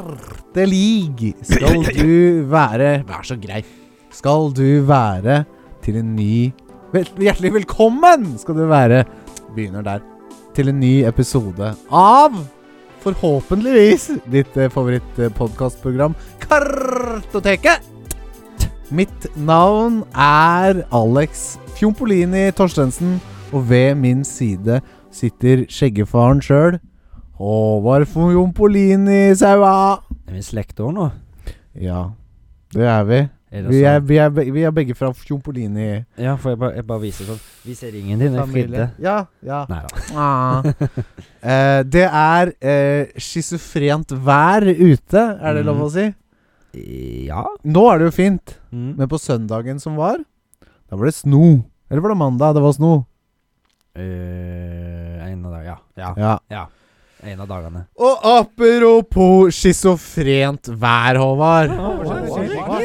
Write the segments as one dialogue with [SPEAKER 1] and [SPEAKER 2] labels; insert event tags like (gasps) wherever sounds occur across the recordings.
[SPEAKER 1] hjertelig skal du være Vær så grei. Skal du være til en ny vel, Hjertelig velkommen skal du være Begynner der. Til en ny episode av forhåpentligvis ditt eh, favorittpodkastprogram Kartoteket. Mitt navn er Alex Fjompolini Torstensen, og ved min side sitter skjeggefaren sjøl. Håvard Fjompolini Saua.
[SPEAKER 2] Er vi slekter nå?
[SPEAKER 1] Ja, det er vi.
[SPEAKER 2] Er det
[SPEAKER 1] Vi er,
[SPEAKER 2] sånn?
[SPEAKER 1] vi er, be- vi er begge fra Fjompolini.
[SPEAKER 2] Ja, for jeg bare, jeg bare viser sånn. Vi ser ingen din, jeg flinte.
[SPEAKER 1] Familie. Ja, ja.
[SPEAKER 2] Nei da.
[SPEAKER 1] Ah. Eh, det er eh, schizofrent vær ute, er det
[SPEAKER 2] Mhm.
[SPEAKER 1] lov å si?
[SPEAKER 2] Ja.
[SPEAKER 1] Nå er det jo fint,
[SPEAKER 2] Mm.
[SPEAKER 1] men på søndagen som var, da var det sno. Eller var det mandag? Det var sno.
[SPEAKER 2] Eh, en av dagene, ja. ja.
[SPEAKER 1] Ja.
[SPEAKER 2] En av dagene.
[SPEAKER 1] Og apropos schizofrent vær, Håvard.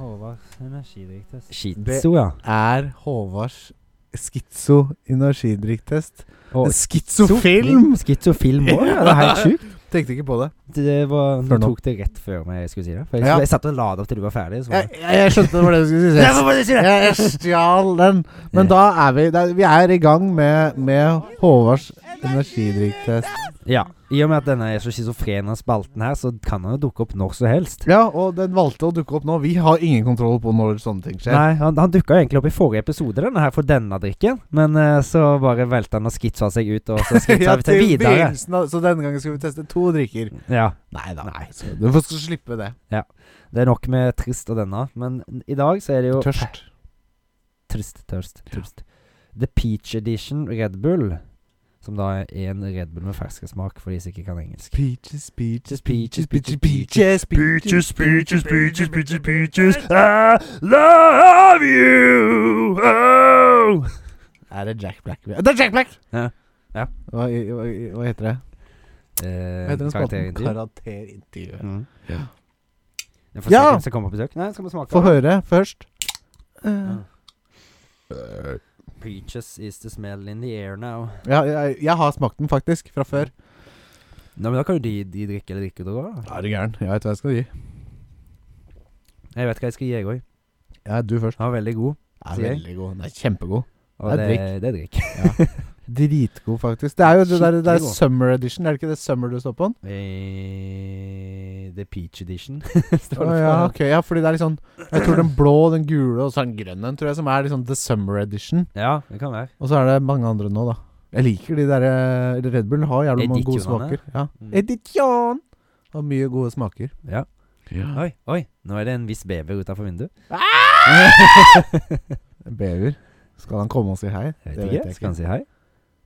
[SPEAKER 3] Håvards energidrikktest.
[SPEAKER 2] Shizu, ja.
[SPEAKER 1] Er Håvards skizo-energidrikktest
[SPEAKER 2] Og
[SPEAKER 1] en skizofilm?
[SPEAKER 2] Skizofilm òg? Ja, det er helt sjukt.
[SPEAKER 1] Tenkte ikke på (laughs) det.
[SPEAKER 2] Det var, du
[SPEAKER 1] Før nå.
[SPEAKER 2] tok det rett før meg, jeg skulle si det. For jeg,
[SPEAKER 1] Ja.
[SPEAKER 2] jeg satt og lada opp til du var ferdig. Så var
[SPEAKER 1] Jeg,
[SPEAKER 2] det-
[SPEAKER 1] jeg, jeg skjønte det var det du skulle si.
[SPEAKER 2] Derfor må du si det!
[SPEAKER 1] Jeg, jeg stjal den. Men da er vi da, Vi er i gang med, med Håvards energidrikktest.
[SPEAKER 2] Ja. I og med at denne er så schizofren av spalten her, så kan han jo dukke opp når som helst.
[SPEAKER 1] Ja, og den valgte å dukke opp nå. Vi har ingen kontroll på når sånne ting skjer.
[SPEAKER 2] Nei, han, han dukka egentlig opp i forrige episode, denne her, for denne drikken. Men eh, så bare velte han og skitsa seg ut, og
[SPEAKER 1] (laughs)
[SPEAKER 2] så skitsa
[SPEAKER 1] Ja,
[SPEAKER 2] vi
[SPEAKER 1] til
[SPEAKER 2] seg videre.
[SPEAKER 1] begynnelsen av- så denne gangen skal vi teste to drikker.
[SPEAKER 2] Ja.
[SPEAKER 1] Nei da.
[SPEAKER 2] Nei.
[SPEAKER 1] Du får skal slippe det.
[SPEAKER 2] Det er nok med trist og denne, men i dag så er det jo
[SPEAKER 1] Tørst.
[SPEAKER 2] Trist, tørst, trist. The Peach Edition Red Bull. Som da er en Red Bull med ferskesmak, for de som ikke kan engelsk.
[SPEAKER 1] Peaches, peaches,
[SPEAKER 2] peaches, peaches,
[SPEAKER 1] peaches,
[SPEAKER 3] Peaches, peaches, peaches, peaches, peaches. I love you! Oh!
[SPEAKER 1] Er det Jack Black? vi- Det er Jack Black!
[SPEAKER 2] Ja. Ja.
[SPEAKER 1] Hva, hva, hva heter det?
[SPEAKER 2] Eh,
[SPEAKER 1] Hva heter den spalten?
[SPEAKER 2] karakterintervju.
[SPEAKER 1] Karakterintervjuet.
[SPEAKER 2] Mm.
[SPEAKER 1] Ja.
[SPEAKER 2] Det er for
[SPEAKER 1] Ja!
[SPEAKER 2] sikkert som kommer på besøk. Nei, skal vi smake
[SPEAKER 1] Få
[SPEAKER 2] av det?
[SPEAKER 1] høre først. Eh,
[SPEAKER 2] Peaches is the smell in the air now.
[SPEAKER 1] Ja, jeg, jeg har smakt den faktisk, fra før.
[SPEAKER 2] Nei, men Da kan jo de, de drikke eller drikke det òg.
[SPEAKER 1] Er du gæren? Jeg vet hva jeg skal gi.
[SPEAKER 2] Jeg vet hva jeg skal gi, jeg òg.
[SPEAKER 1] Ja, du først.
[SPEAKER 2] Den var veldig god.
[SPEAKER 1] Den
[SPEAKER 2] Sier
[SPEAKER 1] er
[SPEAKER 2] jeg.
[SPEAKER 1] veldig god. Den er kjempegod.
[SPEAKER 2] Og
[SPEAKER 1] Det
[SPEAKER 2] det
[SPEAKER 1] er
[SPEAKER 2] er drikk. Det er drikk.
[SPEAKER 1] Dritgod, faktisk. Det er jo det der, det
[SPEAKER 2] Skikkelig
[SPEAKER 1] er
[SPEAKER 2] god.
[SPEAKER 1] summer edition, er det ikke det summer du står på den?
[SPEAKER 2] Eh, the Peach Edition. (laughs)
[SPEAKER 1] Å
[SPEAKER 2] Står det
[SPEAKER 1] ja,
[SPEAKER 2] på den.
[SPEAKER 1] ok. Ja, fordi det er litt sånn Jeg tror den blå, den gule og så er den grønne, tror jeg, som er liksom the summer edition.
[SPEAKER 2] ja, det kan være.
[SPEAKER 1] Og så er det mange andre nå, da. Jeg liker de der eh, Red Bull har jævlig mange gode
[SPEAKER 2] Editionene.
[SPEAKER 1] smaker. Ja.
[SPEAKER 2] Mm.
[SPEAKER 1] Edition! Og mye gode smaker.
[SPEAKER 2] Ja. Oi, oi. Nå er det en viss bever utafor vinduet. (laughs)
[SPEAKER 1] (laughs) Bever. Skal han komme og si hei?
[SPEAKER 2] Jeg vet ikke. Skal han si hei?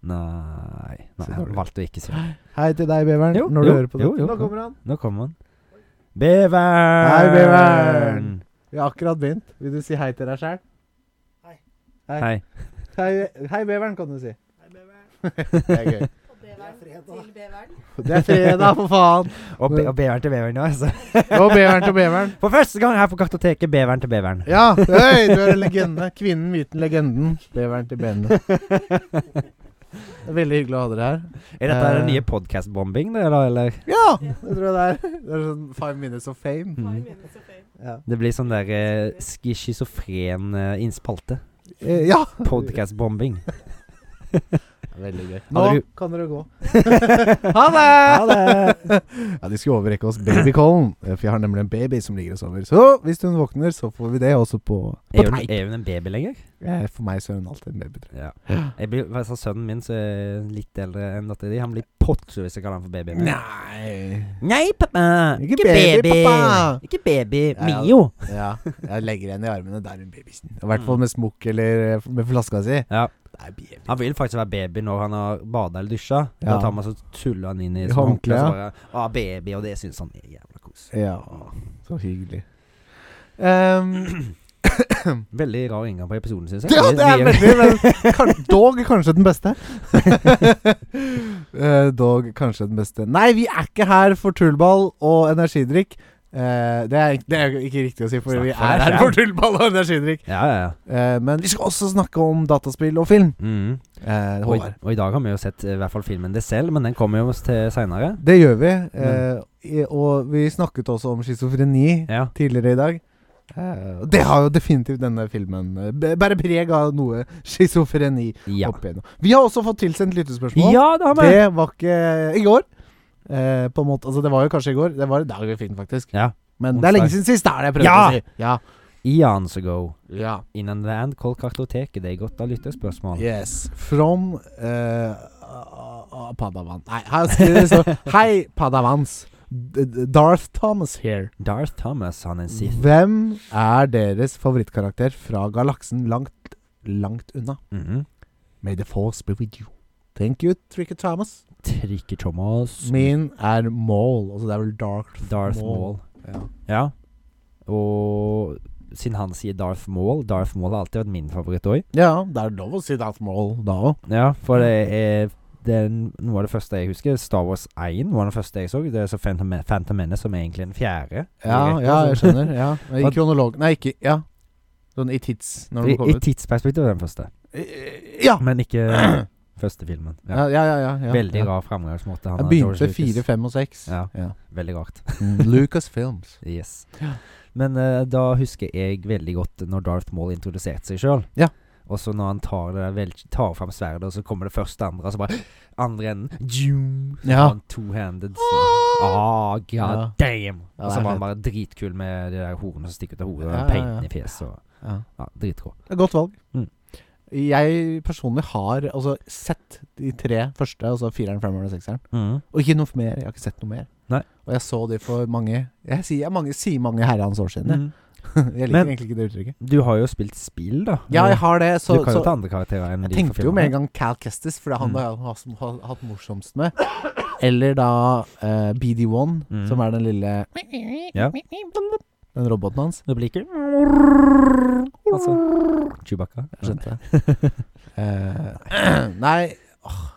[SPEAKER 2] Nei, Nei
[SPEAKER 1] Så
[SPEAKER 2] han
[SPEAKER 1] dårlig.
[SPEAKER 2] valgte å ikke si hei.
[SPEAKER 1] Hei til deg, beveren,
[SPEAKER 2] Jo,
[SPEAKER 1] når
[SPEAKER 2] jo,
[SPEAKER 1] du hører på det.
[SPEAKER 2] jo, jo.
[SPEAKER 1] Nå kommer han.
[SPEAKER 2] Nå kommer han. Beveren!
[SPEAKER 1] Hei, beveren! Vi har akkurat begynt. Vil du si hei til deg sjæl? Hei.
[SPEAKER 2] Hei.
[SPEAKER 1] Hei, hei, beveren, kan du si. Hei, beveren. (laughs) det er gøy.
[SPEAKER 4] Og beveren til beveren.
[SPEAKER 1] Det er fredag, for faen.
[SPEAKER 2] Og, be og beveren til beveren, ja. Altså.
[SPEAKER 1] Og beveren til beveren.
[SPEAKER 2] For første gang her på kartoteket, beveren til beveren.
[SPEAKER 1] Ja, høy, du er en legende. Kvinnen, myten, legenden. Beveren til benene. Det er Veldig hyggelig å ha dere her.
[SPEAKER 2] Er dette
[SPEAKER 1] Eh.
[SPEAKER 2] den nye podkast-bombing, det, da, eller?
[SPEAKER 1] Ja, det tror jeg det er. Det er sånn five minutes of fame.
[SPEAKER 4] Five
[SPEAKER 2] Mm.
[SPEAKER 4] minutes of fame.
[SPEAKER 1] Ja.
[SPEAKER 2] Det blir sånn der eh, skisofren eh,
[SPEAKER 1] (laughs)
[SPEAKER 2] innspalte.
[SPEAKER 1] Eh, ja. (laughs)
[SPEAKER 2] Podkast-bombing.
[SPEAKER 1] Veldig gøy. Nå
[SPEAKER 2] Hadde du-
[SPEAKER 1] kan dere gå. (laughs) ha det! Ja, De skulle overrekke oss babycallen, eh, for jeg har nemlig en baby som ligger og sover. Så hvis hun våkner, så får vi det også på, på
[SPEAKER 2] Er hun,
[SPEAKER 1] teip.
[SPEAKER 2] er hun en baby lenger?
[SPEAKER 1] Eh, For meg så er hun alltid en baby. tror jeg.
[SPEAKER 2] Ja. (gasps) Jeg blir, altså, sønnen min så er litt eldre enn datteren din. Han blir pottsur hvis jeg kaller han for baby.
[SPEAKER 1] Nei
[SPEAKER 2] Nei, pappa.
[SPEAKER 1] Ikke baby, pappa.
[SPEAKER 2] Ikke baby.
[SPEAKER 1] Ja, ja.
[SPEAKER 2] Mio. (laughs)
[SPEAKER 1] Ja, jeg legger henne i armene. Der er hun babysen. I hvert
[SPEAKER 2] Mm.
[SPEAKER 1] fall med smokk eller eh, med flaska si.
[SPEAKER 2] Ja.
[SPEAKER 1] Det er baby.
[SPEAKER 2] Han vil faktisk være baby når han har bada eller dusja.
[SPEAKER 1] Ja.
[SPEAKER 2] Da tar man så tuller han inn i
[SPEAKER 1] I
[SPEAKER 2] sånn
[SPEAKER 1] håndkle,
[SPEAKER 2] håndkle. og så bare, Å, baby. Og det syns han er
[SPEAKER 1] (coughs)
[SPEAKER 2] jævla kos.
[SPEAKER 1] Ja, så hyggelig. Ehm,
[SPEAKER 2] Veldig rar inngang på episoden, syns jeg.
[SPEAKER 1] ja, det er
[SPEAKER 2] Vi- vi-
[SPEAKER 1] veldig men (laughs) kan, Dog kanskje den beste. (laughs) Eh, dog kanskje den beste. Nei, vi er ikke her for tullball og energidrikk. Eh, Eh, det, er, det er jo ikke riktig å si, for
[SPEAKER 2] Snakk
[SPEAKER 1] vi
[SPEAKER 2] for
[SPEAKER 1] er
[SPEAKER 2] deg
[SPEAKER 1] her
[SPEAKER 2] selv.
[SPEAKER 1] for tullball og energidrikk.
[SPEAKER 2] Ja, ja, ja.
[SPEAKER 1] Eh, men vi skal også snakke om dataspill og film.
[SPEAKER 2] Mm.
[SPEAKER 1] Eh,
[SPEAKER 2] Og,
[SPEAKER 1] Håvard.
[SPEAKER 2] i- og i dag har vi jo sett eh, i hvert fall filmen det selv, men den kommer jo til seinere.
[SPEAKER 1] Det gjør vi.
[SPEAKER 2] Mm.
[SPEAKER 1] eh, i, og vi snakket også om schizofreni
[SPEAKER 2] Ja.
[SPEAKER 1] tidligere i dag. Eh, og det har jo definitivt denne filmen. eh, b- Bærer preg av noe schizofreni.
[SPEAKER 2] Ja.
[SPEAKER 1] opp igjennom. Vi har også fått tilsendt lyttespørsmål.
[SPEAKER 2] ja, det har vi!
[SPEAKER 1] Det var ikke i går. Eh, på en måte, altså Det var jo kanskje i går. Det var i dag vi fikk den, faktisk.
[SPEAKER 2] Ja.
[SPEAKER 1] Men det er lenge siden sist, det er det jeg prøvde
[SPEAKER 2] Ja!
[SPEAKER 1] å si. Ja.
[SPEAKER 2] Eons ago.
[SPEAKER 1] ja.
[SPEAKER 2] In and land, call kartoteket. Det er godt å lytte spørsmål.
[SPEAKER 1] Yes. From eh, a- a- Padawan. Nei, her skriver det så
[SPEAKER 2] (laughs)
[SPEAKER 1] Hei, Padawans. D- D- Darth Thomas here.
[SPEAKER 2] Darth Thomas, han er en sith.
[SPEAKER 1] Hvem er deres favorittkarakter fra galaksen langt, langt unna?
[SPEAKER 2] Mhm.
[SPEAKER 1] May the force be with you. Thank you, Tricker Thomas.
[SPEAKER 2] Tricky Thomas.
[SPEAKER 1] Min er Maul. Altså det er vel Dark
[SPEAKER 2] Darth
[SPEAKER 1] Maul.
[SPEAKER 2] Maul.
[SPEAKER 1] Ja.
[SPEAKER 2] Ja. Og siden han sier Darth Maul Darth Maul har alltid vært min favoritt òg.
[SPEAKER 1] ja, det er lov å si Darth Maul da òg.
[SPEAKER 2] Ja, for det er, det er n- noe av det første jeg husker. Star Wars 1 var den første jeg så. Det er så Phantom, Men- Phantom Menace som er egentlig den fjerde.
[SPEAKER 1] Ja,
[SPEAKER 2] i altså. rekka,
[SPEAKER 1] ja, jeg
[SPEAKER 2] så-
[SPEAKER 1] skjønner. Ja. (laughs) Men I
[SPEAKER 2] Hva-
[SPEAKER 1] kronolog... Nei, ikke Ja. Sånn i tids, når den
[SPEAKER 2] I, I
[SPEAKER 1] kommer ut.
[SPEAKER 2] tidsperspektiv er den første,
[SPEAKER 1] I- Ja!
[SPEAKER 2] men
[SPEAKER 1] (clears throat)
[SPEAKER 2] ikke første filmen. Ja.
[SPEAKER 1] Ja, ja, ja. ja, ja.
[SPEAKER 2] Veldig
[SPEAKER 1] ja.
[SPEAKER 2] rar framgangsmåte. han
[SPEAKER 1] Jeg
[SPEAKER 2] har,
[SPEAKER 1] begynte
[SPEAKER 2] George
[SPEAKER 1] fire,
[SPEAKER 2] Lucas.
[SPEAKER 1] fem og seks.
[SPEAKER 2] Ja,
[SPEAKER 1] (laughs) Ja.
[SPEAKER 2] veldig rart.
[SPEAKER 1] Lucas Films.
[SPEAKER 2] Yes.
[SPEAKER 1] Ja.
[SPEAKER 2] Men eh, da husker jeg veldig godt når Darth Maul introduserte seg sjøl.
[SPEAKER 1] Ja.
[SPEAKER 2] Og så når han tar, det der vel, tar fram sverdet, og så kommer det første andre, og så bare (gasps) Andre enden Jum! Så
[SPEAKER 1] Ja.
[SPEAKER 2] har han two-handed Ah, god
[SPEAKER 1] Ja.
[SPEAKER 2] damn!
[SPEAKER 1] Ja, det er
[SPEAKER 2] og så var
[SPEAKER 1] fett.
[SPEAKER 2] han bare dritkul med de der hornene som stikker ut av hodet, og
[SPEAKER 1] Ja,
[SPEAKER 2] ja,
[SPEAKER 1] ja,
[SPEAKER 2] peiten
[SPEAKER 1] ja.
[SPEAKER 2] i fjeset og
[SPEAKER 1] Ja.
[SPEAKER 2] Ja, dritrå.
[SPEAKER 1] Det er Godt valg.
[SPEAKER 2] Mm.
[SPEAKER 1] Jeg personlig har altså sett de tre første, altså fireren, femmeren og sekseren.
[SPEAKER 2] Mm.
[SPEAKER 1] Og ikke noe mer. Jeg har ikke sett noe mer.
[SPEAKER 2] Nei.
[SPEAKER 1] Og jeg så de for mange Jeg sier mange, sier mange herrens år siden. jeg.
[SPEAKER 2] Mm.
[SPEAKER 1] (laughs) Jeg liker
[SPEAKER 2] Men-
[SPEAKER 1] egentlig ikke det uttrykket.
[SPEAKER 2] Du har jo spilt spill, da.
[SPEAKER 1] Ja, jeg har det. Så,
[SPEAKER 2] du kan
[SPEAKER 1] så
[SPEAKER 2] jo ta andre karakterer enn
[SPEAKER 1] jeg
[SPEAKER 2] de
[SPEAKER 1] tenkte jo med en
[SPEAKER 2] filmene.
[SPEAKER 1] gang Cal Kestis, for det er han
[SPEAKER 2] Mm.
[SPEAKER 1] det jeg har hatt- har hatt morsomst med. Eller da eh, BD1,
[SPEAKER 2] Mm.
[SPEAKER 1] som er den lille
[SPEAKER 2] Ja.
[SPEAKER 1] Den roboten hans.
[SPEAKER 2] Replikker. Altså Chewbacca.
[SPEAKER 1] Jeg skjønte det. (laughs) Eh, (clears throat) nei åh.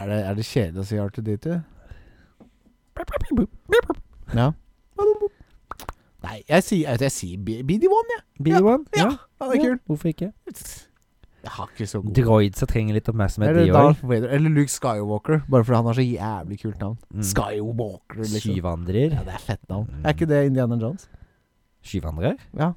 [SPEAKER 1] er, det, er det kjedelig å si R2D2? Ja. Nei, jeg sier, jeg sier B- BD1, jeg.
[SPEAKER 2] BD1?
[SPEAKER 1] Ja, Ja, det er kult.
[SPEAKER 2] Hvorfor ikke?
[SPEAKER 1] Jeg har ikke så god
[SPEAKER 2] Droids som trenger litt oppmerksomhet,
[SPEAKER 1] Eller
[SPEAKER 2] de òg.
[SPEAKER 1] Darth Vader. Eller Luke Skywalker, bare fordi han har så jævlig kult navn.
[SPEAKER 2] Mm.
[SPEAKER 1] Skywalker, liksom.
[SPEAKER 2] Syvandrer.
[SPEAKER 1] Ja, det er fett navn.
[SPEAKER 2] Mm.
[SPEAKER 1] Er ikke det Indiana Jones?
[SPEAKER 2] Syvandrer?
[SPEAKER 1] Ja.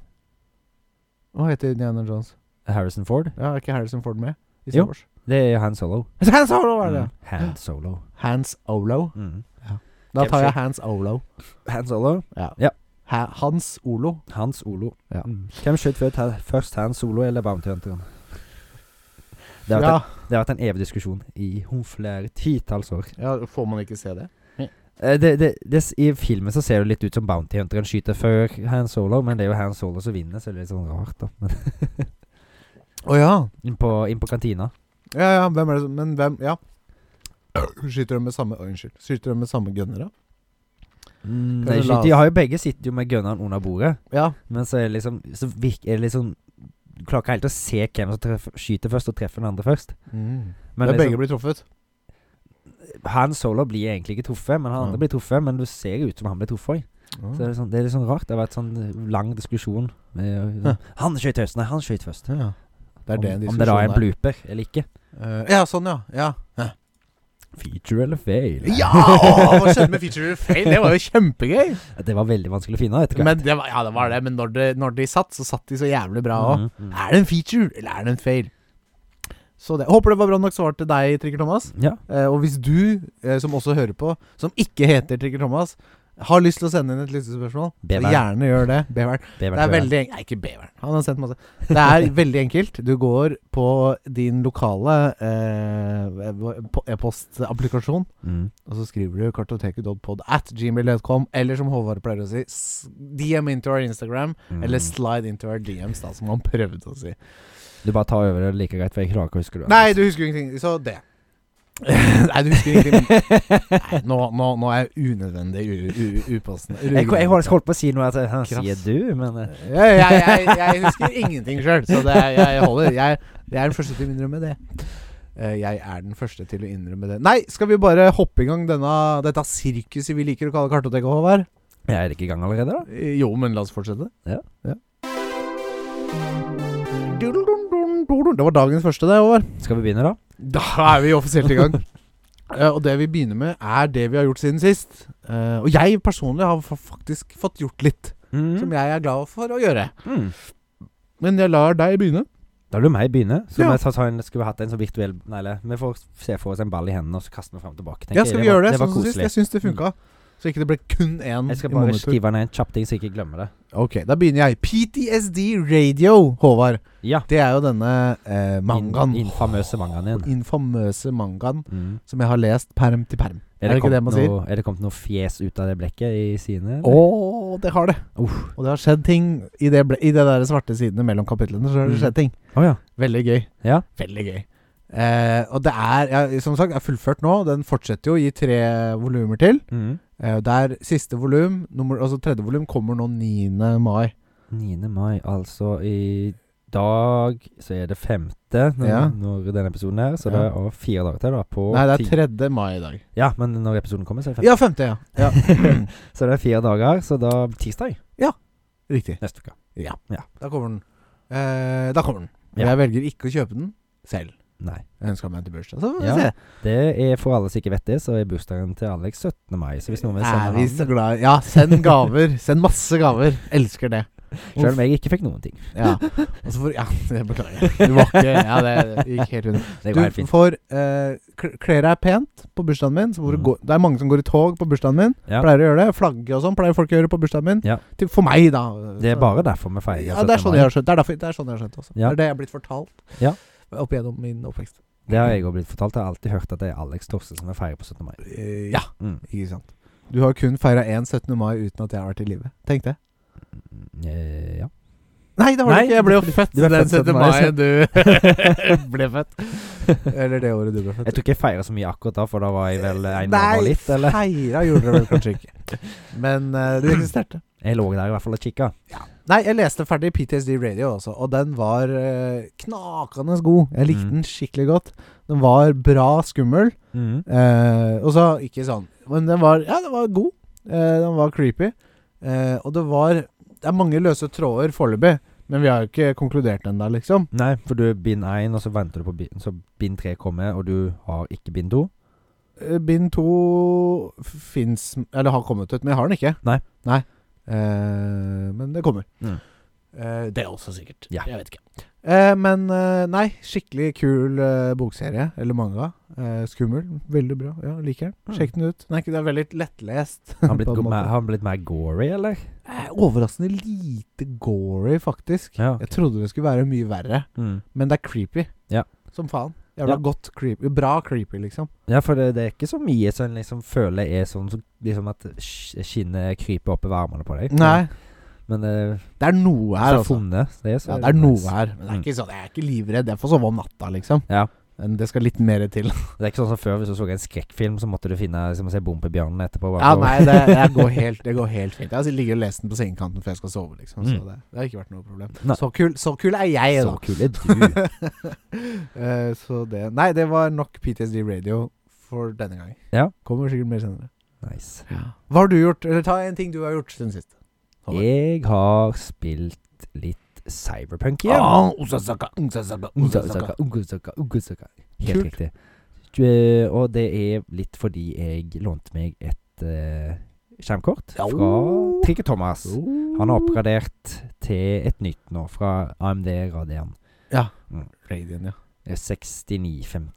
[SPEAKER 1] Hva heter Indiana Jones?
[SPEAKER 2] Harrison Ford?
[SPEAKER 1] Ja, Er ikke Harrison Ford med? I
[SPEAKER 2] Jo.
[SPEAKER 1] Star Wars?
[SPEAKER 2] Det er Han Solo.
[SPEAKER 1] Hans Olo er det!
[SPEAKER 2] Mm. Han Solo.
[SPEAKER 1] Hans Olo.
[SPEAKER 2] Mm.
[SPEAKER 1] Da tar jeg Hans Olo.
[SPEAKER 2] Han Solo?
[SPEAKER 1] Ha Hans Olo.
[SPEAKER 2] Hans Olo.
[SPEAKER 1] Ja.
[SPEAKER 2] Mm. Hvem skjøt før- ta- først Han Solo eller Bounty Hunteren? Det har, vært
[SPEAKER 1] Ja.
[SPEAKER 2] en, det har vært en evig diskusjon i hun flere titalls år.
[SPEAKER 1] ja, får man ikke se det?
[SPEAKER 2] Eh, Det, det, det, s- I filmen så ser det litt ut som Bounty Hunteren skyter før Han Solo, men det er jo Han Solo som vinner, så det er litt sånn rart, da. Men
[SPEAKER 1] Å ja.
[SPEAKER 2] inn på, inn på kantina.
[SPEAKER 1] Ja ja, hvem er det som Men hvem Ja. Skyter de med samme Å, Unnskyld. Skyter de med samme gunner, da?
[SPEAKER 2] Mm,
[SPEAKER 1] Kan
[SPEAKER 2] nei,
[SPEAKER 1] du la
[SPEAKER 2] shit,
[SPEAKER 1] oss-
[SPEAKER 2] de har jo begge sitter jo med gunneren under bordet,
[SPEAKER 1] Ja.
[SPEAKER 2] men så er det liksom Så virker er det liksom Du klarer ikke helt å se hvem som treffer, skyter først, og treffer den andre først. Men
[SPEAKER 1] Men
[SPEAKER 2] liksom,
[SPEAKER 1] Mm. begge blir truffet.
[SPEAKER 2] Han Solo blir egentlig ikke truffet, men han
[SPEAKER 1] Ja.
[SPEAKER 2] andre blir truffet. Men du ser jo ut som han blir truffet òg. Så det er, sånn, det er litt sånn rart. Det har vært sånn lang diskusjon.
[SPEAKER 1] Hæ.
[SPEAKER 2] Med, sånn, han skøyt først! Nei, han skøyt først.
[SPEAKER 1] Ja. Det er det
[SPEAKER 2] om,
[SPEAKER 1] en
[SPEAKER 2] om det da er
[SPEAKER 1] diskusjon
[SPEAKER 2] en blooper eller ikke.
[SPEAKER 1] Eh, ja, sånn, ja. ja.
[SPEAKER 2] Feature eller fail? (laughs)
[SPEAKER 1] Ja! (laughs) åh, Hva skjedde med feature fail? Det var jo kjempegøy.
[SPEAKER 2] Det var veldig vanskelig å finne. Vet du.
[SPEAKER 1] Men det var, ja, det var det. Men når, det, når de satt, så satt de så jævlig bra òg.
[SPEAKER 2] Mhm.
[SPEAKER 1] Er det en feature, eller er det en fail? Så det, Håper det var bra nok svar til deg, Trigger Thomas.
[SPEAKER 2] Ja.
[SPEAKER 1] Eh, og hvis du, eh, som også hører på, som ikke heter Trigger Thomas, har lyst til å sende inn et lyttespørsmål, så
[SPEAKER 2] Bevern.
[SPEAKER 1] gjerne gjør det. Bevern.
[SPEAKER 2] Beveren,
[SPEAKER 1] Det er
[SPEAKER 2] beveren.
[SPEAKER 1] veldig enkelt Nei, ikke beveren. Han har sendt masse. Det er veldig enkelt. Du går på din lokale eh, på e-postapplikasjon,
[SPEAKER 2] Mm.
[SPEAKER 1] og så skriver du kartoteket.pod at gmail.com, eller som Håvard pleier å si, s- DM into our Instagram,
[SPEAKER 2] Mm.
[SPEAKER 1] eller slide into our DMs, da, som han (laughs) prøvde å si.
[SPEAKER 2] Du bare tar over det like greit, for jeg klarer ikke å huske det.
[SPEAKER 1] Nei, du husker jo ingenting. Så det. (laughs) Nei, du husker ingenting.
[SPEAKER 2] (laughs)
[SPEAKER 1] Nei, nå, nå, nå er jeg unødvendig u- u- upassende.
[SPEAKER 2] (laughs) Jeg, jeg holdt holdt på å si noe at han
[SPEAKER 1] Krass.
[SPEAKER 2] sier du, men eh,
[SPEAKER 1] jeg, jeg, jeg, jeg husker ingenting sjøl, så det, er- jeg holder. Jeg, jeg er den første til å innrømme det. Eh, Jeg er den første til å innrømme det. Nei, skal vi bare hoppe i gang denne, dette sirkuset vi liker å kalle Kartoteket, Håvard?
[SPEAKER 2] Jeg er ikke i gang allerede, da.
[SPEAKER 1] Eh, Jo, men la oss fortsette.
[SPEAKER 2] Ja.
[SPEAKER 1] Det var dagens første, det, Håvard.
[SPEAKER 2] Skal vi begynne, da?
[SPEAKER 1] Da er vi offisielt i gang. (laughs) Eh, og det vi begynner med, er det vi har gjort siden sist. Eh, og jeg personlig har fa- faktisk fått gjort litt, som jeg er glad for å gjøre.
[SPEAKER 2] Mm.
[SPEAKER 1] Men jeg lar deg begynne.
[SPEAKER 2] Da vil meg begynne. Så
[SPEAKER 1] Ja.
[SPEAKER 2] vi ta- ta en, skulle vi hatt en sånn virtuell Nei, eller, vi får se for oss en ball i hendene, og så kaster vi fram og tilbake. tenker
[SPEAKER 1] Ja, skal
[SPEAKER 2] jeg.
[SPEAKER 1] vi gjøre det,
[SPEAKER 2] var- Mm.
[SPEAKER 1] sånn som sist? Jeg syns det funka. Så ikke det ble kun én
[SPEAKER 2] Jeg skal
[SPEAKER 1] i
[SPEAKER 2] bare
[SPEAKER 1] monitor.
[SPEAKER 2] skrive ned en kjapp ting, så jeg ikke glemmer det.
[SPEAKER 1] Ok, da begynner jeg. PTSD Radio, Håvard.
[SPEAKER 2] Ja.
[SPEAKER 1] Det er jo denne eh, mangaen.
[SPEAKER 2] In, infamøse mangaen igjen.
[SPEAKER 1] Infamøse mangaen
[SPEAKER 2] Mm.
[SPEAKER 1] som jeg har lest perm til perm. Er det ikke det
[SPEAKER 2] kommet
[SPEAKER 1] man sier?
[SPEAKER 2] Noe, er det kommet noe fjes ut av det blekket i sidene? eller?
[SPEAKER 1] Å, det har det.
[SPEAKER 2] Uff.
[SPEAKER 1] Og det har skjedd ting i, det ble, i de der svarte sidene mellom kapitlene. Så har det
[SPEAKER 2] Mm.
[SPEAKER 1] skjedd ting.
[SPEAKER 2] Å ja.
[SPEAKER 1] Veldig gøy.
[SPEAKER 2] Ja.
[SPEAKER 1] Veldig gøy. Eh, og det er, ja, som sagt, jeg har fullført nå. Den fortsetter jo i tre volumer til.
[SPEAKER 2] Mm.
[SPEAKER 1] Eh, der siste volum, nummer, altså tredje volum, kommer nå 9. mai.
[SPEAKER 2] 9. mai, altså i dag så er det femte når,
[SPEAKER 1] Ja.
[SPEAKER 2] når denne episoden er,
[SPEAKER 1] Ja.
[SPEAKER 2] så det er og fire dager til, da. På
[SPEAKER 1] Nei, det
[SPEAKER 2] ti-
[SPEAKER 1] er 3. mai i dag.
[SPEAKER 2] Ja, men når episoden kommer, så er det femte.
[SPEAKER 1] Ja, femte, ja. ja.
[SPEAKER 2] Så det er fire dager, så da tirsdag
[SPEAKER 1] Riktig.
[SPEAKER 2] neste uke.
[SPEAKER 1] Da kommer den. Eh, da kommer den. Men
[SPEAKER 2] Ja.
[SPEAKER 1] Jeg velger ikke å kjøpe den selv.
[SPEAKER 2] Nei.
[SPEAKER 1] Jeg ønsker meg den til bursdag. Så får vi
[SPEAKER 2] Ja.
[SPEAKER 1] se.
[SPEAKER 2] Det er eh, for alle som ikke vet det, så er bursdagen til Alex 17. mai. Så hvis noen vil
[SPEAKER 1] er
[SPEAKER 2] sende
[SPEAKER 1] vi
[SPEAKER 2] ham
[SPEAKER 1] så glad i- Ja, send gaver. Send masse gaver. Elsker det.
[SPEAKER 2] Selv om jeg ikke fikk noen ting.
[SPEAKER 1] Ja. Og så får Ja, (laughs) det beklager jeg. Du var ikke Ja, det gikk helt under.
[SPEAKER 2] (laughs) Det går helt
[SPEAKER 1] Du
[SPEAKER 2] fint.
[SPEAKER 1] får eh, kl- Kle deg pent på bursdagen min. Så hvor du
[SPEAKER 2] Mm.
[SPEAKER 1] går, det er mange som går i tog på bursdagen min.
[SPEAKER 2] Ja.
[SPEAKER 1] Pleier å gjøre det. Flagge og sånn pleier folk å gjøre på bursdagen min.
[SPEAKER 2] Ja.
[SPEAKER 1] Til, for meg, da.
[SPEAKER 2] Det er bare derfor vi feirer
[SPEAKER 1] Ja, det er sånn jeg har skjønt det. Er derfor, det er sånn jeg har skjønt også.
[SPEAKER 2] Ja.
[SPEAKER 1] Det er det jeg har blitt fortalt
[SPEAKER 2] Ja.
[SPEAKER 1] opp igjennom min oppvekst.
[SPEAKER 2] Det har jeg òg blitt fortalt. Jeg har alltid hørt at det er Alex Torse som er feirer på 17. mai.
[SPEAKER 1] Eh, ja,
[SPEAKER 2] Mm.
[SPEAKER 1] ikke sant. Du har kun feira én 17. mai uten at jeg har vært i live. Tenk det. (laughs)
[SPEAKER 2] Eh, ja.
[SPEAKER 1] Nei, det har
[SPEAKER 2] Nei,
[SPEAKER 1] du ikke. Jeg ble jo født
[SPEAKER 2] du ble
[SPEAKER 1] den
[SPEAKER 2] født 17.
[SPEAKER 1] 17.
[SPEAKER 2] mai,
[SPEAKER 1] mai
[SPEAKER 2] (laughs)
[SPEAKER 1] du ble født. Eller det året du ble
[SPEAKER 2] Jeg
[SPEAKER 1] født.
[SPEAKER 2] tror ikke jeg feira så mye akkurat da, for da var jeg vel en måned og litt,
[SPEAKER 1] Nei,
[SPEAKER 2] eller?
[SPEAKER 1] feira gjorde dere vel kanskje ikke. Men
[SPEAKER 2] (laughs)
[SPEAKER 1] eh, du eksisterte.
[SPEAKER 2] Jeg lå der i hvert fall og kikka.
[SPEAKER 1] Nei, jeg leste ferdig PTSD Radio også, og den var eh, knakende god. Jeg likte
[SPEAKER 2] Mm.
[SPEAKER 1] den skikkelig godt. Den var bra skummel.
[SPEAKER 2] Mm.
[SPEAKER 1] Eh, og så ikke sånn Men den var Ja, den var god. Eh, den var creepy. Eh, og det var Det er mange løse tråder foreløpig, men vi har jo ikke konkludert ennå, liksom.
[SPEAKER 2] Nei, for du er bind én, og så venter du på bind, så bind tre kommer, og du har ikke bind to.
[SPEAKER 1] Eh, Bind to fins Eller har kommet ut, men jeg har den ikke.
[SPEAKER 2] Nei.
[SPEAKER 1] Eh, men det kommer.
[SPEAKER 2] Mm.
[SPEAKER 1] Eh, det er også sikkert.
[SPEAKER 2] Ja.
[SPEAKER 1] Jeg vet ikke. Eh, men eh, nei, skikkelig kul eh, bokserie, eller manga. Eh, skummel. Veldig bra. Ja, liker den.
[SPEAKER 2] Mm.
[SPEAKER 1] Sjekk den ut. Den er, ikke, den er veldig lettlest.
[SPEAKER 2] Har han
[SPEAKER 1] (laughs)
[SPEAKER 2] blitt,
[SPEAKER 1] På en
[SPEAKER 2] go-
[SPEAKER 1] måte.
[SPEAKER 2] mer- har han blitt mer gory, eller?
[SPEAKER 1] Eh, Overraskende lite gory, faktisk.
[SPEAKER 2] Ja.
[SPEAKER 1] Jeg trodde det skulle være mye verre,
[SPEAKER 2] Mm.
[SPEAKER 1] men det er creepy.
[SPEAKER 2] Ja.
[SPEAKER 1] Som faen. Jævla
[SPEAKER 2] Ja.
[SPEAKER 1] godt creepy. Bra creepy, liksom.
[SPEAKER 2] Ja, for det, det er ikke så mye som en liksom føler er sånn som liksom at sk- skinnet kryper opp i varmene på deg.
[SPEAKER 1] Nei,
[SPEAKER 2] Men eh,
[SPEAKER 1] det er noe her,
[SPEAKER 2] så
[SPEAKER 1] altså.
[SPEAKER 2] funnet det, så
[SPEAKER 1] Ja, det er noe
[SPEAKER 2] nice.
[SPEAKER 1] her. Men det er
[SPEAKER 2] Mm.
[SPEAKER 1] ikke sånn, jeg er ikke livredd. Jeg får sove om natta, liksom.
[SPEAKER 2] Ja.
[SPEAKER 1] Men det skal litt mer til.
[SPEAKER 2] Det er ikke sånn som før, hvis du så en skrekkfilm, så måtte du finne liksom, se Bompebjørnen etterpå. bare
[SPEAKER 1] Ja,
[SPEAKER 2] for-
[SPEAKER 1] nei, det, det,
[SPEAKER 2] (laughs)
[SPEAKER 1] går helt, det går helt fint. Jeg har ligget og lest den på sengekanten før jeg skal sove, liksom. Så
[SPEAKER 2] Mm.
[SPEAKER 1] det, det har ikke vært noe problem.
[SPEAKER 2] Nei.
[SPEAKER 1] Så kul, så kul er jeg,
[SPEAKER 2] Så
[SPEAKER 1] da.
[SPEAKER 2] kul er
[SPEAKER 1] (laughs)
[SPEAKER 2] du.
[SPEAKER 1] Eh, så det Nei, det var nok PTSD Radio for denne gang.
[SPEAKER 2] Ja.
[SPEAKER 1] Kommer sikkert mer senere.
[SPEAKER 2] Nice.
[SPEAKER 1] Hva har du gjort? Eller ta en ting du har gjort siden sist. Håvard.
[SPEAKER 2] Jeg har spilt litt Cyberpunk igjen.
[SPEAKER 1] Ah, Osasaka, Osasaka, Osasaka.
[SPEAKER 2] Ungdomsaka, ungdomsaka, ungdomsaka. Helt
[SPEAKER 1] Kult.
[SPEAKER 2] riktig. Du, eh, Og det er litt fordi jeg lånte meg et eh, skjermkort
[SPEAKER 1] Ja. Oh.
[SPEAKER 2] fra Trikke Thomas. Han har oppgradert til et nytt nå, fra AMD Radian
[SPEAKER 1] Ja.
[SPEAKER 2] Mm.
[SPEAKER 1] Radian, ja.
[SPEAKER 2] Eh, 6950.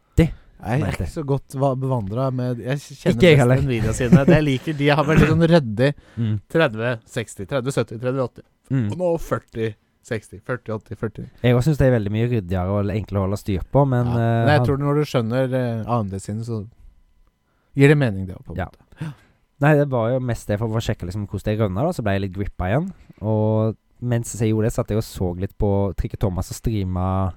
[SPEAKER 1] Jeg er
[SPEAKER 2] Nei,
[SPEAKER 1] ikke så godt bevandra med Jeg
[SPEAKER 2] Ikke
[SPEAKER 1] kjenner
[SPEAKER 2] jeg
[SPEAKER 1] best
[SPEAKER 2] heller.
[SPEAKER 1] den videoen sine. Det jeg liker, de har vært litt sånn ryddig.
[SPEAKER 2] Mm.
[SPEAKER 1] 30, 60, 30, 70, 30, 80.
[SPEAKER 2] Mm.
[SPEAKER 1] Og nå 40, 60, 40, 80, 40.
[SPEAKER 2] Jeg syns det er veldig mye ryddigere og enklere å holde styr på, men
[SPEAKER 1] ja.
[SPEAKER 2] eh,
[SPEAKER 1] Men jeg
[SPEAKER 2] han-
[SPEAKER 1] tror når du skjønner eh, AMD sine, så gir det mening, det òg, på en
[SPEAKER 2] Ja.
[SPEAKER 1] måte.
[SPEAKER 2] Nei, det var jo mest det for å sjekke liksom hvordan det rønna, da. Så ble jeg litt grippa igjen. Og mens jeg gjorde det, satt jeg og så litt på Trikke Thomas og streama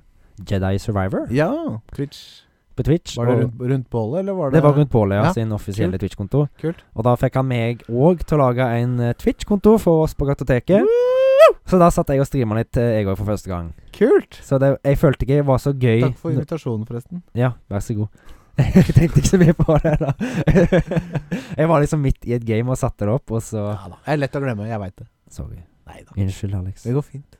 [SPEAKER 2] Jedi Survivor
[SPEAKER 1] Ja, Twitch.
[SPEAKER 2] på Twitch.
[SPEAKER 1] Var det
[SPEAKER 2] og
[SPEAKER 1] rundt, rundt bålet, eller var
[SPEAKER 2] det
[SPEAKER 1] det
[SPEAKER 2] var rundt Bålet, ja,
[SPEAKER 1] Ja,
[SPEAKER 2] sin offisielle Twitch-konto.
[SPEAKER 1] Kult.
[SPEAKER 2] Og da fikk han meg òg til å lage en eh, Twitch-konto for oss på Gatoteket. Så da satt jeg og streama litt, eh, jeg òg, for første gang.
[SPEAKER 1] Kult!
[SPEAKER 2] Så det, jeg følte ikke det var så gøy
[SPEAKER 1] Takk for invitasjonen, forresten.
[SPEAKER 2] Ja, vær så god. (laughs) Jeg tenkte ikke så mye på det da. (laughs) jeg var liksom midt i et game og satte det opp, og så
[SPEAKER 1] Ja, da. Det er lett å glemme, jeg veit det.
[SPEAKER 2] Sorry.
[SPEAKER 1] Nei da.
[SPEAKER 2] Unnskyld, Alex.
[SPEAKER 1] Det går fint.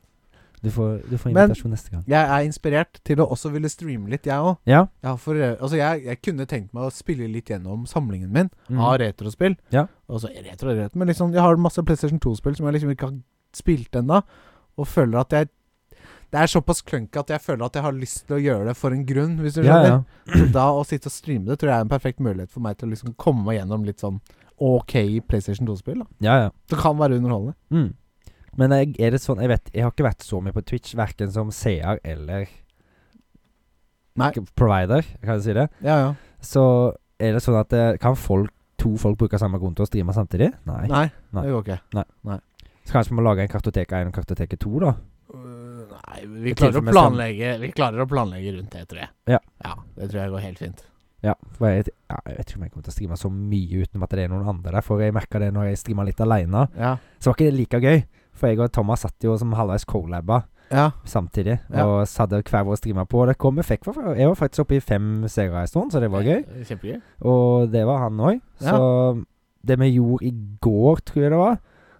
[SPEAKER 2] Du får, du får
[SPEAKER 1] Men-
[SPEAKER 2] invitasjon neste gang.
[SPEAKER 1] Jeg er inspirert til å også ville streame litt, jeg òg.
[SPEAKER 2] Ja.
[SPEAKER 1] Jeg, har for- altså jeg, jeg kunne tenkt meg å spille litt gjennom samlingen min
[SPEAKER 2] Mm.
[SPEAKER 1] av retrospill.
[SPEAKER 2] Ja.
[SPEAKER 1] Og så retro, retro, men liksom, jeg har masse PlayStation 2-spill som jeg liksom ikke har spilt ennå. Og føler at jeg Det er såpass klønky at jeg føler at jeg har lyst til å gjøre det for en grunn. Hvis du
[SPEAKER 2] ja,
[SPEAKER 1] skjønner.
[SPEAKER 2] ja.
[SPEAKER 1] Så da å sitte og streame det tror jeg er en perfekt mulighet for meg til å liksom komme meg gjennom litt sånn OK PlayStation 2-spill. da.
[SPEAKER 2] ja, ja.
[SPEAKER 1] Det kan være underholdende.
[SPEAKER 2] Mm. Men jeg, er det sånn Jeg vet, jeg har ikke vært så mye på Twitch, verken som seer eller
[SPEAKER 1] Nei.
[SPEAKER 2] k- provider, kan jeg si det.
[SPEAKER 1] Ja, ja.
[SPEAKER 2] Så er det sånn at eh, Kan folk, to folk bruke samme konto og streame samtidig? Nei.
[SPEAKER 1] Nei,
[SPEAKER 2] Nei.
[SPEAKER 1] det går ikke.
[SPEAKER 2] Så kanskje vi må lage en kartotek 1 og en kartotek 2, da?
[SPEAKER 1] Øh, Nei, vi
[SPEAKER 2] Det
[SPEAKER 1] klarer, å
[SPEAKER 2] tilfelle skal-
[SPEAKER 1] planlegge, vi klarer å planlegge rundt det, tror jeg.
[SPEAKER 2] Ja.
[SPEAKER 1] Det tror jeg går helt fint.
[SPEAKER 2] Ja, for jeg, ja, jeg vet ikke om jeg kommer til å streame så mye utenom at det er noen andre der. For jeg merka det når jeg streama litt aleine,
[SPEAKER 1] Ja.
[SPEAKER 2] så var ikke det like gøy. For jeg og Thomas satt jo som halvveis colaba
[SPEAKER 1] ja.
[SPEAKER 2] samtidig,
[SPEAKER 1] Ja.
[SPEAKER 2] og så hadde hver vår streamer på. Og det kom vi fikk for Jeg var faktisk oppe i fem seire en stund, så det var gøy.
[SPEAKER 1] Eh, Kjempegøy.
[SPEAKER 2] Og det var han òg.
[SPEAKER 1] Ja.
[SPEAKER 2] Så det vi gjorde i går, tror jeg det var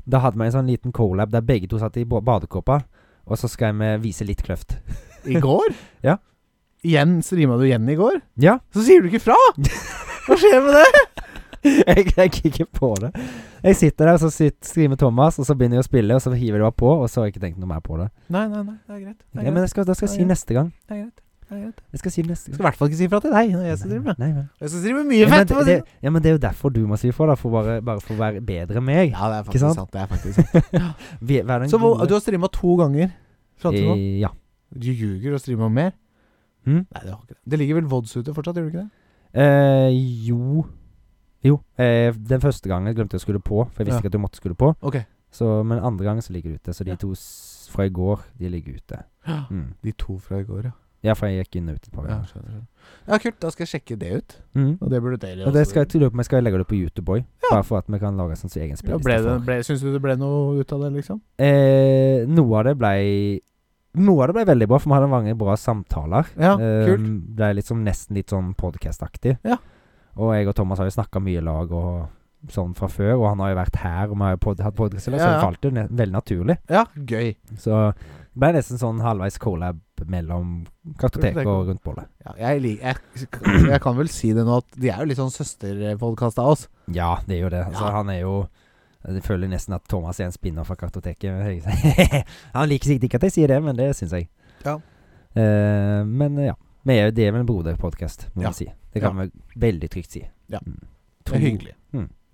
[SPEAKER 2] Da hadde vi en sånn liten colab der begge to satt i ba- badekåpa, og så skal vi vise litt kløft.
[SPEAKER 1] I (laughs) går?
[SPEAKER 2] Ja.
[SPEAKER 1] Igjen streama du igjen i går?
[SPEAKER 2] Ja.
[SPEAKER 1] Så sier du ikke fra! Hva skjer med det?
[SPEAKER 2] (laughs) jeg, jeg kikker på det. Jeg sitter der, og så sit- streamer Thomas, og så begynner jeg å spille, og så hiver jeg meg på, og så har jeg ikke tenkt noe mer på det.
[SPEAKER 1] (laughs) Nei, nei, nei. Det er greit. Det er
[SPEAKER 2] Ja, men
[SPEAKER 1] greit.
[SPEAKER 2] jeg skal, da skal
[SPEAKER 1] Ja,
[SPEAKER 2] jeg si
[SPEAKER 1] ja.
[SPEAKER 2] neste gang.
[SPEAKER 1] Det er greit. Det er greit.
[SPEAKER 2] Jeg skal si det neste
[SPEAKER 1] Jeg
[SPEAKER 2] gang.
[SPEAKER 1] skal i hvert fall ikke si fra til deg når jeg skal streame.
[SPEAKER 2] Nei, men.
[SPEAKER 1] Jeg skal streame
[SPEAKER 2] Ja,
[SPEAKER 1] mye
[SPEAKER 2] men,
[SPEAKER 1] fett!
[SPEAKER 2] det,
[SPEAKER 1] for å si
[SPEAKER 2] det, ja, men det er jo derfor du må si fra, da. For bare, bare for å være bedre enn
[SPEAKER 1] det.
[SPEAKER 2] meg.
[SPEAKER 1] Ja, det er
[SPEAKER 2] Ikke
[SPEAKER 1] faktisk
[SPEAKER 2] sant?
[SPEAKER 1] sant. Det er faktisk sant.
[SPEAKER 2] Vi- Vær den
[SPEAKER 1] Så hvor,
[SPEAKER 2] gode.
[SPEAKER 1] du har streama to ganger fram til nå?
[SPEAKER 2] Eh, Ja.
[SPEAKER 1] Du ljuger og streamer mer?
[SPEAKER 2] Mm.
[SPEAKER 1] Nei, det har ikke det. Det ligger vel VODs ute fortsatt, gjør det ikke det?
[SPEAKER 2] Eh, jo Jo. Eh, den første gangen glemte jeg å skru det på, for jeg
[SPEAKER 1] Ja.
[SPEAKER 2] visste ikke at du måtte skru det på.
[SPEAKER 1] Ok.
[SPEAKER 2] Så, men andre gangen så ligger det ute. Så de
[SPEAKER 1] Ja.
[SPEAKER 2] to s fra i går, de ligger ute. Mm.
[SPEAKER 1] De to fra i går, ja.
[SPEAKER 2] Ja, for jeg gikk inn og ut et par
[SPEAKER 1] Ja,
[SPEAKER 2] ganger.
[SPEAKER 1] skjønner, skjønner. ja, kult. Da skal jeg sjekke det ut.
[SPEAKER 2] Mm.
[SPEAKER 1] Og det burde dere
[SPEAKER 2] Og
[SPEAKER 1] også
[SPEAKER 2] det skal jeg til å løpe med, skal jeg legge det på YouTube òg.
[SPEAKER 1] Ja.
[SPEAKER 2] Bare for at vi kan lage en sånn
[SPEAKER 1] ja,
[SPEAKER 2] egen spilleliste.
[SPEAKER 1] ble det,
[SPEAKER 2] for-
[SPEAKER 1] ble, Syns du det ble noe ut av det, liksom?
[SPEAKER 2] Eh, noe av det blei Noe av det blei veldig bra, for vi hadde mange bra samtaler.
[SPEAKER 1] Ja,
[SPEAKER 2] Eh,
[SPEAKER 1] kult.
[SPEAKER 2] Blei liksom nesten litt sånn podkast-aktig.
[SPEAKER 1] Ja.
[SPEAKER 2] Og jeg og Thomas har jo snakka mye i lag og sånn fra før, og han har jo vært her, og vi har jo pod hatt podkast, så
[SPEAKER 1] Ja,
[SPEAKER 2] det
[SPEAKER 1] ja.
[SPEAKER 2] falt jo ne veldig naturlig.
[SPEAKER 1] Ja, gøy.
[SPEAKER 2] Så det blei nesten sånn halvveis collab mellom kartotek
[SPEAKER 1] Kartotek.
[SPEAKER 2] og rundt bollet.
[SPEAKER 1] Ja, jeg, lik, jeg, (clears throat) jeg kan vel si det nå at de er jo litt sånn søsterpodkast av oss.
[SPEAKER 2] Ja, det er jo det. Altså,
[SPEAKER 1] Ja.
[SPEAKER 2] Han er jo jeg føler nesten at Thomas er en spinner fra kartoteket. (laughs) han liker sikkert ikke at jeg sier det, men det syns jeg.
[SPEAKER 1] Ja.
[SPEAKER 2] Eh, men eh, ja. Vi er jo det er vel en broderpodkast, må
[SPEAKER 1] Ja.
[SPEAKER 2] vi si. Det kan vi veldig trygt si.
[SPEAKER 1] Ja.
[SPEAKER 2] Mm.
[SPEAKER 1] Det er hyggelig.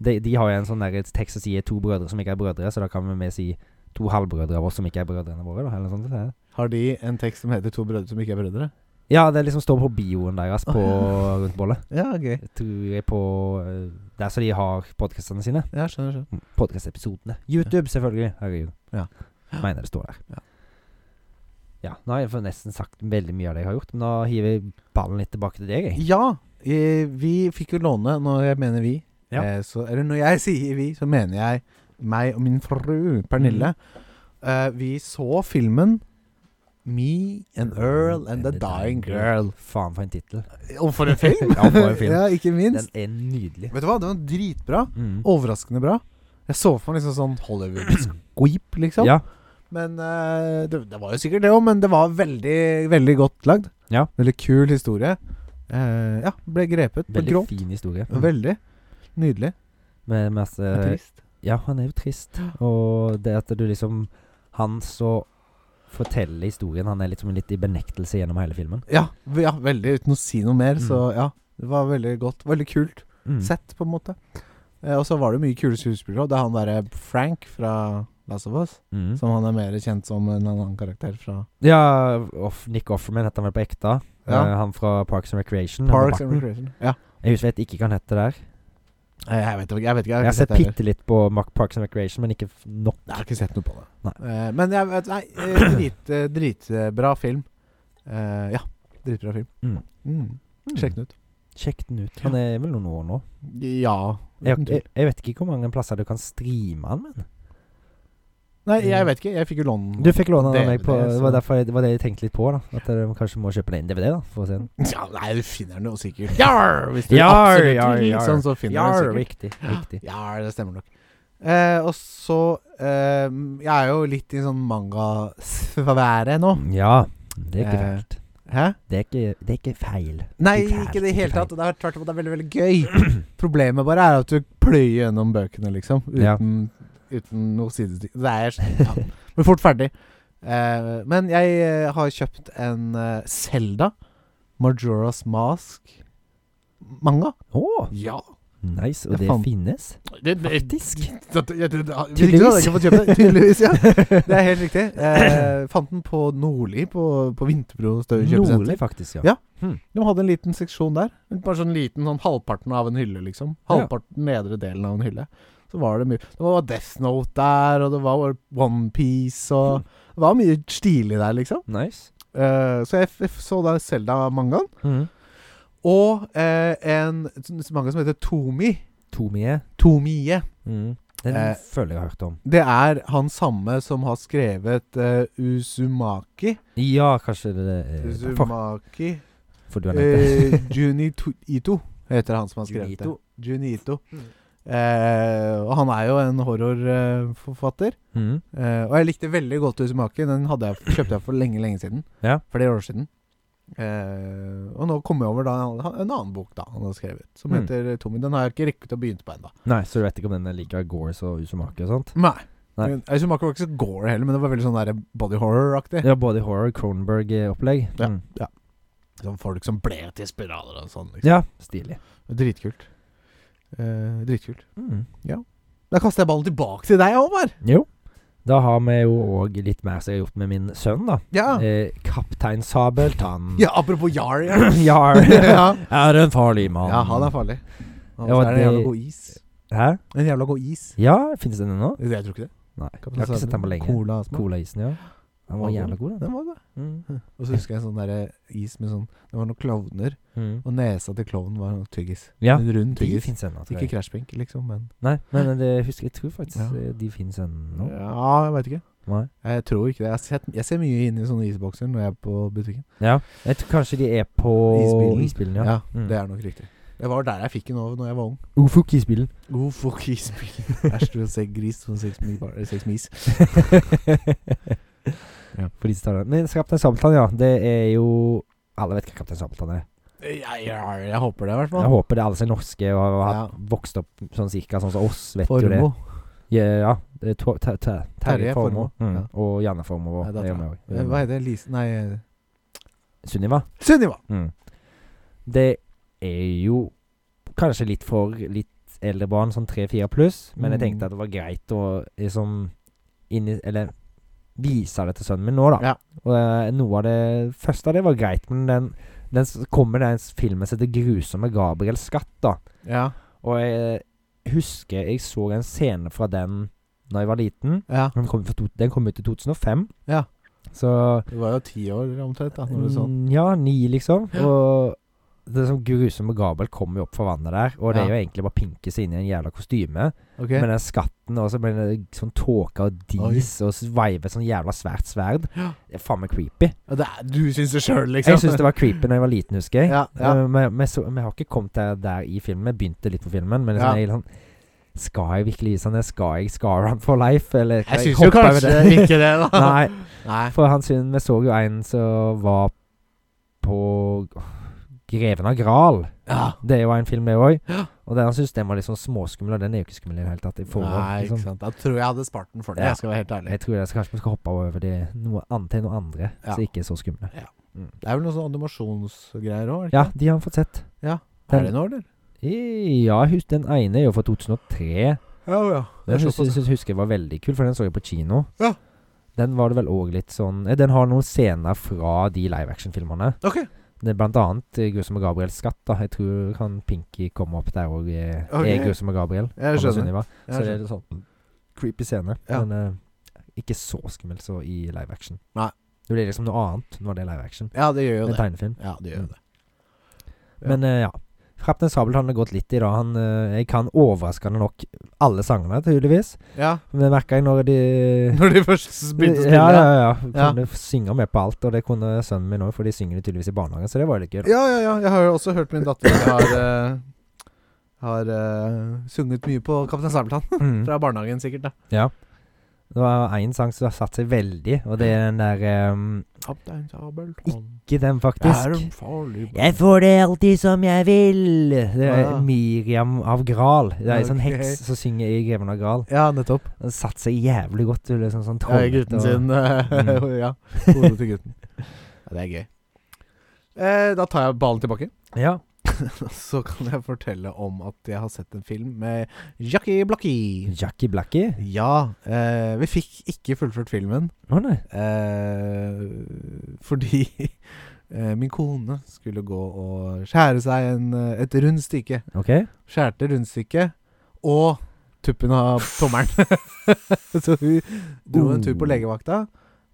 [SPEAKER 2] De, de har jo en sånn der tekst som sier 'to brødre som ikke er brødre', så da kan vi med si 'to halvbrødre av oss som ikke er brødrene våre', da, eller noe sånt. det er det.
[SPEAKER 1] Har de en tekst som heter 'To brødre som ikke er brødre'?
[SPEAKER 2] Ja, det liksom står på bioen deres på rundt bollet.
[SPEAKER 1] Ja, gøy.
[SPEAKER 2] Jeg tror jeg på eh, Der som de har podkastene sine.
[SPEAKER 1] Ja, skjønner, skjønner.
[SPEAKER 2] podkast-episodene. YouTube, selvfølgelig. Herregud.
[SPEAKER 1] Ja.
[SPEAKER 2] Mener det står der.
[SPEAKER 1] Ja.
[SPEAKER 2] Ja, nå har jeg fått nesten sagt veldig mye av det jeg har gjort, men da hiver jeg ballen litt tilbake til deg, jeg.
[SPEAKER 1] Ja, eh, vi fikk jo låne, når jeg mener vi
[SPEAKER 2] Ja.
[SPEAKER 1] eh, så, Eller når jeg (laughs) sier vi, så mener jeg meg og min fru Pernille. Eh, vi så filmen 'Me and Earl Mm. and the Dying (laughs) Girl'.
[SPEAKER 2] Faen for en tittel.
[SPEAKER 1] Og for en film!
[SPEAKER 2] Ja, for en
[SPEAKER 1] (laughs)
[SPEAKER 2] film.
[SPEAKER 1] ja, ikke
[SPEAKER 2] Den
[SPEAKER 1] minst.
[SPEAKER 2] er nydelig.
[SPEAKER 1] Vet du hva, den var dritbra.
[SPEAKER 2] Mm.
[SPEAKER 1] Overraskende bra. Jeg så for meg liksom sånn Hollywood-squeep, liksom.
[SPEAKER 2] Ja.
[SPEAKER 1] Men eh, det, det var jo sikkert det òg, men det var veldig, veldig godt lagd.
[SPEAKER 2] Ja.
[SPEAKER 1] Veldig kul historie. Eh, ja, ble grepet. Ble
[SPEAKER 2] Veldig Mm. Eh,
[SPEAKER 1] grått.
[SPEAKER 2] fin historie.
[SPEAKER 1] Veldig. Nydelig.
[SPEAKER 2] Med masse
[SPEAKER 1] Trist.
[SPEAKER 2] Ja, han er jo trist. Og det at du liksom Han så forteller historien, han er liksom litt i benektelse gjennom hele filmen.
[SPEAKER 1] Ja, v- ja, veldig. Uten å si noe mer,
[SPEAKER 2] Mm.
[SPEAKER 1] så ja. Det var veldig godt. Veldig kult
[SPEAKER 2] Mm.
[SPEAKER 1] sett, på en måte. Eh, og så var det mye kule skuespillere. og Det er han derre Frank fra Last of Us,
[SPEAKER 2] Mm.
[SPEAKER 1] som han er mer kjent som en annen karakter fra
[SPEAKER 2] Ja, off, Nick Offerman heter han vel på ekte.
[SPEAKER 1] Ja.
[SPEAKER 2] Eh, han fra Parks and Recreation. han med
[SPEAKER 1] Parks and
[SPEAKER 2] barten.
[SPEAKER 1] Recreation. Ja.
[SPEAKER 2] Jeg husker vet ikke hva han heter der.
[SPEAKER 1] Eh, Jeg vet ikke. Jeg, vet ikke,
[SPEAKER 2] Jeg
[SPEAKER 1] jeg
[SPEAKER 2] har sett
[SPEAKER 1] det heller.
[SPEAKER 2] bitte litt på Mac- Parks and Recreation, men ikke f- nok.
[SPEAKER 1] Jeg har ikke sett noe på det.
[SPEAKER 2] Nei.
[SPEAKER 1] Eh, men jeg vet Nei,
[SPEAKER 2] (clears throat)
[SPEAKER 1] eh, drit, eh, dritbra film. Eh, ja. Dritbra film.
[SPEAKER 2] Mm.
[SPEAKER 1] Mm. Sjekk den ut.
[SPEAKER 2] Sjekk den ut. Han er vel noen år nå.
[SPEAKER 1] Ja.
[SPEAKER 2] Jeg,
[SPEAKER 1] uten tvil.
[SPEAKER 2] jeg, jeg vet ikke hvor mange plasser du kan streame han, men
[SPEAKER 1] Nei, jeg vet ikke. Jeg fikk jo låne
[SPEAKER 2] Du fikk låne den av meg på
[SPEAKER 1] DVD,
[SPEAKER 2] Det var
[SPEAKER 1] så-
[SPEAKER 2] derfor jeg, det var det jeg tenkte litt på, da. At jeg kanskje må kjøpe den i DVD, da, for å se den.
[SPEAKER 1] Ja, nei, du finner den jo sikkert. Jar! Hvis du
[SPEAKER 2] (laughs) Jar,
[SPEAKER 1] absolutt
[SPEAKER 2] jar,
[SPEAKER 1] vil,
[SPEAKER 2] jar.
[SPEAKER 1] sånn, så finner du den sikkert.
[SPEAKER 2] riktig. riktig.
[SPEAKER 1] Ja, det stemmer nok. Eh, og så eh, Jeg er jo litt i sånn (laughs) mangasfære nå.
[SPEAKER 2] Ja. Det er ikke
[SPEAKER 1] Eh.
[SPEAKER 2] fælt.
[SPEAKER 1] Hæ?
[SPEAKER 2] Det er ikke, det er ikke feil.
[SPEAKER 1] Nei,
[SPEAKER 2] Ikke fælt,
[SPEAKER 1] ikke i det hele
[SPEAKER 2] ikke
[SPEAKER 1] tatt. og Det er tvert imot det er veldig veldig gøy. (clears throat) Problemet bare er at du pløyer gjennom bøkene, liksom.
[SPEAKER 2] Ja.
[SPEAKER 1] Uten, uten noe sidestikk. Det er ja. Blir fort ferdig. Eh, men jeg eh, har kjøpt en Selda. Majora's Mask. Manga.
[SPEAKER 2] Å,
[SPEAKER 1] Ja.
[SPEAKER 2] nice.
[SPEAKER 1] Jeg
[SPEAKER 2] Og det
[SPEAKER 1] fant-
[SPEAKER 2] finnes? Faktisk.
[SPEAKER 1] Tydeligvis. Ikke fått kjøpt det. Tydeligvis, ja. (laughs) Det er helt riktig. Eh, fant den på Nordli, på, på Vinterbro Støy kjøpesenter.
[SPEAKER 2] Nordlig, faktisk,
[SPEAKER 1] Ja.
[SPEAKER 2] ja.
[SPEAKER 1] De hadde en liten seksjon der. En- Bare sånn liten sånn halvparten av en hylle, liksom. Halvparten nedre delen av en hylle. Så var det mye Det var Death Note der, og det var Onepiece og Det var mye stilig der, liksom.
[SPEAKER 2] Nice.
[SPEAKER 1] Eh, så jeg, f jeg så da Selda mangaen.
[SPEAKER 2] Mm.
[SPEAKER 1] Og eh, en sånn manga som heter Tomi.
[SPEAKER 2] Tomie.
[SPEAKER 1] Tomie.
[SPEAKER 2] Mm. Den
[SPEAKER 1] Eh.
[SPEAKER 2] føler jeg har hørt om.
[SPEAKER 1] Det er han samme som har skrevet eh, Uzumaki.
[SPEAKER 2] Ja, kanskje det er eh, derfor.
[SPEAKER 1] Uzumaki
[SPEAKER 2] For du har nevnt det. (laughs)
[SPEAKER 1] Eh, Junito Ito heter han som har skrevet
[SPEAKER 2] Junito. Mm.
[SPEAKER 1] det. Junito. Eh, og han er jo en horrorforfatter.
[SPEAKER 2] (laughs) Mm.
[SPEAKER 1] Eh, og jeg likte veldig godt Uzumaki. Den hadde jeg, kjøpte jeg for lenge, lenge siden.
[SPEAKER 2] Ja.
[SPEAKER 1] Flere år siden. Eh, og nå kom jeg over da, en annen bok da han har skrevet, som
[SPEAKER 2] Mm.
[SPEAKER 1] heter Tommy. Den har jeg ikke rekket å begynne på ennå.
[SPEAKER 2] Nei, så du vet ikke om den er like Gores og Usumaki og sånt?
[SPEAKER 1] Nei.
[SPEAKER 2] Nei.
[SPEAKER 1] Men Uzumaki var ikke så gore heller, men det var veldig sånn der body horror-aktig.
[SPEAKER 2] Ja, både horror og Cronenberg-opplegg.
[SPEAKER 1] Ja. Liksom.
[SPEAKER 2] Mm.
[SPEAKER 1] Sånn folk som ble til spiraler og sånn. Liksom.
[SPEAKER 2] ja. Stilig.
[SPEAKER 1] Dritkult. Eh, dritkult.
[SPEAKER 2] Mm.
[SPEAKER 1] Da kaster jeg ballen tilbake til deg, Håvard.
[SPEAKER 2] Jo. Da har vi jo òg litt mer som jeg har gjort med min sønn, da.
[SPEAKER 1] Ja.
[SPEAKER 2] Eh, Kaptein Sabeltann.
[SPEAKER 1] Ah.
[SPEAKER 2] (laughs)
[SPEAKER 1] ja, apropos Yar.
[SPEAKER 2] (clears throat)
[SPEAKER 1] Ja.
[SPEAKER 2] Jar.
[SPEAKER 1] (laughs) ja.
[SPEAKER 2] Er en farlig mann.
[SPEAKER 1] ja, han er farlig. Han
[SPEAKER 2] Ja,
[SPEAKER 1] er en
[SPEAKER 2] det-
[SPEAKER 1] jævla god is.
[SPEAKER 2] Hæ?
[SPEAKER 1] En jævla god is.
[SPEAKER 2] Ja, finnes den ennå?
[SPEAKER 1] Jeg tror ikke det.
[SPEAKER 2] Nei. Jeg har ikke sett den på lenge.
[SPEAKER 1] Cola og smak.
[SPEAKER 2] Colaisen, ja. Den var jævla god, den.
[SPEAKER 1] Den var god.
[SPEAKER 2] Mm.
[SPEAKER 1] Og så husker jeg en sånn der is med sånn Det var noen klovner,
[SPEAKER 2] Mm.
[SPEAKER 1] og nesa til klovnen var noe tyggis.
[SPEAKER 2] Ja.
[SPEAKER 1] En rund
[SPEAKER 2] De
[SPEAKER 1] tyggis.
[SPEAKER 2] fins ennå, tror
[SPEAKER 1] Ikke
[SPEAKER 2] jeg.
[SPEAKER 1] krasjbenk, liksom, men
[SPEAKER 2] Nei, men eh, det husker jeg tror faktisk
[SPEAKER 1] Ja.
[SPEAKER 2] eh, de fins ennå.
[SPEAKER 1] Ja, jeg veit ikke.
[SPEAKER 2] Nei.
[SPEAKER 1] Jeg tror ikke det. Jeg, har sett, jeg ser mye inn i sånne isbokser når jeg er på butikken.
[SPEAKER 2] Ja. Jeg tror kanskje de er på
[SPEAKER 1] Isbilen.
[SPEAKER 2] Isbilen
[SPEAKER 1] Ja,
[SPEAKER 2] ja. Mm.
[SPEAKER 1] Det er nok riktig. Det var der jeg fikk den over når jeg var ung.
[SPEAKER 2] Oh, fuck isbilen.
[SPEAKER 1] God fuck isbil. (laughs) Æsj, du ser gris som sex med bar- sex med is. Ja.
[SPEAKER 2] (laughs) For de som tar den. Men Kaptein Sabeltann, ja. Det er jo Alle vet hva Kaptein Sabeltann er.
[SPEAKER 1] Jeg, jeg, jeg håper det, i hvert
[SPEAKER 2] Jeg
[SPEAKER 1] fall.
[SPEAKER 2] håper det er alle som er norske og har
[SPEAKER 1] Ja.
[SPEAKER 2] hatt- vokst opp sånn cirka sånn som oss, vet jo det.
[SPEAKER 1] Formo.
[SPEAKER 2] Ja, ja. Det er Tor- Ter- Ter-
[SPEAKER 1] Terje
[SPEAKER 2] Terje
[SPEAKER 1] Formoe,
[SPEAKER 2] Formoe. Mm.
[SPEAKER 1] ja.
[SPEAKER 2] Og Janne Formoe.
[SPEAKER 1] Nei,
[SPEAKER 2] og-
[SPEAKER 1] da
[SPEAKER 2] er jo
[SPEAKER 1] tar
[SPEAKER 2] med
[SPEAKER 1] Eh,
[SPEAKER 2] også.
[SPEAKER 1] Hva heter det? Lise Nei, eh,
[SPEAKER 2] Sunniva.
[SPEAKER 1] Sunniva!
[SPEAKER 2] Mm. Det er jo kanskje litt for litt eldre barn, sånn tre-fire pluss, men jeg
[SPEAKER 1] Mm.
[SPEAKER 2] tenkte at det var greit å liksom inn i, Eller vise det til sønnen min nå, da.
[SPEAKER 1] Ja.
[SPEAKER 2] Og eh, noe av det første av det var greit, men den, den s- kommer den s- filmen som heter 'Grusomme Gabriels skatt', da.
[SPEAKER 1] Ja.
[SPEAKER 2] Og jeg husker jeg så en scene fra den da jeg var liten.
[SPEAKER 1] ja.
[SPEAKER 2] Den kom, for to, den kom ut i 2005.
[SPEAKER 1] Ja.
[SPEAKER 2] Så
[SPEAKER 1] Du var jo ti år omtrent da når du så den.
[SPEAKER 2] mm, Ja, ni, liksom.
[SPEAKER 1] Ja.
[SPEAKER 2] Og det som grusomme Gabel kommer jo opp fra vannet der, og det er jo egentlig bare Pinkes inne i en jævla kostyme.
[SPEAKER 1] Ok.
[SPEAKER 2] Men den skatten, og så blir det sånn tåke og dis, og sveiver sånn jævla svært sverd.
[SPEAKER 1] Ja.
[SPEAKER 2] Det er faen meg creepy.
[SPEAKER 1] Ja, det er, du syns det sjøl, liksom?
[SPEAKER 2] Jeg syns det var creepy da jeg var liten, husker jeg.
[SPEAKER 1] Ja, ja.
[SPEAKER 2] Eh, men- men så- Vi har ikke kommet der, der i filmen. Vi begynte litt på filmen, men liksom,
[SPEAKER 1] Ja.
[SPEAKER 2] jeg er litt sånn Skal jeg virkelig vise han det? Skal jeg scar han for life? Eller kan
[SPEAKER 1] Jeg syns jo
[SPEAKER 2] hoppe over
[SPEAKER 1] kanskje
[SPEAKER 2] det?
[SPEAKER 1] ikke det, da.
[SPEAKER 2] (laughs) Nei,
[SPEAKER 1] Nei.
[SPEAKER 2] for han syn, vi så jo en som var på Greven av Gral.
[SPEAKER 1] Ja.
[SPEAKER 2] Det er jo en film, det òg. Og den han syns den var litt sånn småskummel, og den er jo ikke skummel i det hele tatt. I forhold,
[SPEAKER 1] Nei, ikke
[SPEAKER 2] liksom.
[SPEAKER 1] sant. Da tror jeg jeg hadde spart den for det.
[SPEAKER 2] Ja.
[SPEAKER 1] Jeg skal være helt ærlig.
[SPEAKER 2] Jeg tror det, så kanskje vi skal hoppe over det noe annet til noe andre
[SPEAKER 1] Ja.
[SPEAKER 2] som ikke er så skumle.
[SPEAKER 1] Det er vel noen sånne animasjonsgreier òg?
[SPEAKER 2] Ja, de har han fått sett.
[SPEAKER 1] Er det noe, eller?
[SPEAKER 2] Ja, husk, den ene er jo fra 2003.
[SPEAKER 1] Ja, ja.
[SPEAKER 2] Den syns syns- husker jeg var veldig kul, for den så jeg på kino.
[SPEAKER 1] Ja.
[SPEAKER 2] Den var det vel òg litt sånn eh, Den har noen scener fra de live action-filmene.
[SPEAKER 1] Ok.
[SPEAKER 2] Det er blant annet eh, Grusomme Gabriels skatt. da Jeg tror kan Pinky komme opp der og eh,
[SPEAKER 1] Ok.
[SPEAKER 2] er Grusomme Gabriel.
[SPEAKER 1] Jeg
[SPEAKER 2] Han og
[SPEAKER 1] skjønner.
[SPEAKER 2] Sunniva.
[SPEAKER 1] Jeg
[SPEAKER 2] Så det
[SPEAKER 1] skjønner.
[SPEAKER 2] er en sånn creepy scene.
[SPEAKER 1] Ja.
[SPEAKER 2] Men eh, ikke så skummel så i live action.
[SPEAKER 1] Nei.
[SPEAKER 2] Det blir liksom noe annet når det er live action.
[SPEAKER 1] Ja, det gjør jo
[SPEAKER 2] En
[SPEAKER 1] det.
[SPEAKER 2] tegnefilm.
[SPEAKER 1] Ja, det gjør jo det. Ja.
[SPEAKER 2] Men eh, ja. Kaptein Sabeltann har gått litt i dag. Han, eh, jeg kan overraskende nok alle sangene, tydeligvis.
[SPEAKER 1] Ja. (laughs)
[SPEAKER 2] Det merka jeg når de
[SPEAKER 1] Når de først s- begynte å spille.
[SPEAKER 2] Ja, ja, ja.
[SPEAKER 1] Ja.
[SPEAKER 2] Kunne synge med på alt, og det kunne sønnen min òg, for de synger det tydeligvis i barnehagen, så det var jo litt gøy. da.
[SPEAKER 1] Ja, ja, ja. Jeg har jo også hørt min datter har, eh, har eh, sunget mye på Kaptein (laughs) Sabeltann.
[SPEAKER 2] Mm.
[SPEAKER 1] Fra barnehagen, sikkert. da
[SPEAKER 2] Det var én sang som har satt seg veldig, og det er den der ehm,
[SPEAKER 1] Kaptein Sabeltann
[SPEAKER 2] Ikke den,
[SPEAKER 1] er en
[SPEAKER 2] faktisk.
[SPEAKER 1] farlig
[SPEAKER 2] Jeg får det alltid som jeg vil. Det er
[SPEAKER 1] Ah.
[SPEAKER 2] Miriam av Gral. Det er ei sånn
[SPEAKER 1] Ok.
[SPEAKER 2] heks som synger i Greven av Gral.
[SPEAKER 1] Ja, nettopp.
[SPEAKER 2] Den satte seg jævlig godt. Du, liksom, sånn
[SPEAKER 1] Ja,
[SPEAKER 2] trollete
[SPEAKER 1] gutten
[SPEAKER 2] og-
[SPEAKER 1] sin. eh, (laughs)
[SPEAKER 2] Mm.
[SPEAKER 1] ja. Hodet til gutten. (laughs) Ja, det er gøy. Eh, da tar jeg ballen tilbake. (laughs)
[SPEAKER 2] Ja.
[SPEAKER 1] Så kan jeg fortelle om at jeg har sett en film med Jackie Blackie.
[SPEAKER 2] Jackie Blackie.
[SPEAKER 1] Ja, eh, vi fikk ikke fullført filmen
[SPEAKER 2] Å nei.
[SPEAKER 1] eh, fordi eh, min kone skulle gå og skjære seg en, eh, et rundstykke.
[SPEAKER 2] Ok.
[SPEAKER 1] Skjærte rundstykket og tuppen av tommelen. (laughs) Så hun dro en tur på legevakta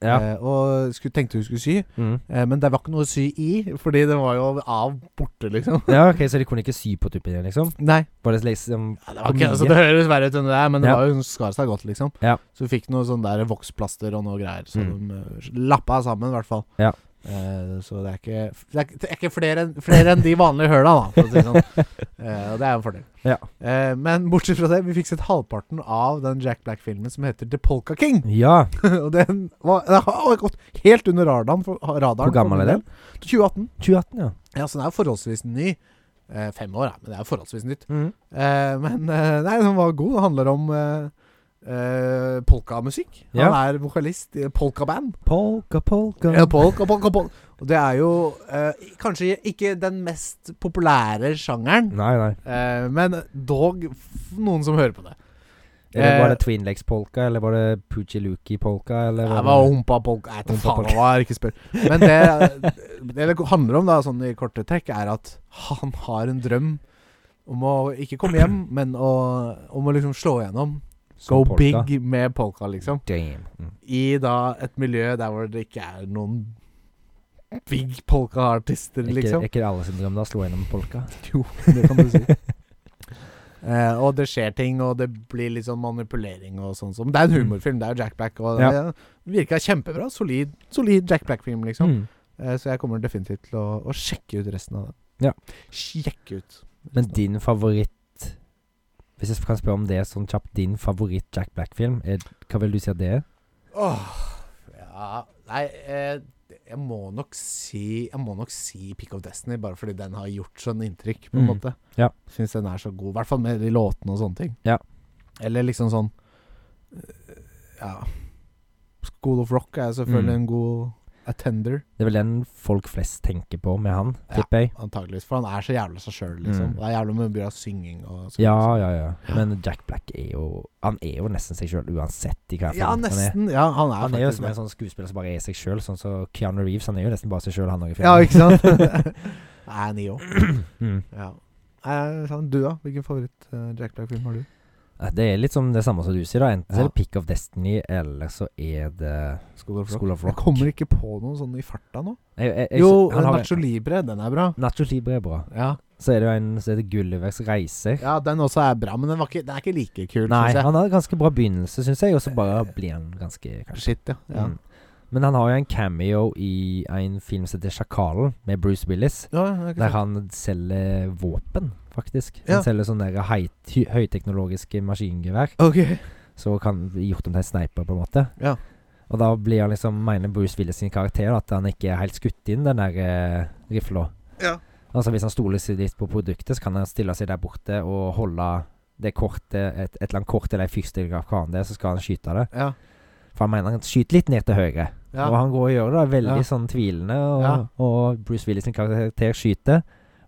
[SPEAKER 2] Ja.
[SPEAKER 1] eh, og skulle, tenkte hun skulle sy,
[SPEAKER 2] Mm.
[SPEAKER 1] eh, men det var ikke noe å sy i, fordi den var jo av borte, liksom.
[SPEAKER 2] ja, ok, Så de kunne ikke sy på tuppen igjen, liksom?
[SPEAKER 1] Nei.
[SPEAKER 2] Bare liksom
[SPEAKER 1] Ja, det, var
[SPEAKER 2] var mye.
[SPEAKER 1] ikke, altså, det høres verre ut enn det er, men det
[SPEAKER 2] Ja.
[SPEAKER 1] var jo, hun skar seg godt, liksom.
[SPEAKER 2] Ja.
[SPEAKER 1] Så hun fikk noe sånn der voksplaster og noe greier. Så
[SPEAKER 2] Mm.
[SPEAKER 1] de eh, lappa sammen, i hvert fall.
[SPEAKER 2] Ja.
[SPEAKER 1] Eh, så det er ikke, det er, ikke- det er ikke flere, enn- flere enn de vanlige høla, da, for å si det sånn.
[SPEAKER 2] (laughs)
[SPEAKER 1] Eh, og det er jo en fordel.
[SPEAKER 2] Ja.
[SPEAKER 1] Eh, men bortsett fra det, vi fikk sett halvparten av den Jack Black-filmen som heter The Polka King. (laughs)
[SPEAKER 2] Ja.
[SPEAKER 1] og den, var, den har gått helt under radaren. For, radaren
[SPEAKER 2] Hvor gammel
[SPEAKER 1] for min
[SPEAKER 2] er den?
[SPEAKER 1] del. 2018.
[SPEAKER 2] 2018, ja.
[SPEAKER 1] Ja, så den er jo forholdsvis ny. Eh, fem år, ja, men det er jo forholdsvis nytt.
[SPEAKER 2] Mm.
[SPEAKER 1] Eh, men eh, nei, den var god. Det handler om eh, eh, polkamusikk. Han
[SPEAKER 2] Ja.
[SPEAKER 1] er vokalist i polkaband.
[SPEAKER 2] Polka, polka
[SPEAKER 1] Ja, polka, polka, polka. Og det er jo eh, kanskje ikke den mest populære sjangeren,
[SPEAKER 2] Nei, nei.
[SPEAKER 1] eh, men dog f noen som hører på det.
[SPEAKER 2] Er det
[SPEAKER 1] Eh,
[SPEAKER 2] var det Twin Legs polka, eller var det Poochie Lookie-polka, eller
[SPEAKER 1] Det var humpa polka Jeg vet
[SPEAKER 2] Humpa
[SPEAKER 1] da faen
[SPEAKER 2] polka.
[SPEAKER 1] hva jeg ikke spør. Men det det det handler om, da, sånn i korte trekk, er at han har en drøm om å ikke komme hjem, men å, om å liksom slå igjennom. Go
[SPEAKER 2] Som polka.
[SPEAKER 1] big med polka, liksom.
[SPEAKER 2] Damn. Mm.
[SPEAKER 1] I da et miljø der hvor det ikke er noen big polka-artister,
[SPEAKER 2] Er Ikke,
[SPEAKER 1] liksom.
[SPEAKER 2] er ikke det alle sin drøm da, slå gjennom polka?
[SPEAKER 1] Jo, det kan du
[SPEAKER 2] (laughs)
[SPEAKER 1] si. (laughs) Eh, og det skjer ting, og det blir litt sånn manipulering og sånn. som- Det er en humorfilm, det er jo Jack Black. Og
[SPEAKER 2] Mm. Ja.
[SPEAKER 1] det virka kjempebra. Solid, solid Jack Black-film, liksom.
[SPEAKER 2] Mm.
[SPEAKER 1] Eh, så jeg kommer definitivt til å, å sjekke ut resten av det.
[SPEAKER 2] Ja.
[SPEAKER 1] Sjekke ut.
[SPEAKER 2] Men din favoritt Hvis jeg kan spørre om det sånn kjapt, din favoritt Jack Black-film, er- hva vil du si at det er?
[SPEAKER 1] Åh, ja Nei, eh, jeg må nok si Jeg må nok si Pick of Destiny, bare fordi den har gjort sånn inntrykk, på en
[SPEAKER 2] Mm,
[SPEAKER 1] måte.
[SPEAKER 2] ja.
[SPEAKER 1] Syns den er så god, i hvert fall med de låtene og sånne ting.
[SPEAKER 2] Ja.
[SPEAKER 1] Eller liksom sånn eh, Ja School of Rock er selvfølgelig
[SPEAKER 2] Mm.
[SPEAKER 1] en god attender,
[SPEAKER 2] Det er vel den folk flest tenker på med han,
[SPEAKER 1] Ja.
[SPEAKER 2] tipper jeg.
[SPEAKER 1] antageligvis, for han er så jævlig seg sjøl, liksom.
[SPEAKER 2] Mm.
[SPEAKER 1] Det er jævlig mye av synging og sånn.
[SPEAKER 2] Ja, ja, ja. Men Jack Black er jo Han er jo nesten seg sjøl, uansett i hva
[SPEAKER 1] Ja,
[SPEAKER 2] film han er.
[SPEAKER 1] nesten. Ja, han er,
[SPEAKER 2] Han er jo
[SPEAKER 1] faktisk
[SPEAKER 2] som
[SPEAKER 1] det.
[SPEAKER 2] en sånn skuespiller som bare er seg sjøl, sånn som Keanu Reeves. Han er jo nesten bare seg sjøl, han òg, i
[SPEAKER 1] Ja,
[SPEAKER 2] filmen.
[SPEAKER 1] ikke sant?
[SPEAKER 2] (laughs)
[SPEAKER 1] Nei, ni òg.
[SPEAKER 2] (clears throat) Mm.
[SPEAKER 1] Ja. Eh, sånn, du, da? Hvilken favoritt eh, Jack Black-film har du?
[SPEAKER 2] Ja, Det er litt som det samme som du sier, da. Enten så
[SPEAKER 1] Ja.
[SPEAKER 2] er det Pick of Destiny, eller så er det
[SPEAKER 1] School of
[SPEAKER 2] School of
[SPEAKER 1] Jeg
[SPEAKER 2] Rock.
[SPEAKER 1] kommer ikke på noen sånn i farta nå.
[SPEAKER 2] Jeg- jeg- jeg-
[SPEAKER 1] Jo,
[SPEAKER 2] han har-
[SPEAKER 1] Nacho Libre, den er bra.
[SPEAKER 2] Nacho Libre er bra.
[SPEAKER 1] Ja.
[SPEAKER 2] Så er det jo en som heter Gullivers reiser.
[SPEAKER 1] ja, den også er bra, men den, var ikke, den er ikke like kul,
[SPEAKER 2] Nei,
[SPEAKER 1] syns jeg.
[SPEAKER 2] han har en ganske bra begynnelse, syns jeg, og så bare blir han ganske kanskje.
[SPEAKER 1] Shit, ja. ja.
[SPEAKER 2] Mm. Men han har jo en cameo i en film som heter Sjakalen, med Bruce Willis.
[SPEAKER 1] ja det er ikke
[SPEAKER 2] Der
[SPEAKER 1] sant.
[SPEAKER 2] han selger våpen, faktisk.
[SPEAKER 1] Ja.
[SPEAKER 2] Han selger sånne der hei- ty- høyteknologiske maskingevær.
[SPEAKER 1] Ok.
[SPEAKER 2] Så kan bli gjort om til en sniper, på en måte.
[SPEAKER 1] Ja.
[SPEAKER 2] Og da blir han liksom, mener Bruce Willis sin karakter da, at han ikke er helt skutt inn den der eh, rifla.
[SPEAKER 1] Ja.
[SPEAKER 2] Altså Hvis han stoler seg litt på produktet, så kan han stille seg der borte og holde det kortet, et, et eller annet kort eller en fyrstilgraf, hva han det er, så skal han skyte det.
[SPEAKER 1] Ja.
[SPEAKER 2] For han mener han skyter litt ned til høyre.
[SPEAKER 1] Ja.
[SPEAKER 2] Og han går og gjør det, da, veldig
[SPEAKER 1] Ja.
[SPEAKER 2] sånn tvilende. Og,
[SPEAKER 1] Ja.
[SPEAKER 2] og Bruce Willis sin karakter skyter.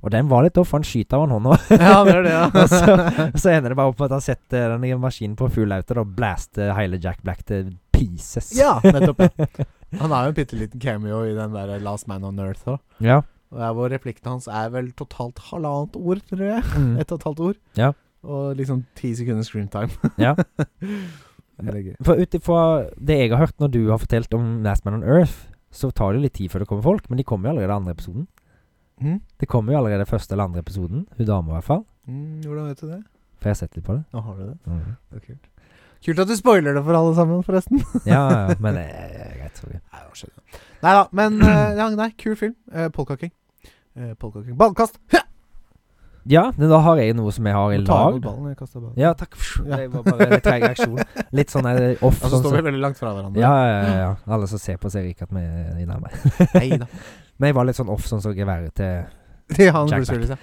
[SPEAKER 2] Og den var litt off, for han skyter av en hånd òg.
[SPEAKER 1] ja, det er det,
[SPEAKER 2] (laughs) Og så,
[SPEAKER 1] ja.
[SPEAKER 2] så ender det bare opp med at han setter den i maskinen på full auto og blaster hele Jack Black til pieces.
[SPEAKER 1] ja, nettopp. ja. Han har jo en bitte liten cameo i den der Last Man on Earth òg.
[SPEAKER 2] Ja.
[SPEAKER 1] Og der hvor replikkene hans er vel totalt halvannet ord, tror jeg.
[SPEAKER 2] Mm.
[SPEAKER 1] Ett og et halvt ord.
[SPEAKER 2] Ja.
[SPEAKER 1] Og liksom ti sekunder screen time. (laughs)
[SPEAKER 2] Ja.
[SPEAKER 1] det er gøy.
[SPEAKER 2] For ut ifra det jeg har hørt når du har fortalt om Last Man on Earth, så tar det litt tid før det kommer folk, men de kommer jo allerede i andre episoden.
[SPEAKER 1] Mm?
[SPEAKER 2] Det kommer jo allerede første eller andre episoden. Hun dama, i hvert fall.
[SPEAKER 1] Mm, hvordan vet du det?
[SPEAKER 2] For jeg har sett litt på det.
[SPEAKER 1] Nå har du det. det er kult. kult at du spoiler det for alle sammen, forresten. (laughs)
[SPEAKER 2] Ja, ja, ja, men eh, greit. sorry.
[SPEAKER 1] Nei da, skjønner. Nei da, men
[SPEAKER 2] (clears throat)
[SPEAKER 1] eh, ja, nei, kul film. Uh, Polkaking. Uh, Polkaking. Ballkast! Hø!
[SPEAKER 2] Ja, men da har jeg noe som jeg har i
[SPEAKER 1] Nå tar jeg
[SPEAKER 2] lag.
[SPEAKER 1] bort ballen, jeg kastet ballen.
[SPEAKER 2] Ja, takk.
[SPEAKER 1] (laughs) Ja.
[SPEAKER 2] Det var bare litt treg (laughs) reaksjon. Litt sånn eh,
[SPEAKER 1] Og så
[SPEAKER 2] off. sånn
[SPEAKER 1] Altså, står
[SPEAKER 2] som-
[SPEAKER 1] vi veldig langt fra hverandre.
[SPEAKER 2] ja, ja, ja, ja. Alle som ser på, ser ikke at vi er i nærme.
[SPEAKER 1] (laughs) Neida.
[SPEAKER 2] Men jeg var litt sånn off, sånn som geværet til
[SPEAKER 1] Det er han
[SPEAKER 2] Jack
[SPEAKER 1] Bruce Willis, ja.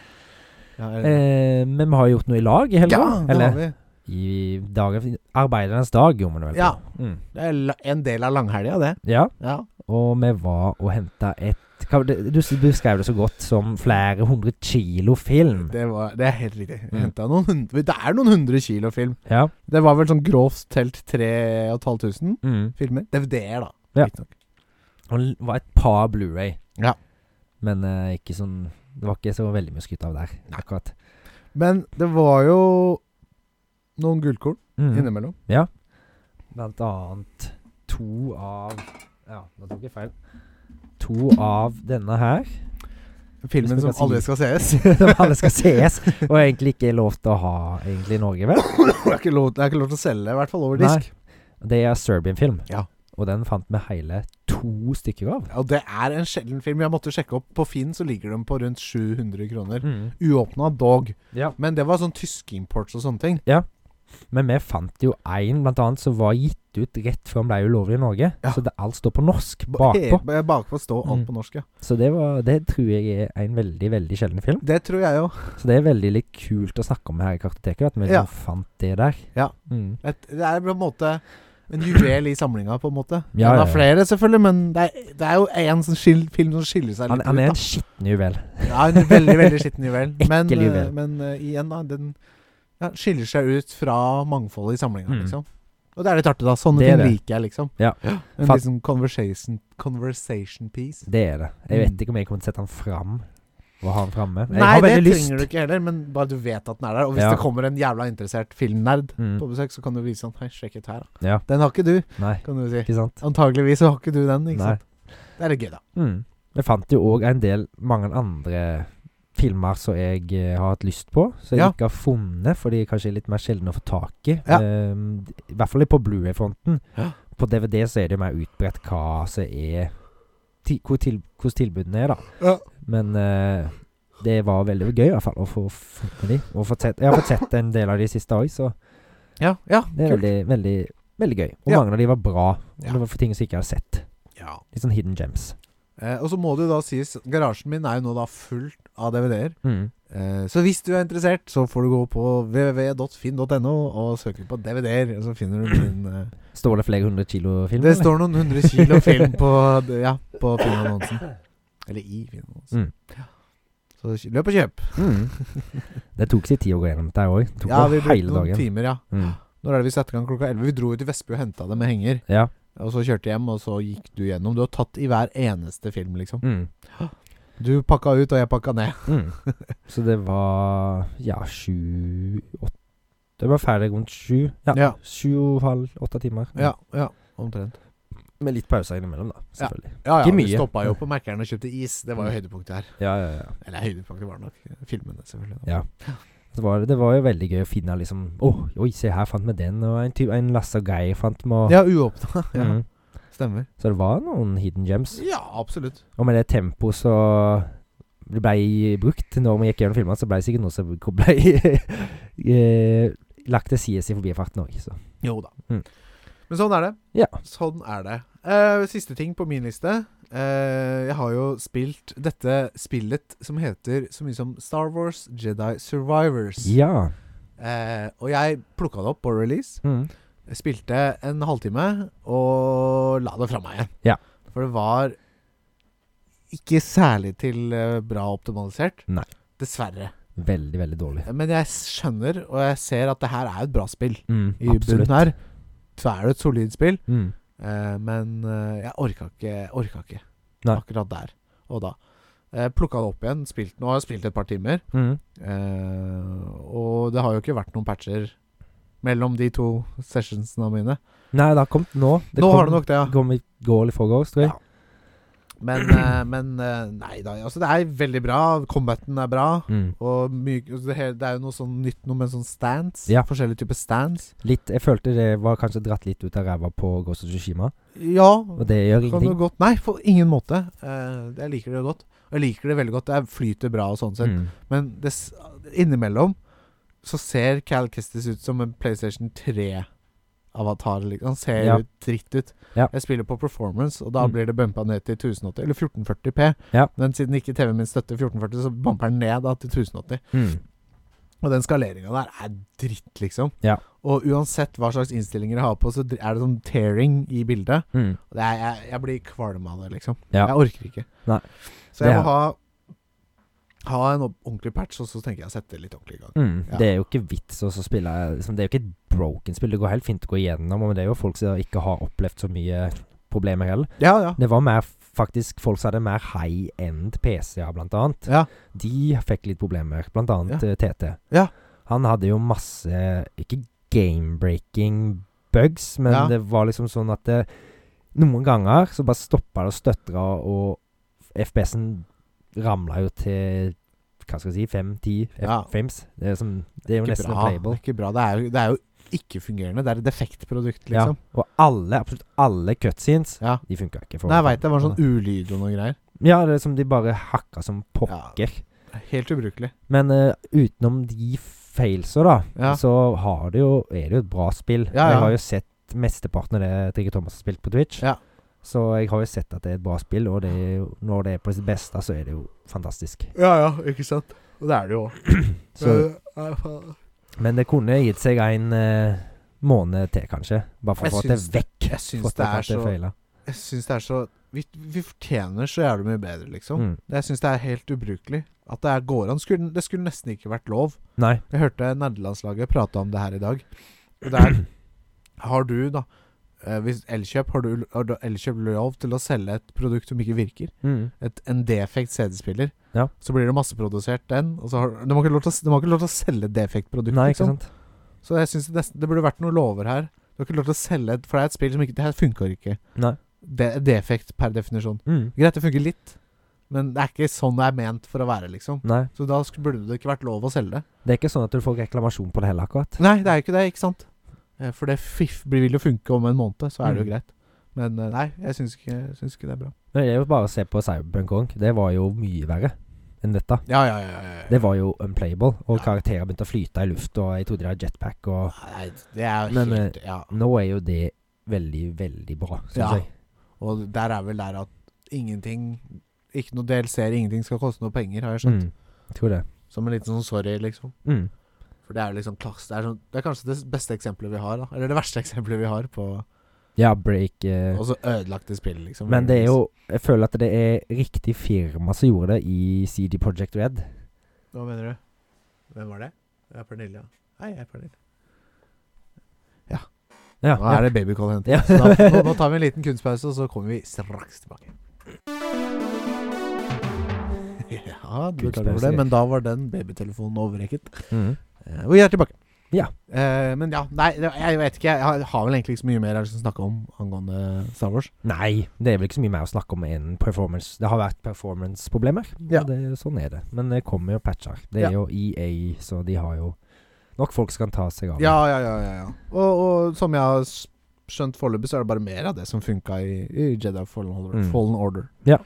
[SPEAKER 1] Ja, er det-
[SPEAKER 2] eh, Men vi har gjort noe i lag i
[SPEAKER 1] ja,
[SPEAKER 2] helga.
[SPEAKER 1] det har
[SPEAKER 2] Eller
[SPEAKER 1] vi.
[SPEAKER 2] i dagen Arbeidernes dag, gjorde vi det vel.
[SPEAKER 1] Ja.
[SPEAKER 2] Mm.
[SPEAKER 1] Det er la- en del av langhelga, det.
[SPEAKER 2] ja.
[SPEAKER 1] Ja.
[SPEAKER 2] Og vi var og henta et hva, det, Du s- beskrev det så godt som flere hundre kilo film.
[SPEAKER 1] Det, var, det er helt riktig.
[SPEAKER 2] Mm.
[SPEAKER 1] Hentet noen hundre, det er noen hundre kilo film.
[SPEAKER 2] Ja.
[SPEAKER 1] Det var vel sånn grovt telt 3500
[SPEAKER 2] Mm.
[SPEAKER 1] filmer. DVD-er, da.
[SPEAKER 2] Ja.
[SPEAKER 1] riktignok.
[SPEAKER 2] Og det var et par Blu-ray.
[SPEAKER 1] Ja.
[SPEAKER 2] Men eh, ikke sånn Det var ikke så veldig mye skryt av der, akkurat.
[SPEAKER 1] Men det var jo noen gullkorn
[SPEAKER 2] Mm.
[SPEAKER 1] innimellom.
[SPEAKER 2] Blant annet to av Ja, nå tok jeg feil. To av denne her,
[SPEAKER 1] Filmen
[SPEAKER 2] Hvis
[SPEAKER 1] som
[SPEAKER 2] vi kan si-
[SPEAKER 1] aldri skal sees.
[SPEAKER 2] (laughs) som alle skal sees, og egentlig ikke er lov til å ha egentlig
[SPEAKER 1] (laughs)
[SPEAKER 2] i Norge, vel?
[SPEAKER 1] Det er ikke lov, det er ikke lov til å selge, i hvert fall over disk.
[SPEAKER 2] Det er Serbian-film,
[SPEAKER 1] Ja.
[SPEAKER 2] og den fant vi hele to stykker av.
[SPEAKER 1] Og det er en sjelden film. Jeg måtte sjekke opp. På Finn så ligger den på rundt 700 kroner. Uåpna dog.
[SPEAKER 2] Ja.
[SPEAKER 1] Men det var sånn tyske imports og sånne ting.
[SPEAKER 2] Men vi fant jo én, blant annet, som var gitt ut rett før den ble ulovlig i Norge.
[SPEAKER 1] Ja.
[SPEAKER 2] Så det, alt står på norsk
[SPEAKER 1] Ba-
[SPEAKER 2] bakpå.
[SPEAKER 1] he- ba- Bakpå står alt
[SPEAKER 2] Mm.
[SPEAKER 1] på norsk, ja.
[SPEAKER 2] Så det, var, det tror jeg er en veldig, veldig sjelden film.
[SPEAKER 1] Det tror jeg jo.
[SPEAKER 2] Så det er veldig litt kult å snakke om her i Kartoteket, at vi
[SPEAKER 1] Ja.
[SPEAKER 2] liksom fant det der.
[SPEAKER 1] Ja.
[SPEAKER 2] Mm.
[SPEAKER 1] Et- Det er på en måte en juvel i samlinga, på en måte.
[SPEAKER 2] Ja,
[SPEAKER 1] Den
[SPEAKER 2] ja,
[SPEAKER 1] har
[SPEAKER 2] ja.
[SPEAKER 1] flere, selvfølgelig, men det er, det er jo én som skil, film som skiller seg
[SPEAKER 2] Han,
[SPEAKER 1] litt
[SPEAKER 2] han er en
[SPEAKER 1] ut.
[SPEAKER 2] skitten juvel.
[SPEAKER 1] Da. Ja, en veldig veldig skitten juvel. Men,
[SPEAKER 2] (laughs) Ekkel juvel.
[SPEAKER 1] eh, men eh, igjen, da. Den ja, skiller seg ut fra mangfoldet i samlinga,
[SPEAKER 2] Mm.
[SPEAKER 1] liksom. Og det er litt artig, da. Sånne
[SPEAKER 2] Det er
[SPEAKER 1] ting
[SPEAKER 2] det.
[SPEAKER 1] liker jeg, liksom.
[SPEAKER 2] Ja.
[SPEAKER 1] En
[SPEAKER 2] Fa-
[SPEAKER 1] litt sånn conversation, conversation piece.
[SPEAKER 2] Det er det. Jeg
[SPEAKER 1] Mm.
[SPEAKER 2] vet ikke om jeg kommer til å sette han fram. Og ha han framme. Jeg
[SPEAKER 1] Nei,
[SPEAKER 2] har
[SPEAKER 1] det
[SPEAKER 2] veldig lyst.
[SPEAKER 1] trenger du ikke heller, men bare du vet at den er der. Og hvis
[SPEAKER 2] Ja.
[SPEAKER 1] det kommer en jævla interessert filmnerd
[SPEAKER 2] Mm.
[SPEAKER 1] på besøk, så kan du vise han Hei, sjekk ut her, da.
[SPEAKER 2] Ja.
[SPEAKER 1] Den har ikke du,
[SPEAKER 2] Nei,
[SPEAKER 1] kan du si.
[SPEAKER 2] ikke sant?
[SPEAKER 1] Antageligvis så har ikke du den, ikke
[SPEAKER 2] Nei.
[SPEAKER 1] sant? Det er litt gøy, da.
[SPEAKER 2] Mm. Jeg fant jo òg en del mange andre filmer som jeg eh, har hatt lyst på, som jeg
[SPEAKER 1] Ja.
[SPEAKER 2] ikke har funnet, for de er kanskje litt mer sjeldne å få tak i.
[SPEAKER 1] Ja.
[SPEAKER 2] Ehm, I hvert fall på Blu-ray-fronten.
[SPEAKER 1] Ja.
[SPEAKER 2] På DVD så er det jo mer utbredt hva som er ti, hvor til, Hvordan tilbudene er, da.
[SPEAKER 1] Ja.
[SPEAKER 2] Men eh, det var veldig gøy i hvert fall å få funnet de. Og fått sett, jeg har fått sett en del av de siste òg, så
[SPEAKER 1] Ja, ja,
[SPEAKER 2] Det er
[SPEAKER 1] kult.
[SPEAKER 2] veldig, veldig, veldig gøy. Og
[SPEAKER 1] Ja.
[SPEAKER 2] mange av de var bra. Og
[SPEAKER 1] Ja.
[SPEAKER 2] Det var for ting som jeg ikke har sett.
[SPEAKER 1] Ja.
[SPEAKER 2] Litt sånn hidden gems.
[SPEAKER 1] Eh, og så må det jo da sies, garasjen min er jo nå da fullt av DVD-er. Eh, så hvis du er interessert, så får du gå på E www.finn.no og søke på DVD-er, og så finner du min
[SPEAKER 2] (clears throat)
[SPEAKER 1] eh,
[SPEAKER 2] Står det flere hundre kilo film?
[SPEAKER 1] Det
[SPEAKER 2] eller?
[SPEAKER 1] står noen hundre kilo film på, ja, på Finn-annonsen. Eller i Finn-annonsen.
[SPEAKER 2] Mm.
[SPEAKER 1] Ja. Så kj- løp og kjøp.
[SPEAKER 2] (laughs) mm. Det tok sin tid å gå gjennom dette òg. Tok
[SPEAKER 1] Ja, vi
[SPEAKER 2] jo
[SPEAKER 1] brukte
[SPEAKER 2] hele
[SPEAKER 1] noen
[SPEAKER 2] dagen.
[SPEAKER 1] timer, ja.
[SPEAKER 2] Mm.
[SPEAKER 1] Når er det vi setter i gang klokka 11? Vi dro jo til Vestby og henta det med henger.
[SPEAKER 2] Ja.
[SPEAKER 1] Og så kjørte jeg hjem, og så gikk du gjennom. Du har tatt i hver eneste film, liksom.
[SPEAKER 2] Mm.
[SPEAKER 1] Du pakka ut, og jeg pakka ned.
[SPEAKER 2] Mm. Så det var ja, sju åtte Det var ferdig rundt sju. Ja.
[SPEAKER 1] Ja.
[SPEAKER 2] Sju og halv, åtte timer.
[SPEAKER 1] Ja, ja, omtrent.
[SPEAKER 2] Med litt pauser innimellom, da. Selvfølgelig.
[SPEAKER 1] Ja, ja,
[SPEAKER 2] Ikke
[SPEAKER 1] Vi
[SPEAKER 2] mye.
[SPEAKER 1] stoppa jo på Mækkern og kjøpte is. Det var jo høydepunktet her.
[SPEAKER 2] Ja, ja, ja.
[SPEAKER 1] Eller høydepunktet var nok filmene, selvfølgelig.
[SPEAKER 2] Ja. Det var, det var jo veldig gøy å finne liksom Å, oi, se her fant vi den, og en, ty en Lasse og Geir fant vi, og
[SPEAKER 1] Ja, uåpna. (laughs) Ja,
[SPEAKER 2] Mm.
[SPEAKER 1] Stemmer.
[SPEAKER 2] Så det var noen hidden gems.
[SPEAKER 1] Ja, absolutt.
[SPEAKER 2] Og med det tempoet så det ble brukt når vi gikk gjennom filmene, så ble det sikkert noe som (laughs) ble eh, lagt til side i forbifarten òg. Så
[SPEAKER 1] Jo da.
[SPEAKER 2] Mm.
[SPEAKER 1] Men sånn er det.
[SPEAKER 2] Ja.
[SPEAKER 1] Sånn er det. Eh, siste ting på min liste. Eh, jeg har jo spilt dette spillet som heter så mye som Star Wars Jedi Survivors.
[SPEAKER 2] ja.
[SPEAKER 1] Eh, og jeg plukka det opp på release.
[SPEAKER 2] Mm.
[SPEAKER 1] Jeg spilte en halvtime og la det fra meg igjen.
[SPEAKER 2] Ja.
[SPEAKER 1] For det var ikke særlig til eh, bra optimalisert.
[SPEAKER 2] Nei.
[SPEAKER 1] Dessverre.
[SPEAKER 2] Veldig, veldig dårlig.
[SPEAKER 1] Men jeg skjønner, og jeg ser at det her er et bra spill.
[SPEAKER 2] Mm,
[SPEAKER 1] I bunnen her så er det et solid spill,
[SPEAKER 2] Mm.
[SPEAKER 1] eh, men eh, jeg orka ikke, orka ikke
[SPEAKER 2] Nei.
[SPEAKER 1] akkurat der og da. Jeg plukka det opp igjen, spilt nå, har jeg spilt et par timer.
[SPEAKER 2] Mm.
[SPEAKER 1] Eh, og det har jo ikke vært noen patcher mellom de to sessionsene mine.
[SPEAKER 2] Nei, det har kommet nå.
[SPEAKER 1] Nå
[SPEAKER 2] kom,
[SPEAKER 1] har det nok det, ja.
[SPEAKER 2] Kom i går eller forgårs, tror jeg.
[SPEAKER 1] Ja.
[SPEAKER 2] (clears throat)
[SPEAKER 1] Men, eh, men eh, nei da. Altså, det er veldig bra. Combaten er bra.
[SPEAKER 2] Mm.
[SPEAKER 1] Og myk, altså, det, hele, det er jo noe sånn nytt noe med sånn stands.
[SPEAKER 2] Ja.
[SPEAKER 1] Forskjellige typer stands.
[SPEAKER 2] Litt, jeg følte det var kanskje dratt litt ut av ræva på Ghost of Tsushima
[SPEAKER 1] Ja.
[SPEAKER 2] og det gjør
[SPEAKER 1] Kan du
[SPEAKER 2] ingenting.
[SPEAKER 1] godt Nei, på ingen måte. Eh, jeg liker det godt. Og jeg liker det veldig godt. Det flyter bra og sånn sett.
[SPEAKER 2] Mm.
[SPEAKER 1] Men det, s- innimellom så ser Cal Kestis ut som en PlayStation 3-avatar. Liksom. Han ser
[SPEAKER 2] Ja.
[SPEAKER 1] ut dritt ut.
[SPEAKER 2] Ja.
[SPEAKER 1] Jeg spiller på performance, og da
[SPEAKER 2] Mm.
[SPEAKER 1] blir det bumpa ned til 1080 eller 1440P.
[SPEAKER 2] Ja.
[SPEAKER 1] Men siden ikke TV-en min støtter 1440, så bumper den ned da, til 1080.
[SPEAKER 2] Mm.
[SPEAKER 1] Og den skaleringa der er dritt, liksom.
[SPEAKER 2] Ja.
[SPEAKER 1] Og uansett hva slags innstillinger jeg har på, så dr- er det sånn tearing i bildet.
[SPEAKER 2] Mm.
[SPEAKER 1] Og Det er, jeg, jeg blir kvalm av det, liksom.
[SPEAKER 2] Ja.
[SPEAKER 1] Jeg orker ikke.
[SPEAKER 2] Nei.
[SPEAKER 1] Så jeg må
[SPEAKER 2] Det
[SPEAKER 1] ha Ha en opp- ordentlig patch, og så tenker jeg å sette det litt ordentlig i gang.
[SPEAKER 2] Mm.
[SPEAKER 1] Ja.
[SPEAKER 2] Det er jo ikke vits å så spille liksom, Det er jo ikke et broken spill. Det går helt fint å gå igjennom, men det er jo folk som ikke har opplevd så mye problemer heller.
[SPEAKER 1] Ja, ja.
[SPEAKER 2] Det var mer faktisk folk som hadde mer high end PC-er, blant annet.
[SPEAKER 1] Ja.
[SPEAKER 2] De fikk litt problemer, blant annet eh, TT.
[SPEAKER 1] Ja.
[SPEAKER 2] Han hadde jo masse Ikke game-breaking bugs, men
[SPEAKER 1] Ja.
[SPEAKER 2] det var liksom sånn at det, noen ganger så bare stoppa det og støtra, og FPS-en ramla jo til hva skal jeg si, fem-ti
[SPEAKER 1] Ja.
[SPEAKER 2] frames. Det er, som, det er jo
[SPEAKER 1] Ikke
[SPEAKER 2] nesten
[SPEAKER 1] bra.
[SPEAKER 2] playable.
[SPEAKER 1] Ikke bra. Det er jo, det er jo ikke fungerende. Det er et defekt produkt, liksom.
[SPEAKER 2] Ja. Og alle, absolutt alle cutscenes,
[SPEAKER 1] Ja.
[SPEAKER 2] de funka ikke.
[SPEAKER 1] Nei, jeg veit det var sånn ulyd og noen greier.
[SPEAKER 2] Ja, det er som de bare hakka som pokker.
[SPEAKER 1] Ja, helt ubrukelig.
[SPEAKER 2] Men eh, utenom de feilsa, da,
[SPEAKER 1] Ja.
[SPEAKER 2] så har det jo, er det jo et bra spill.
[SPEAKER 1] Ja, ja.
[SPEAKER 2] Jeg har jo sett mesteparten av det Trigger Thomas har spilt på Twitch.
[SPEAKER 1] Ja.
[SPEAKER 2] Så jeg har jo sett at det er et bra spill, og det er jo, når det er på sitt beste, så er det jo fantastisk.
[SPEAKER 1] Ja ja, ikke sant. Og det er det jo òg.
[SPEAKER 2] Så, men det kunne gitt seg en eh, måned til, kanskje. Bare for
[SPEAKER 1] Jeg
[SPEAKER 2] å få det
[SPEAKER 1] syns-
[SPEAKER 2] vekk.
[SPEAKER 1] Jeg
[SPEAKER 2] For
[SPEAKER 1] syns
[SPEAKER 2] at
[SPEAKER 1] det
[SPEAKER 2] at
[SPEAKER 1] er så
[SPEAKER 2] feilet.
[SPEAKER 1] Jeg syns det er så vi, vi fortjener så jævlig mye bedre, liksom.
[SPEAKER 2] Mm.
[SPEAKER 1] Jeg syns det er helt ubrukelig. At det er går an. Skulle, det skulle nesten ikke vært lov.
[SPEAKER 2] Nei.
[SPEAKER 1] Jeg hørte nerdelandslaget prate om det her i dag. Og der har du, da eh, Hvis Elkjøp har du, har du Elkjøp lov til å selge et produkt som ikke virker?
[SPEAKER 2] Mm.
[SPEAKER 1] Et, en defekt CD-spiller.
[SPEAKER 2] Ja.
[SPEAKER 1] Så blir det masseprodusert den. Og så har, de, har ikke lov til, å s- de har ikke lov til å selge defekt produkt.
[SPEAKER 2] Nei, ikke
[SPEAKER 1] liksom.
[SPEAKER 2] sant.
[SPEAKER 1] Så jeg syns det, nesten- det burde vært noen lover her. Du har ikke lov til å selge et- For det er et spill som ikke Det her funker ikke.
[SPEAKER 2] Nei.
[SPEAKER 1] Det er defekt per definisjon.
[SPEAKER 2] Mm.
[SPEAKER 1] Greit, det funker litt, men det er ikke sånn det er ment for å være, liksom.
[SPEAKER 2] Nei.
[SPEAKER 1] Så da sk- burde det ikke vært lov å selge det.
[SPEAKER 2] Det er ikke sånn at du får reklamasjon på det heller, akkurat.
[SPEAKER 1] Nei, det er jo ikke det, ikke sant? Eh, For det fiff blir- vil jo funke om en måned, så er det jo
[SPEAKER 2] Mm.
[SPEAKER 1] greit. Men eh, nei, jeg syns ikke, jeg syns ikke det er bra.
[SPEAKER 2] Men det er jo bare å se på Cyberpunk òg. Det var jo mye verre enn dette.
[SPEAKER 1] Ja, ja, ja. ja, ja.
[SPEAKER 2] Det var jo unplayable, og
[SPEAKER 1] Ja.
[SPEAKER 2] karakterer begynte å flyte i luft, og jeg trodde det var jetpack, og
[SPEAKER 1] Nei, det er jo
[SPEAKER 2] Men,
[SPEAKER 1] helt Ja.
[SPEAKER 2] nå er jo det veldig, veldig bra, syns
[SPEAKER 1] Ja.
[SPEAKER 2] jeg.
[SPEAKER 1] Og der er vel der at ingenting Ikke noe DLC-er, ingenting skal koste noe penger, har jeg skjønt.
[SPEAKER 2] Mm. Tror det.
[SPEAKER 1] Som en liten sånn sorry, liksom.
[SPEAKER 2] Mm.
[SPEAKER 1] For det er jo liksom klass Det er, sånn, det er kanskje det beste eksempelet vi har, da. Eller det verste (laughs) eksempelet vi har på
[SPEAKER 2] Ja, break eh,
[SPEAKER 1] Og så ødelagte spill, liksom.
[SPEAKER 2] Men det er jo Jeg føler at det er riktig firma som gjorde det i CD Project Red.
[SPEAKER 1] Hva mener du? Hvem var det? Det er Pernille, ja. Hei, jeg er Pernille.
[SPEAKER 2] Ja,
[SPEAKER 1] (laughs) Nå er det babycall hentet.
[SPEAKER 2] Ja.
[SPEAKER 1] Så da- Nå, nå tar vi en liten kunstpause, og så kommer vi straks tilbake. Ja, du klarer over
[SPEAKER 2] Kunstpause.
[SPEAKER 1] det, men da var den babytelefonen overrekket.
[SPEAKER 2] Mm.
[SPEAKER 1] Eh, Og vi er tilbake.
[SPEAKER 2] Ja.
[SPEAKER 1] Eh, men ja, nei, det- jeg vet ikke. Jeg har- har vel egentlig ikke så mye mer jeg har lyst til å snakke om angående Star Wars.
[SPEAKER 2] Nei, det er vel ikke så mye mer å snakke om enn performance. Det har vært performance-problemer. og
[SPEAKER 1] Ja.
[SPEAKER 2] Det, sånn er det. Men det kommer jo patcher. Det
[SPEAKER 1] Ja.
[SPEAKER 2] er jo EA, så de har jo nok folk som kan ta seg av. det.
[SPEAKER 1] Ja, ja, ja. ja, ja. Og, og som jeg har s- skjønt foreløpig, så er det bare mer av det som funka i, i Jedi Fallen Order.
[SPEAKER 2] Mm.
[SPEAKER 1] Fallen Order.
[SPEAKER 2] Ja.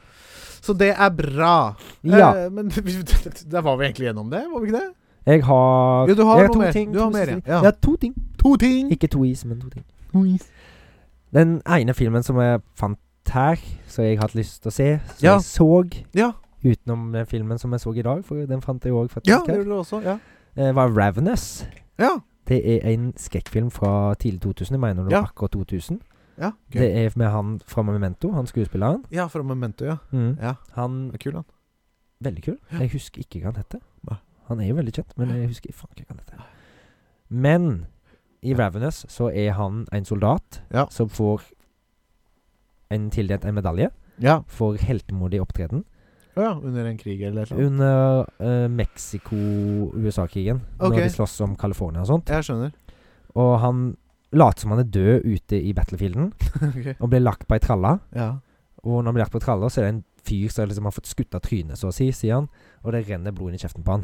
[SPEAKER 1] Så det er bra.
[SPEAKER 2] ja.
[SPEAKER 1] Eh, men (laughs) der var vi egentlig gjennom det, var vi ikke det?
[SPEAKER 2] Jeg har
[SPEAKER 1] Jo, du har
[SPEAKER 2] jeg
[SPEAKER 1] noe mer. Du har mer, ja.
[SPEAKER 2] ting.
[SPEAKER 1] Ja.
[SPEAKER 2] Jeg har to ting.
[SPEAKER 1] To ting!
[SPEAKER 2] Ikke to is, men to ting. Den ene filmen som jeg fant her, som jeg hadde lyst til å se, som
[SPEAKER 1] Ja.
[SPEAKER 2] jeg så
[SPEAKER 1] Ja,
[SPEAKER 2] utenom den filmen som jeg så i dag, for den fant jeg òg faktisk
[SPEAKER 1] ja det
[SPEAKER 2] her,
[SPEAKER 1] gjorde du også. Ja.
[SPEAKER 2] eh, var Ravenous.
[SPEAKER 1] ja.
[SPEAKER 2] Det er en skrekkfilm fra tidlig 2000. Jeg mener det var
[SPEAKER 1] Ja.
[SPEAKER 2] akkurat 2000.
[SPEAKER 1] ja. Gøy.
[SPEAKER 2] Det er med han fra Memento, han skuespilleren.
[SPEAKER 1] Ja, fra Memento, ja.
[SPEAKER 2] Mm.
[SPEAKER 1] Ja,
[SPEAKER 2] Han
[SPEAKER 1] det er Kul, han.
[SPEAKER 2] Veldig kul.
[SPEAKER 1] Ja.
[SPEAKER 2] Jeg husker ikke hva han heter.
[SPEAKER 1] Nei.
[SPEAKER 2] Han er jo veldig kjent, men jeg husker faen ikke hva han heter. Men i Ravenous så er han en soldat
[SPEAKER 1] Ja.
[SPEAKER 2] som får en tildelt en medalje
[SPEAKER 1] Ja.
[SPEAKER 2] for heltemodig opptreden
[SPEAKER 1] Å ja. Under en krig eller noe.
[SPEAKER 2] under eh, Mexico-USA-krigen,
[SPEAKER 1] Ok.
[SPEAKER 2] når de slåss om California og sånt.
[SPEAKER 1] Jeg skjønner. (laughs)
[SPEAKER 2] Og han later som han er død ute i battlefielden,
[SPEAKER 1] ok.
[SPEAKER 2] og blir lagt på ei tralle.
[SPEAKER 1] Ja.
[SPEAKER 2] og nominert på traller, så er det en fyr som liksom har fått skutt av trynet, så å si, sier han. Og det renner blod inn i kjeften på han.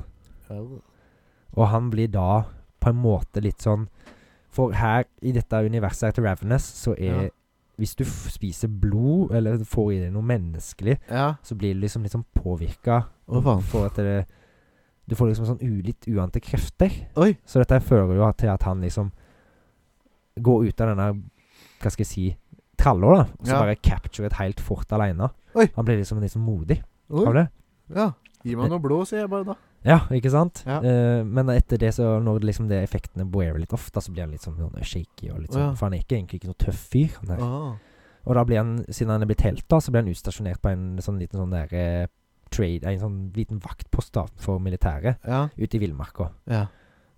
[SPEAKER 2] Og han blir da på en måte litt sånn For her i dette universet her til Ravenous, så er
[SPEAKER 1] Ja.
[SPEAKER 2] Hvis du f spiser blod, eller får i deg noe menneskelig,
[SPEAKER 1] Ja.
[SPEAKER 2] så blir du liksom litt sånn påvirka.
[SPEAKER 1] Å, faen.
[SPEAKER 2] For at det Du får liksom sånn u, litt uante krefter.
[SPEAKER 1] Oi.
[SPEAKER 2] Så dette fører jo til at han liksom går ut av denne Hva skal jeg si tralla, da. Og så
[SPEAKER 1] Ja.
[SPEAKER 2] bare capture et helt fort aleine.
[SPEAKER 1] Oi.
[SPEAKER 2] Han blir liksom litt sånn modig
[SPEAKER 1] Oi.
[SPEAKER 2] av det.
[SPEAKER 1] Ja. Gi meg noe blod, sier jeg bare da.
[SPEAKER 2] Ja, ikke sant?
[SPEAKER 1] Ja.
[SPEAKER 2] Eh, men etter det, så når det liksom det effektene boerer litt ofte, så blir han litt sånn sånn shaky og litt
[SPEAKER 1] Å,
[SPEAKER 2] sånn
[SPEAKER 1] ja.
[SPEAKER 2] For han er ikke egentlig ikke noe tøff fyr. Han der.
[SPEAKER 1] Ah.
[SPEAKER 2] Og da blir han, siden han er blitt helt, da, så blir han utstasjonert på en sånn liten sånn der eh, trade En sånn liten vaktpost da for militæret
[SPEAKER 1] Ja.
[SPEAKER 2] ute i villmarka.
[SPEAKER 1] Ja.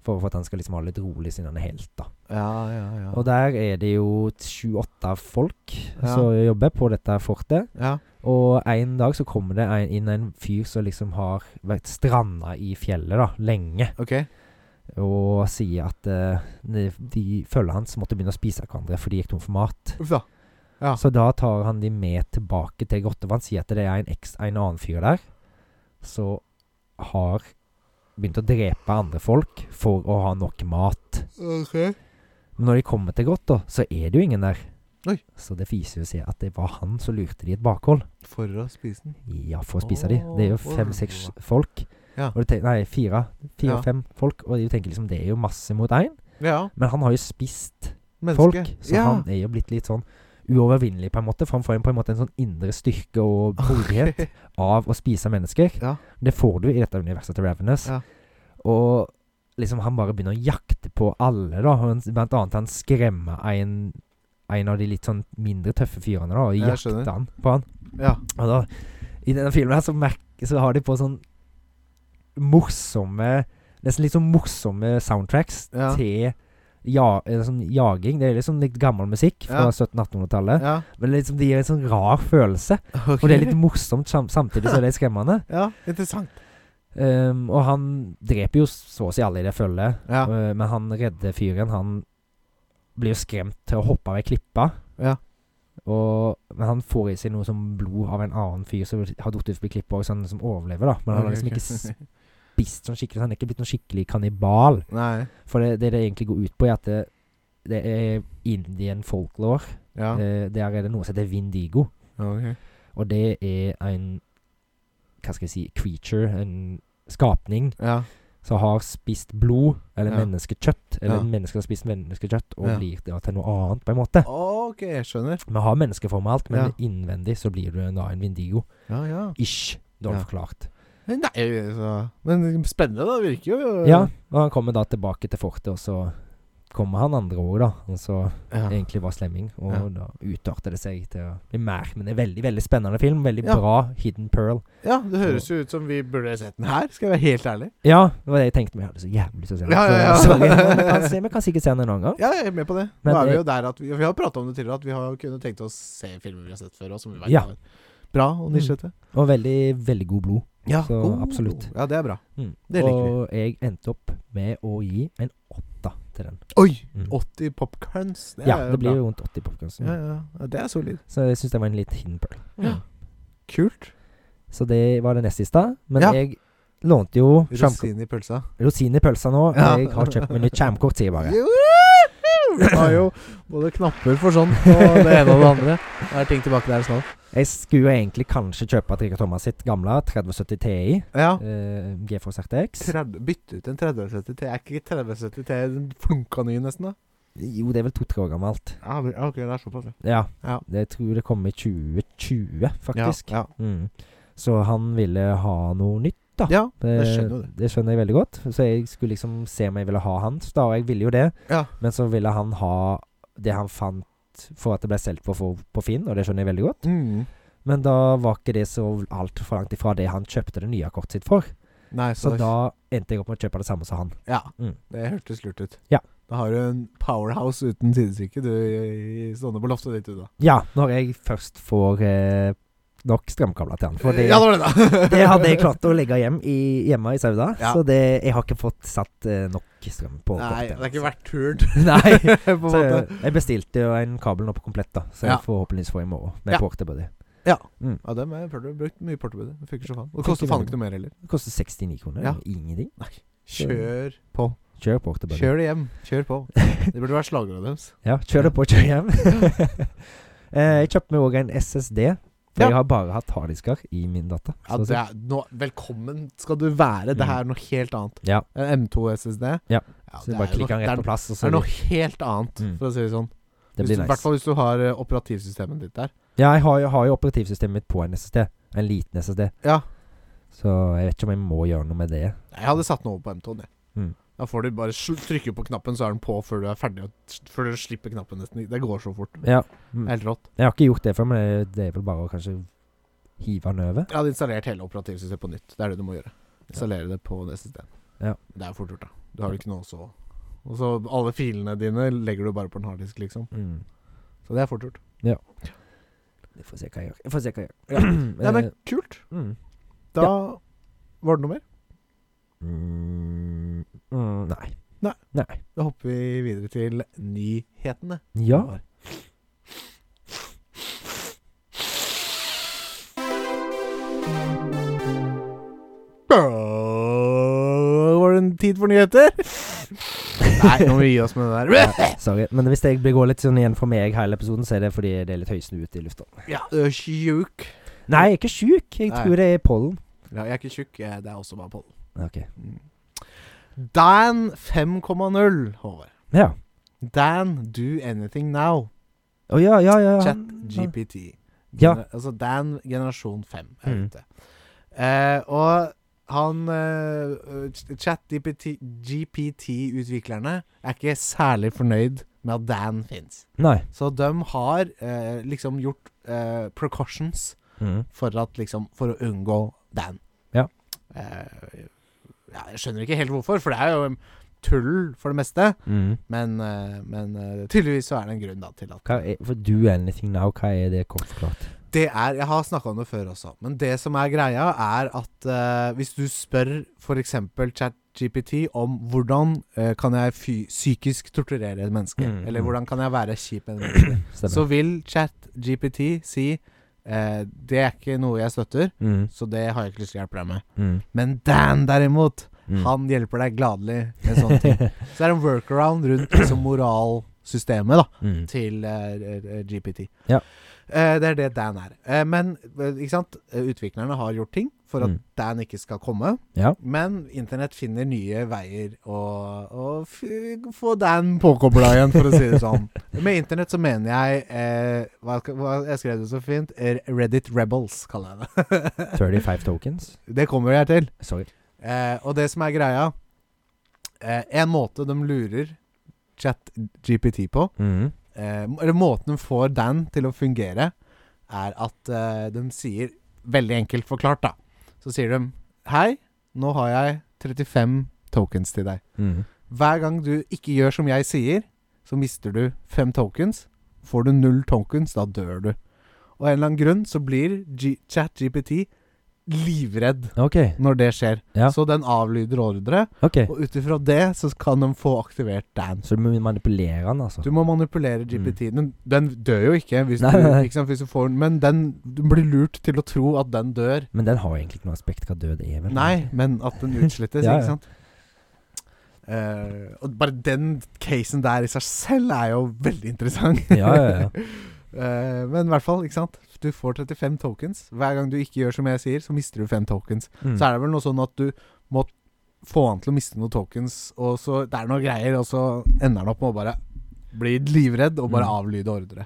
[SPEAKER 2] For, for at han skal liksom ha det litt rolig siden han er helt, da.
[SPEAKER 1] Ja, ja, ja.
[SPEAKER 2] Og der er det jo sju-åtte folk
[SPEAKER 1] Ja.
[SPEAKER 2] som jobber på dette fortet.
[SPEAKER 1] ja.
[SPEAKER 2] Og en dag så kommer det en, inn en fyr som liksom har vært stranda i fjellet da, lenge.
[SPEAKER 1] Ok.
[SPEAKER 2] og sier at eh, de, de følgene hans måtte begynne å spise hverandre, for de gikk tom for mat.
[SPEAKER 1] Uff da. Ja.
[SPEAKER 2] Så da tar han de med tilbake til grottevann, sier at det er en, eks- en annen fyr der som har begynt å drepe andre folk for å ha nok mat.
[SPEAKER 1] Ok.
[SPEAKER 2] Men når de kommer til grotta, så er det jo ingen der.
[SPEAKER 1] Oi.
[SPEAKER 2] Så det viser jo seg at det var han som lurte de i et bakhold.
[SPEAKER 1] For å spise den.
[SPEAKER 2] Ja, for å spise de. Det er jo
[SPEAKER 1] Åh.
[SPEAKER 2] fem-seks folk.
[SPEAKER 1] Ja.
[SPEAKER 2] Og du tenker, nei, fire.
[SPEAKER 1] Ja.
[SPEAKER 2] Fire-fem folk. Og du tenker liksom, det er jo masse mot én.
[SPEAKER 1] Ja.
[SPEAKER 2] Men han har jo spist folk,
[SPEAKER 1] Menneske.
[SPEAKER 2] så
[SPEAKER 1] ja.
[SPEAKER 2] han er jo blitt litt sånn uovervinnelig, på en måte. For han får en, på en måte en sånn indre styrke og modighet av å spise mennesker.
[SPEAKER 1] (laughs) Ja.
[SPEAKER 2] Det får du i dette universet til Ravenous.
[SPEAKER 1] Ja.
[SPEAKER 2] Og liksom han bare begynner å jakte på alle, da. Og han- Blant annet han skremmer en, en av de litt sånn mindre tøffe fyrene, da, og
[SPEAKER 1] Ja, jeg
[SPEAKER 2] jakter
[SPEAKER 1] skjønner.
[SPEAKER 2] han på han.
[SPEAKER 1] ja.
[SPEAKER 2] Og da, I denne filmen her så, merk, så har de på sånn morsomme Nesten litt sånn morsomme soundtracks
[SPEAKER 1] Ja.
[SPEAKER 2] til ja, eh, sånn jaging. Det er liksom litt gammel musikk fra
[SPEAKER 1] Ja.
[SPEAKER 2] 1700-1800-tallet.
[SPEAKER 1] Ja.
[SPEAKER 2] Men liksom det gir en sånn rar følelse. Og det er
[SPEAKER 1] (laughs)
[SPEAKER 2] litt morsomt sam samtidig som det er skremmende.
[SPEAKER 1] Ja, interessant.
[SPEAKER 2] Um, og han dreper jo så å si alle i det følget.
[SPEAKER 1] Ja.
[SPEAKER 2] Eh, men han redde fyren, han blir jo skremt til å hoppe av ei klippe.
[SPEAKER 1] Ja.
[SPEAKER 2] Og, men han får i seg noe som blod av en annen fyr som har falt utfor klippa, og sånn som overlever, da. Men han har liksom ikke spist sånn skikkelig, så han er ikke blitt noen skikkelig kannibal.
[SPEAKER 1] Nei.
[SPEAKER 2] For det, det det egentlig går ut på, er at det, det er Indian folklore.
[SPEAKER 1] Ja.
[SPEAKER 2] Eh, der er det noe som heter Vindigo,
[SPEAKER 1] Ok.
[SPEAKER 2] og det er en Hva skal jeg si creature, en skapning
[SPEAKER 1] Ja.
[SPEAKER 2] som har spist blod, eller
[SPEAKER 1] Ja.
[SPEAKER 2] menneskekjøtt, eller
[SPEAKER 1] Ja.
[SPEAKER 2] en menneske som har spist menneskekjøtt, og
[SPEAKER 1] Ja.
[SPEAKER 2] blir da til noe annet, på en måte.
[SPEAKER 1] (laughs) Ok, jeg skjønner.
[SPEAKER 2] Vi har menneskeform og alt, men
[SPEAKER 1] Ja.
[SPEAKER 2] innvendig så blir du en- da en vindigo.
[SPEAKER 1] Ja, ja.
[SPEAKER 2] Ish, dårlig
[SPEAKER 1] Ja.
[SPEAKER 2] forklart.
[SPEAKER 1] Nei, så. Men spennende, da. Virker jo
[SPEAKER 2] Ja, og han kommer da tilbake til fortet, og så kommer han andre år, da. Og så
[SPEAKER 1] Ja.
[SPEAKER 2] egentlig var slemming, og
[SPEAKER 1] Ja.
[SPEAKER 2] da utarter det seg til å bli mer. Men det er veldig, veldig spennende film. Veldig
[SPEAKER 1] Ja.
[SPEAKER 2] bra Hidden Pearl.
[SPEAKER 1] ja, det høres jo ut som vi burde sett den her, skal jeg være helt ærlig.
[SPEAKER 2] Ja, det var det jeg tenkte, men jeg hadde så jævlig lyst til å se den.
[SPEAKER 1] Ja, ja, ja.
[SPEAKER 2] Så, sorry, men vi kan, se, vi kan sikkert se den en annen gang.
[SPEAKER 1] Ja, jeg er med på det. eh,
[SPEAKER 2] Men
[SPEAKER 1] Nå er vi
[SPEAKER 2] det-
[SPEAKER 1] jo der at Vi, vi har prata om det tidligere, at vi har kunne tenkt oss se filmer vi har sett før. Og som vi vet
[SPEAKER 2] Ja.
[SPEAKER 1] er Bra og nisjete.
[SPEAKER 2] Og veldig, veldig god blod.
[SPEAKER 1] Mm. Ja,
[SPEAKER 2] Så
[SPEAKER 1] god.
[SPEAKER 2] absolutt.
[SPEAKER 1] Ja, det er bra.
[SPEAKER 2] Mm.
[SPEAKER 1] Det liker
[SPEAKER 2] og jeg endte opp med å gi en åtta til den.
[SPEAKER 1] Oi!
[SPEAKER 2] Mm.
[SPEAKER 1] 80 popcorns. Det
[SPEAKER 2] ja,
[SPEAKER 1] er
[SPEAKER 2] det
[SPEAKER 1] bra.
[SPEAKER 2] blir jo rundt 80 popkorn.
[SPEAKER 1] ja, ja, ja, det er solid.
[SPEAKER 2] Så jeg syns det var en liten hidden pearl.
[SPEAKER 1] Ja. Kult.
[SPEAKER 2] Så det var det nest siste. Men
[SPEAKER 1] Ja.
[SPEAKER 2] jeg lånte jo skjermkort-
[SPEAKER 1] Rosin i pølsa.
[SPEAKER 2] rosin i pølsa nå. og
[SPEAKER 1] Ja.
[SPEAKER 2] Jeg har kjøpt meg nytt skjermkort, sier jeg (laughs) bare.
[SPEAKER 1] Woohoo! Vi har jo både knapper for sånt og det ene og det andre. Det er ting tilbake der snart.
[SPEAKER 2] Jeg skulle egentlig kanskje kjøpe Trigger Thomas sitt gamle 3070 Ti.
[SPEAKER 1] Ja.
[SPEAKER 2] Eh, GeForce RTX.
[SPEAKER 1] Tredve- Bytte ut en 3070 T. Er ikke 3070 T den funka ny, nesten? da?
[SPEAKER 2] Jo, det er vel to-tre år gammelt.
[SPEAKER 1] Ja, men- ok, det er såpass, ja.
[SPEAKER 2] Ja.
[SPEAKER 1] Ja.
[SPEAKER 2] Det jeg tror det kom i 2020, faktisk.
[SPEAKER 1] Ja,
[SPEAKER 2] Mm. Så han ville ha noe nytt.
[SPEAKER 1] ja. ja
[SPEAKER 2] Det,
[SPEAKER 1] Jeg skjønner det.
[SPEAKER 2] det skjønner jeg veldig godt. Så jeg skulle liksom se om jeg ville ha hans, da, og jeg ville jo det.
[SPEAKER 1] Ja.
[SPEAKER 2] Men så ville han ha det han fant for at det ble solgt på, for- på Finn, og det skjønner jeg veldig godt.
[SPEAKER 1] Mm.
[SPEAKER 2] Men da var ikke det så altfor langt ifra det han kjøpte det nye kortet sitt for.
[SPEAKER 1] Nei,
[SPEAKER 2] Så
[SPEAKER 1] så,
[SPEAKER 2] da endte jeg opp med å kjøpe det samme som han.
[SPEAKER 1] Ja.
[SPEAKER 2] Mm.
[SPEAKER 1] Det hørtes lurt ut.
[SPEAKER 2] Ja.
[SPEAKER 1] Da har du en powerhouse uten sidestykke, du, i- i- stående på loftet ditt, du, da.
[SPEAKER 2] Ja, når jeg først får eh, nok strømkabler til han. For det,
[SPEAKER 1] ja, det var det, da.
[SPEAKER 2] (laughs) det hadde jeg klart
[SPEAKER 1] (laughs)
[SPEAKER 2] å legge hjem i, hjemme i Sauda.
[SPEAKER 1] Ja.
[SPEAKER 2] Så det, jeg har ikke fått satt eh, nok strøm på
[SPEAKER 1] Nei, det
[SPEAKER 2] kortet.
[SPEAKER 1] er ikke
[SPEAKER 2] altså.
[SPEAKER 1] verdt turen,
[SPEAKER 2] (laughs) Nei.
[SPEAKER 1] (laughs) på en
[SPEAKER 2] Så
[SPEAKER 1] måte.
[SPEAKER 2] jeg, jeg bestilte jo en kabel nå på komplett, da. Så
[SPEAKER 1] Ja.
[SPEAKER 2] jeg får håpeligvis få i morgen. Med
[SPEAKER 1] Ja.
[SPEAKER 2] portable.
[SPEAKER 1] Ja.
[SPEAKER 2] Mm.
[SPEAKER 1] ja dem har jeg prøvd å brukt mye portobudder. Det funker så faen. Og det koster faen ikke noe mer heller.
[SPEAKER 2] Det koster 69 kroner.
[SPEAKER 1] Ja.
[SPEAKER 2] Ingenting.
[SPEAKER 1] Kjør på.
[SPEAKER 2] Kjør på til bønder.
[SPEAKER 1] Kjør det hjem. Kjør
[SPEAKER 2] (laughs)
[SPEAKER 1] på. Det burde være slagordet deres.
[SPEAKER 2] Ja, kjør det på, kjør
[SPEAKER 1] (laughs)
[SPEAKER 2] hjem. (laughs) Eh, jeg kjøpte meg òg en SSD. For
[SPEAKER 1] Ja.
[SPEAKER 2] jeg har bare hatt harddisker i min data.
[SPEAKER 1] Ja,
[SPEAKER 2] så å si.
[SPEAKER 1] det er, nå, velkommen skal du være. Det her er noe helt annet.
[SPEAKER 2] Mm.
[SPEAKER 1] Eh,
[SPEAKER 2] Ja.
[SPEAKER 1] En M2 SSD.
[SPEAKER 2] Ja.
[SPEAKER 1] det
[SPEAKER 2] så jeg
[SPEAKER 1] er
[SPEAKER 2] bare
[SPEAKER 1] jo noe-
[SPEAKER 2] klikker den
[SPEAKER 1] det er
[SPEAKER 2] rett på plass, og
[SPEAKER 1] Det
[SPEAKER 2] så
[SPEAKER 1] er noe helt annet,
[SPEAKER 2] Mm.
[SPEAKER 1] for å si det sånn.
[SPEAKER 2] Det
[SPEAKER 1] Hvis
[SPEAKER 2] blir
[SPEAKER 1] du- I hvert
[SPEAKER 2] nice.
[SPEAKER 1] fall hvis du har eh, operativsystemet ditt der.
[SPEAKER 2] Ja, jeg har, jo- har jo operativsystemet mitt på en SSD. En liten SSD.
[SPEAKER 1] Ja.
[SPEAKER 2] Så jeg vet ikke om jeg må gjøre noe med det.
[SPEAKER 1] Jeg hadde satt den over på M2. jeg.
[SPEAKER 2] Mm.
[SPEAKER 1] Da får du bare sl- trykke på knappen, så er den på før du er ferdig. Og s- før du slipper knappen nesten. Det går så fort.
[SPEAKER 2] Ja. Mm.
[SPEAKER 1] Helt rått.
[SPEAKER 2] Jeg har ikke gjort det før, men det er vel bare å kanskje hive den over.
[SPEAKER 1] Jeg hadde installert hele operativsystemet på nytt. Det er det du må gjøre. Installere det på SSD-en.
[SPEAKER 2] Ja.
[SPEAKER 1] Det er fort gjort, da. Du har jo ikke noe så Og så alle filene dine legger du bare på en harddisk, liksom.
[SPEAKER 2] Mm.
[SPEAKER 1] Så det er fort gjort.
[SPEAKER 2] Vi får se hva jeg gjør. Jeg får se hva jeg
[SPEAKER 1] (clears throat)
[SPEAKER 2] gjør.
[SPEAKER 1] Nei, men kult.
[SPEAKER 2] Eh, mm.
[SPEAKER 1] Da var det noe mer.
[SPEAKER 2] Mm. Mm. Nei.
[SPEAKER 1] Nei.
[SPEAKER 2] Nei.
[SPEAKER 1] Da hopper vi videre til nyhetene.
[SPEAKER 2] Ja.
[SPEAKER 1] Var det en tid for
[SPEAKER 2] (laughs)
[SPEAKER 1] nyheter? Nei, nå må vi gi oss med det der.
[SPEAKER 2] Ja, Sorry. Men hvis det blir- går litt sånn igjen for meg hele episoden, så er det fordi det er litt høysnuet i lufta.
[SPEAKER 1] Ja, du er tjukk.
[SPEAKER 2] Nei, jeg er ikke sjuk. Jeg
[SPEAKER 1] Nei.
[SPEAKER 2] tror det er pollen.
[SPEAKER 1] Ja, jeg er ikke tjukk. jeg- Det er også bare pollen. Mm.
[SPEAKER 2] Ok.
[SPEAKER 1] Dan 5,0, Håvard.
[SPEAKER 2] Ja.
[SPEAKER 1] Dan Do Anything Now.
[SPEAKER 2] Å ja, ja, ja.
[SPEAKER 1] Chat GPT.
[SPEAKER 2] Ja.
[SPEAKER 1] Gener- Altså Dan generasjon 5 er
[SPEAKER 2] Mm.
[SPEAKER 1] ute. Eh, og han eh, ch- Chat GPT-utviklerne er ikke særlig fornøyd med at Dan fins.
[SPEAKER 2] Mm. Nei.
[SPEAKER 1] Så de har eh, liksom gjort eh, precautions
[SPEAKER 2] Mm.
[SPEAKER 1] for, at, liksom, for å unngå Dan.
[SPEAKER 2] Ja.
[SPEAKER 1] Eh, ja, jeg skjønner ikke helt hvorfor, for det er jo um, tull for det meste.
[SPEAKER 2] Mm.
[SPEAKER 1] Men, eh, men eh, tydeligvis så er det en grunn da, til at
[SPEAKER 2] Hva er, for do anything now, hva er det kort
[SPEAKER 1] (clears throat)
[SPEAKER 2] forklart?
[SPEAKER 1] Det er Jeg har snakka om det før også, men det som er greia, er at eh, hvis du spør f.eks. ChatGPT om hvordan eh, kan jeg fy psykisk torturere et menneske,
[SPEAKER 2] Mm,
[SPEAKER 1] eller
[SPEAKER 2] mm.
[SPEAKER 1] hvordan kan jeg være kjip
[SPEAKER 2] (clears throat)
[SPEAKER 1] med et menneske,
[SPEAKER 2] Stemmer.
[SPEAKER 1] så vil ChatGPT si eh, det er ikke noe jeg støtter,
[SPEAKER 2] mm.
[SPEAKER 1] så det har jeg ikke lyst til å hjelpe deg med.
[SPEAKER 2] Mm.
[SPEAKER 1] Men Dan, derimot,
[SPEAKER 2] Mm.
[SPEAKER 1] han hjelper deg gladelig med sånne
[SPEAKER 2] (laughs)
[SPEAKER 1] ting. Så det er en workaround rundt liksom, moralsystemet da,
[SPEAKER 2] mm.
[SPEAKER 1] til eh, eh, GPT.
[SPEAKER 2] Ja.
[SPEAKER 1] Eh, det er det Dan er. Eh, men eh, ikke sant? Eh, utviklerne har gjort ting for at
[SPEAKER 2] Mm.
[SPEAKER 1] Dan ikke skal komme.
[SPEAKER 2] Ja.
[SPEAKER 1] Men internett finner nye veier å, å f få Dan påkobla igjen, for å si det
[SPEAKER 2] (laughs)
[SPEAKER 1] sånn. med internett så mener jeg eh, hva, hva, Jeg skrev det så fint. eh, Reddit Rebels, kaller jeg det.
[SPEAKER 2] 35 tokens.
[SPEAKER 1] (laughs) det kommer jeg til.
[SPEAKER 2] Sorry.
[SPEAKER 1] Eh, og det som er greia eh, En måte de lurer ChatGPT på,
[SPEAKER 2] Mm.
[SPEAKER 1] eh, eller måten de får Dan til å fungere, er at eh, de sier Veldig enkelt forklart, da. Så sier de Hei, nå har jeg 35 tokens til deg.
[SPEAKER 2] Mm.
[SPEAKER 1] Hver gang du ikke gjør som jeg sier, så mister du fem tokens. Får du null tokens, da dør du. Og av en eller annen grunn så blir G ChatGPT livredd
[SPEAKER 2] Ok.
[SPEAKER 1] når det skjer.
[SPEAKER 2] Ja.
[SPEAKER 1] Så den avlyder ordre,
[SPEAKER 2] ok
[SPEAKER 1] og ut ifra det så kan de få aktivert Dan.
[SPEAKER 2] Så du må manipulere den, altså?
[SPEAKER 1] Du må manipulere GPT. Den, den dør jo ikke, hvis
[SPEAKER 2] Nei,
[SPEAKER 1] du,
[SPEAKER 2] nei, nei.
[SPEAKER 1] Ikke sant, hvis du får den, men den, du blir lurt til å tro at den dør.
[SPEAKER 2] Men den har jo egentlig ikke noe aspekt hva død er, vel?
[SPEAKER 1] Nei, men at den utslettes,
[SPEAKER 2] Ja, ja.
[SPEAKER 1] ikke sant? Eh, og bare den casen der i seg selv er jo veldig interessant.
[SPEAKER 2] Ja, ja, ja.
[SPEAKER 1] (laughs) Eh, men i hvert fall, ikke sant. Du får 35 tokens. Hver gang du ikke gjør som jeg sier, så mister du fem tokens.
[SPEAKER 2] Mm.
[SPEAKER 1] Så er det vel noe sånn at du må få han til å miste noen tokens, og så det er noen greier, og så ender han opp med å bare bli livredd og bare
[SPEAKER 2] Mm.
[SPEAKER 1] avlyde ordre.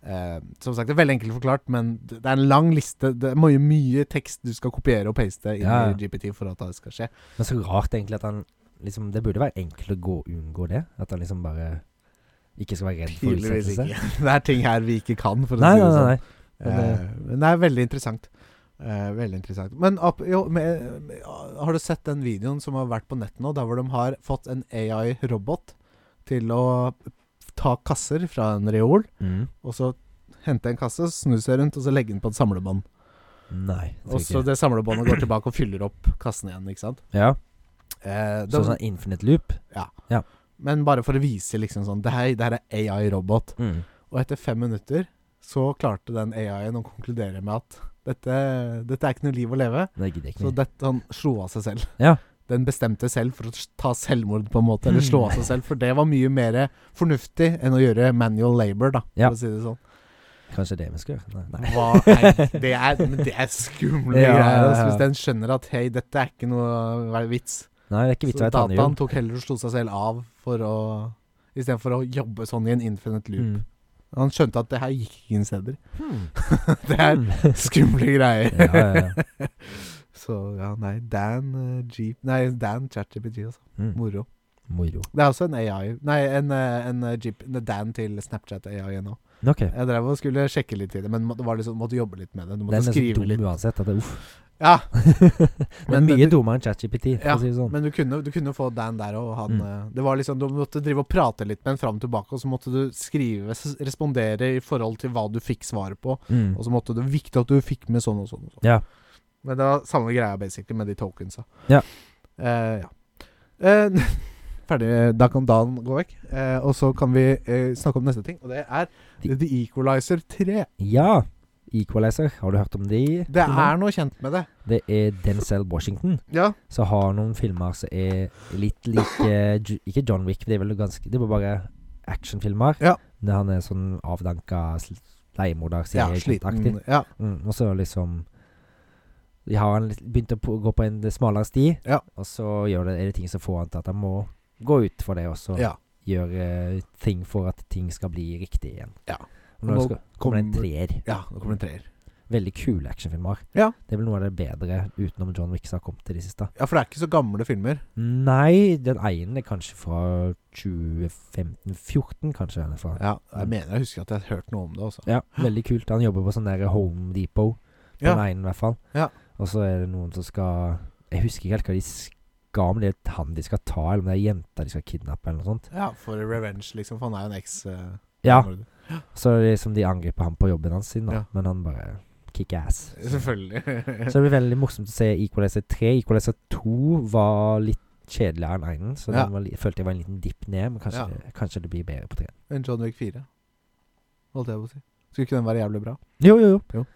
[SPEAKER 1] Eh, som sagt, det er veldig enkelt forklart, men det det er en lang liste. Det er mye, mye tekst du skal kopiere og paste inn
[SPEAKER 2] Ja,
[SPEAKER 1] i
[SPEAKER 2] ja.
[SPEAKER 1] GPT for at det skal skje.
[SPEAKER 2] Men så rart egentlig at han liksom, Det burde være enkelt å gå unngå det. At han liksom bare ikke skal være redd for
[SPEAKER 1] Tydeligvis
[SPEAKER 2] utsettelse.
[SPEAKER 1] ikke. (laughs) Det er ting her vi ikke kan, for å
[SPEAKER 2] Nei,
[SPEAKER 1] si
[SPEAKER 2] nei,
[SPEAKER 1] det
[SPEAKER 2] nei.
[SPEAKER 1] sånn.
[SPEAKER 2] nei. Men
[SPEAKER 1] Eh,
[SPEAKER 2] det-
[SPEAKER 1] Men det er veldig interessant. Eh, veldig interessant. Men ap jo, med, med, har du sett den videoen som har vært på nettet nå, der hvor de har fått en AI-robot til å ta kasser fra en reol,
[SPEAKER 2] Mm.
[SPEAKER 1] og så hente en kasse, snu seg rundt, og så legge den på et samlebånd.
[SPEAKER 2] Nei.
[SPEAKER 1] Og
[SPEAKER 2] Jeg
[SPEAKER 1] så
[SPEAKER 2] tror ikke.
[SPEAKER 1] det samlebåndet går tilbake og fyller opp kassen igjen, ikke sant.
[SPEAKER 2] Ja.
[SPEAKER 1] Eh,
[SPEAKER 2] Så
[SPEAKER 1] de,
[SPEAKER 2] sånn infinite loop.
[SPEAKER 1] men bare for å vise liksom sånn Det her, det her er AI-robot.
[SPEAKER 2] Mm.
[SPEAKER 1] Og etter fem minutter så klarte den AI-en å konkludere med at dette, dette er ikke noe liv å leve.
[SPEAKER 2] Nei, jeg gidder ikke.
[SPEAKER 1] Så dette, han slo av seg selv.
[SPEAKER 2] Mm. Ja.
[SPEAKER 1] Den bestemte selv for å ta selvmord, på en måte. Eller slå
[SPEAKER 2] Mm.
[SPEAKER 1] av seg selv. For det var mye mer fornuftig enn å gjøre manual labor, da,
[SPEAKER 2] Ja.
[SPEAKER 1] for å si det sånn.
[SPEAKER 2] Kanskje det vi skal gjøre? Nei. nei.
[SPEAKER 1] Hva er, det, er, men det er skumle
[SPEAKER 2] Ja,
[SPEAKER 1] greier. Altså,
[SPEAKER 2] ja, ja.
[SPEAKER 1] hvis den skjønner at hei, dette er ikke noe vits.
[SPEAKER 2] nei, det er ikke vits i å
[SPEAKER 1] Så
[SPEAKER 2] være tannhjul.
[SPEAKER 1] dataen tok heller og slo seg selv av for å Istedenfor å jobbe sånn i en infinite loop.
[SPEAKER 2] Mm.
[SPEAKER 1] Han skjønte at det her gikk ingen steder. (laughs)
[SPEAKER 2] Hmm.
[SPEAKER 1] Det er
[SPEAKER 2] Hmm.
[SPEAKER 1] skumle greier.
[SPEAKER 2] ja, ja, ja.
[SPEAKER 1] (laughs) Så ja, nei. Dan eh, Jeep Nei, Dan ChatGPG, altså.
[SPEAKER 2] Hmm.
[SPEAKER 1] Moro.
[SPEAKER 2] Moro.
[SPEAKER 1] Det er også en AI Nei, en, eh, en eh, Jeep en Dan til Snapchat AI nå.
[SPEAKER 2] Ok.
[SPEAKER 1] Jeg drev og skulle sjekke litt i det, men må- det var liksom, måtte jobbe litt med det. Du
[SPEAKER 2] Den er
[SPEAKER 1] måtte
[SPEAKER 2] så
[SPEAKER 1] skrive
[SPEAKER 2] dum (laughs)
[SPEAKER 1] litt.
[SPEAKER 2] uansett at det uff.
[SPEAKER 1] Ja, Men
[SPEAKER 2] Men mye
[SPEAKER 1] det-
[SPEAKER 2] dummere enn ChatGPT, for
[SPEAKER 1] Ja,
[SPEAKER 2] å si det sånn.
[SPEAKER 1] men du kunne, du kunne få Dan der og han
[SPEAKER 2] Mm.
[SPEAKER 1] eh, Det var liksom Du måtte drive og prate litt med en fram og tilbake, og så måtte du skrive s- Respondere i forhold til hva du fikk svaret på,
[SPEAKER 2] Mm.
[SPEAKER 1] og så måtte det Viktig at du fikk med sånn og sånn. Og sånn.
[SPEAKER 2] Ja.
[SPEAKER 1] Men det var samme greia basically med de tokensa.
[SPEAKER 2] Ja.
[SPEAKER 1] Eh, ja. Eh, (laughs) ferdig. Da kan Dan gå vekk. Eh, og så kan vi eh, snakke om neste ting, og det er
[SPEAKER 2] De-
[SPEAKER 1] The Equalizer 3.
[SPEAKER 2] ja. Equalizer, har du hørt om de?
[SPEAKER 1] Det
[SPEAKER 2] filmene?
[SPEAKER 1] er noe kjent med det.
[SPEAKER 2] Det er Denzel Washington
[SPEAKER 1] Ja.
[SPEAKER 2] som har noen filmer som er litt like Ju- Ikke John Wick, det er vel ganske Det er bare actionfilmer.
[SPEAKER 1] Ja.
[SPEAKER 2] Der han er sånn avdanka sl- leiemorder,
[SPEAKER 1] ja
[SPEAKER 2] seriekontaktig.
[SPEAKER 1] sliten. Ja.
[SPEAKER 2] Mm, og så liksom De har han litt- begynt å på- gå på en smalere sti,
[SPEAKER 1] Ja.
[SPEAKER 2] og så gjør det, er det ting som får han til at han må gå ut for det, og så
[SPEAKER 1] ja.
[SPEAKER 2] gjøre eh, ting for at ting skal bli riktig igjen.
[SPEAKER 1] Ja.
[SPEAKER 2] Og nå
[SPEAKER 1] Nå
[SPEAKER 2] skal, kommer det en
[SPEAKER 1] kommer-
[SPEAKER 2] treer.
[SPEAKER 1] Ja, nå kommer det en treer.
[SPEAKER 2] Veldig kule actionfilmer.
[SPEAKER 1] Ja.
[SPEAKER 2] Det er vel noe av det bedre utenom John Wick som har kommet til de siste.
[SPEAKER 1] Ja, for det er ikke så gamle filmer.
[SPEAKER 2] Nei, den ene er kanskje fra 2015-14, kanskje. Den er fra.
[SPEAKER 1] Ja, jeg
[SPEAKER 2] Mm.
[SPEAKER 1] mener jeg husker at jeg har hørt noe om det også.
[SPEAKER 2] Ja, veldig kult. Han jobber på sånn der Home Depot, på
[SPEAKER 1] Ja.
[SPEAKER 2] den ene i hvert fall.
[SPEAKER 1] Ja.
[SPEAKER 2] Og så er det noen som skal Jeg husker ikke helt hva de skal, om det er han de skal ta, eller om det er jenta de skal kidnappe, eller noe sånt.
[SPEAKER 1] Ja, for revenge, liksom. For han er jo en eks... eh,
[SPEAKER 2] Ja,
[SPEAKER 1] morder.
[SPEAKER 2] så er det liksom de angriper ham på jobben hans sin, da.
[SPEAKER 1] Ja.
[SPEAKER 2] Men han bare kick ass.
[SPEAKER 1] Selvfølgelig. (laughs)
[SPEAKER 2] Så det blir veldig morsomt å se Equalizer 3. Equalizer 2 var litt kjedeligere enn einen, så
[SPEAKER 1] Ja.
[SPEAKER 2] den var, li- følte jeg var en liten dipp ned. Men kanskje,
[SPEAKER 1] Ja.
[SPEAKER 2] det, kanskje det blir bedre på 3.
[SPEAKER 1] Men John Wick 4, holdt jeg på å si. Skulle ikke den være jævlig bra?
[SPEAKER 2] Jo, jo, jo.
[SPEAKER 1] Jo.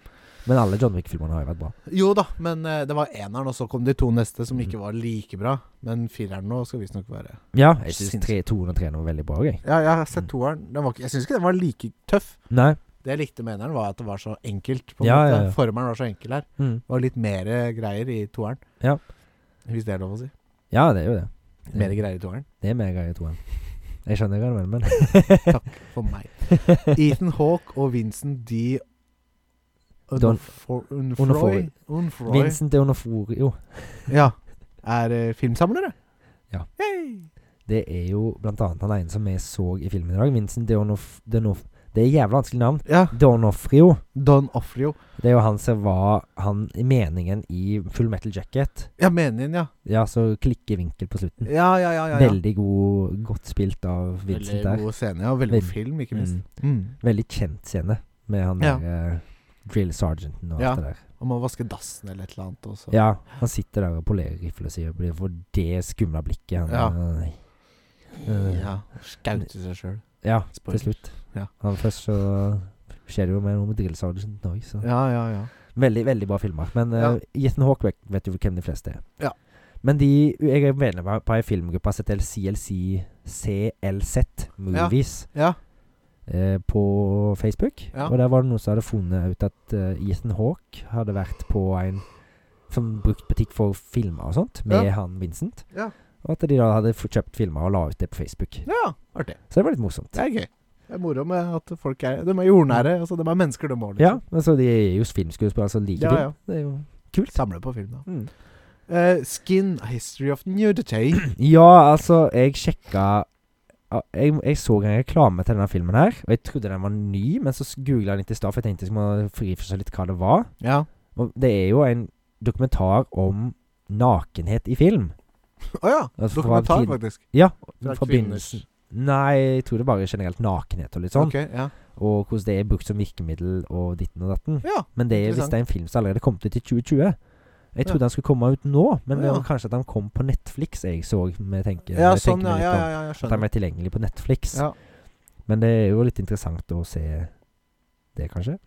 [SPEAKER 2] Men alle John Wick-filmene har jo vært bra.
[SPEAKER 1] Jo da, men eh, det var eneren, og så kom de to neste som
[SPEAKER 2] Mm.
[SPEAKER 1] ikke var like bra. Men fireren nå skal visstnok være
[SPEAKER 2] Ja, jeg syns
[SPEAKER 1] Sinnssykt.
[SPEAKER 2] 203 var veldig bra. Jeg.
[SPEAKER 1] Ja, jeg har
[SPEAKER 2] sett
[SPEAKER 1] sett toeren. jeg syns ikke den var like tøff.
[SPEAKER 2] Nei.
[SPEAKER 1] Det jeg likte med eneren, var at det var så enkelt. På en
[SPEAKER 2] Ja,
[SPEAKER 1] måte.
[SPEAKER 2] ja, ja.
[SPEAKER 1] Formelen var så enkel her.
[SPEAKER 2] Mm.
[SPEAKER 1] Det var litt mer greier i toeren.
[SPEAKER 2] Ja.
[SPEAKER 1] Hvis det er lov å si.
[SPEAKER 2] Ja, det er jo det.
[SPEAKER 1] Mer greier i toeren.
[SPEAKER 2] Det er mer greier i toeren. Jeg skjønner hva du (laughs) mener, men
[SPEAKER 1] For
[SPEAKER 2] (laughs)
[SPEAKER 1] meg. Ethan Hawke og Vincent D.
[SPEAKER 2] Don-
[SPEAKER 1] Unfor- Unfroy
[SPEAKER 2] Unfroy.
[SPEAKER 1] Unfroy.
[SPEAKER 2] Vincent Deonoforio,
[SPEAKER 1] Ja. Er eh, filmsamlere.
[SPEAKER 2] Ja.
[SPEAKER 1] Hey.
[SPEAKER 2] det er jo blant annet han ene som jeg så i filmen i dag. Vincent Deonof... Deonof det er jævla vanskelig navn.
[SPEAKER 1] Ja.
[SPEAKER 2] Deonofrio.
[SPEAKER 1] Don Offrio.
[SPEAKER 2] Det er jo han som var han meningen i Full Metal Jacket.
[SPEAKER 1] Ja, meningen, ja.
[SPEAKER 2] Ja, så klikkevinkel på slutten.
[SPEAKER 1] Ja, ja, ja. ja, ja.
[SPEAKER 2] Veldig god, godt spilt av Vincent
[SPEAKER 1] Veldig
[SPEAKER 2] der.
[SPEAKER 1] god scene, ja. og Veldig god
[SPEAKER 2] Veld-
[SPEAKER 1] film, ikke minst.
[SPEAKER 2] Mm.
[SPEAKER 1] Mm.
[SPEAKER 2] Veldig kjent scene med han
[SPEAKER 1] Ja.
[SPEAKER 2] der eh, drill sergeanten og
[SPEAKER 1] Ja.
[SPEAKER 2] alt det der.
[SPEAKER 1] Og må vaske dassen eller et eller annet. Også.
[SPEAKER 2] Ja, han sitter der og polerer rifla si og blir for det skumle blikket. Han, eh,
[SPEAKER 1] Ja, Skaute seg sjøl.
[SPEAKER 2] ja,
[SPEAKER 1] Spoiler.
[SPEAKER 2] til slutt.
[SPEAKER 1] Ja.
[SPEAKER 2] Han først så skjer det jo med noe med drill sergeanten òg, så
[SPEAKER 1] Ja, ja, ja.
[SPEAKER 2] Veldig, veldig bra filmer. Men
[SPEAKER 1] Ja.
[SPEAKER 2] uh, Ethan Hawke vet, vet jo hvem de fleste er.
[SPEAKER 1] Ja.
[SPEAKER 2] Men de, jeg er medlem av- på ei filmgruppe som heter CLC CLZ Movies
[SPEAKER 1] Ja.
[SPEAKER 2] eh, på Facebook.
[SPEAKER 1] Ja.
[SPEAKER 2] Og der var det noen som hadde funnet ut at eh, Ethan Hawke hadde vært på en som brukt butikk for filmer og sånt, med
[SPEAKER 1] Ja.
[SPEAKER 2] han Vincent.
[SPEAKER 1] Ja.
[SPEAKER 2] Og at de da hadde fått kjøpt filmer og la ut det på Facebook.
[SPEAKER 1] ja. Artig.
[SPEAKER 2] Så det var litt morsomt.
[SPEAKER 1] Det er gøy. Det er moro med at folk er De er jordnære. Altså, de er mennesker, de òg.
[SPEAKER 2] Ja, men så de er jo filmskuespillere som liker
[SPEAKER 1] Ja, ja.
[SPEAKER 2] film. Det er jo
[SPEAKER 1] Samle på film, da.
[SPEAKER 2] mm.
[SPEAKER 1] Eh, skin History of
[SPEAKER 2] (clears throat)
[SPEAKER 1] Nudity.
[SPEAKER 2] Ja, altså, jeg sjekka ja, jeg, jeg så en reklame til denne filmen her, og jeg trodde den var ny, men så s- googla jeg den litt i stad, for jeg tenkte jeg skulle friforstå litt hva det var.
[SPEAKER 1] Ja.
[SPEAKER 2] Og det er jo en dokumentar om nakenhet i film.
[SPEAKER 1] Å ja.
[SPEAKER 2] Altså, fra
[SPEAKER 1] Dokumentar,
[SPEAKER 2] tiden-
[SPEAKER 1] faktisk.
[SPEAKER 2] Ja,
[SPEAKER 1] Fra
[SPEAKER 2] fra
[SPEAKER 1] kvinners
[SPEAKER 2] begynnelsen. Nei, jeg tror det bare er generelt nakenhet og litt sånn.
[SPEAKER 1] Ok, ja.
[SPEAKER 2] Og hvordan det er brukt som virkemiddel og ditten og datten.
[SPEAKER 1] ja.
[SPEAKER 2] Men det er hvis
[SPEAKER 1] Interessant.
[SPEAKER 2] det er en film som allerede kom ut i 2020. Jeg trodde
[SPEAKER 1] Ja.
[SPEAKER 2] den skulle komme ut nå, men det
[SPEAKER 1] Ja.
[SPEAKER 2] var kanskje at den kom på Netflix, jeg så. med tenke-
[SPEAKER 1] Ja,
[SPEAKER 2] jeg
[SPEAKER 1] sånn,
[SPEAKER 2] tenker
[SPEAKER 1] ja,
[SPEAKER 2] meg litt
[SPEAKER 1] ja,
[SPEAKER 2] om.
[SPEAKER 1] ja, ja, jeg
[SPEAKER 2] At den
[SPEAKER 1] skjønner.
[SPEAKER 2] er tilgjengelig på Netflix.
[SPEAKER 1] Ja.
[SPEAKER 2] Men det er jo litt interessant å se Det,
[SPEAKER 1] (laughs)
[SPEAKER 2] kanskje?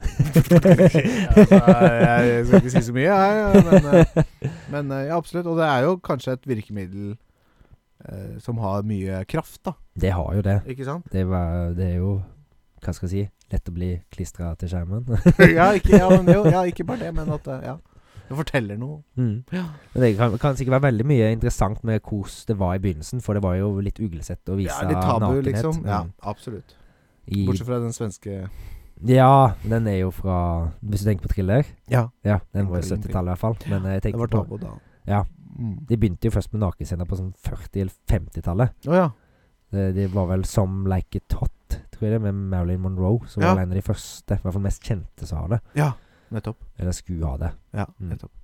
[SPEAKER 1] altså, jeg, jeg skal ikke si så mye, jeg. Men, eh, men eh, ja, absolutt. Og det er jo kanskje et virkemiddel eh, som har mye kraft, da.
[SPEAKER 2] (laughs) Det har jo det.
[SPEAKER 1] Ikke sant?
[SPEAKER 2] Det, var, det er jo Hva skal jeg si? Lett å bli klistra til skjermen.
[SPEAKER 1] (laughs) (laughs) ja, ikke, ja, men jo, ja, ikke bare det, men at eh, ja, det forteller noe.
[SPEAKER 2] (laughs) Mm. Men Det kan, kan sikkert være veldig mye interessant med hvordan det var i begynnelsen, for det var jo litt uglesett å vise
[SPEAKER 1] Ja, litt tabu,
[SPEAKER 2] nakenhet.
[SPEAKER 1] liksom. Ja,
[SPEAKER 2] mm,
[SPEAKER 1] absolutt.
[SPEAKER 2] i-
[SPEAKER 1] Bortsett fra den svenske
[SPEAKER 2] Ja, den er jo fra Hvis du tenker på thriller
[SPEAKER 1] Ja,
[SPEAKER 2] Ja, den var jo
[SPEAKER 1] Ingenting.
[SPEAKER 2] 70-tallet i hvert fall. Men eh, jeg
[SPEAKER 1] det
[SPEAKER 2] tenker
[SPEAKER 1] var
[SPEAKER 2] på
[SPEAKER 1] tabu da.
[SPEAKER 2] Ja.
[SPEAKER 1] Mm.
[SPEAKER 2] De begynte jo først med nakenscener på sånn 40- eller 50-tallet.
[SPEAKER 1] Å ja.
[SPEAKER 2] Det, det var vel Som Like It Hot, tror jeg det, med Marilyn Monroe, som
[SPEAKER 1] Ja.
[SPEAKER 2] var en av de første, i hvert fall mest kjente, som har det.
[SPEAKER 1] Ja, nettopp.
[SPEAKER 2] Eller skulle ha det.
[SPEAKER 1] Ja,
[SPEAKER 2] Mm.
[SPEAKER 1] nettopp.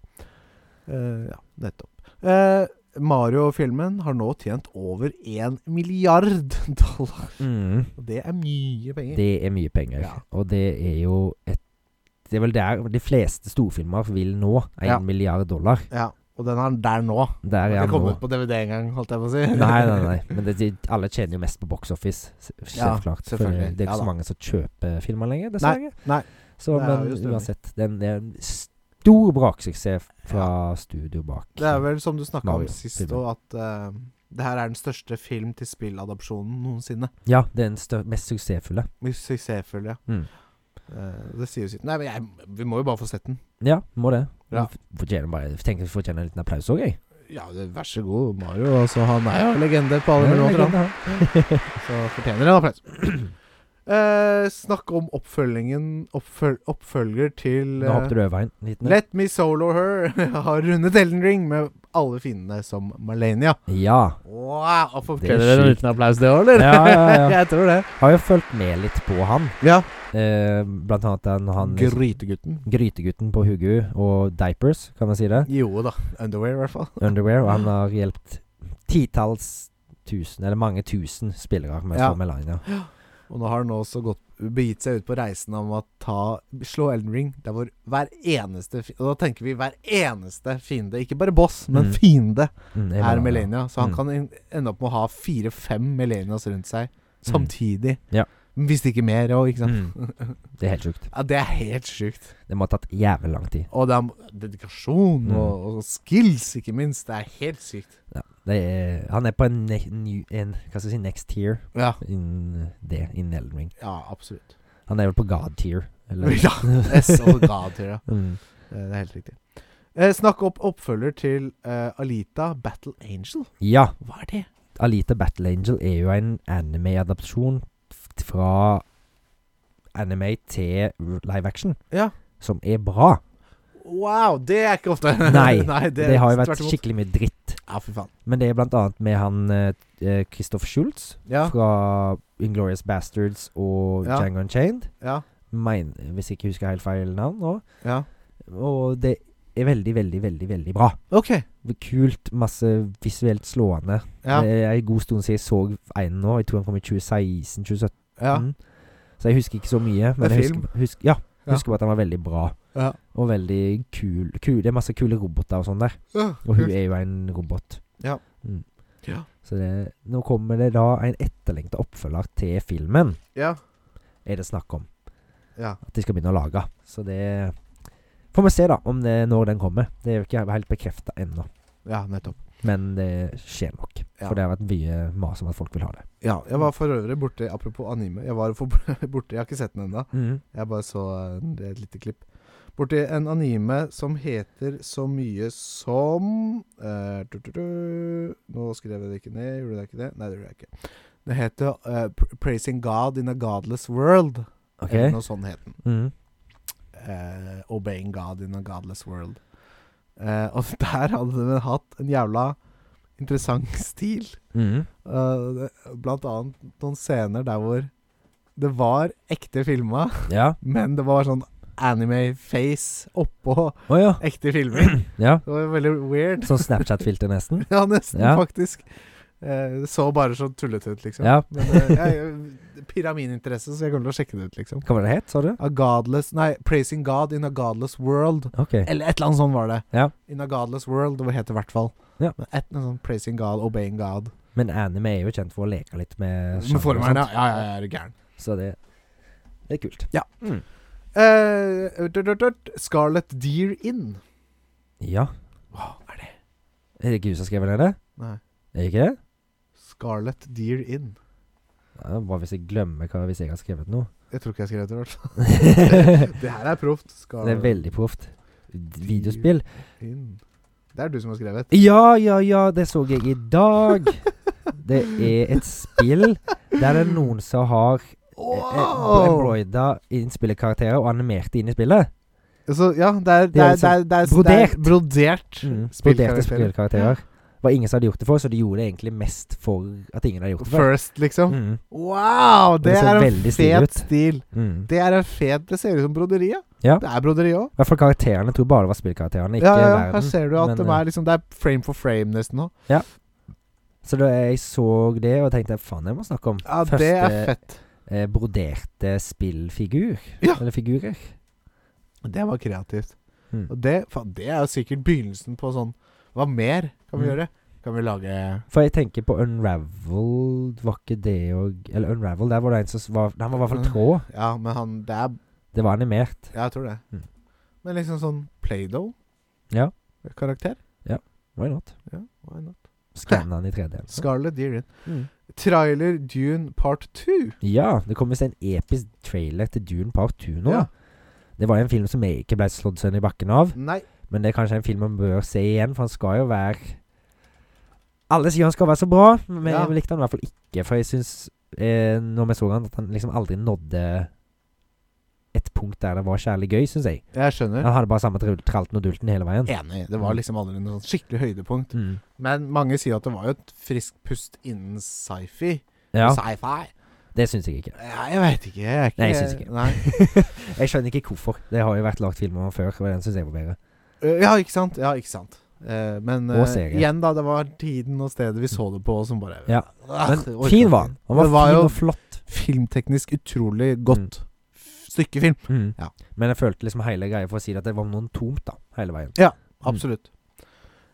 [SPEAKER 1] Eh, ja, nettopp. Eh, Mario-filmen har nå tjent over én milliard (laughs) dollar.
[SPEAKER 2] Mm.
[SPEAKER 1] Og det er mye penger.
[SPEAKER 2] Det er mye penger.
[SPEAKER 1] Ja.
[SPEAKER 2] Og det er jo et Det er vel der de fleste storfilmer vil nå. Én
[SPEAKER 1] Ja.
[SPEAKER 2] milliard dollar.
[SPEAKER 1] Ja, og den er der nå.
[SPEAKER 2] Der
[SPEAKER 1] Den
[SPEAKER 2] er
[SPEAKER 1] har
[SPEAKER 2] han
[SPEAKER 1] ikke
[SPEAKER 2] nå.
[SPEAKER 1] kommet på DVD engang, holdt jeg på å si.
[SPEAKER 2] Nei, nei, nei. Men det, de, alle tjener jo mest på box office. s-
[SPEAKER 1] Ja,
[SPEAKER 2] Selvklart. For
[SPEAKER 1] selvfølgelig.
[SPEAKER 2] det
[SPEAKER 1] Ja
[SPEAKER 2] er jo ikke
[SPEAKER 1] da.
[SPEAKER 2] så mange som kjøper filmer lenger, dessverre.
[SPEAKER 1] nei.
[SPEAKER 2] Så,
[SPEAKER 1] Det er jo
[SPEAKER 2] men
[SPEAKER 1] stemning.
[SPEAKER 2] uansett, den er en stor braksuksess fra studio bak.
[SPEAKER 1] (laughs) Det er vel som du snakka om
[SPEAKER 2] Mario,
[SPEAKER 1] sist,
[SPEAKER 2] filmen.
[SPEAKER 1] og at eh, det her er den største film-til-spill-adopsjonen noensinne.
[SPEAKER 2] Ja, det er den stør- mest suksessfulle.
[SPEAKER 1] Mye Suksessfull, ja.
[SPEAKER 2] Mm.
[SPEAKER 1] Eh, det sier jo sitt. Nei, men jeg, vi må jo bare få sett den.
[SPEAKER 2] Ja, må det.
[SPEAKER 1] Ja.
[SPEAKER 2] Ja. Fortjener bare, tenker vi fortjener en liten applaus òg, jeg.
[SPEAKER 1] Ja, det, vær så god, Mario. Altså, han er jo legende på alle
[SPEAKER 2] Det er
[SPEAKER 1] mulige måter. han.
[SPEAKER 2] legende, han.
[SPEAKER 1] Så fortjener en applaus. (clears throat) Eh, snakk om oppfølgingen oppføl Oppfølger til
[SPEAKER 2] Nå hoppet du over en
[SPEAKER 1] eh,
[SPEAKER 2] liten
[SPEAKER 1] Let Me Solo Her (laughs) har rundet Elden Ring med alle fiendene som Malenia.
[SPEAKER 2] Ja.
[SPEAKER 1] Wow,
[SPEAKER 2] fortjener Det er en sjukt.
[SPEAKER 1] liten applaus, det òg, eller?
[SPEAKER 2] Ja, ja, ja.
[SPEAKER 1] (laughs) Jeg tror det.
[SPEAKER 2] Har jo fulgt med litt på han.
[SPEAKER 1] Ja.
[SPEAKER 2] Eh, blant annet den han
[SPEAKER 1] Grytegutten.
[SPEAKER 2] Grytegutten på Hugu og Diapers, kan man si det.
[SPEAKER 1] Jo da. Underwear, i hvert fall.
[SPEAKER 2] Underwear. Og han har hjulpet titalls tusen, eller mange tusen spillere med
[SPEAKER 1] Ja.
[SPEAKER 2] å få Melania.
[SPEAKER 1] Og nå har han også gått, begitt seg ut på reisen om å ta, slå Elden Ring. Det er hvor hver eneste fi- Og da tenker vi hver eneste fiende. Ikke bare boss, men
[SPEAKER 2] Mm.
[SPEAKER 1] fiende.
[SPEAKER 2] Mm, det
[SPEAKER 1] er
[SPEAKER 2] Melania.
[SPEAKER 1] Melania. Så han
[SPEAKER 2] Mm.
[SPEAKER 1] kan en- ende opp med å ha fire-fem Melanias rundt seg samtidig.
[SPEAKER 2] Mm. Ja.
[SPEAKER 1] Men Hvis ikke mer òg, ikke sant.
[SPEAKER 2] Mm. Det er helt sjukt.
[SPEAKER 1] Ja, det er helt sjukt.
[SPEAKER 2] Det må ha tatt jævlig lang tid.
[SPEAKER 1] Og det er dedikasjon
[SPEAKER 2] Mm.
[SPEAKER 1] og, og skills, ikke minst. Det er helt sykt.
[SPEAKER 2] Det er, han er på en, ne ny, en Hva skal jeg si next tier
[SPEAKER 1] Ja,
[SPEAKER 2] innen det, innen Elden Ring.
[SPEAKER 1] ja
[SPEAKER 2] (laughs)
[SPEAKER 1] absolutt.
[SPEAKER 2] Han er vel på god tier. Eller
[SPEAKER 1] (laughs) Ja, S og God til det.
[SPEAKER 2] mm.
[SPEAKER 1] Eh, Det er helt riktig. Eh, snakk opp oppfølger til eh, Alita Battle Angel.
[SPEAKER 2] Ja.
[SPEAKER 1] Hva er det?
[SPEAKER 2] Alita Battle Angel er jo en anime-adapsjon f- fra anime til r- live action,
[SPEAKER 1] Ja.
[SPEAKER 2] som er bra.
[SPEAKER 1] Wow, det er ikke ofte. (laughs)
[SPEAKER 2] Nei,
[SPEAKER 1] det
[SPEAKER 2] Det,
[SPEAKER 1] er
[SPEAKER 2] har jo vært
[SPEAKER 1] tvert imot.
[SPEAKER 2] skikkelig mye dritt.
[SPEAKER 1] Ja, fy faen.
[SPEAKER 2] Men det er blant annet med han eh, eh, Christoph Schultz
[SPEAKER 1] Ja,
[SPEAKER 2] fra Inglorious Bastards og
[SPEAKER 1] Ja.
[SPEAKER 2] Django Unchained.
[SPEAKER 1] ja,
[SPEAKER 2] Mein, hvis jeg ikke husker helt feil navn nå.
[SPEAKER 1] ja.
[SPEAKER 2] Og det er veldig, veldig, veldig, veldig bra.
[SPEAKER 1] OK.
[SPEAKER 2] Kult, masse visuelt slående.
[SPEAKER 1] Ja,
[SPEAKER 2] Det er en god stund siden jeg så en nå. Jeg tror han kom i 2016-2017.
[SPEAKER 1] ja.
[SPEAKER 2] Mm. Så jeg husker ikke så mye. Men
[SPEAKER 1] Det er
[SPEAKER 2] jeg husker, husk- ja,
[SPEAKER 1] Ja.
[SPEAKER 2] jeg husker bare at han var veldig bra.
[SPEAKER 1] Ja.
[SPEAKER 2] Og veldig kul, kul. Det er masse kule roboter og sånn der. Og hun er jo en robot.
[SPEAKER 1] Ja.
[SPEAKER 2] Mm.
[SPEAKER 1] Ja.
[SPEAKER 2] Så det, nå kommer det da en etterlengta oppfølger til filmen,
[SPEAKER 1] Ja.
[SPEAKER 2] er det snakk om.
[SPEAKER 1] Ja.
[SPEAKER 2] At de skal begynne å lage. Så det får vi se, da, om det når den kommer. Det er jo ikke helt bekrefta ennå.
[SPEAKER 1] Ja, nettopp.
[SPEAKER 2] Men det skjer nok.
[SPEAKER 1] Ja.
[SPEAKER 2] For det har vært mye mas om at folk vil ha det.
[SPEAKER 1] Ja, jeg var for øvrig borte Apropos anime. Jeg var for (laughs) borte, jeg har ikke sett den ennå. Jeg bare så eh, et lite klipp. Borti en anime som heter så mye som eh, du, du, du. Nå skrev jeg det ikke ned. Gjorde jeg ikke det? Nei, det gjorde jeg ikke. Det heter eh, Pr- 'Praising God in a Godless World'.
[SPEAKER 2] OK?
[SPEAKER 1] Eller noe sånt het den.
[SPEAKER 2] Mm.
[SPEAKER 1] eh, 'Obeying God in a Godless World'. Eh, og (laughs) der hadde den hatt en jævla interessant (laughs) stil.
[SPEAKER 2] Mm.
[SPEAKER 1] Eh, det- blant annet noen scener der hvor det var ekte filma,
[SPEAKER 2] Ja.
[SPEAKER 1] (laughs) men det var sånn anime-face oppå
[SPEAKER 2] Å ja.
[SPEAKER 1] ekte filmer.
[SPEAKER 2] ja.
[SPEAKER 1] Det var veldig weird. (laughs)
[SPEAKER 2] Sånn Snapchat-filter, nesten.
[SPEAKER 1] Ja, nesten,
[SPEAKER 2] Ja.
[SPEAKER 1] faktisk. Eh, det så bare så tullete ut, liksom.
[SPEAKER 2] Ja.
[SPEAKER 1] Men eh, jeg, jeg- piraminteresse, så jeg kommer til å sjekke det ut, liksom.
[SPEAKER 2] Hva var det het, sa du?
[SPEAKER 1] A godless Nei, 'Praising God in a Godless World'.
[SPEAKER 2] Ok.
[SPEAKER 1] Eller et eller annet sånt var det.
[SPEAKER 2] Ja.
[SPEAKER 1] In a Godless World, det het det i hvert fall.
[SPEAKER 2] Ja.
[SPEAKER 1] Men Et eller annet sånt 'Praising God', 'Obeying God'.
[SPEAKER 2] Men anime er jo kjent for å leke litt med
[SPEAKER 1] Med
[SPEAKER 2] sjanger og
[SPEAKER 1] formelen,
[SPEAKER 2] sånt,
[SPEAKER 1] ja. Ja, ja, ja, er du gæren.
[SPEAKER 2] Så det, det er kult.
[SPEAKER 1] Ja.
[SPEAKER 2] Mm.
[SPEAKER 1] Eh, dørt, dørt, dørt. Scarlet Deer Inn.
[SPEAKER 2] Ja.
[SPEAKER 1] Hva er det?
[SPEAKER 2] Er det ikke du som har skrevet den, eller?
[SPEAKER 1] Nei.
[SPEAKER 2] Er det ikke det?
[SPEAKER 1] Scarlet Deer Inn.
[SPEAKER 2] Ja, bare hvis jeg glemmer hva hvis jeg har skrevet
[SPEAKER 1] (laughs)
[SPEAKER 2] noe.
[SPEAKER 1] Jeg tror ikke jeg skrev det, i hvert fall. (laughs)
[SPEAKER 2] det
[SPEAKER 1] Det her er proft.
[SPEAKER 2] er
[SPEAKER 1] Scarlet
[SPEAKER 2] veldig proft. Videospill.
[SPEAKER 1] Inn. Det er du som har skrevet.
[SPEAKER 2] Ja, ja, ja, det så jeg i
[SPEAKER 1] (laughs)
[SPEAKER 2] dag. Det er et spill der det er noen eh, som har
[SPEAKER 1] Wow!
[SPEAKER 2] embroida innspillerkarakterer og animert det inn i spillet.
[SPEAKER 1] Så, ja, det er, det er, det er, det er
[SPEAKER 2] Brodert.
[SPEAKER 1] Det er brodert
[SPEAKER 2] Mm. Broderte
[SPEAKER 1] spillkarakterer.
[SPEAKER 2] spillkarakterer. Var ingen som hadde gjort det for, så de gjorde det egentlig mest for at ingen hadde gjort det for.
[SPEAKER 1] First, liksom.
[SPEAKER 2] Mm.
[SPEAKER 1] Wow!
[SPEAKER 2] Det
[SPEAKER 1] Det
[SPEAKER 2] ser
[SPEAKER 1] er en
[SPEAKER 2] veldig stilig ut.
[SPEAKER 1] fet stil.
[SPEAKER 2] Mm.
[SPEAKER 1] Det er en fet Det ser ut som broderi, ja.
[SPEAKER 2] Ja.
[SPEAKER 1] Det er broderi òg.
[SPEAKER 2] I hvert fall karakterene. Jeg tror bare det var spillkarakterene, ikke
[SPEAKER 1] Ja, ja,
[SPEAKER 2] verden.
[SPEAKER 1] her ser du at
[SPEAKER 2] men,
[SPEAKER 1] de
[SPEAKER 2] eh,
[SPEAKER 1] er liksom, det er frame for frame nesten nå.
[SPEAKER 2] Så da jeg så det og tenkte faen, jeg må snakke om
[SPEAKER 1] Ja,
[SPEAKER 2] Første-
[SPEAKER 1] det er fett.
[SPEAKER 2] eh, broderte spillfigur.
[SPEAKER 1] Ja.
[SPEAKER 2] Eller figurer.
[SPEAKER 1] Det var kreativt.
[SPEAKER 2] Mm.
[SPEAKER 1] Og det, faen, det er jo sikkert begynnelsen på sånn Hva mer kan vi
[SPEAKER 2] Mm.
[SPEAKER 1] gjøre? Kan vi lage
[SPEAKER 2] For jeg tenker på Unravel Var ikke det òg Eller Unravel, der var det en som var Han var i hvert
[SPEAKER 1] Mm.
[SPEAKER 2] fall tråd.
[SPEAKER 1] Ja, men han Det er
[SPEAKER 2] Det var animert.
[SPEAKER 1] Ja, jeg tror det.
[SPEAKER 2] Mm.
[SPEAKER 1] Men liksom sånn Play-Doh-karakter?
[SPEAKER 2] Ja. Why not?
[SPEAKER 1] Ja, why not?
[SPEAKER 2] Skanna den i 3D. altså.
[SPEAKER 1] Scarlet Deer Inn.
[SPEAKER 2] Mm.
[SPEAKER 1] Trailer Dune part 2.
[SPEAKER 2] Ja, det kommer en episk trailer til Dune Part 2 nå.
[SPEAKER 1] Ja.
[SPEAKER 2] Det var jo en film som jeg ikke ble slått sønn i bakken av.
[SPEAKER 1] Nei.
[SPEAKER 2] Men det er kanskje en film man bør se igjen, for han skal jo være Alle sier han skal være så bra, men
[SPEAKER 1] Ja.
[SPEAKER 2] jeg likte han i hvert fall ikke. For jeg syns, eh, når vi så han, at han liksom aldri nådde et punkt der det var kjærlig gøy, syns jeg.
[SPEAKER 1] Jeg skjønner.
[SPEAKER 2] Han hadde bare samme trul- tralten og dulten hele veien.
[SPEAKER 1] Enig. Det var liksom aldri noe sånn skikkelig høydepunkt.
[SPEAKER 2] Mm.
[SPEAKER 1] Men mange sier at det var jo et friskt pust innen sci-fi.
[SPEAKER 2] Ja,
[SPEAKER 1] Sci-fi?
[SPEAKER 2] det syns jeg ikke.
[SPEAKER 1] Ja, jeg veit ikke. Jeg er ikke
[SPEAKER 2] Nei, jeg synes ikke.
[SPEAKER 1] Nei.
[SPEAKER 2] Jeg skjønner ikke hvorfor. Det har jo vært lagt filmer om før, og den syns jeg var bedre.
[SPEAKER 1] Eh, Ja, ikke sant? Ja, ikke sant. Eh, men
[SPEAKER 2] Og
[SPEAKER 1] eh,
[SPEAKER 2] serie.
[SPEAKER 1] igjen, da. Det var tiden og stedet vi så det på, som bare
[SPEAKER 2] Ja.
[SPEAKER 1] Ah,
[SPEAKER 2] Men
[SPEAKER 1] jeg orker
[SPEAKER 2] fin
[SPEAKER 1] ikke.
[SPEAKER 2] var han. Han var,
[SPEAKER 1] Det var
[SPEAKER 2] fin
[SPEAKER 1] jo-
[SPEAKER 2] og flott.
[SPEAKER 1] Filmteknisk utrolig godt f- stykke film.
[SPEAKER 2] Mm.
[SPEAKER 1] Ja.
[SPEAKER 2] Men jeg følte liksom hele greia for å si det, at det var noe tomt, da, hele veien.
[SPEAKER 1] Absolutt.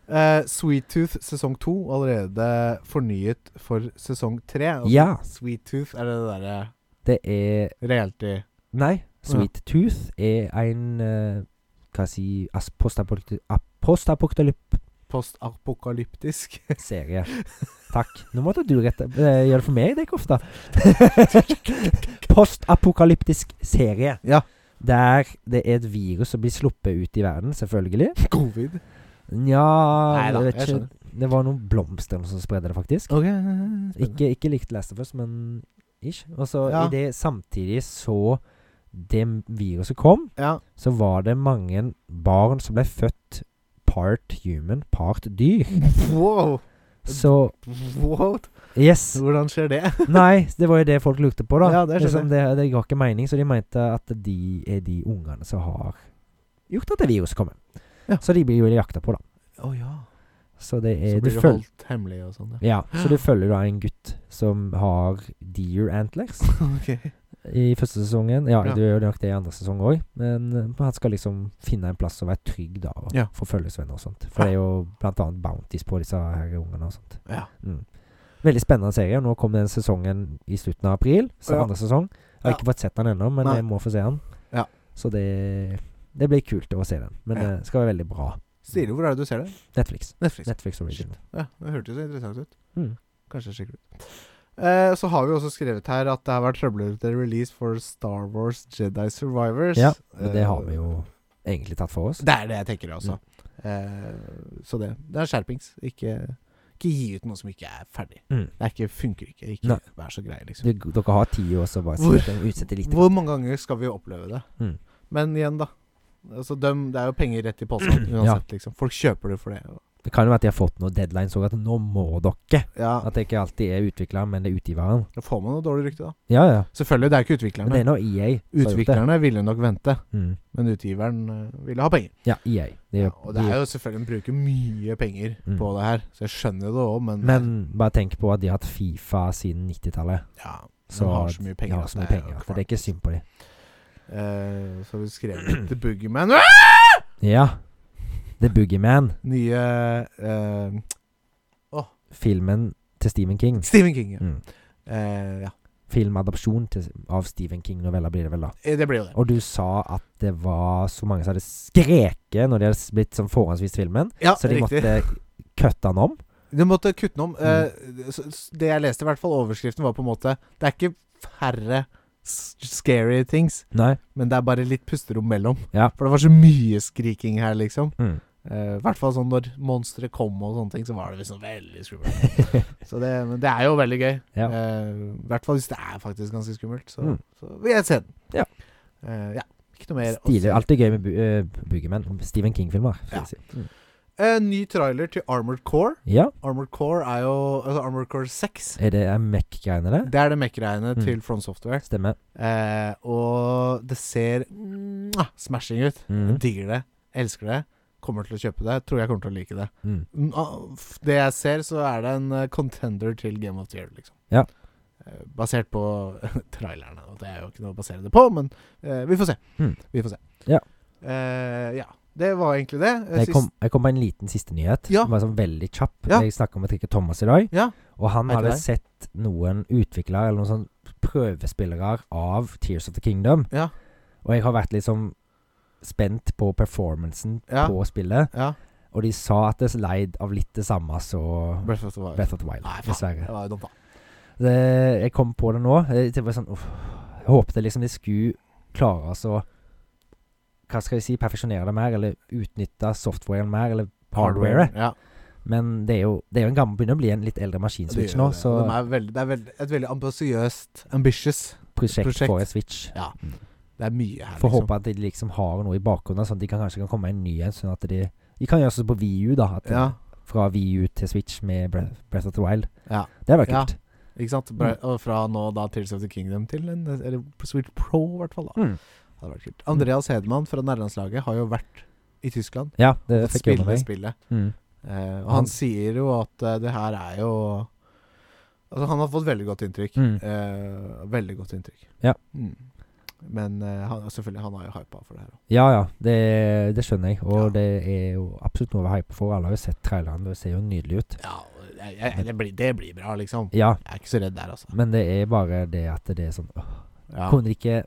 [SPEAKER 1] Eh, Sweet Tooth sesong to allerede fornyet for sesong tre. Altså,
[SPEAKER 2] Ja.
[SPEAKER 1] Sweet Tooth er det derre
[SPEAKER 2] Det er
[SPEAKER 1] reality
[SPEAKER 2] Nei, Sweet Tooth er en eh, Hva si as- postapokalyp- ap-
[SPEAKER 1] (laughs)
[SPEAKER 2] Postapokalyp-serie.
[SPEAKER 1] postapokalyptisk. (laughs)
[SPEAKER 2] Takk. Nå måtte du rette eh, gjøre det for meg, det er ikke
[SPEAKER 1] (laughs)
[SPEAKER 2] ofte. Postapokalyptisk serie.
[SPEAKER 1] Ja.
[SPEAKER 2] Der det er et virus som blir sluppet ut i verden, selvfølgelig.
[SPEAKER 1] Covid.
[SPEAKER 2] Nja
[SPEAKER 1] Neida,
[SPEAKER 2] Ah, jeg vet
[SPEAKER 1] jeg
[SPEAKER 2] ikke. Det var noen blomster eller noe som spredde det, faktisk.
[SPEAKER 1] Ok
[SPEAKER 2] Ikke, ikke likt Last of Us, men ish. Og så
[SPEAKER 1] Ja.
[SPEAKER 2] i det samtidig så det viruset kom,
[SPEAKER 1] Ja.
[SPEAKER 2] så var det mange barn som ble født part human, part
[SPEAKER 1] (laughs)
[SPEAKER 2] dyr.
[SPEAKER 1] Wow.
[SPEAKER 2] Så
[SPEAKER 1] What?
[SPEAKER 2] Yes!
[SPEAKER 1] Hvordan skjer det?
[SPEAKER 2] Nei, det var jo det folk lurte på, da.
[SPEAKER 1] Ja, det skjønner
[SPEAKER 2] liksom, det, det ga ikke mening, så de mente at de er de ungene som har gjort at det viruset kommer.
[SPEAKER 1] Ja.
[SPEAKER 2] Så de blir jo jakta på, da.
[SPEAKER 1] Å ja.
[SPEAKER 2] Så det er
[SPEAKER 1] Så
[SPEAKER 2] du
[SPEAKER 1] blir det
[SPEAKER 2] føl-
[SPEAKER 1] holdt hemmelig og sånn. Ja.
[SPEAKER 2] Ja, så du følger da en gutt som har deer antlers
[SPEAKER 1] (laughs) Ok.
[SPEAKER 2] i første sesongen. Ja,
[SPEAKER 1] Ja.
[SPEAKER 2] du gjør nok det i andre sesong òg, men eh, han skal liksom finne en plass og være trygg, da, og
[SPEAKER 1] Ja.
[SPEAKER 2] få følgesvenner og sånt.
[SPEAKER 1] Ja.
[SPEAKER 2] For det er jo blant annet bounties på disse her ungene og sånt.
[SPEAKER 1] Ja.
[SPEAKER 2] Mm. Veldig spennende serie. Nå kom den sesongen i slutten av april, så
[SPEAKER 1] Ja.
[SPEAKER 2] andre sesong. Jeg har
[SPEAKER 1] Ja.
[SPEAKER 2] ikke fått sett den ennå, men
[SPEAKER 1] Nei.
[SPEAKER 2] jeg må få se den.
[SPEAKER 1] Ja.
[SPEAKER 2] Så det det blir kult å se den, men
[SPEAKER 1] Ja.
[SPEAKER 2] det skal være veldig bra.
[SPEAKER 1] Sier du hvor er det du ser det?
[SPEAKER 2] Netflix.
[SPEAKER 1] Netflix.
[SPEAKER 2] Netflix original.
[SPEAKER 1] Ja, det hørtes jo interessant ut.
[SPEAKER 2] Mm.
[SPEAKER 1] Kanskje jeg sjekker det ut. Eh, så har vi også skrevet her at det har vært trøbler til release for Star Wars Jedi Survivors.
[SPEAKER 2] Ja, og det
[SPEAKER 1] Eh,
[SPEAKER 2] har vi jo egentlig tatt for oss.
[SPEAKER 1] Det er det jeg tenker, altså. Eh, så det det er skjerpings. Ikke, ikke gi ut noe som ikke er ferdig.
[SPEAKER 2] Mm.
[SPEAKER 1] Det er ikke, funker ikke. Ikke
[SPEAKER 2] Nei.
[SPEAKER 1] vær så grei, liksom.
[SPEAKER 2] Du, dere har ti år, så bare si
[SPEAKER 1] Hvor-
[SPEAKER 2] at de utsetter litt.
[SPEAKER 1] Hvor mange ganger skal vi oppleve det?
[SPEAKER 2] Mm.
[SPEAKER 1] Men igjen, da. Altså, dem, det er jo penger rett i (clears throat) posen uansett, liksom. Folk kjøper det for det.
[SPEAKER 2] Det kan jo være at de har fått noen deadlines òg, at nå må dere.
[SPEAKER 1] Ja,
[SPEAKER 2] At det ikke alltid er utvikleren, men det er utgiveren.
[SPEAKER 1] Da får man noe dårlig rykte, da.
[SPEAKER 2] Ja, ja.
[SPEAKER 1] Selvfølgelig, det er ikke
[SPEAKER 2] Men det
[SPEAKER 1] utviklerne.
[SPEAKER 2] er nå EA. som har gjort det.
[SPEAKER 1] Utviklerne ville nok vente,
[SPEAKER 2] Mm.
[SPEAKER 1] men utgiveren eh, ville ha penger.
[SPEAKER 2] Ja, EA. Det
[SPEAKER 1] Ja,
[SPEAKER 2] er,
[SPEAKER 1] og det er jo selvfølgelig De bruker mye penger
[SPEAKER 2] Mm.
[SPEAKER 1] på det her, så jeg skjønner jo det òg, men,
[SPEAKER 2] Men bare tenk på at de har hatt Fifa siden 90-tallet.
[SPEAKER 1] ja,
[SPEAKER 2] Så
[SPEAKER 1] de har så mye
[SPEAKER 2] de
[SPEAKER 1] penger.
[SPEAKER 2] har
[SPEAKER 1] at
[SPEAKER 2] så mye
[SPEAKER 1] det er jo
[SPEAKER 2] penger at det er ikke synd på dem.
[SPEAKER 1] kvalmt. Eh, så har vi skrevet The Boogeyman.
[SPEAKER 2] Ja. The Boogeyman.
[SPEAKER 1] Nye eh,
[SPEAKER 2] Filmen til Stephen King.
[SPEAKER 1] Stephen King, ja.
[SPEAKER 2] Mm.
[SPEAKER 1] Eh, ja.
[SPEAKER 2] filmadopsjon til, av Stephen King-noveller, blir det vel da.
[SPEAKER 1] Eh, Det blir jo det.
[SPEAKER 2] Og du sa at det var så mange som hadde skreket når de hadde blitt sånn forhåndsvist filmen,
[SPEAKER 1] Ja,
[SPEAKER 2] så de
[SPEAKER 1] riktig.
[SPEAKER 2] måtte cutte den om.
[SPEAKER 1] Du måtte kutte den om. Eh,
[SPEAKER 2] Mm.
[SPEAKER 1] så- s- Det jeg leste, i hvert fall overskriften, var på en måte Det er ikke færre s- scary things,
[SPEAKER 2] Nei.
[SPEAKER 1] men det er bare litt pusterom mellom.
[SPEAKER 2] Ja.
[SPEAKER 1] For det var så mye skriking her, liksom.
[SPEAKER 2] Mm.
[SPEAKER 1] Eh, I hvert fall sånn når monstre kom og sånne ting, så var det liksom veldig
[SPEAKER 2] (laughs)
[SPEAKER 1] skummelt. så det, men det er jo veldig gøy.
[SPEAKER 2] Ja.
[SPEAKER 1] Eh, I hvert fall hvis det er faktisk ganske skummelt, så,
[SPEAKER 2] Mm.
[SPEAKER 1] så vil jeg se den.
[SPEAKER 2] Ja.
[SPEAKER 1] Eh, ja. Ikke noe (laughs) mer. å si.
[SPEAKER 2] Stilig. Alltid gøy med bu eh, Boogeyman. Stephen King-filmer. skal
[SPEAKER 1] Ja.
[SPEAKER 2] jeg si. Mm.
[SPEAKER 1] Eh, ny trailer til Armored Core.
[SPEAKER 2] ja.
[SPEAKER 1] Armored Core er jo altså Armored Core 6.
[SPEAKER 2] Er det Mac-greiene, det?
[SPEAKER 1] Det er det mech-greiene
[SPEAKER 2] Mm.
[SPEAKER 1] til Front Software.
[SPEAKER 2] Stemmer.
[SPEAKER 1] Eh, og det ser mwah, smashing ut.
[SPEAKER 2] Mm.
[SPEAKER 1] Digger det. Elsker det. Kommer til å kjøpe det. Tror jeg kommer til å like det.
[SPEAKER 2] Mm.
[SPEAKER 1] Mm, ah, f- Det jeg ser, så er det en eh, contender til Game of the Year, liksom.
[SPEAKER 2] Ja.
[SPEAKER 1] Eh, Basert på (laughs) trailerne. Og det er jo ikke noe å basere det på, men eh, vi får se.
[SPEAKER 2] Mm.
[SPEAKER 1] Vi får se.
[SPEAKER 2] Ja.
[SPEAKER 1] Eh, ja. Det var egentlig det. Eh,
[SPEAKER 2] Jeg
[SPEAKER 1] sist-
[SPEAKER 2] kom, jeg kom på en liten siste nyhet.
[SPEAKER 1] Ja.
[SPEAKER 2] Bare sånn veldig kjapp.
[SPEAKER 1] Ja.
[SPEAKER 2] Jeg snakka med Trikke Thomas i dag.
[SPEAKER 1] Ja.
[SPEAKER 2] Og han
[SPEAKER 1] Hei til
[SPEAKER 2] hadde
[SPEAKER 1] deg.
[SPEAKER 2] sett noen utviklere, eller noen sånn prøvespillere av Tears of the Kingdom.
[SPEAKER 1] Ja.
[SPEAKER 2] Og jeg har vært litt sånn spent på performancen
[SPEAKER 1] Ja.
[SPEAKER 2] på spillet.
[SPEAKER 1] Ja.
[SPEAKER 2] Og de sa at det er leid av litt det samme som
[SPEAKER 1] Breath of the Wild.
[SPEAKER 2] Breath of the Wild,
[SPEAKER 1] Nei, faen.
[SPEAKER 2] dessverre.
[SPEAKER 1] Det var jo dumt, da.
[SPEAKER 2] Det, jeg kom på det nå. Jeg, det var sånn, uff, jeg håpte liksom de skulle klare oss å Hva skal jeg si? Perfeksjonere det mer, eller utnytte softwaren mer, eller hardwaret.
[SPEAKER 1] Ja.
[SPEAKER 2] Men det er jo, det er jo en gammel, begynner å bli en litt eldre maskinswitch
[SPEAKER 1] Det gjør
[SPEAKER 2] nå,
[SPEAKER 1] det.
[SPEAKER 2] så
[SPEAKER 1] Og de er veldig, Det er veldig, et veldig ambisiøst Ambitious.
[SPEAKER 2] prosjekt,
[SPEAKER 1] prosjekt.
[SPEAKER 2] for en switch.
[SPEAKER 1] Ja. Det er mye her,
[SPEAKER 2] Får håpe at de liksom har noe i bakgrunnen, sånn at de kan kanskje kan komme en ny en. Sånn at de De kan gjøre sånn som på VU, da. At
[SPEAKER 1] Ja,
[SPEAKER 2] Fra VU til Switch med Breath, Breath of the Wild.
[SPEAKER 1] Ja.
[SPEAKER 2] Det hadde vært
[SPEAKER 1] Ja.
[SPEAKER 2] kult.
[SPEAKER 1] ikke sant? Bra, og fra nå da Tears of the Kingdom til en eller Switch Pro, i hvert fall. da
[SPEAKER 2] Mm.
[SPEAKER 1] Det hadde vært kult. Andreas Hedman fra nærlandslaget har jo vært i Tyskland
[SPEAKER 2] Ja, det
[SPEAKER 1] og
[SPEAKER 2] fikk jeg med
[SPEAKER 1] spiller spillet.
[SPEAKER 2] meg. Mm.
[SPEAKER 1] Eh, og
[SPEAKER 2] Han-
[SPEAKER 1] han sier jo at eh, det her er jo Altså, han har fått veldig godt inntrykk.
[SPEAKER 2] Mm.
[SPEAKER 1] Eh, veldig godt inntrykk.
[SPEAKER 2] Ja.
[SPEAKER 1] Mm. Men eh, han, selvfølgelig, han har jo hypa for det her òg.
[SPEAKER 2] Ja ja, det, det skjønner jeg. Og
[SPEAKER 1] Ja.
[SPEAKER 2] det er jo absolutt noe å være hype for. Alle har jo sett traileren, det ser jo nydelig ut.
[SPEAKER 1] Ja, jeg- jeg- det, blir- det blir bra, liksom.
[SPEAKER 2] Ja,
[SPEAKER 1] Jeg er ikke så redd der, altså.
[SPEAKER 2] men det er bare det at det er sånn åh,
[SPEAKER 1] Ja.
[SPEAKER 2] Kunne de ikke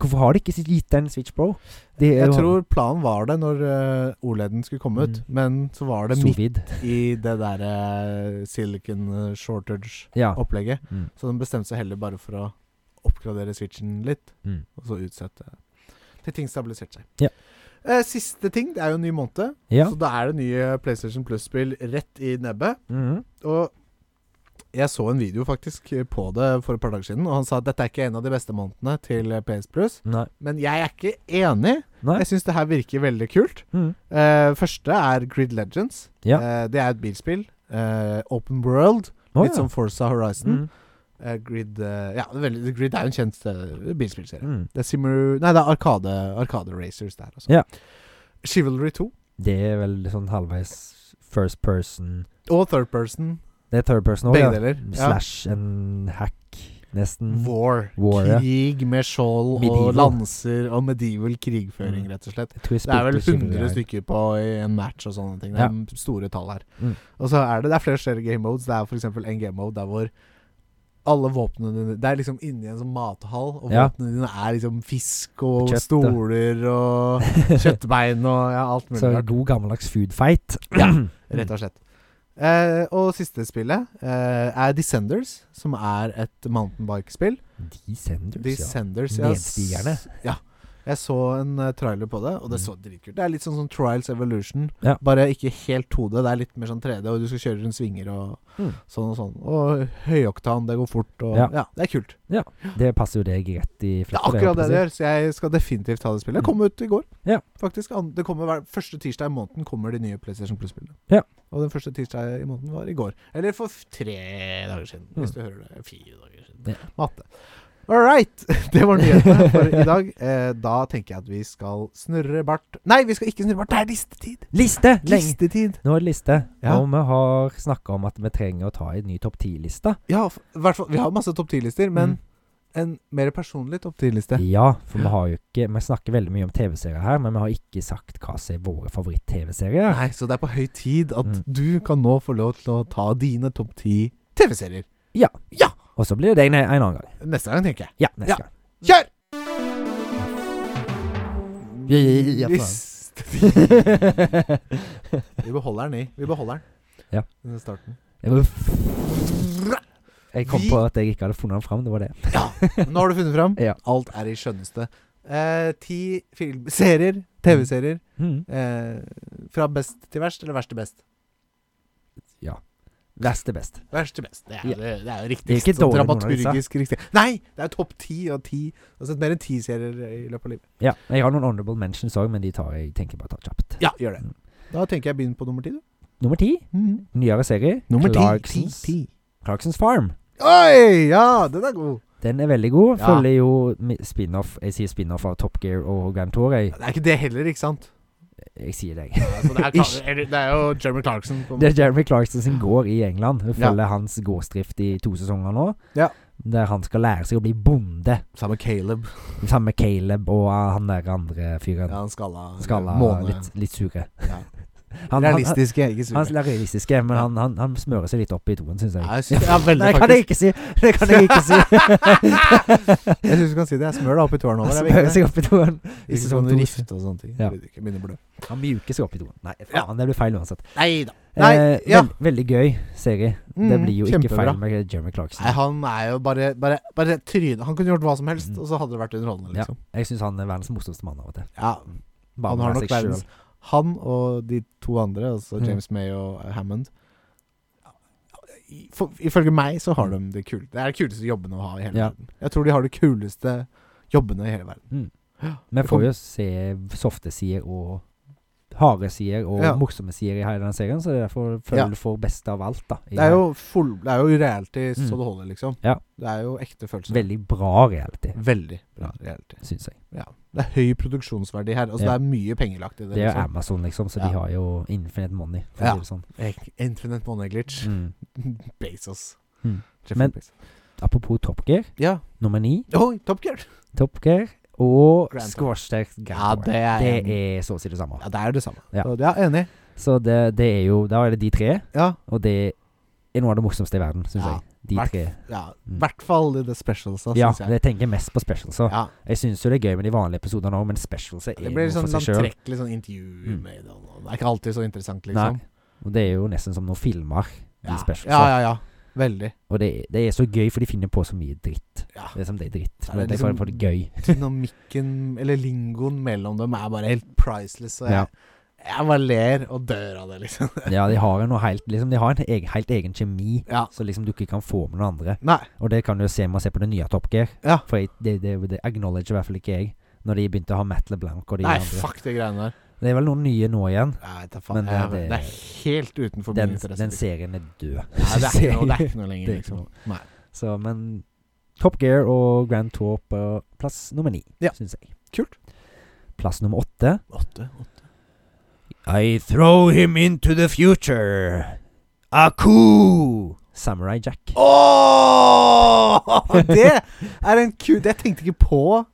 [SPEAKER 2] Hvorfor har de ikke gitt den Switch Pro? Det er
[SPEAKER 1] Jeg
[SPEAKER 2] jo
[SPEAKER 1] tror planen var det når eh, OLED-en skulle komme ut,
[SPEAKER 2] Mm.
[SPEAKER 1] men så var det midt
[SPEAKER 2] Sovid.
[SPEAKER 1] i det derre silicon eh, shortage-opplegget.
[SPEAKER 2] Ja. Mm.
[SPEAKER 1] Så den bestemte seg heller bare for å oppgradere switchen litt,
[SPEAKER 2] Mm.
[SPEAKER 1] og så utsette til ting stabiliserte seg.
[SPEAKER 2] Ja.
[SPEAKER 1] Eh, siste ting, det er jo en ny måned,
[SPEAKER 2] Ja.
[SPEAKER 1] så da er det nye PlayStation Plus-spill rett i nebbet.
[SPEAKER 2] Mhm.
[SPEAKER 1] Og jeg så en video faktisk på det for et par dager siden, og han sa at dette er ikke en av de beste månedene til PS Plus,
[SPEAKER 2] Nei.
[SPEAKER 1] men jeg er ikke enig.
[SPEAKER 2] Nei.
[SPEAKER 1] Jeg syns det her virker veldig kult.
[SPEAKER 2] Mhm.
[SPEAKER 1] Eh, første er Grid Legends.
[SPEAKER 2] Ja.
[SPEAKER 1] Eh, det er et bilspill. Eh, open World.
[SPEAKER 2] Å,
[SPEAKER 1] litt sånn som
[SPEAKER 2] ja.
[SPEAKER 1] Forza Horizon.
[SPEAKER 2] Mm.
[SPEAKER 1] Eh, Grid eh, Ja, det er veldig, Grid er jo en kjent eh, bilspillserie.
[SPEAKER 2] Mm.
[SPEAKER 1] Det er Simmer Nei, det er Arkade, Arkade Racers der, altså.
[SPEAKER 2] Ja.
[SPEAKER 1] Chivalry 2
[SPEAKER 2] Det er vel sånn halvveis first person
[SPEAKER 1] og Third Person.
[SPEAKER 2] Det er third person også,
[SPEAKER 1] Begge
[SPEAKER 2] ja.
[SPEAKER 1] deler. Ja.
[SPEAKER 2] Slash en hack, nesten.
[SPEAKER 1] War.
[SPEAKER 2] War, ja.
[SPEAKER 1] Krig med skjold
[SPEAKER 2] Medieval.
[SPEAKER 1] og lanser og medieval krigføring,
[SPEAKER 2] Mm.
[SPEAKER 1] rett og slett.
[SPEAKER 2] Jeg tror jeg
[SPEAKER 1] Det er vel
[SPEAKER 2] spilte Chivalry
[SPEAKER 1] 100
[SPEAKER 2] her.
[SPEAKER 1] stykker på i en match og sånne ting. Det
[SPEAKER 2] Ja.
[SPEAKER 1] er store tall her.
[SPEAKER 2] Mm.
[SPEAKER 1] Og så er det, det er flere større game modes. Det er f.eks. en game mode der hvor alle våpnene dine Det er liksom inni en sånn mathall, og
[SPEAKER 2] Ja.
[SPEAKER 1] våpnene dine er liksom fisk og
[SPEAKER 2] Kjøtt, da.
[SPEAKER 1] stoler
[SPEAKER 2] (laughs)
[SPEAKER 1] og kjøttbein og ja, alt mulig
[SPEAKER 2] Så
[SPEAKER 1] rart.
[SPEAKER 2] god gammeldags food fight. (clears throat)
[SPEAKER 1] Ja, Rett og slett. Eh, og siste spillet eh, er Descenders, som er et mountainbike-spill.
[SPEAKER 2] Descenders, ja.
[SPEAKER 1] Descenders, ja.
[SPEAKER 2] Nedstigerne.
[SPEAKER 1] S- Ja. Jeg så en eh, trailer på det, og det
[SPEAKER 2] Mm.
[SPEAKER 1] så dritkult Det er litt sånn som Trials Evolution,
[SPEAKER 2] Ja.
[SPEAKER 1] bare ikke helt 2D. Det er litt mer sånn 3D, og du skal kjøre rundt svinger og
[SPEAKER 2] Mm.
[SPEAKER 1] sånn og sånn. Og høyoktan, det går fort, og ja.
[SPEAKER 2] Ja.
[SPEAKER 1] det er kult.
[SPEAKER 2] Det passer jo deg rett i
[SPEAKER 1] Det er
[SPEAKER 2] fletta.
[SPEAKER 1] akkurat det det gjør, så jeg skal definitivt ta det spillet. Det kom ut i går,
[SPEAKER 2] Ja.
[SPEAKER 1] faktisk. An- Det kommer hver Første tirsdag i måneden kommer de nye PlayStation Plus-spillene.
[SPEAKER 2] Ja.
[SPEAKER 1] Og den første tirsdag i måneden var i går. Eller for f- tre dager siden, hvis
[SPEAKER 2] Mm.
[SPEAKER 1] du hører det. Fire dager siden.
[SPEAKER 2] Ja.
[SPEAKER 1] Matte. All right! (laughs) Det var nyhetene for i dag. Eh, da tenker jeg at vi skal snurre bart Nei, vi skal ikke snurre bart! Det er listetid!
[SPEAKER 2] Liste! Lenge.
[SPEAKER 1] Listetid!
[SPEAKER 2] Nå er det liste.
[SPEAKER 1] Ja.
[SPEAKER 2] Og vi har snakka om at vi trenger å ta en ny topp ti-liste. Mm.
[SPEAKER 1] Ja, f- Mm. i hvert fall Vi har masse topp ti-lister, men en mer personlig topp ti-liste.
[SPEAKER 2] Ja, for vi har jo ikke Vi snakker veldig mye om TV-serier her, men vi har ikke sagt hva som er våre favoritt-TV-serier.
[SPEAKER 1] Nei, så det er på høy tid at
[SPEAKER 2] Mm.
[SPEAKER 1] du kan nå få lov til å ta dine topp ti TV-serier.
[SPEAKER 2] Og så blir det deg en en annen gang.
[SPEAKER 1] Neste gang, tenker jeg.
[SPEAKER 2] Ja, neste
[SPEAKER 1] Ja.
[SPEAKER 2] gang.
[SPEAKER 1] Kjør!
[SPEAKER 2] Ja, ja, ja, ja, faen. (laughs)
[SPEAKER 1] Visst. Vi beholder den i. Vi beholder den.
[SPEAKER 2] Ja.
[SPEAKER 1] Den starten.
[SPEAKER 2] Jeg var- Jeg kom
[SPEAKER 1] Vi-
[SPEAKER 2] på at jeg ikke hadde funnet den fram. Det var det.
[SPEAKER 1] Nå har du funnet fram.
[SPEAKER 2] Ja.
[SPEAKER 1] Alt er i skjønneste. Eh, ti film serier, TV-serier,
[SPEAKER 2] Mm.
[SPEAKER 1] eh, fra best til verst, eller verst til best?
[SPEAKER 2] Verst er best.
[SPEAKER 1] Verst til best. Det er
[SPEAKER 2] Ja.
[SPEAKER 1] det, det er jo
[SPEAKER 2] Det er
[SPEAKER 1] riktigst.
[SPEAKER 2] ikke
[SPEAKER 1] sånn
[SPEAKER 2] dårlig, Mona Lisa.
[SPEAKER 1] dramaturgisk riktig. Nei! Det er topp ti av ti. Du har sett mer enn ti serier i løpet av livet.
[SPEAKER 2] Ja, Jeg har noen honorable mentions òg, men de tar jeg tenker jeg bare tar kjapt.
[SPEAKER 1] Ja, gjør det. Da tenker jeg begynn på nummer ti, du.
[SPEAKER 2] Nummer ti,
[SPEAKER 1] Mhm.
[SPEAKER 2] nyere serie,
[SPEAKER 1] Nummer ti, ti.
[SPEAKER 2] Mm. Clarksons,
[SPEAKER 1] ti.
[SPEAKER 2] Clarksons Farm.
[SPEAKER 1] Oi! Ja, den er god.
[SPEAKER 2] Den er veldig god.
[SPEAKER 1] Ja.
[SPEAKER 2] Følger jo mi- spin-off Jeg sier spin-off av Top Gear og Grand Tour. Jeg,
[SPEAKER 1] Det er ikke det heller, ikke sant?
[SPEAKER 2] jeg sier det, jeg. (laughs)
[SPEAKER 1] Altså, det, er,
[SPEAKER 2] Ish.
[SPEAKER 1] Cla- eller, det er jo Jeremy Clarkson. på en
[SPEAKER 2] Det er Jeremy Clarkson sin gård i England. Hun
[SPEAKER 1] Ja.
[SPEAKER 2] følger hans gårdsdrift i to sesonger nå.
[SPEAKER 1] Ja.
[SPEAKER 2] Der han skal lære seg å bli bonde.
[SPEAKER 1] måte. Sammen med Caleb.
[SPEAKER 2] Sammen med Caleb og uh, han der andre fyren.
[SPEAKER 1] Ja, han skalla.
[SPEAKER 2] Skalla,
[SPEAKER 1] måne.
[SPEAKER 2] litt, litt sure.
[SPEAKER 1] Ja.
[SPEAKER 2] (laughs) Han, han, han,
[SPEAKER 1] Realistiske, ikke
[SPEAKER 2] han
[SPEAKER 1] sure.
[SPEAKER 2] er realistiske, men han, han, han smører seg litt opp i toen, syns jeg.
[SPEAKER 1] Ja, jeg synes, ja, veldig,
[SPEAKER 2] det kan
[SPEAKER 1] faktisk.
[SPEAKER 2] jeg ikke si! Det kan jeg ikke
[SPEAKER 1] (laughs)
[SPEAKER 2] si!
[SPEAKER 1] Jeg syns du kan si det. Jeg smør deg opp i tårene
[SPEAKER 2] Han
[SPEAKER 1] over. er vi ikke
[SPEAKER 2] smører
[SPEAKER 1] det?
[SPEAKER 2] seg opp i toen.
[SPEAKER 1] Ikke
[SPEAKER 2] Ikke
[SPEAKER 1] sånn
[SPEAKER 2] sånn
[SPEAKER 1] rift og sånne ting.
[SPEAKER 2] Ja.
[SPEAKER 1] Jeg vet ikke, begynner å blø.
[SPEAKER 2] Han mjuker seg opp i toen. Nei,
[SPEAKER 1] Ja.
[SPEAKER 2] faen, det blir feil uansett.
[SPEAKER 1] Neida. Nei,
[SPEAKER 2] eh,
[SPEAKER 1] ja.
[SPEAKER 2] veld, veldig gøy serie. det
[SPEAKER 1] Mm,
[SPEAKER 2] blir jo ikke feil
[SPEAKER 1] kjempebra.
[SPEAKER 2] med Jeremy Clarkson.
[SPEAKER 1] Nei, han er jo bare, bare, bare trynet. Han kunne gjort hva som helst,
[SPEAKER 2] Mm.
[SPEAKER 1] og så hadde det vært underholdende,
[SPEAKER 2] Ja.
[SPEAKER 1] liksom.
[SPEAKER 2] Jeg syns han er verdens morsomste mann av og til.
[SPEAKER 1] Ja.
[SPEAKER 2] Bare
[SPEAKER 1] Han
[SPEAKER 2] med
[SPEAKER 1] har
[SPEAKER 2] seg
[SPEAKER 1] nok
[SPEAKER 2] selv.
[SPEAKER 1] verdens Han og de to andre, altså
[SPEAKER 2] Mm.
[SPEAKER 1] James May og eh, Hammond I- for- Ifølge meg så har de det kule. Det er de kuleste jobbene å ha i hele
[SPEAKER 2] Ja.
[SPEAKER 1] verden. Jeg tror de har de kuleste jobbene i hele verden.
[SPEAKER 2] Vi
[SPEAKER 1] Det
[SPEAKER 2] får
[SPEAKER 1] kom-
[SPEAKER 2] jo se softe sider og harde sider og
[SPEAKER 1] Ja.
[SPEAKER 2] morsomme sider i hele den serien, så det er derfor føler
[SPEAKER 1] Ja.
[SPEAKER 2] du får beste av alt, da. i
[SPEAKER 1] Det er
[SPEAKER 2] den.
[SPEAKER 1] jo, full, det er jo reality så
[SPEAKER 2] Mm.
[SPEAKER 1] det holder, liksom.
[SPEAKER 2] Ja.
[SPEAKER 1] Det er jo ekte følelser.
[SPEAKER 2] Veldig bra reality,
[SPEAKER 1] Veldig bra reality.
[SPEAKER 2] syns jeg.
[SPEAKER 1] Ja. Det er høy produksjonsverdi her. Altså
[SPEAKER 2] Ja.
[SPEAKER 1] Det er mye penger lagt i det.
[SPEAKER 2] Det er jo
[SPEAKER 1] liksom.
[SPEAKER 2] Amazon, liksom, så de
[SPEAKER 1] Ja.
[SPEAKER 2] har jo infinite money, for
[SPEAKER 1] Ja.
[SPEAKER 2] å si det sånn.
[SPEAKER 1] Ek- Infinite money glitch.
[SPEAKER 2] Mm.
[SPEAKER 1] (laughs) Bezos.
[SPEAKER 2] Mm.
[SPEAKER 1] Jeffrey
[SPEAKER 2] Men-
[SPEAKER 1] Bezos.
[SPEAKER 2] Apropos Top Gear,
[SPEAKER 1] Ja.
[SPEAKER 2] nummer ni,
[SPEAKER 1] Oi, Top Gear!
[SPEAKER 2] Top Gear og
[SPEAKER 1] Grand Tour.
[SPEAKER 2] Squashtack
[SPEAKER 1] Ja,
[SPEAKER 2] Grand
[SPEAKER 1] det
[SPEAKER 2] Tour.
[SPEAKER 1] er,
[SPEAKER 2] Det er så å si det samme.
[SPEAKER 1] ja, det er jo det samme.
[SPEAKER 2] Ja.
[SPEAKER 1] Så, ja enig.
[SPEAKER 2] Så det, det er jo Da er det de tre,
[SPEAKER 1] Ja.
[SPEAKER 2] og det er noe av det morsomste i verden, syns
[SPEAKER 1] Ja.
[SPEAKER 2] jeg. De
[SPEAKER 1] Hvert-
[SPEAKER 2] tre.
[SPEAKER 1] Ja, I
[SPEAKER 2] Mm.
[SPEAKER 1] hvert fall i The Specials, da,
[SPEAKER 2] Ja,
[SPEAKER 1] syns jeg.
[SPEAKER 2] jeg tenker mest på specials. Så.
[SPEAKER 1] Ja,
[SPEAKER 2] Jeg syns jo det er gøy med de vanlige episodene òg, men specials er
[SPEAKER 1] det blir
[SPEAKER 2] noe
[SPEAKER 1] sånn
[SPEAKER 2] for seg sjøl.
[SPEAKER 1] langtrekkelig sånn intervju
[SPEAKER 2] Mm.
[SPEAKER 1] med det. og Det er ikke alltid så interessant, liksom.
[SPEAKER 2] Og det er jo nesten som noen filmer, de
[SPEAKER 1] Ja.
[SPEAKER 2] specials.
[SPEAKER 1] ja, ja, ja. Veldig.
[SPEAKER 2] Og det, det er så gøy, for de finner på så mye dritt.
[SPEAKER 1] Ja.
[SPEAKER 2] Det er som det er dritt.
[SPEAKER 1] Ja, det er
[SPEAKER 2] Men det er bare
[SPEAKER 1] liksom-
[SPEAKER 2] for
[SPEAKER 1] (laughs)
[SPEAKER 2] det gøy.
[SPEAKER 1] Dynamikken, eller lingoen mellom dem, er bare helt priceless. Og jeg,
[SPEAKER 2] Ja.
[SPEAKER 1] jeg bare ler og dør av det, liksom. (laughs)
[SPEAKER 2] Ja, de har jo noe helt liksom, De har en egen, helt egen kjemi
[SPEAKER 1] Ja.
[SPEAKER 2] som liksom du ikke kan få med noen andre.
[SPEAKER 1] Nei.
[SPEAKER 2] Og det kan du jo se med å se på det nye Top Gear.
[SPEAKER 1] Ja.
[SPEAKER 2] For jeg, det, det, det acknowledger i hvert fall ikke jeg, når de begynte å ha Matt LeBlanc og de
[SPEAKER 1] Nei,
[SPEAKER 2] andre.
[SPEAKER 1] fuck de greiene der.
[SPEAKER 2] Det er vel noen nye nå igjen.
[SPEAKER 1] Jeg vet da faen.
[SPEAKER 2] Men det-
[SPEAKER 1] Jeg,
[SPEAKER 2] det-
[SPEAKER 1] det er helt utenfor min
[SPEAKER 2] Den,
[SPEAKER 1] interesse. liksom.
[SPEAKER 2] den serien er død.
[SPEAKER 1] Nei, det,
[SPEAKER 2] (laughs)
[SPEAKER 1] er ikke noe, det er ikke noe
[SPEAKER 2] Det
[SPEAKER 1] lenger,
[SPEAKER 2] er ikke
[SPEAKER 1] liksom.
[SPEAKER 2] noe.
[SPEAKER 1] Nei.
[SPEAKER 2] Så, men Top Gear og Grand Tour på plass nummer ni,
[SPEAKER 1] Ja.
[SPEAKER 2] syns jeg.
[SPEAKER 1] Kult.
[SPEAKER 2] Plass nummer åtte
[SPEAKER 1] Åtte, åtte.
[SPEAKER 2] I throw him into the future. Aku! Samurai Jack. (laughs)
[SPEAKER 1] Åh! Det er en ku... Det tenkte jeg ikke på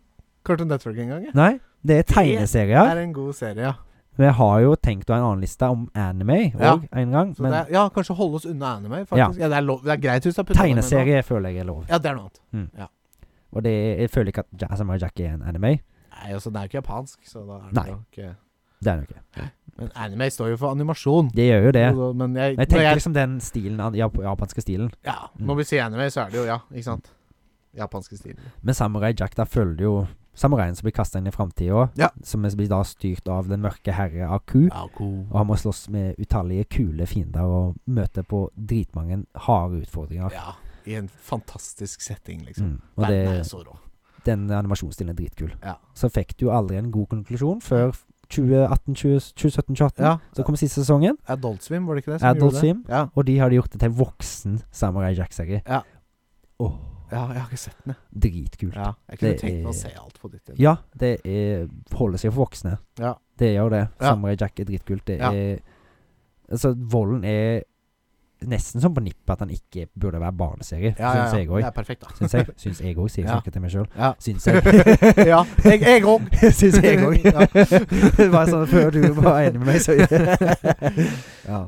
[SPEAKER 1] Cartoon Network engang. jeg.
[SPEAKER 2] Nei, det er
[SPEAKER 1] Det
[SPEAKER 2] tegneserier.
[SPEAKER 1] er en god serie, ja.
[SPEAKER 2] Vi har jo tenkt å ha en annen liste om anime òg
[SPEAKER 1] Ja.
[SPEAKER 2] en gang,
[SPEAKER 1] Så
[SPEAKER 2] men
[SPEAKER 1] det er, ja, kanskje holde oss unna anime, faktisk. Ja, det, er lov, det er greit hvis du har puttet anime nå.
[SPEAKER 2] tegneserie føler jeg er lov.
[SPEAKER 1] Ja, det er noe annet.
[SPEAKER 2] Og det er, jeg føler ikke at Ja- Samurai Jack er en anime.
[SPEAKER 1] Nei, altså, det er jo ikke japansk, så da er det
[SPEAKER 2] Nei.
[SPEAKER 1] jo ikke
[SPEAKER 2] Det er det ikke.
[SPEAKER 1] Men anime står jo for animasjon.
[SPEAKER 2] Det gjør jo det.
[SPEAKER 1] Så, men jeg,
[SPEAKER 2] Men jeg
[SPEAKER 1] når
[SPEAKER 2] tenker
[SPEAKER 1] jeg
[SPEAKER 2] liksom Mm. den stilen, den jap japanske stilen.
[SPEAKER 1] Ja, når vi sier anime, så er det jo ja, ikke sant? Japanske stil.
[SPEAKER 2] Men Samurai Jack, der følger du jo samuraien som blir kasta inn i framtida.
[SPEAKER 1] Ja.
[SPEAKER 2] Som blir da styrt av den mørke herre Aku.
[SPEAKER 1] Ja, cool.
[SPEAKER 2] Og han må slåss med utallige kule fiender og møte på dritmange harde utfordringer.
[SPEAKER 1] Ja, i en fantastisk setting, liksom.
[SPEAKER 2] Mm. Og
[SPEAKER 1] Verden er jo
[SPEAKER 2] det,
[SPEAKER 1] så rå.
[SPEAKER 2] den animasjonsstilen er dritkul.
[SPEAKER 1] Ja.
[SPEAKER 2] Så fikk du jo aldri en god konklusjon før 2018, 20, 2017, 2018. Så kom siste sesongen,
[SPEAKER 1] Adult Swim, var det ikke det?
[SPEAKER 2] Adult
[SPEAKER 1] gjorde det?
[SPEAKER 2] Swim.
[SPEAKER 1] Ja.
[SPEAKER 2] og de hadde gjort det til voksen Samurai Jack-serie.
[SPEAKER 1] Ja.
[SPEAKER 2] Åh,
[SPEAKER 1] ja, jeg har ikke sett den, jeg.
[SPEAKER 2] dritkult.
[SPEAKER 1] Ja, jeg kunne
[SPEAKER 2] Det
[SPEAKER 1] tenkt meg å
[SPEAKER 2] er-
[SPEAKER 1] se alt på ditt.
[SPEAKER 2] Ja, det er, holder seg for voksne.
[SPEAKER 1] Ja.
[SPEAKER 2] Det gjør det.
[SPEAKER 1] Ja.
[SPEAKER 2] Samurai Jack er dritkult. Det
[SPEAKER 1] Ja.
[SPEAKER 2] er Altså, volden er nesten som på nippet at han ikke burde være barneserie,
[SPEAKER 1] Ja, ja,
[SPEAKER 2] syns jeg
[SPEAKER 1] ja.
[SPEAKER 2] òg.
[SPEAKER 1] Det er perfekt, da.
[SPEAKER 2] Syns jeg. Syns jeg òg, sier
[SPEAKER 1] (laughs)
[SPEAKER 2] jeg
[SPEAKER 1] Ja.
[SPEAKER 2] snakker til meg sjøl.
[SPEAKER 1] Ja. (laughs)
[SPEAKER 2] Syns (laughs) jeg.
[SPEAKER 1] ja, jeg- jeg
[SPEAKER 2] (laughs)
[SPEAKER 1] òg.
[SPEAKER 2] Syns jeg òg.
[SPEAKER 1] Ja.
[SPEAKER 2] (laughs) Det var sånn før du var enig med meg,
[SPEAKER 1] (laughs)
[SPEAKER 2] så ja.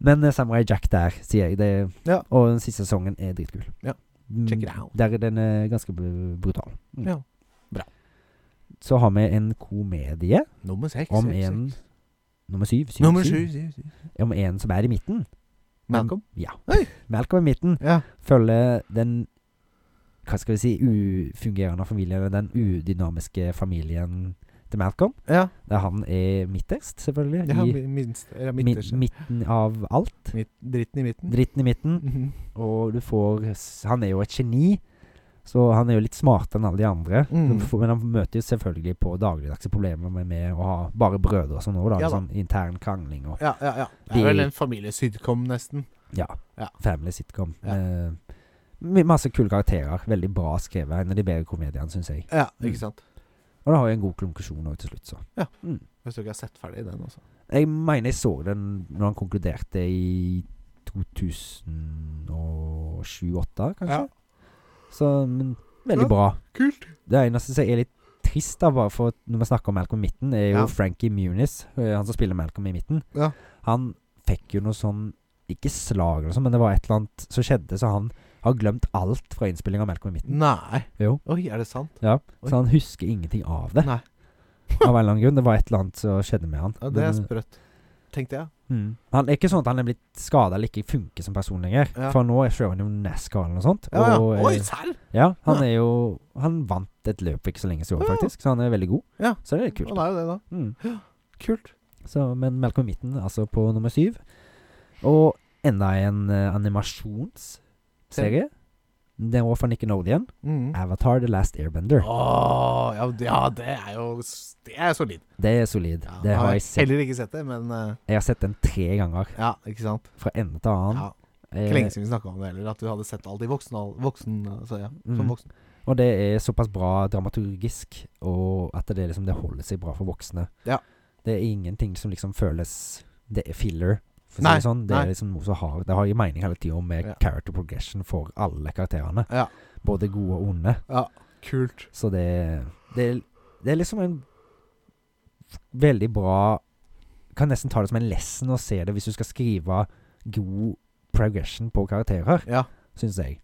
[SPEAKER 2] Men eh, Samurai Jack der, sier jeg. Det,
[SPEAKER 1] Ja.
[SPEAKER 2] Og den siste sesongen er dritkul.
[SPEAKER 1] Ja. Check it out.
[SPEAKER 2] Der den er ganske br- brutal. Mm.
[SPEAKER 1] Ja.
[SPEAKER 2] Så har vi en komedie
[SPEAKER 1] Nummer seks.
[SPEAKER 2] om
[SPEAKER 1] seks,
[SPEAKER 2] en
[SPEAKER 1] seks.
[SPEAKER 2] Nummer syv. syv,
[SPEAKER 1] Nummer
[SPEAKER 2] syv.
[SPEAKER 1] sju. syv, syv.
[SPEAKER 2] Om en som er i midten.
[SPEAKER 1] Malcolm?
[SPEAKER 2] Ja.
[SPEAKER 1] Oi.
[SPEAKER 2] Malcolm i midten
[SPEAKER 1] Ja.
[SPEAKER 2] følger den Hva skal vi si ufungerende familien, eller den udynamiske familien til Malcolm.
[SPEAKER 1] ja.
[SPEAKER 2] Der han er midterst, selvfølgelig.
[SPEAKER 1] ja
[SPEAKER 2] I
[SPEAKER 1] minst, eller
[SPEAKER 2] mi-
[SPEAKER 1] midterste.
[SPEAKER 2] midten av alt.
[SPEAKER 1] Midt, dritten i midten.
[SPEAKER 2] Dritten i midten.
[SPEAKER 1] Mhm.
[SPEAKER 2] Og du får s- Han er jo et geni, så han er jo litt smartere enn alle de andre.
[SPEAKER 1] Mm.
[SPEAKER 2] Du får- Men han møter jo selvfølgelig på dagligdagse problemer med, med å ha bare brødre og sånn òg, da.
[SPEAKER 1] Ja da.
[SPEAKER 2] sånn intern krangling og
[SPEAKER 1] Ja, ja, ja. Det
[SPEAKER 2] De-
[SPEAKER 1] er vel en familiesydkom, nesten.
[SPEAKER 2] Ja.
[SPEAKER 1] Ja.
[SPEAKER 2] Family sitcom.
[SPEAKER 1] Ja.
[SPEAKER 2] Eh, med masse kule karakterer. Veldig bra skrevet. En av de bedre komediene, syns jeg.
[SPEAKER 1] Ja,
[SPEAKER 2] Mm.
[SPEAKER 1] ikke sant.
[SPEAKER 2] Og det har jo en god konklusjon nå til slutt, så.
[SPEAKER 1] Ja.
[SPEAKER 2] Mm.
[SPEAKER 1] Jeg tror ikke jeg har sett ferdig den, altså.
[SPEAKER 2] Jeg mener jeg så den når han konkluderte i 2007-2008, kanskje.
[SPEAKER 1] Ja.
[SPEAKER 2] Så, men veldig
[SPEAKER 1] Ja.
[SPEAKER 2] bra.
[SPEAKER 1] Kult.
[SPEAKER 2] Det eneste som er litt trist, da, bare for at når vi snakker om Malcolm i midten, er jo
[SPEAKER 1] Ja.
[SPEAKER 2] Frankie Muniz, eh, han som spiller Malcolm i midten.
[SPEAKER 1] Ja.
[SPEAKER 2] Han fikk jo noe sånn Ikke slag eller noe sånt, men det var et eller annet som skjedde, så han har glemt alt fra innspillinga av Malcolm i midten.
[SPEAKER 1] Nei.
[SPEAKER 2] Mm. Jo.
[SPEAKER 1] Oi, er det sant?
[SPEAKER 2] Ja,
[SPEAKER 1] Oi.
[SPEAKER 2] Så han husker ingenting av det.
[SPEAKER 1] Nei.
[SPEAKER 2] Av en eller annen grunn. Det var et eller annet som skjedde med han.
[SPEAKER 1] Ja, det er
[SPEAKER 2] Men,
[SPEAKER 1] sprøtt. Tenkte jeg.
[SPEAKER 2] Mm. Han er ikke sånn at han er blitt skada eller ikke funker som person lenger.
[SPEAKER 1] Ja.
[SPEAKER 2] For nå er- kjører han jo NASCAR eller noe sånt.
[SPEAKER 1] Ja, ja.
[SPEAKER 2] og, eh,
[SPEAKER 1] Oi, serr!
[SPEAKER 2] ja, han
[SPEAKER 1] Ja.
[SPEAKER 2] er jo Han vant et løp for ikke så lenge siden,
[SPEAKER 1] Ja.
[SPEAKER 2] faktisk. Så han er veldig god.
[SPEAKER 1] Ja.
[SPEAKER 2] Så det er
[SPEAKER 1] Han
[SPEAKER 2] kult.
[SPEAKER 1] er jo det, da.
[SPEAKER 2] Mm.
[SPEAKER 1] Kult.
[SPEAKER 2] Så, men Malcolm i midten, altså på nummer syv. Og enda en eh, animasjonsserie. Den var fra Nickenodian.
[SPEAKER 1] Mm.
[SPEAKER 2] Avatar The Last Airbender.
[SPEAKER 1] Åh, ja, det- ja, det er jo s- Det er solid.
[SPEAKER 2] Det er solid.
[SPEAKER 1] Ja,
[SPEAKER 2] det har jeg sett.
[SPEAKER 1] heller ikke sett det, men eh,
[SPEAKER 2] Jeg har sett den tre ganger.
[SPEAKER 1] Ja, ikke sant?
[SPEAKER 2] Fra ende til annen.
[SPEAKER 1] Ja,
[SPEAKER 2] Eh,
[SPEAKER 1] ikke lenge siden vi snakka om det heller, at du hadde sett alt i voksen, al- voksen altså, ja,
[SPEAKER 2] Mm.
[SPEAKER 1] som voksen.
[SPEAKER 2] Og det er såpass bra dramaturgisk, og at det, er liksom, det holder seg bra for voksne.
[SPEAKER 1] Ja.
[SPEAKER 2] Det er ingenting som liksom føles Det er filler. For å
[SPEAKER 1] Nei,
[SPEAKER 2] si det sånn. Det
[SPEAKER 1] nei.
[SPEAKER 2] er liksom noe som har Det har jo mening hele tida med
[SPEAKER 1] Ja.
[SPEAKER 2] character progression for alle karakterene.
[SPEAKER 1] Ja.
[SPEAKER 2] Både gode og onde.
[SPEAKER 1] Ja, kult.
[SPEAKER 2] Så det Det, er- det er liksom en veldig bra Kan nesten ta det som en lesson å se det hvis du skal skrive god progression på karakterer,
[SPEAKER 1] Ja,
[SPEAKER 2] syns jeg.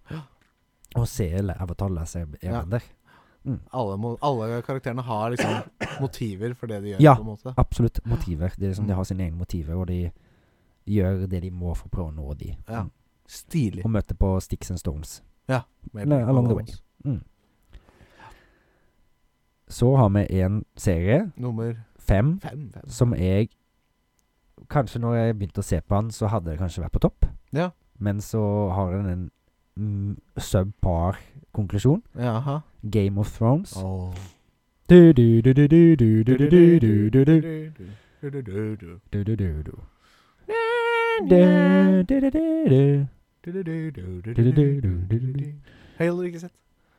[SPEAKER 2] Å se Avatar Last Airbender.
[SPEAKER 1] alle, mo- alle karakterene har liksom (coughs) motiver for det de gjør,
[SPEAKER 2] Ja.
[SPEAKER 1] på en måte.
[SPEAKER 2] Absolutt. Motiver. Det er liksom, De
[SPEAKER 1] Mm.
[SPEAKER 2] har sine egne motiver, og de gjør det de må for å prøve å nå de.
[SPEAKER 1] Ja.
[SPEAKER 2] Mm.
[SPEAKER 1] Stilig.
[SPEAKER 2] Og møter på Sticks and Stones.
[SPEAKER 1] Med
[SPEAKER 2] Nei, along the way.
[SPEAKER 1] balans.
[SPEAKER 2] Så har vi en serie,
[SPEAKER 1] Nummer
[SPEAKER 2] fem,
[SPEAKER 1] fem. fem.
[SPEAKER 2] som jeg Kanskje når jeg begynte å se på den, så hadde det kanskje vært på topp.
[SPEAKER 1] Ja.
[SPEAKER 2] Men så har den en mm, subpar konklusjon.
[SPEAKER 1] Jaha.
[SPEAKER 2] Game of Thrones.
[SPEAKER 1] Oh.
[SPEAKER 2] Du, du, du, du, du, du, du, du, du, du, du, du, du, du, du, du. Du, du, du, du, du.
[SPEAKER 1] Heller ikke sett.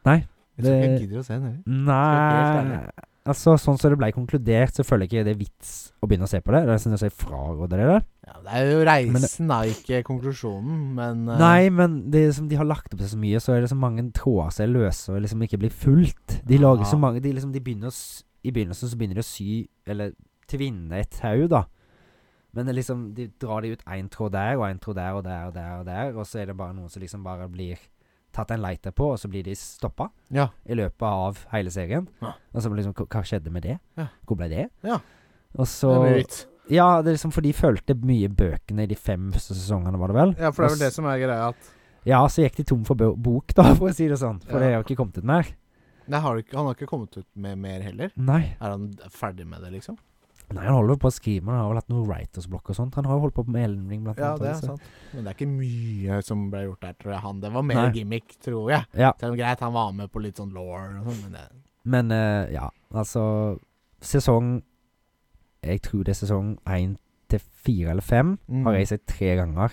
[SPEAKER 2] Nei,
[SPEAKER 1] Jeg tror ikke jeg
[SPEAKER 2] det-
[SPEAKER 1] gidder å se den heller. helt
[SPEAKER 2] Nei
[SPEAKER 1] ærlig.
[SPEAKER 2] Altså, sånn som det ble konkludert, så føler jeg ikke det er vits å begynne å se på det. Det er sånn at jeg fraråder det. der.
[SPEAKER 1] Ja, det er jo
[SPEAKER 2] Men
[SPEAKER 1] reisen, da, ikke konklusjonen, men eh,
[SPEAKER 2] Nei, men det er som de har lagt opp til så mye, så er det så mange tråder som er løse og liksom ikke blir fulgt. De lager
[SPEAKER 1] Ja.
[SPEAKER 2] så mange de liksom, de begynner å, s- I begynnelsen så begynner de å sy Eller tvinne et tau, da. Men det er liksom, de drar de ut én tråd der og én tråd der og der og der, og der Og så er det bare noen som liksom bare blir tatt en lighter på, og så blir de stoppa
[SPEAKER 1] Ja.
[SPEAKER 2] i løpet av hele serien.
[SPEAKER 1] Ja.
[SPEAKER 2] Og så blir det liksom, hva- hva skjedde med det?
[SPEAKER 1] Ja.
[SPEAKER 2] Hvor ble det?
[SPEAKER 1] Ja.
[SPEAKER 2] Og
[SPEAKER 1] Det
[SPEAKER 2] så
[SPEAKER 1] blir vits.
[SPEAKER 2] Ja, det er liksom, for de fulgte mye bøkene i de fem første sesongene, var det vel?
[SPEAKER 1] Ja, for det er vel
[SPEAKER 2] Og
[SPEAKER 1] det som er greia, at
[SPEAKER 2] ja, så gikk de tom for bo- bok, da, (laughs) for å si det sånn.
[SPEAKER 1] Ja.
[SPEAKER 2] For det har jo ikke kommet ut mer.
[SPEAKER 1] Nei, har du ikke, Han har ikke kommet ut med mer heller?
[SPEAKER 2] Nei.
[SPEAKER 1] Er han ferdig med det, liksom?
[SPEAKER 2] Nei, Han holder jo på å skrive, men han har vel hatt noe writers-blokk og sånt. Han har jo holdt på med Elmring, blant
[SPEAKER 1] Ja,
[SPEAKER 2] annet.
[SPEAKER 1] det er
[SPEAKER 2] også.
[SPEAKER 1] sant. Men det er ikke mye som ble gjort der, tror jeg. Han, Det var mer
[SPEAKER 2] Nei.
[SPEAKER 1] gimmick, tror jeg.
[SPEAKER 2] Ja,
[SPEAKER 1] Selv om greit, han var med på litt sånn law og sånn, men det
[SPEAKER 2] men eh, ja, altså Sesong Jeg tror det er sesong én til fire eller fem.
[SPEAKER 1] Mm.
[SPEAKER 2] Har jeg sett tre ganger.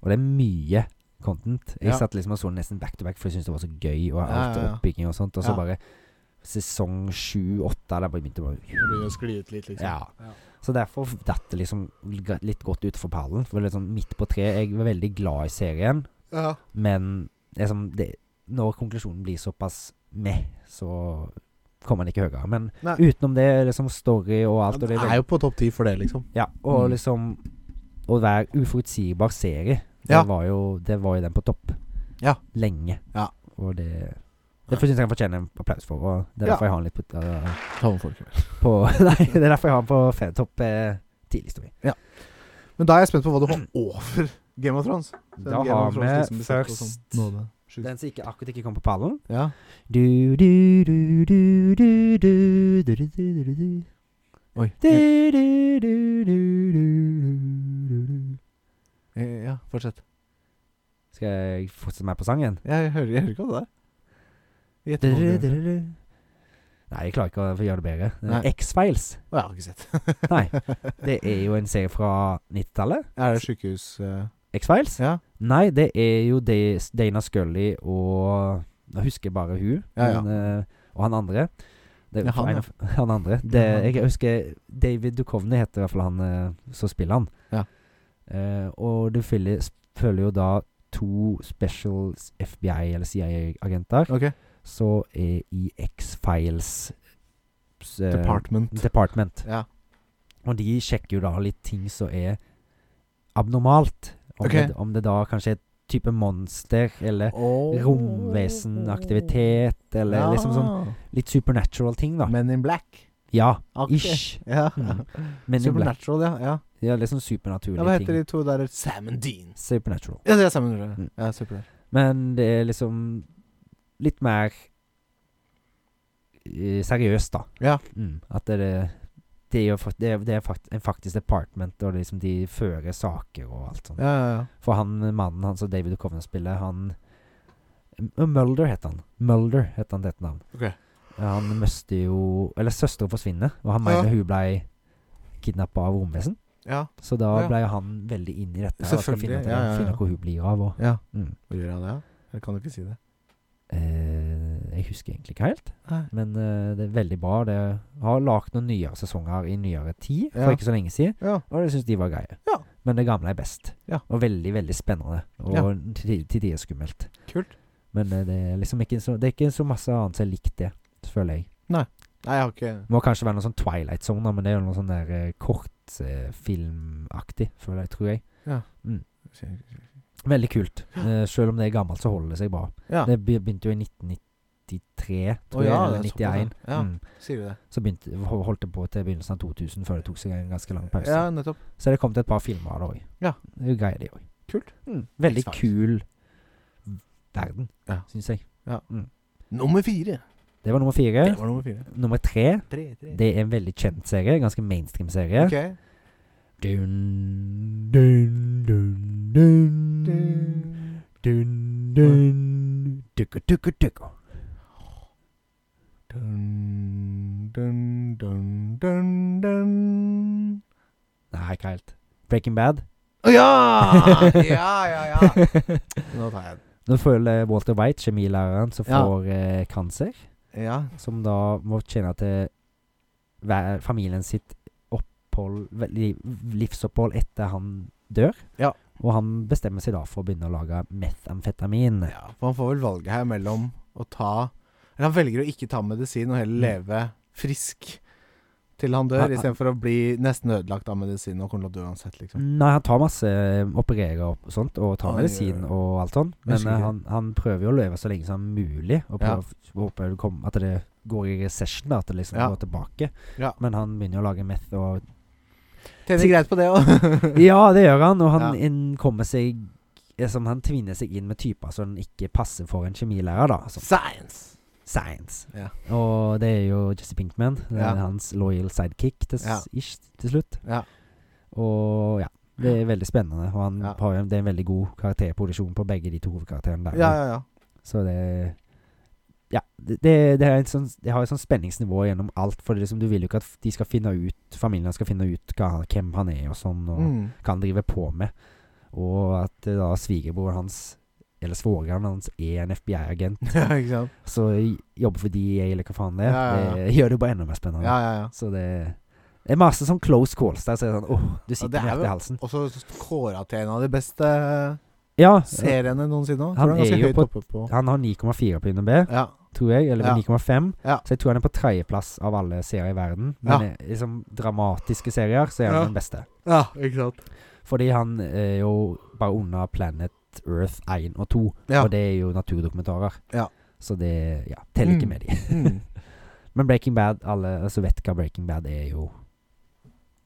[SPEAKER 2] Og det er mye content. Jeg
[SPEAKER 1] Ja.
[SPEAKER 2] satt liksom og så nesten back to back, for jeg syntes det var så gøy. Og alt
[SPEAKER 1] ja, ja.
[SPEAKER 2] oppbygging og sånt. Og så
[SPEAKER 1] Ja.
[SPEAKER 2] bare sesong sju-åtte, der bare begynte det bare
[SPEAKER 1] det begynner å skli ut litt, liksom.
[SPEAKER 2] Ja. Så derfor datt det liksom g- litt godt utenfor pallen. For det er litt sånn midt på treet Jeg var veldig glad i serien,
[SPEAKER 1] Ja.
[SPEAKER 2] men liksom det, når konklusjonen blir såpass meh, så kommer den ikke høyere. Men
[SPEAKER 1] Nei.
[SPEAKER 2] utenom det, liksom story og alt sånn-
[SPEAKER 1] det
[SPEAKER 2] og det,
[SPEAKER 1] er jo på topp ti for det, liksom.
[SPEAKER 2] ja, og
[SPEAKER 1] Mm.
[SPEAKER 2] liksom å være uforutsigbar serie, det,
[SPEAKER 1] Ja.
[SPEAKER 2] var jo, det var jo den på topp.
[SPEAKER 1] Ja.
[SPEAKER 2] Lenge.
[SPEAKER 1] Ja.
[SPEAKER 2] Og det Det syns jeg han fortjener en applaus for. Og det er
[SPEAKER 1] Ja.
[SPEAKER 2] derfor jeg har han litt på, eh,
[SPEAKER 1] Ta med folket.
[SPEAKER 2] på (laughs) Nei, det er derfor jeg har han på fantopp eh, tidligst.
[SPEAKER 1] Men da er jeg spent på hva du har over Game of Thrones. Siden
[SPEAKER 2] Da
[SPEAKER 1] Game
[SPEAKER 2] har
[SPEAKER 1] of Thrones
[SPEAKER 2] vi
[SPEAKER 1] liksom blir sett på
[SPEAKER 2] først
[SPEAKER 1] som nåde. Sjukt.
[SPEAKER 2] Den som ikke akkurat ikke kom på pallen.
[SPEAKER 1] Ja.
[SPEAKER 2] Du, du, du, du, du, du, du, du, du, du, du.
[SPEAKER 1] Oi.
[SPEAKER 2] Du, du, du, du, du, du, du.
[SPEAKER 1] Eh, Ja, fortsett.
[SPEAKER 2] Skal jeg fortsette meg på sangen?
[SPEAKER 1] Jeg hører, jeg hører ikke hva det er. Gjett
[SPEAKER 2] Du,
[SPEAKER 1] hva
[SPEAKER 2] du,
[SPEAKER 1] det
[SPEAKER 2] du,
[SPEAKER 1] er.
[SPEAKER 2] du. Nei, jeg klarer ikke å gjøre det bedre. Det
[SPEAKER 1] Nei.
[SPEAKER 2] er X-Files.
[SPEAKER 1] Å, jeg har ikke sett.
[SPEAKER 2] (laughs) Nei. Det er jo en serie fra 90-tallet.
[SPEAKER 1] (laughs) Er det sykehus eh,
[SPEAKER 2] X-Files.
[SPEAKER 1] Ja.
[SPEAKER 2] Nei, det er jo Da- Dana Scully og Jeg husker bare hun.
[SPEAKER 1] Ja, ja.
[SPEAKER 2] Men, eh, og han andre. Det,
[SPEAKER 1] Ja, han,
[SPEAKER 2] en
[SPEAKER 1] ja.
[SPEAKER 2] av- (laughs) han andre. Det,
[SPEAKER 1] Ja, han.
[SPEAKER 2] jeg husker David Duchovny heter i hvert fall han eh, som spiller han.
[SPEAKER 1] Ja.
[SPEAKER 2] Eh, og du følger, følger jo da to special FBI- eller CIA-agenter
[SPEAKER 1] Ok.
[SPEAKER 2] som er i X-Files eh,
[SPEAKER 1] Department.
[SPEAKER 2] department.
[SPEAKER 1] Ja.
[SPEAKER 2] Og de sjekker jo da litt ting som er abnormalt. Om,
[SPEAKER 1] Ok.
[SPEAKER 2] det, om det da kanskje er et type monster, eller romvesenaktivitet, eller
[SPEAKER 1] Oh. Ja.
[SPEAKER 2] liksom sånn litt supernatural ting, da.
[SPEAKER 1] Men in black.
[SPEAKER 2] ja.
[SPEAKER 1] Ok.
[SPEAKER 2] Ish.
[SPEAKER 1] Ja.
[SPEAKER 2] Mm. Men in black.
[SPEAKER 1] Supernatural, ja. ja.
[SPEAKER 2] Ja, liksom
[SPEAKER 1] ja. Hva
[SPEAKER 2] supernaturlige
[SPEAKER 1] heter
[SPEAKER 2] ting.
[SPEAKER 1] de to der? Sam and Dean.
[SPEAKER 2] Supernatural.
[SPEAKER 1] Ja, det er Sam and Dean.
[SPEAKER 2] Mm.
[SPEAKER 1] Ja, supernatural.
[SPEAKER 2] Men det er liksom litt mer eh, seriøst, da.
[SPEAKER 1] Ja.
[SPEAKER 2] Mm. At det er det er jo fakt- det er, det er fakt, en faktisk department, og liksom de fører saker og alt sånt.
[SPEAKER 1] Ja, ja, ja.
[SPEAKER 2] For han mannen han som David Duchovny spiller, han M- Mulder heter han. Mulder heter han til etternavn.
[SPEAKER 1] Ok.
[SPEAKER 2] Han mister jo Eller søstera forsvinner, og han
[SPEAKER 1] Ja.
[SPEAKER 2] mener hun blei kidnappa av romvesen.
[SPEAKER 1] ja.
[SPEAKER 2] Så da
[SPEAKER 1] Ja.
[SPEAKER 2] blei han veldig inn i dette. her, og skal
[SPEAKER 1] Selvfølgelig,
[SPEAKER 2] Finne, ut
[SPEAKER 1] ja,
[SPEAKER 2] av-
[SPEAKER 1] ja, ja.
[SPEAKER 2] finne ut hvor hun blir av. Og,
[SPEAKER 1] Ja.
[SPEAKER 2] mm.
[SPEAKER 1] Hvor gjør han det? Jeg kan jo ikke si det.
[SPEAKER 2] eh, jeg husker egentlig ikke helt,
[SPEAKER 1] Nei.
[SPEAKER 2] men eh, det er veldig bra. Det har lagd noen nyere sesonger i nyere tid,
[SPEAKER 1] Ja.
[SPEAKER 2] for ikke så lenge siden.
[SPEAKER 1] Ja.
[SPEAKER 2] Og jeg syns de var greie.
[SPEAKER 1] Ja.
[SPEAKER 2] Men det gamle er best.
[SPEAKER 1] Ja.
[SPEAKER 2] Og veldig, veldig spennende. Og
[SPEAKER 1] Ja.
[SPEAKER 2] til, til tider skummelt.
[SPEAKER 1] Kult.
[SPEAKER 2] Men eh, det er liksom ikke så, det er ikke så masse annet som er likt det, føler jeg.
[SPEAKER 1] Nei, jeg har ikke
[SPEAKER 2] Det må kanskje være noe sånn Twilight Zone, da, men det er jo noe sånn der eh, kortfilmaktig, føler jeg, tror jeg. Veldig kult. Eh, selv om det er gammelt, så holder det seg bra.
[SPEAKER 1] Ja.
[SPEAKER 2] Det be- begynte jo i 1993, tror
[SPEAKER 1] Å,
[SPEAKER 2] jeg,
[SPEAKER 1] ja,
[SPEAKER 2] eller
[SPEAKER 1] det er såpass, ja.
[SPEAKER 2] 91.
[SPEAKER 1] Ja.
[SPEAKER 2] Mm.
[SPEAKER 1] Sier du det?
[SPEAKER 2] Så begynte, ho- holdt det på til begynnelsen av 2000, før det tok seg en ganske lang pause.
[SPEAKER 1] Ja, nettopp.
[SPEAKER 2] Så det kom til et par filmer av det òg.
[SPEAKER 1] Ja.
[SPEAKER 2] Det er jo greie, det òg.
[SPEAKER 1] Kult.
[SPEAKER 2] Mm. Veldig
[SPEAKER 1] X-Files.
[SPEAKER 2] kul verden,
[SPEAKER 1] Ja.
[SPEAKER 2] syns jeg.
[SPEAKER 1] Nummer fire.
[SPEAKER 2] Det var nummer fire.
[SPEAKER 1] var nummer fire.
[SPEAKER 2] Nummer tre,
[SPEAKER 1] Tre, tre.
[SPEAKER 2] det er en veldig kjent serie. Ganske mainstream serie.
[SPEAKER 1] Ok.
[SPEAKER 2] Dun, dun, dun, dun, dun, dun, dun. Dukka, dukka, dukka.
[SPEAKER 1] Dun, dun, dun, dun, dun.
[SPEAKER 2] Nei, ikke helt. Breaking Bad.
[SPEAKER 1] Å ja! (laughs) Ja, ja, ja. Nå tar jeg den.
[SPEAKER 2] (laughs) Nå føler Walter White, kjemilæreren, som
[SPEAKER 1] Ja.
[SPEAKER 2] får eh, kanser.
[SPEAKER 1] Ja.
[SPEAKER 2] som da må tjene til hver, familien sitt opphold, ve- li- livsopphold etter han dør.
[SPEAKER 1] Ja.
[SPEAKER 2] Og han bestemmer seg da for å begynne å lage metamfetamin.
[SPEAKER 1] ja. For han får vel valget her mellom å ta Eller han velger å ikke ta medisin og heller leve frisk til han
[SPEAKER 2] Han-
[SPEAKER 1] dør,
[SPEAKER 2] han-
[SPEAKER 1] istedenfor å bli nesten ødelagt av medisin og kommer til å dø uansett, liksom.
[SPEAKER 2] Nei, han tar masse eh, opererer og sånt, og tar
[SPEAKER 1] Oi, oi,
[SPEAKER 2] medisin
[SPEAKER 1] oi.
[SPEAKER 2] og alt sånt.
[SPEAKER 1] Jeg
[SPEAKER 2] Men
[SPEAKER 1] husker
[SPEAKER 2] eh,
[SPEAKER 1] ikke.
[SPEAKER 2] han, han prøver jo å leve så lenge som mulig,
[SPEAKER 1] Ja.
[SPEAKER 2] og prøver, å- håper det kom- at det går i recession, da, at det liksom
[SPEAKER 1] Ja.
[SPEAKER 2] går tilbake.
[SPEAKER 1] Ja.
[SPEAKER 2] Men han begynner å lage meth og
[SPEAKER 1] Tjener greit på det (laughs) òg.
[SPEAKER 2] Ja, det gjør han, og han
[SPEAKER 1] Ja.
[SPEAKER 2] inn- kommer seg eh, som han tvinner seg inn med typer som ikke passer for en kjemilærer, da. Som
[SPEAKER 1] Science.
[SPEAKER 2] science.
[SPEAKER 1] Ja.
[SPEAKER 2] Og det er jo Jesse Pinkman. Det
[SPEAKER 1] Ja.
[SPEAKER 2] er hans loyal sidekick til, s-
[SPEAKER 1] Ja.
[SPEAKER 2] ish, til slutt.
[SPEAKER 1] Ja.
[SPEAKER 2] Og ja. Det er veldig spennende, og han
[SPEAKER 1] Ja.
[SPEAKER 2] har jo en, det er en veldig god karakterproduksjon på begge de to hovedkarakterene der.
[SPEAKER 1] Ja, ja, ja.
[SPEAKER 2] Så det Ja, det, det, det, er en sånn, det har et sånn spenningsnivå gjennom alt, for det er liksom, du vil jo ikke at de skal finne ut familien skal finne ut hva, han- hvem han er og sånn. Og,
[SPEAKER 1] Mm. (laughs)
[SPEAKER 2] kan drive på med. Og at eh, da svigerbroren hans, eller svogeren hans, er en FBI-agent.
[SPEAKER 1] ja ikke sant?
[SPEAKER 2] Så j- jobber for DEA, eller hva faen det er.
[SPEAKER 1] Ja, ja, ja.
[SPEAKER 2] Det gjør det jo bare enda mer spennende.
[SPEAKER 1] Ja, ja, ja.
[SPEAKER 2] Så det det er masse sånn close calls der, så er det sånn åh, du
[SPEAKER 1] det
[SPEAKER 2] sitter
[SPEAKER 1] er
[SPEAKER 2] med hjertet
[SPEAKER 1] jo-
[SPEAKER 2] i halsen.
[SPEAKER 1] Og så kåra til en av de beste
[SPEAKER 2] Ja,
[SPEAKER 1] seriene noensinne.
[SPEAKER 2] Han
[SPEAKER 1] Han er ganske
[SPEAKER 2] er jo
[SPEAKER 1] høyt
[SPEAKER 2] på-
[SPEAKER 1] oppe på
[SPEAKER 2] han har 9,4 på UNB,
[SPEAKER 1] Ja.
[SPEAKER 2] tror jeg. Eller
[SPEAKER 1] Ja.
[SPEAKER 2] 9,5.
[SPEAKER 1] Ja.
[SPEAKER 2] Så jeg tror han er på tredjeplass av alle serier i verden. Men eh, liksom dramatiske serier, så er han
[SPEAKER 1] Ja.
[SPEAKER 2] den beste.
[SPEAKER 1] ja, ikke sant.
[SPEAKER 2] Fordi han er jo bare under Planet Flat Earth 1 og 2.
[SPEAKER 1] Ja.
[SPEAKER 2] Og det er jo naturdokumentarer.
[SPEAKER 1] Ja.
[SPEAKER 2] Så det ja, teller ikke
[SPEAKER 1] Mm.
[SPEAKER 2] med de.
[SPEAKER 1] Mm.
[SPEAKER 2] Men Breaking Bad, alle altså vet hva Breaking Bad er jo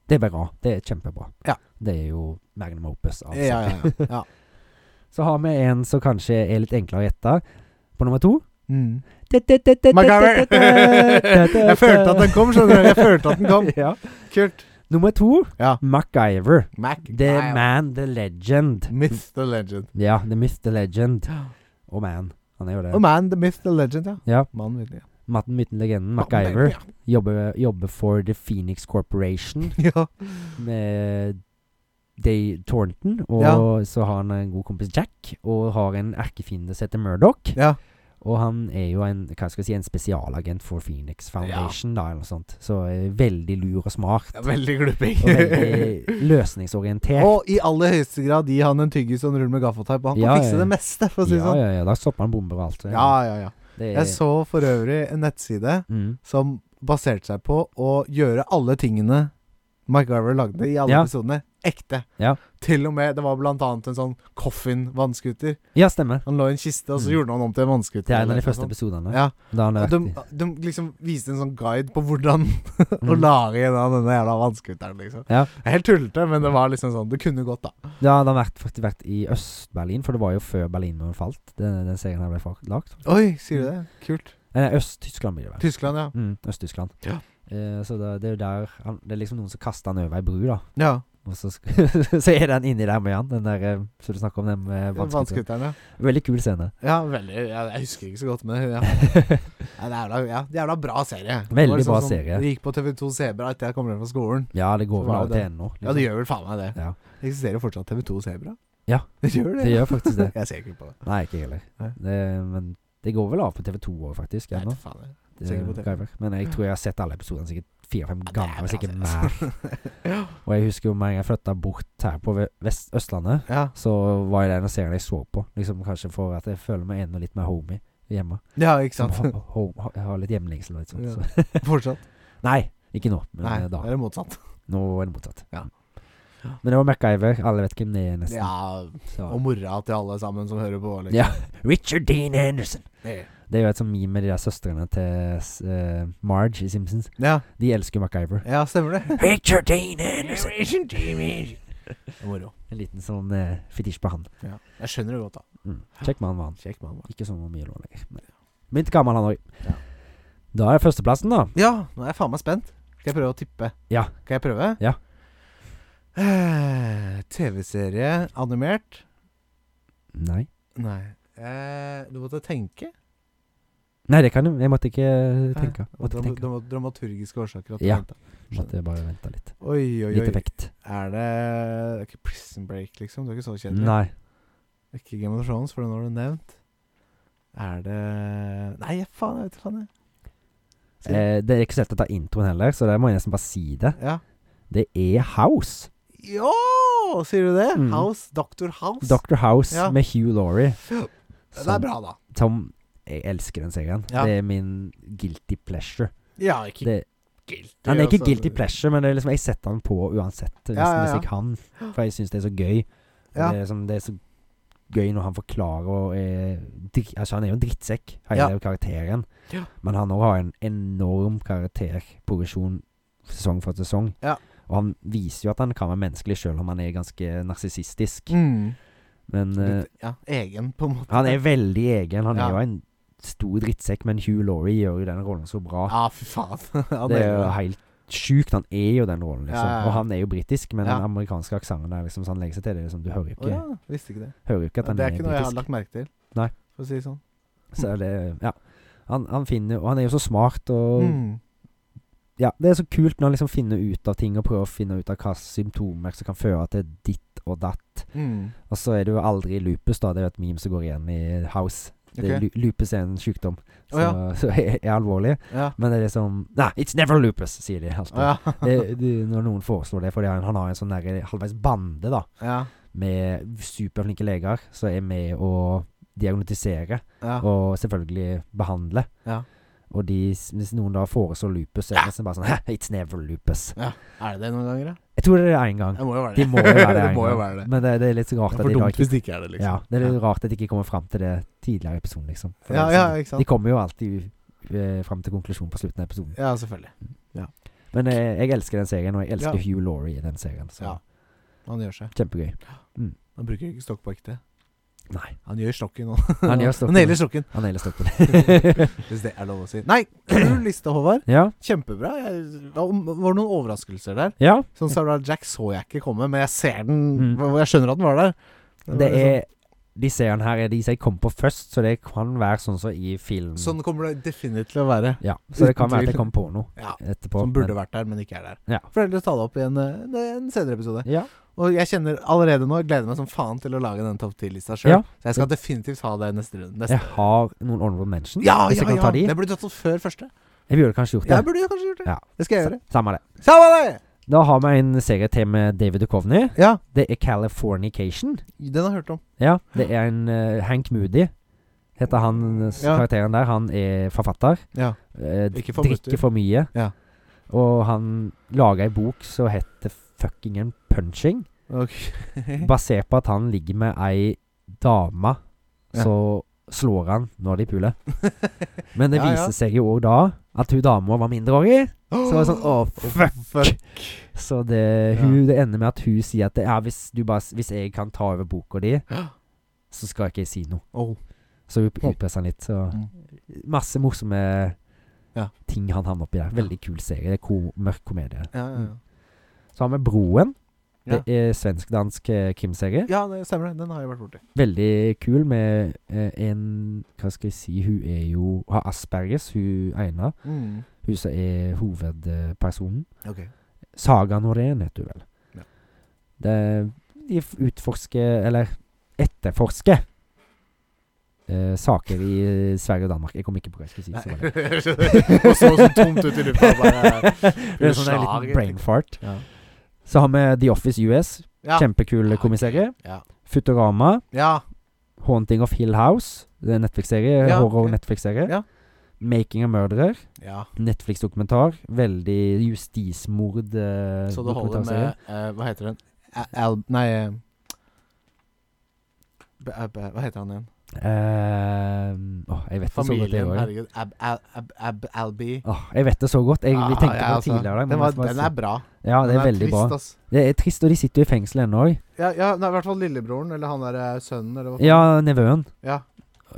[SPEAKER 2] Det er bra. Det er kjempebra.
[SPEAKER 1] Ja.
[SPEAKER 2] Det er jo magnum opus. av
[SPEAKER 1] Ja, (laughs) ja,
[SPEAKER 2] serier.
[SPEAKER 1] ja. ja.
[SPEAKER 2] (laughs) Så har vi en som kanskje er litt enklere å gjette. På nummer to
[SPEAKER 1] Mm. MacGyver.
[SPEAKER 2] (laughs)
[SPEAKER 1] Jeg
[SPEAKER 2] Jeg
[SPEAKER 1] følte at den kom, skjønner du. Jeg følte at den kom.
[SPEAKER 2] (laughs) ja.
[SPEAKER 1] Kult.
[SPEAKER 2] Nummer to
[SPEAKER 1] Ja.
[SPEAKER 2] MacGyver.
[SPEAKER 1] Mac.
[SPEAKER 2] The man, the legend.
[SPEAKER 1] Myth the legend.
[SPEAKER 2] Ja, the myth, the legend. Og man. Han er jo det.
[SPEAKER 1] Oh man, the myth, the legend, ja.
[SPEAKER 2] Ja.
[SPEAKER 1] Mann, vet jeg.
[SPEAKER 2] Matten, myten, legenden.
[SPEAKER 1] Mann,
[SPEAKER 2] MacGyver.
[SPEAKER 1] ja.
[SPEAKER 2] Jobber, jobber for The Phoenix Corporation
[SPEAKER 1] (laughs) Ja.
[SPEAKER 2] med Day Thornton. Og
[SPEAKER 1] Ja.
[SPEAKER 2] så har han en god kompis Jack, og har en erkefiende som heter Murdoch.
[SPEAKER 1] ja.
[SPEAKER 2] Og han er jo en, hva skal jeg si, en spesialagent for Phoenix Foundation, da, eller noe sånt. Så eh, veldig lur og smart.
[SPEAKER 1] Ja, Veldig glupping.
[SPEAKER 2] Og veldig
[SPEAKER 1] (laughs)
[SPEAKER 2] løsningsorientert.
[SPEAKER 1] Og i aller høyeste grad gi han en tyggis og en rull med gaffateip. og Han kan
[SPEAKER 2] Ja,
[SPEAKER 1] fikse
[SPEAKER 2] ja, ja.
[SPEAKER 1] det meste, for å si det
[SPEAKER 2] ja,
[SPEAKER 1] sånn.
[SPEAKER 2] ja, ja. Da stopper han bomber og alt.
[SPEAKER 1] Ja, ja, ja.
[SPEAKER 2] Det er,
[SPEAKER 1] Jeg så for øvrig en nettside
[SPEAKER 2] mm.
[SPEAKER 1] som baserte seg på å gjøre alle tingene MacGyver lagde i alle
[SPEAKER 2] Ja.
[SPEAKER 1] episodene, ekte.
[SPEAKER 2] Ja.
[SPEAKER 1] Til og med Det var blant annet en sånn coffin-vannskuter.
[SPEAKER 2] ja, stemmer.
[SPEAKER 1] Han lå i en kiste, og så
[SPEAKER 2] Mm.
[SPEAKER 1] gjorde han om til en vannskuter.
[SPEAKER 2] Det er en av
[SPEAKER 1] eller
[SPEAKER 2] de første
[SPEAKER 1] noe sånt.
[SPEAKER 2] episodene.
[SPEAKER 1] sånn. Ja.
[SPEAKER 2] Da han
[SPEAKER 1] Og
[SPEAKER 2] er
[SPEAKER 1] de,
[SPEAKER 2] aktiv.
[SPEAKER 1] de liksom viste en sånn guide på hvordan (laughs) å
[SPEAKER 2] Mm.
[SPEAKER 1] lage en av denne jævla vannskuteren, liksom.
[SPEAKER 2] Ja.
[SPEAKER 1] Helt tullete, men det var liksom sånn Det kunne gått, da.
[SPEAKER 2] Da hadde han vært, faktisk vært i Øst-Berlin, for det var jo før Berlinmuren falt. Den, den serien her ble fa- lagt.
[SPEAKER 1] Oi, sier du det? Kult.
[SPEAKER 2] Nei, Øst-Tyskland blir det vel.
[SPEAKER 1] Tyskland, ja.
[SPEAKER 2] Mm, Øst-Tyskland.
[SPEAKER 1] Ja.
[SPEAKER 2] Eh, så det, det er jo der han, Det er liksom noen som kaster han over ei bru, da.
[SPEAKER 1] Ja.
[SPEAKER 2] Og så, sk- (laughs) så er den inni der med han, den der eh, som du snakker om, den med vannskuter.
[SPEAKER 1] Vannskuteren, ja.
[SPEAKER 2] Veldig kul
[SPEAKER 1] (laughs)
[SPEAKER 2] scene.
[SPEAKER 1] Ja, veldig ja, Jeg husker ikke så godt, men ja. Ja, det er jævla, ja, det er jævla bra serie. Det var liksom sånn,
[SPEAKER 2] Veldig bra serie.
[SPEAKER 1] Det gikk på TV2 Sebra etter jeg kom hjem fra skolen.
[SPEAKER 2] Ja, det
[SPEAKER 1] Så
[SPEAKER 2] går vel
[SPEAKER 1] var
[SPEAKER 2] av og
[SPEAKER 1] det-
[SPEAKER 2] til ennå.
[SPEAKER 1] Ja, det gjør vel faen meg det.
[SPEAKER 2] Ja.
[SPEAKER 1] Det Eksisterer jo fortsatt TV2 Sebra?
[SPEAKER 2] Ja.
[SPEAKER 1] (laughs) Det gjør det.
[SPEAKER 2] Det gjør faktisk
[SPEAKER 1] (laughs)
[SPEAKER 2] det.
[SPEAKER 1] Jeg ser ikke på det.
[SPEAKER 2] Nei, ikke jeg heller.
[SPEAKER 1] Nei.
[SPEAKER 2] Det, men det går vel av på TV2 òg, faktisk.
[SPEAKER 1] Nei,
[SPEAKER 2] Ennå.
[SPEAKER 1] faen jeg.
[SPEAKER 2] Det
[SPEAKER 1] sikkert på TV.
[SPEAKER 2] MacGyver. Men jeg tror jeg har sett alle episodene sikkert fire-fem
[SPEAKER 1] Ja, det er
[SPEAKER 2] ganger, hvis
[SPEAKER 1] bra serie,
[SPEAKER 2] ikke
[SPEAKER 1] (laughs)
[SPEAKER 2] mer. Og jeg husker jo med en gang jeg flytta bort her på Ve- Vest Østlandet,
[SPEAKER 1] Ja.
[SPEAKER 2] så var jeg den serien jeg så på. Liksom Kanskje for at jeg føler meg enda litt mer homie hjemme.
[SPEAKER 1] ja, ikke
[SPEAKER 2] (laughs) Som
[SPEAKER 1] sant?
[SPEAKER 2] ho ho ho- jeg har litt hjemlengsel og litt sånt.
[SPEAKER 1] Ja.
[SPEAKER 2] Så. (laughs)
[SPEAKER 1] Fortsatt.
[SPEAKER 2] Nei, ikke nå, men
[SPEAKER 1] Nei,
[SPEAKER 2] eh,
[SPEAKER 1] det
[SPEAKER 2] da.
[SPEAKER 1] er det motsatt.
[SPEAKER 2] Nå er det motsatt.
[SPEAKER 1] Ja.
[SPEAKER 2] Men det var MacGyver. Alle vet hvem det er, nesten.
[SPEAKER 1] Ja,
[SPEAKER 2] Så.
[SPEAKER 1] og mora til alle sammen som hører på. liksom.
[SPEAKER 2] Ja. (laughs) Richard Dean Anderson.
[SPEAKER 1] Ja.
[SPEAKER 2] Det er jo et sånt meme med de der søstrene til s- eh, Marge i Simpsons.
[SPEAKER 1] ja.
[SPEAKER 2] De elsker MacGyver.
[SPEAKER 1] Ja, stemmer det. (laughs)
[SPEAKER 2] Richard Dean Anderson.
[SPEAKER 1] Moro.
[SPEAKER 2] En liten sånn eh, fetisj på han.
[SPEAKER 1] Ja. Jeg skjønner det godt, da.
[SPEAKER 2] Mm. Kjekk mann var han.
[SPEAKER 1] Kjekk mann.
[SPEAKER 2] Ikke sånn mye lå lenger. Nei. Mynt gammel han òg.
[SPEAKER 1] Ja.
[SPEAKER 2] Da er førsteplassen, da.
[SPEAKER 1] Ja, nå er jeg faen meg spent. Skal jeg prøve å tippe?
[SPEAKER 2] Ja.
[SPEAKER 1] Kan jeg prøve? (sighs)
[SPEAKER 2] Ja.
[SPEAKER 1] Eh, TV-serie animert?
[SPEAKER 2] Nei.
[SPEAKER 1] Nei. Eh, du måtte tenke?
[SPEAKER 2] Nei, det kan jeg. Jeg måtte ikke eh, tenke. Måtte
[SPEAKER 1] Dram
[SPEAKER 2] tenke.
[SPEAKER 1] dram- Eh, Dramaturgiske årsaker. At
[SPEAKER 2] Ja.
[SPEAKER 1] Du ventet.
[SPEAKER 2] Måtte bare vente litt.
[SPEAKER 1] oi, oi,
[SPEAKER 2] Litt
[SPEAKER 1] oi.
[SPEAKER 2] effekt.
[SPEAKER 1] Er det Det er ikke Prison Break, liksom? Du er ikke så kjedelig?
[SPEAKER 2] Nei.
[SPEAKER 1] Ikke Game of Thrones, for den har du nevnt. Er det Nei, jeg faen, jeg vet ikke faen, jeg. Skal-
[SPEAKER 2] Eh, det er ikke så lett å ta introen heller, så der må jeg nesten bare si det.
[SPEAKER 1] Ja.
[SPEAKER 2] Det er House.
[SPEAKER 1] Jo, sier du det?
[SPEAKER 2] Mm.
[SPEAKER 1] House, Dr. House.
[SPEAKER 2] Dr. House
[SPEAKER 1] Ja.
[SPEAKER 2] med Hugh Laurie.
[SPEAKER 1] det er bra, da.
[SPEAKER 2] Som jeg elsker den serien.
[SPEAKER 1] Ja.
[SPEAKER 2] Det er min guilty pleasure.
[SPEAKER 1] Ja, ikke
[SPEAKER 2] Det,
[SPEAKER 1] guilty.
[SPEAKER 2] han er ikke
[SPEAKER 1] altså.
[SPEAKER 2] guilty pleasure, men det er liksom, jeg setter han på uansett, nesten
[SPEAKER 1] ja,
[SPEAKER 2] hvis
[SPEAKER 1] ja.
[SPEAKER 2] jeg kan. For jeg syns det er så gøy. Og
[SPEAKER 1] Ja.
[SPEAKER 2] Det, er liksom, det er så gøy når han forklarer og er, dri- Altså, han er jo en drittsekk, hele
[SPEAKER 1] Ja.
[SPEAKER 2] karakteren.
[SPEAKER 1] Ja.
[SPEAKER 2] Men han òg har en enorm karakterprogresjon sesong for sesong.
[SPEAKER 1] Ja.
[SPEAKER 2] Og han viser jo at han kan være menneskelig sjøl om han er ganske narsissistisk.
[SPEAKER 1] Mm.
[SPEAKER 2] Men eh,
[SPEAKER 1] Litt, ja, egen, på en måte.
[SPEAKER 2] han er veldig egen. Han
[SPEAKER 1] Ja.
[SPEAKER 2] er jo en stor drittsekk, men Hugh Laurie gjør jo den rollen så bra.
[SPEAKER 1] Ja, fy faen. (laughs) Han
[SPEAKER 2] det
[SPEAKER 1] er
[SPEAKER 2] er jo
[SPEAKER 1] bra.
[SPEAKER 2] helt sjukt. Han er jo den rollen, liksom.
[SPEAKER 1] Ja, ja, ja.
[SPEAKER 2] Og han er jo britisk, men
[SPEAKER 1] Ja.
[SPEAKER 2] den amerikanske aksenten er liksom så han legger seg til det. Liksom, du hører jo
[SPEAKER 1] Å
[SPEAKER 2] ikke,
[SPEAKER 1] ja, visste ikke det.
[SPEAKER 2] hører jo ikke at
[SPEAKER 1] Ja,
[SPEAKER 2] han
[SPEAKER 1] det er
[SPEAKER 2] er,
[SPEAKER 1] ikke noe jeg har
[SPEAKER 2] britisk.
[SPEAKER 1] lagt merke til,
[SPEAKER 2] Nei.
[SPEAKER 1] for å si det sånn.
[SPEAKER 2] Så er det Ja. Han, han finner Og han er jo så smart og
[SPEAKER 1] Mm.
[SPEAKER 2] Ja, det er så kult når han liksom finner ut av ting og prøver å finne ut av hva symptomer som kan føre til ditt og datt.
[SPEAKER 1] Mm.
[SPEAKER 2] Og så er det jo aldri lupus, da. Det er jo et meme som går igjen i House. Det,
[SPEAKER 1] Ok.
[SPEAKER 2] lu- lupus er en sykdom
[SPEAKER 1] Å
[SPEAKER 2] som er, er alvorlig.
[SPEAKER 1] Ja.
[SPEAKER 2] Men det er liksom Nei, it's never lupus, sier de alltid.
[SPEAKER 1] Å ja.
[SPEAKER 2] det, det, når noen foreslår det, fordi han, han har en sånn der halvveis bande da
[SPEAKER 1] ja.
[SPEAKER 2] med superflinke leger som er med å diagnotisere
[SPEAKER 1] Ja.
[SPEAKER 2] og selvfølgelig behandle.
[SPEAKER 1] Ja.
[SPEAKER 2] Og de, s- hvis noen da foreslår lupus, så er det nesten bare sånn «Hæ, It's never lupus.
[SPEAKER 1] Er det det noen ganger, da?
[SPEAKER 2] Jeg tror det er én gang.
[SPEAKER 1] Det må jo være det.
[SPEAKER 2] De må jo være det.
[SPEAKER 1] (laughs) det,
[SPEAKER 2] en
[SPEAKER 1] må jo
[SPEAKER 2] gang.
[SPEAKER 1] være det.
[SPEAKER 2] Men det, det er litt så rart
[SPEAKER 1] Det
[SPEAKER 2] at
[SPEAKER 1] er for
[SPEAKER 2] de da
[SPEAKER 1] dumt
[SPEAKER 2] ikke
[SPEAKER 1] hvis det ikke er det, liksom.
[SPEAKER 2] Ja, det er litt rart at de ikke kommer fram til det tidligere i episoden, liksom. For
[SPEAKER 1] Ja,
[SPEAKER 2] det er
[SPEAKER 1] ja,
[SPEAKER 2] liksom-
[SPEAKER 1] ikke
[SPEAKER 2] De
[SPEAKER 1] sant.
[SPEAKER 2] kommer jo alltid eh, fram til konklusjonen på slutten av episoden.
[SPEAKER 1] Ja, selvfølgelig.
[SPEAKER 2] Men eh, jeg elsker den serien, og jeg elsker
[SPEAKER 1] Ja.
[SPEAKER 2] Hugh Laurie i den serien. Så
[SPEAKER 1] Ja. Han gjør seg.
[SPEAKER 2] kjempegøy.
[SPEAKER 1] Han bruker ikke stokk på ekte.
[SPEAKER 2] Nei.
[SPEAKER 1] Han gjør stokken nå.
[SPEAKER 2] Han gjør stokken.
[SPEAKER 1] nailer stokken,
[SPEAKER 2] Han er
[SPEAKER 1] (laughs)
[SPEAKER 2] stoppen.
[SPEAKER 1] hvis det er lov å si. Nei, (clears throat) kul liste, Håvard.
[SPEAKER 2] ja.
[SPEAKER 1] Kjempebra. Jeg, det var noen overraskelser der.
[SPEAKER 2] ja.
[SPEAKER 1] Sånn Sarah Jack så jeg ikke komme, men jeg ser den
[SPEAKER 2] Mm.
[SPEAKER 1] hvor- hvor Jeg skjønner at den var der. liksom
[SPEAKER 2] Det
[SPEAKER 1] sånn.
[SPEAKER 2] er De seriene her er de som jeg kom på først, så det kan være sånn som i film.
[SPEAKER 1] sånn, sånn kommer det definitivt til å være.
[SPEAKER 2] Ja, så det kan
[SPEAKER 1] Uten
[SPEAKER 2] være at jeg
[SPEAKER 1] tvil.
[SPEAKER 2] kom på noe
[SPEAKER 1] Ja,
[SPEAKER 2] etterpå.
[SPEAKER 1] Som burde
[SPEAKER 2] men-
[SPEAKER 1] vært der, men ikke er der.
[SPEAKER 2] Ja.
[SPEAKER 1] For ellers ta det opp i en, eh, en senere episode.
[SPEAKER 2] Ja.
[SPEAKER 1] Og jeg kjenner allerede nå, jeg gleder meg som faen til å lage den topp 10-lista sjøl.
[SPEAKER 2] Ja.
[SPEAKER 1] Så jeg skal definitivt ha det neste runde. Neste.
[SPEAKER 2] Jeg har noen honorable mentions.
[SPEAKER 1] Ja,
[SPEAKER 2] hvis
[SPEAKER 1] ja,
[SPEAKER 2] jeg kan ta
[SPEAKER 1] ja!
[SPEAKER 2] de.
[SPEAKER 1] Det burde du tatt opp før første.
[SPEAKER 2] Jeg burde kanskje gjort det.
[SPEAKER 1] Jeg burde jo kanskje gjort det.
[SPEAKER 2] Ja.
[SPEAKER 1] Det skal jeg gjøre.
[SPEAKER 2] Sa- Samme det.
[SPEAKER 1] Samme det!
[SPEAKER 2] Da har vi en serie til med David Duchovny.
[SPEAKER 1] Ja,
[SPEAKER 2] Det er Californication.
[SPEAKER 1] den har jeg hørt om.
[SPEAKER 2] Ja, det er en eh, Hank Moody heter han eh, s-
[SPEAKER 1] Ja.
[SPEAKER 2] karakteren der. Han er forfatter.
[SPEAKER 1] Ja.
[SPEAKER 2] eh,
[SPEAKER 1] Ikke for
[SPEAKER 2] drikker
[SPEAKER 1] mye.
[SPEAKER 2] for mye.
[SPEAKER 1] Ja.
[SPEAKER 2] Og han laga ei bok som heter Fucking and Punching,
[SPEAKER 1] Ok. Eh. (laughs)
[SPEAKER 2] basert på at han ligger med ei dame,
[SPEAKER 1] Ja.
[SPEAKER 2] så slår han når de puler. Men det
[SPEAKER 1] Ja, ja.
[SPEAKER 2] viser seg jo òg da at hun dama var mindreårig. Så det er sånn, åh, fuck. Så det,
[SPEAKER 1] Ja.
[SPEAKER 2] hun, det ender med at hun sier at det, ja, hvis, du bare, s- hvis jeg kan ta over boka di, så skal ikke jeg si noe.
[SPEAKER 1] Oh.
[SPEAKER 2] Så hun utpresser han litt. Så.
[SPEAKER 1] Mm.
[SPEAKER 2] Masse morsomme
[SPEAKER 1] Ja.
[SPEAKER 2] ting han havner oppi der. Veldig kul serie. Det er ko mørk komedie.
[SPEAKER 1] Ja, ja, ja.
[SPEAKER 2] Så har vi Broen.
[SPEAKER 1] Ja.
[SPEAKER 2] Det er svensk-dansk eh, krimserie.
[SPEAKER 1] ja, det stemmer det. Den har jeg vært borti.
[SPEAKER 2] Veldig kul med eh, en Hva skal jeg si Hun er jo har asperges, hun ene.
[SPEAKER 1] Mm.
[SPEAKER 2] Hun som er hovedpersonen.
[SPEAKER 1] Ok.
[SPEAKER 2] Saga Norén heter hun vel.
[SPEAKER 1] Ja.
[SPEAKER 2] Det, de f- utforsker, eller etterforsker, eh, saker i eh, Sverige og Danmark. Jeg kom ikke på hva jeg skulle si.
[SPEAKER 1] Nei. (laughs)
[SPEAKER 2] så var det.
[SPEAKER 1] Og så så tomt ut i lufta. Bare
[SPEAKER 2] (laughs) det er sånn en
[SPEAKER 1] slager.
[SPEAKER 2] liten brain fart.
[SPEAKER 1] Ja.
[SPEAKER 2] Så har vi The Office US.
[SPEAKER 1] Ja. Ah,
[SPEAKER 2] Kjempekul komiserie.
[SPEAKER 1] Ja.
[SPEAKER 2] Futurama.
[SPEAKER 1] ja.
[SPEAKER 2] Haunting of Hill House. Det er en Netflix-serie.
[SPEAKER 1] Ja, ok.
[SPEAKER 2] Horror-Netflix-serie.
[SPEAKER 1] Ja.
[SPEAKER 2] Making a Murderer.
[SPEAKER 1] ja.
[SPEAKER 2] Netflix-dokumentar. Veldig justismord. Eh,
[SPEAKER 1] Så det holder med
[SPEAKER 2] dokumentarserie.
[SPEAKER 1] eh, Hva heter den? A- Al... Nei eh, b ab Hva heter han igjen?
[SPEAKER 2] Eh, åh, jeg vet det så godt, jeg
[SPEAKER 1] Familien,
[SPEAKER 2] òg.
[SPEAKER 1] herregud. Ab, ab, ab, ab, Albi.
[SPEAKER 2] Åh, jeg vet det så godt. Jeg, vi
[SPEAKER 1] Ah,
[SPEAKER 2] tenkte
[SPEAKER 1] ja,
[SPEAKER 2] på det
[SPEAKER 1] altså.
[SPEAKER 2] tidligere i dag. men
[SPEAKER 1] Den, var,
[SPEAKER 2] jeg må bare
[SPEAKER 1] den
[SPEAKER 2] si-
[SPEAKER 1] er bra.
[SPEAKER 2] ja, det
[SPEAKER 1] Den
[SPEAKER 2] er veldig
[SPEAKER 1] trist,
[SPEAKER 2] bra.
[SPEAKER 1] ass.
[SPEAKER 2] Det er trist, og de sitter jo i fengsel ennå òg.
[SPEAKER 1] Ja, ja, nei, i hvert fall lillebroren, eller han derre sønnen, eller hva
[SPEAKER 2] Ja, nevøen.
[SPEAKER 1] Ja.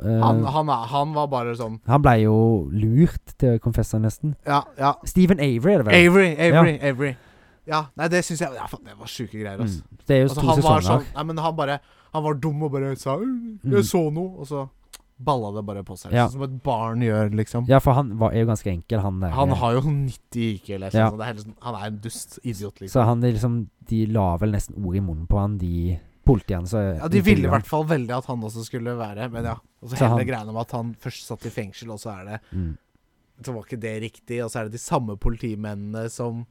[SPEAKER 2] Eh,
[SPEAKER 1] Han,
[SPEAKER 2] han,
[SPEAKER 1] han, er- han var bare sånn
[SPEAKER 2] ble jo lurt til å konfesse, nesten.
[SPEAKER 1] Ja, ja.
[SPEAKER 2] Stephen Avery, er det vel?
[SPEAKER 1] Avery, Avery, Avery. Ja, nei, det syns jeg ja, faen, Det var sjuke greier, ass.
[SPEAKER 2] Mm. Det er jo
[SPEAKER 1] Altså,
[SPEAKER 2] to
[SPEAKER 1] han var
[SPEAKER 2] sesonger. Mm.
[SPEAKER 1] sånn Nei, men han bare Han var dum og bare sa «Øh, 'Jeg så noe', og så balla det bare på seg.
[SPEAKER 2] Ja.
[SPEAKER 1] Sånn som et barn gjør, liksom.
[SPEAKER 2] Ja, for han var, er jo ganske enkel, han der. eh,
[SPEAKER 1] Han har jo 90 IQ, eller sånn,
[SPEAKER 2] Ja.
[SPEAKER 1] så det er helt sånn, han er en dust idiot, liksom.
[SPEAKER 2] Så han er liksom De la vel nesten ord i munnen på han, de politiene. Så,
[SPEAKER 1] Ja, De ville i hvert fall veldig at han også skulle være Men ja. Og så
[SPEAKER 2] Så
[SPEAKER 1] hele
[SPEAKER 2] han-
[SPEAKER 1] greiene med at han først satt i fengsel, og så er det
[SPEAKER 2] Mm.
[SPEAKER 1] Så var ikke det riktig, og så er det de samme politimennene som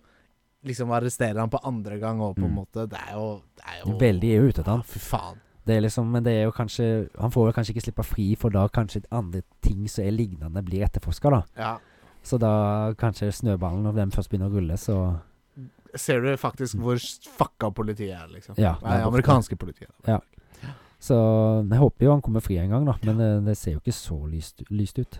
[SPEAKER 1] liksom arresterer han på andre gang òg, på en
[SPEAKER 2] Mm.
[SPEAKER 1] måte. Det er jo, det er jo
[SPEAKER 2] Veldig er jo ute etter
[SPEAKER 1] ja,
[SPEAKER 2] han.
[SPEAKER 1] Fy faen.
[SPEAKER 2] Det er liksom, men det er jo kanskje Han får vel kanskje ikke slippe fri, for da kanskje andre ting som er lignende, blir etterforska, da.
[SPEAKER 1] Ja.
[SPEAKER 2] Så da kanskje snøballen, når den først begynner å rulle, så
[SPEAKER 1] Ser du faktisk hvor fucka politiet er, liksom.
[SPEAKER 2] Ja.
[SPEAKER 1] Nei,
[SPEAKER 2] der borte.
[SPEAKER 1] amerikanske politiet.
[SPEAKER 2] Så jeg håper jo han kommer fri en gang, da. Men eh, det, det ser jo ikke så lyst, lyst ut.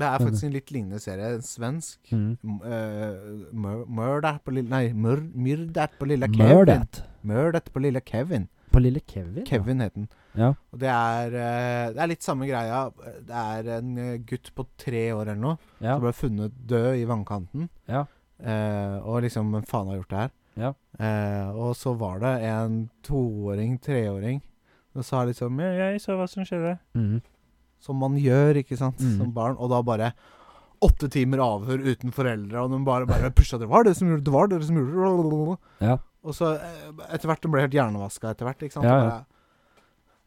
[SPEAKER 1] Det er faktisk en litt lignende serie. En svensk.
[SPEAKER 2] Mm.
[SPEAKER 1] M- eh, mør- Mørdet på lille Nei, mør- myrdet på lille Kevin.
[SPEAKER 2] Murdered.
[SPEAKER 1] Mørdet på lille Kevin.
[SPEAKER 2] På lille Kevin? ja.
[SPEAKER 1] Kevin het den.
[SPEAKER 2] Ja.
[SPEAKER 1] Og det er, eh, det er litt samme greia. Det er en eh, gutt på tre år eller noe
[SPEAKER 2] Ja.
[SPEAKER 1] som ble funnet død i vannkanten.
[SPEAKER 2] Ja.
[SPEAKER 1] Eh, og liksom Hvem faen har gjort det her?
[SPEAKER 2] Ja.
[SPEAKER 1] Eh, og så var det en toåring, treåring, som sa liksom «Ja, ja»,
[SPEAKER 3] Jeg så hva som skjedde.
[SPEAKER 2] Mm.
[SPEAKER 1] Som man gjør, ikke sant,
[SPEAKER 2] Mhm.
[SPEAKER 1] som barn. Og da bare Åtte timer avhør uten foreldre, og de bare, bare pusha det. Var det som gjorde det? Var det som gjorde det? Blablabla.
[SPEAKER 2] Ja.
[SPEAKER 1] Og så eh, etter hvert de ble helt hjernevaska etter hvert, ikke sant?
[SPEAKER 2] Ja,
[SPEAKER 1] Og
[SPEAKER 2] ja.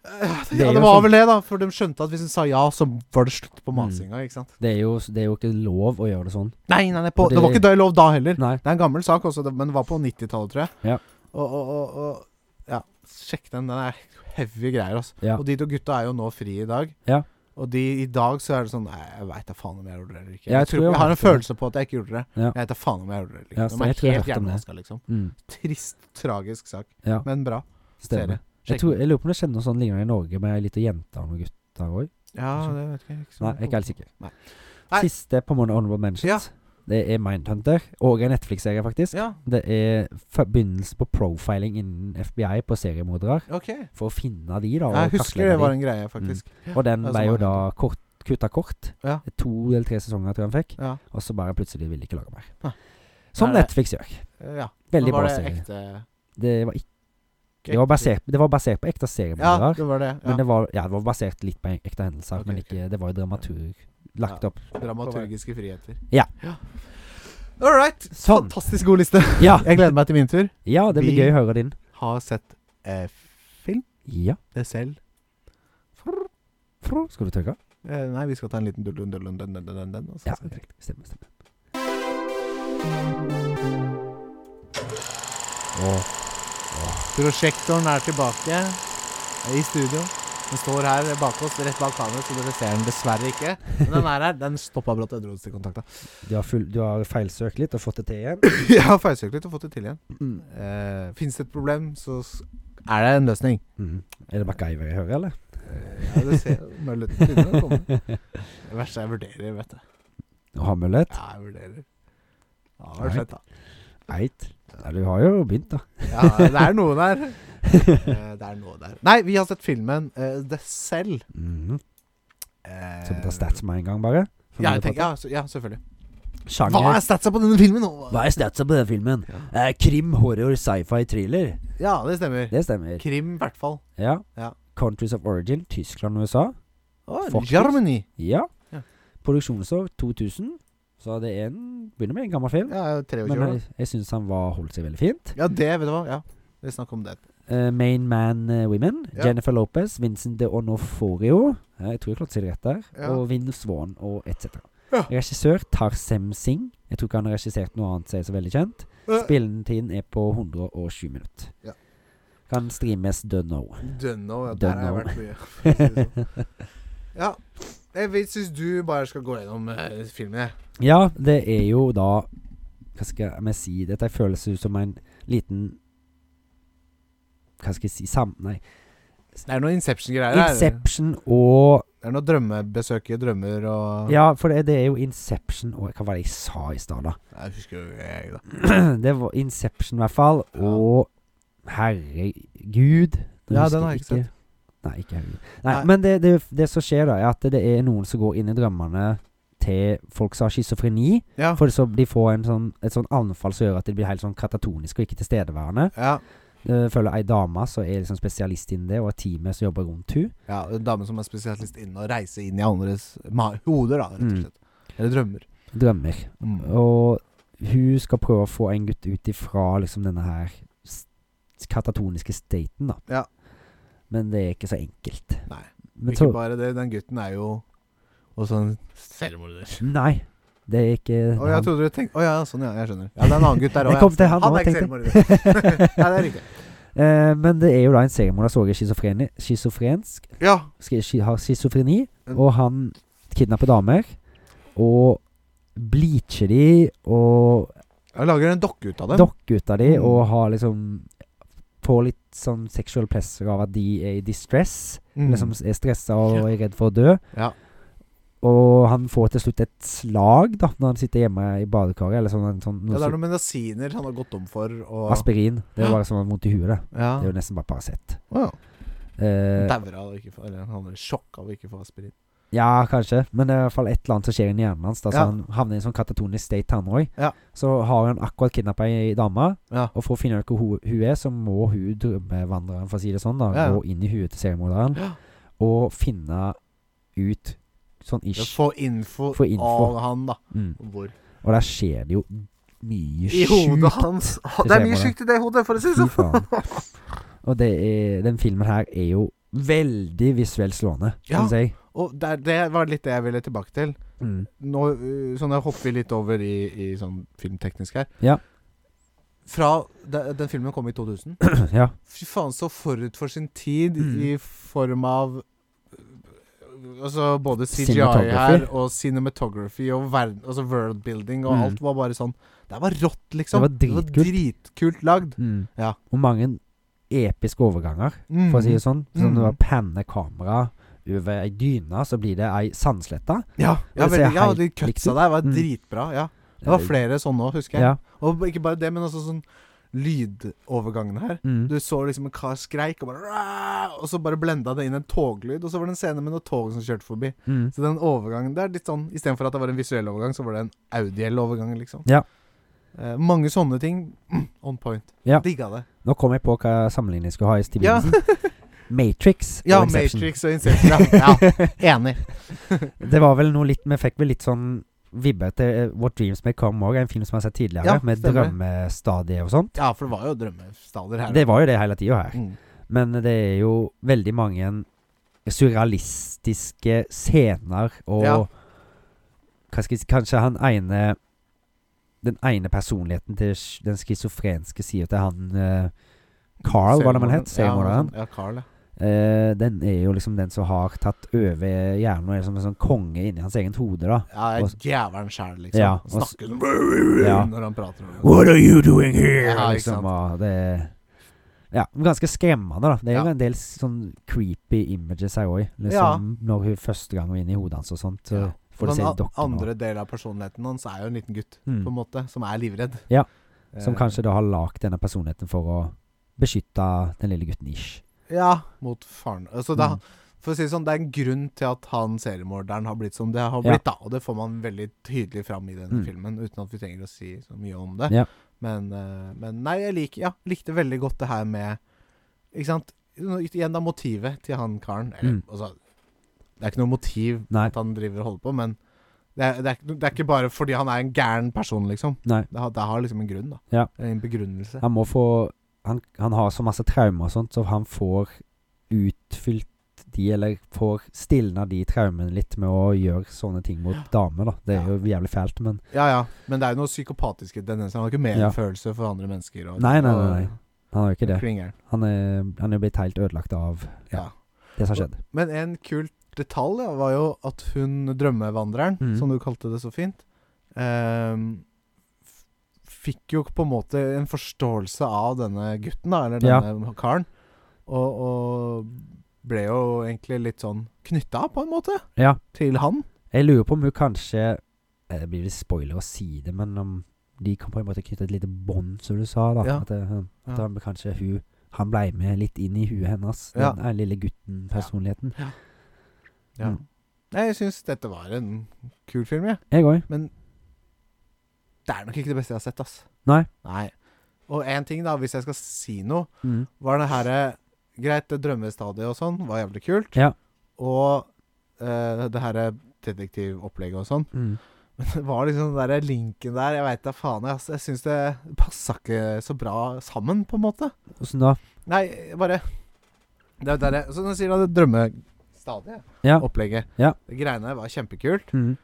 [SPEAKER 1] bare, eh,
[SPEAKER 2] Det er
[SPEAKER 1] ja,
[SPEAKER 2] jo
[SPEAKER 1] det var
[SPEAKER 2] sånn-
[SPEAKER 1] vel det, da. For de skjønte at hvis de sa ja, så var det slutt på
[SPEAKER 2] Mm.
[SPEAKER 1] masinga. Ikke sant?
[SPEAKER 2] Det, er jo, det er jo ikke lov å gjøre det sånn.
[SPEAKER 1] Nei, nei, nei på,
[SPEAKER 2] Og det-
[SPEAKER 1] det var ikke det lov da heller.
[SPEAKER 2] Nei.
[SPEAKER 1] Det er en gammel sak også, det- men det var på 90-tallet, tror jeg.
[SPEAKER 2] Ja.
[SPEAKER 1] Og, og, og, og Ja, sjekk den. Den er heavy greier, altså.
[SPEAKER 2] Ja.
[SPEAKER 1] Og de to gutta er jo nå fri i dag.
[SPEAKER 2] Ja.
[SPEAKER 1] Og de, i dag så er det sånn Nei, jeg veit da faen om jeg gjorde det eller ikke.
[SPEAKER 2] Jeg
[SPEAKER 1] Jeg,
[SPEAKER 2] tror
[SPEAKER 1] tror,
[SPEAKER 2] jeg
[SPEAKER 1] jeg har en
[SPEAKER 2] hørte det.
[SPEAKER 1] følelse på at jeg ikke gjorde det.
[SPEAKER 2] Ja.
[SPEAKER 1] Jeg vet da faen om jeg gjorde det eller ikke.
[SPEAKER 2] Ja, så
[SPEAKER 1] De
[SPEAKER 2] jeg
[SPEAKER 1] er
[SPEAKER 2] tror jeg
[SPEAKER 1] helt
[SPEAKER 2] hørte om det.
[SPEAKER 1] hjernevaska, liksom.
[SPEAKER 2] Mm,
[SPEAKER 1] Trist, tragisk sak.
[SPEAKER 2] ja,
[SPEAKER 1] Men bra. Serie.
[SPEAKER 2] stemmer. Jeg, tror, jeg lurer på om det skjedde noe sånn lignende i Norge med ei lita jente og noen gutter òg.
[SPEAKER 1] Ja, det vet jeg ikke. så
[SPEAKER 2] sånn. Nei,
[SPEAKER 1] mye
[SPEAKER 2] jeg er ikke helt sikker.
[SPEAKER 1] Nei. Nei.
[SPEAKER 2] Siste på Monday Honorable Mentions. Det er Mindhunter, og en Netflix-serie, faktisk.
[SPEAKER 1] Ja,
[SPEAKER 2] Det er f- begynnelsen på profiling innen FBI på seriemordere.
[SPEAKER 1] ok.
[SPEAKER 2] For å finne de, da. Og
[SPEAKER 1] Jeg husker det
[SPEAKER 2] kartlegge
[SPEAKER 1] var
[SPEAKER 2] de.
[SPEAKER 1] en greie, faktisk.
[SPEAKER 2] Og den
[SPEAKER 1] det er
[SPEAKER 2] ble
[SPEAKER 1] så
[SPEAKER 2] jo
[SPEAKER 1] mange.
[SPEAKER 2] da kort, kutta kort.
[SPEAKER 1] Ja.
[SPEAKER 2] To eller tre sesonger, tror jeg han fikk.
[SPEAKER 1] Ja.
[SPEAKER 2] Og så bare plutselig ville de ikke lage mer.
[SPEAKER 1] Nei.
[SPEAKER 2] Som
[SPEAKER 1] Er det-
[SPEAKER 2] Netflix gjør.
[SPEAKER 1] eh, ja. Men
[SPEAKER 2] Veldig
[SPEAKER 1] var
[SPEAKER 2] bra
[SPEAKER 1] det
[SPEAKER 2] serie.
[SPEAKER 1] ekte
[SPEAKER 2] Det var, ikke, det, var basert, det var basert på ekte
[SPEAKER 1] Ja,
[SPEAKER 2] seriemordere.
[SPEAKER 1] det var det.
[SPEAKER 2] Men
[SPEAKER 1] Ja.
[SPEAKER 2] det var, ja, det var basert litt på ekte hendelser.
[SPEAKER 1] Ok,
[SPEAKER 2] men
[SPEAKER 1] ok.
[SPEAKER 2] ikke, det var jo dramaturg lagt
[SPEAKER 1] Ja.
[SPEAKER 2] opp.
[SPEAKER 1] Dramaturgiske friheter.
[SPEAKER 2] Ja.
[SPEAKER 1] All right.
[SPEAKER 2] Sånn.
[SPEAKER 1] Fantastisk god
[SPEAKER 2] (laughs)
[SPEAKER 1] liste.
[SPEAKER 2] Ja,
[SPEAKER 1] Jeg gleder meg til min tur.
[SPEAKER 2] ja det blir
[SPEAKER 1] Vi-
[SPEAKER 2] gøy å høre din.
[SPEAKER 1] Har sett eh, film.
[SPEAKER 2] Ja.
[SPEAKER 1] Det selv.
[SPEAKER 2] Frå. Skal du trykke?
[SPEAKER 1] Eh, nei, vi skal ta en liten dullun, dullun, den, den, den, den. og så
[SPEAKER 2] Ja,
[SPEAKER 1] skal vi trekke.
[SPEAKER 2] riktig. Stemmer, stemmer.
[SPEAKER 1] Prosjektoren er tilbake i studio. Den står her bak oss, rett bak kameraet, så dere ser den dessverre ikke. Men den er her. Den stoppa brått etter rotstikkontakta.
[SPEAKER 2] Du har, full, du har feilsøkt litt og fått det til igjen.
[SPEAKER 1] (coughs) Jeg har feilsøkt litt og fått det til igjen.
[SPEAKER 2] Mm.
[SPEAKER 1] Eh, Fins det et problem, så s- er det en løsning.
[SPEAKER 2] Mhm. Er det MacGyver jeg hører, eller?
[SPEAKER 1] Eh, Ja, det ser mølleten begynner å komme. (laughs) Det verste er jeg vurderer, vet du.
[SPEAKER 2] Å ha mullet?
[SPEAKER 1] Ja, jeg vurderer. Ja, det var fett, da.
[SPEAKER 2] Eit. Ja, du har jo begynt, da.
[SPEAKER 1] Ja, det er noe (laughs) der. Eh, Det er noe der. Nei, vi har sett filmen eh, The Cell.
[SPEAKER 2] Mhm.
[SPEAKER 1] Eh,
[SPEAKER 2] Så vi tar stats med en gang, bare? For
[SPEAKER 1] Ja,
[SPEAKER 2] vi
[SPEAKER 1] jeg tenker,
[SPEAKER 2] prater.
[SPEAKER 1] ja, så, ja, selvfølgelig.
[SPEAKER 2] Sjanger.
[SPEAKER 1] Hva er statsa på denne filmen? nå?
[SPEAKER 2] Hva er statsa på den filmen? Eh, krim, horror, sci-fi, thriller.
[SPEAKER 1] Ja, det stemmer.
[SPEAKER 2] Det stemmer.
[SPEAKER 1] Krim, i hvert fall.
[SPEAKER 2] Ja.
[SPEAKER 1] Ja.
[SPEAKER 2] Countries of origin, Tyskland og USA.
[SPEAKER 1] Å,
[SPEAKER 2] Faktisk.
[SPEAKER 1] Germany.
[SPEAKER 2] Ja.
[SPEAKER 1] Ja.
[SPEAKER 2] Produksjonsår 2000. Så det er en Begynner med en gammel film.
[SPEAKER 1] Ja, jeg er 23
[SPEAKER 2] Men
[SPEAKER 1] år. da.
[SPEAKER 2] jeg, jeg syns han var, holdt seg veldig fint.
[SPEAKER 1] Ja, det, vet du hva. Ja, Vi snakker om det.
[SPEAKER 2] Eh, Main Man eh, Women.
[SPEAKER 1] Ja.
[SPEAKER 2] Jennifer Lopez, Vincent de Onoforio. Eh, jeg tror jeg klarte å si det rett der.
[SPEAKER 1] Ja.
[SPEAKER 2] Og Vin Swan og etc.
[SPEAKER 1] Ja.
[SPEAKER 2] Regissør Tarsem Singh. Jeg tror ikke han har regissert noe annet som er så veldig kjent.
[SPEAKER 1] etterpå.
[SPEAKER 2] Spilletiden er på 107 minutter.
[SPEAKER 1] Ja.
[SPEAKER 2] Kan streames the no.
[SPEAKER 1] Dunno. Øh, Ja, der har jeg
[SPEAKER 2] Dunno.
[SPEAKER 1] vært mye. for å si det sånn.
[SPEAKER 2] (laughs)
[SPEAKER 1] Ja. Jeg syns du bare skal gå gjennom eh, filmen, jeg.
[SPEAKER 2] Ja, det er jo da Hva skal jeg si? Dette føles ut som en liten Hva skal jeg si sam... Nei.
[SPEAKER 1] Det er noe Inception-greier her.
[SPEAKER 2] Inception og
[SPEAKER 1] Det er noe drømmebesøk i drømmer og
[SPEAKER 2] Ja, for det, det er jo Inception og Hva var det jeg sa i stad, da?
[SPEAKER 1] Jeg husker jo jeg, da.
[SPEAKER 2] (clears throat) det var Inception, i hvert fall.
[SPEAKER 1] Ja.
[SPEAKER 2] Og herregud nå
[SPEAKER 1] Ja,
[SPEAKER 2] husker
[SPEAKER 1] den har jeg ikke sett.
[SPEAKER 2] Nei, ikke herregud. Nei,
[SPEAKER 1] Nei.
[SPEAKER 2] Men det, det, det som skjer, da, er at det er noen som går inn i drømmene til folk som har schizofreni.
[SPEAKER 1] Ja.
[SPEAKER 2] For så de får en sånn, et sånn anfall som gjør at de blir helt sånn katatoniske og ikke tilstedeværende.
[SPEAKER 1] ja.
[SPEAKER 2] Det følger ei dame som er liksom spesialist innen det, og et team som jobber rundt hun
[SPEAKER 1] ja en dame som er spesialist innen å reise inn i andres ma hoder, da, rett og
[SPEAKER 2] Mm.
[SPEAKER 1] slett. Eller drømmer.
[SPEAKER 2] Drømmer. Og hun skal prøve å få en gutt ut ifra liksom denne her s- katatoniske staten, da.
[SPEAKER 1] Ja.
[SPEAKER 2] Men det er ikke så enkelt.
[SPEAKER 1] Nei.
[SPEAKER 2] Men
[SPEAKER 1] ikke
[SPEAKER 2] så,
[SPEAKER 1] bare det, den gutten er jo også en selvmorder.
[SPEAKER 2] nei. Det er ikke
[SPEAKER 1] Å, jeg trodde du tenkte Å ja, sånn, ja. Jeg skjønner. Ja, det er en annen gutt der
[SPEAKER 2] Jeg
[SPEAKER 1] òg.
[SPEAKER 2] kom til han
[SPEAKER 1] han
[SPEAKER 2] nå,
[SPEAKER 1] er ikke
[SPEAKER 2] tenkte
[SPEAKER 1] selvmorder. (laughs) Nei, det er riktig.
[SPEAKER 2] (laughs) Eh, men det er jo da en seriemorder som også er schizofreni- schizofrensk
[SPEAKER 1] Ja.
[SPEAKER 2] ski- ski- har schizofreni,
[SPEAKER 1] Mm.
[SPEAKER 2] og han kidnapper damer. Og bleacher de, og
[SPEAKER 1] Jeg lager en dokke ut av dem.
[SPEAKER 2] dokker ut av de,
[SPEAKER 1] Mm.
[SPEAKER 2] og har liksom Får litt sånn sexual pleasure av at de er i distress.
[SPEAKER 1] Mm.
[SPEAKER 2] Liksom er stressa og er redd for å dø.
[SPEAKER 1] Ja.
[SPEAKER 2] Og han får til slutt et slag da når han sitter hjemme i badekaret. Eller sånn, en sånn
[SPEAKER 1] ja, det er
[SPEAKER 2] noe som-
[SPEAKER 1] noen medisiner han har gått om for, og
[SPEAKER 2] Aspirin. Det er bare sånn vondt i huet. Det.
[SPEAKER 1] Ja.
[SPEAKER 2] det er jo nesten bare Paracet.
[SPEAKER 1] Wow.
[SPEAKER 2] Eh,
[SPEAKER 1] Dauer av å ikke få Eller han er i sjokk av å ikke få aspirin.
[SPEAKER 2] ja, kanskje. Men det er i hvert fall et eller annet som skjer inni hjernen hans. Da, Så
[SPEAKER 1] Ja.
[SPEAKER 2] han havner i en sånn katatonisk state, han òg.
[SPEAKER 1] Ja.
[SPEAKER 2] Så har han akkurat kidnappa ei dame.
[SPEAKER 1] Ja.
[SPEAKER 2] Og for å finne ut hvor hun, hun er, så må hun drømmevandreren, for å si det sånn, da,
[SPEAKER 1] Ja, ja.
[SPEAKER 2] gå inn i huet til seriemorderen
[SPEAKER 1] Ja.
[SPEAKER 2] og finne ut sånn ish.
[SPEAKER 1] Få info,
[SPEAKER 2] Få info.
[SPEAKER 1] av han, da.
[SPEAKER 2] Mm.
[SPEAKER 1] Hvor
[SPEAKER 2] Og der skjer det jo mye
[SPEAKER 1] I hodet
[SPEAKER 2] sjukt.
[SPEAKER 1] hans. Å, Det er mye
[SPEAKER 2] Til
[SPEAKER 1] sjukt i det hodet, for å si det
[SPEAKER 2] Fy
[SPEAKER 1] sånn.
[SPEAKER 2] faen. Og det er, den filmen her er jo veldig visuelt slående,
[SPEAKER 1] Ja.
[SPEAKER 2] kan jeg si.
[SPEAKER 1] Og det, er- det var litt det jeg ville tilbake til.
[SPEAKER 2] Mm. (clears throat)
[SPEAKER 1] Nå øh, sånn, jeg hopper vi litt over i, i sånn filmteknisk her.
[SPEAKER 2] Ja.
[SPEAKER 1] Fra de, Den filmen kom i 2000.
[SPEAKER 2] ja.
[SPEAKER 1] Fy faen, så forut for sin tid
[SPEAKER 2] Mm.
[SPEAKER 1] i form av øh, altså, både CGI her
[SPEAKER 2] Cinematography.
[SPEAKER 1] og cinematography og verden, altså worldbuilding og
[SPEAKER 5] Mm.
[SPEAKER 1] alt var bare sånn Det var rått, liksom.
[SPEAKER 2] Det var
[SPEAKER 1] dritkult lagd.
[SPEAKER 2] Mm.
[SPEAKER 1] Ja.
[SPEAKER 2] Og mange episke overganger,
[SPEAKER 1] Mm.
[SPEAKER 2] for å si det sånn. Sånn
[SPEAKER 1] Mm.
[SPEAKER 2] når du panner kamera over ei dyne, så blir det ei sandslette.
[SPEAKER 1] Ja, ja,
[SPEAKER 2] Det ser
[SPEAKER 1] veldig, ja
[SPEAKER 2] helt
[SPEAKER 1] de
[SPEAKER 2] likt ut.
[SPEAKER 1] cutsa der var
[SPEAKER 2] Mm.
[SPEAKER 1] dritbra. Ja. Det var flere sånne òg, husker jeg.
[SPEAKER 2] Ja.
[SPEAKER 1] Og ikke bare det, men også sånn lydovergangene her.
[SPEAKER 2] Mm.
[SPEAKER 1] Du så liksom en kar skreik, og bare "Rah!" Og så bare blenda det inn en toglyd. Og så var det en scene med noen tog som kjørte forbi.
[SPEAKER 2] Mm.
[SPEAKER 1] Så den overgangen der, litt sånn Istedenfor at det var en visuell overgang, så var det en audiell overgang, liksom.
[SPEAKER 2] Ja.
[SPEAKER 1] Eh, mange sånne ting. (clears throat) mm, On point.
[SPEAKER 2] Ja.
[SPEAKER 1] Digga det.
[SPEAKER 2] Nå kom jeg på hva sammenligning jeg skulle ha i Steve
[SPEAKER 1] Ja.
[SPEAKER 2] Jobsen.
[SPEAKER 1] (laughs)
[SPEAKER 2] Matrix
[SPEAKER 1] Ja,
[SPEAKER 2] og Inception.
[SPEAKER 1] Matrix og Inception. Ja. ja. Enig.
[SPEAKER 2] Det var vel noe litt Vi fikk vel litt sånn vibber til eh, What Dreams May Come òg, en film som jeg har sett tidligere,
[SPEAKER 1] Ja,
[SPEAKER 2] med
[SPEAKER 1] stemmer.
[SPEAKER 2] drømmestadiet og sånn.
[SPEAKER 1] Ja, for det var jo drømmestader her.
[SPEAKER 2] Det var jo det hele tida her.
[SPEAKER 1] Mm.
[SPEAKER 2] Men det er jo veldig mange surrealistiske scener og
[SPEAKER 1] Ja.
[SPEAKER 2] hva skal jeg si, Kanskje han ene Den ene personligheten til sk- den schizofrenske sida til han eh, Carl, var det man het? Seriemorderen.
[SPEAKER 1] Ja, ja, Carl, ja.
[SPEAKER 2] Eh, den er jo liksom den som har tatt over hjernen og er som en sånn konge inni hans eget hode, da.
[SPEAKER 1] Ja,
[SPEAKER 2] Og-
[SPEAKER 1] Djevelen sjæl, liksom.
[SPEAKER 2] Ja, og-
[SPEAKER 1] Snakker sånn
[SPEAKER 2] Ja.
[SPEAKER 1] når han prater om det.
[SPEAKER 2] What are you doing here?
[SPEAKER 1] Ja, ikke
[SPEAKER 2] liksom,
[SPEAKER 1] sant.
[SPEAKER 2] og det ja, ganske skremmende, da. Det er jo
[SPEAKER 1] Ja.
[SPEAKER 2] en del sånn creepy images her òg. Liksom,
[SPEAKER 1] Ja.
[SPEAKER 2] Når hun første gang var inne i hodet hans og sånt. Så
[SPEAKER 1] Ja.
[SPEAKER 2] får du
[SPEAKER 1] Den
[SPEAKER 2] se
[SPEAKER 1] a-
[SPEAKER 2] dokken
[SPEAKER 1] andre del av personligheten hans er jo en liten gutt,
[SPEAKER 2] Mm.
[SPEAKER 1] på en måte, som er livredd.
[SPEAKER 2] Ja,
[SPEAKER 1] Eh,
[SPEAKER 2] som kanskje da har lagd denne personligheten for å beskytte den lille gutten Ish.
[SPEAKER 1] Ja, mot faren. Altså, da,
[SPEAKER 2] Mm.
[SPEAKER 1] for å si det sånn, det er en grunn til at han seriemorderen har blitt som det har
[SPEAKER 2] Ja.
[SPEAKER 1] blitt, da. Og det får man veldig tydelig fram i denne
[SPEAKER 2] Mm.
[SPEAKER 1] filmen, uten at vi trenger å si så mye om det.
[SPEAKER 2] Ja.
[SPEAKER 1] Men, eh, men nei, jeg liker, ja, likte veldig godt det her med Ikke sant? Nå- Igjen da motivet til han karen. Eller,
[SPEAKER 2] Mm.
[SPEAKER 1] altså, det er ikke noe motiv
[SPEAKER 2] Nei.
[SPEAKER 1] at han driver og holder på, men det er, det, er, ikke- det er ikke bare fordi han er en gæren person, liksom.
[SPEAKER 2] Nei.
[SPEAKER 1] Det har, det har liksom en grunn, da.
[SPEAKER 2] Ja.
[SPEAKER 1] Eller En begrunnelse.
[SPEAKER 2] Han må få han, han har så masse traumer og sånt, så han får utfylt de, eller får stilna de traumene litt med å gjøre sånne ting mot damer, da. Det er jo jævlig fælt, men
[SPEAKER 1] Ja, ja. Men det er jo noen psykopatiske tendenser. Han har ikke
[SPEAKER 2] Ja.
[SPEAKER 1] medfølelse for andre mennesker. Og,
[SPEAKER 2] Nei, nei, nei,
[SPEAKER 1] og-
[SPEAKER 2] nei. han har jo ikke det.
[SPEAKER 1] Kringeren.
[SPEAKER 2] Han er, han er blitt helt ødelagt av
[SPEAKER 1] Ja.
[SPEAKER 2] det som skjedde.
[SPEAKER 1] Men en kul detalj ja, var jo at hun drømmevandreren,
[SPEAKER 2] Mhm.
[SPEAKER 1] som du kalte det så fint, ehm, f- fikk jo på en måte en forståelse av denne gutten, da, eller
[SPEAKER 2] Ja.
[SPEAKER 1] denne karen, og, og ble jo egentlig litt sånn knytta, på en måte,
[SPEAKER 2] Ja.
[SPEAKER 1] til han.
[SPEAKER 2] Jeg lurer på om hun kanskje eh, Det blir litt spoiler å si det, men om de kan på en måte knytte et lite bånd, som du sa. da
[SPEAKER 1] Ja.
[SPEAKER 2] At, det, eh, at
[SPEAKER 1] Ja.
[SPEAKER 2] han, kanskje hun han blei med litt inn i huet hennes,
[SPEAKER 1] Ja.
[SPEAKER 2] den eh, lille gutten-personligheten.
[SPEAKER 1] Ja.
[SPEAKER 2] Mm.
[SPEAKER 1] Nei, jeg syns dette var en kul film, jeg.
[SPEAKER 2] Jeg òg.
[SPEAKER 1] Men det er nok ikke det beste jeg har sett, ass.
[SPEAKER 2] Nei.
[SPEAKER 1] Nei. Og én ting, da, hvis jeg skal si noe,
[SPEAKER 2] Mm.
[SPEAKER 1] var det herre Greit, det drømmestadiet og sånn var jævlig kult.
[SPEAKER 2] Ja.
[SPEAKER 1] Og eh, det herre detektivopplegget og sånn. (laughs)
[SPEAKER 2] Mm.
[SPEAKER 1] Men det var liksom den der linken der Jeg veit da faen, jeg, ass. Jeg syns det passa ikke så bra sammen, på en måte.
[SPEAKER 2] Åssen da?
[SPEAKER 1] Nei, bare Det er jo der jeg Så nå sier du det drømmestadiet.
[SPEAKER 2] Ja.
[SPEAKER 1] Opplegget.
[SPEAKER 2] Ja.
[SPEAKER 1] Det greiene var kjempekult.
[SPEAKER 2] Mm.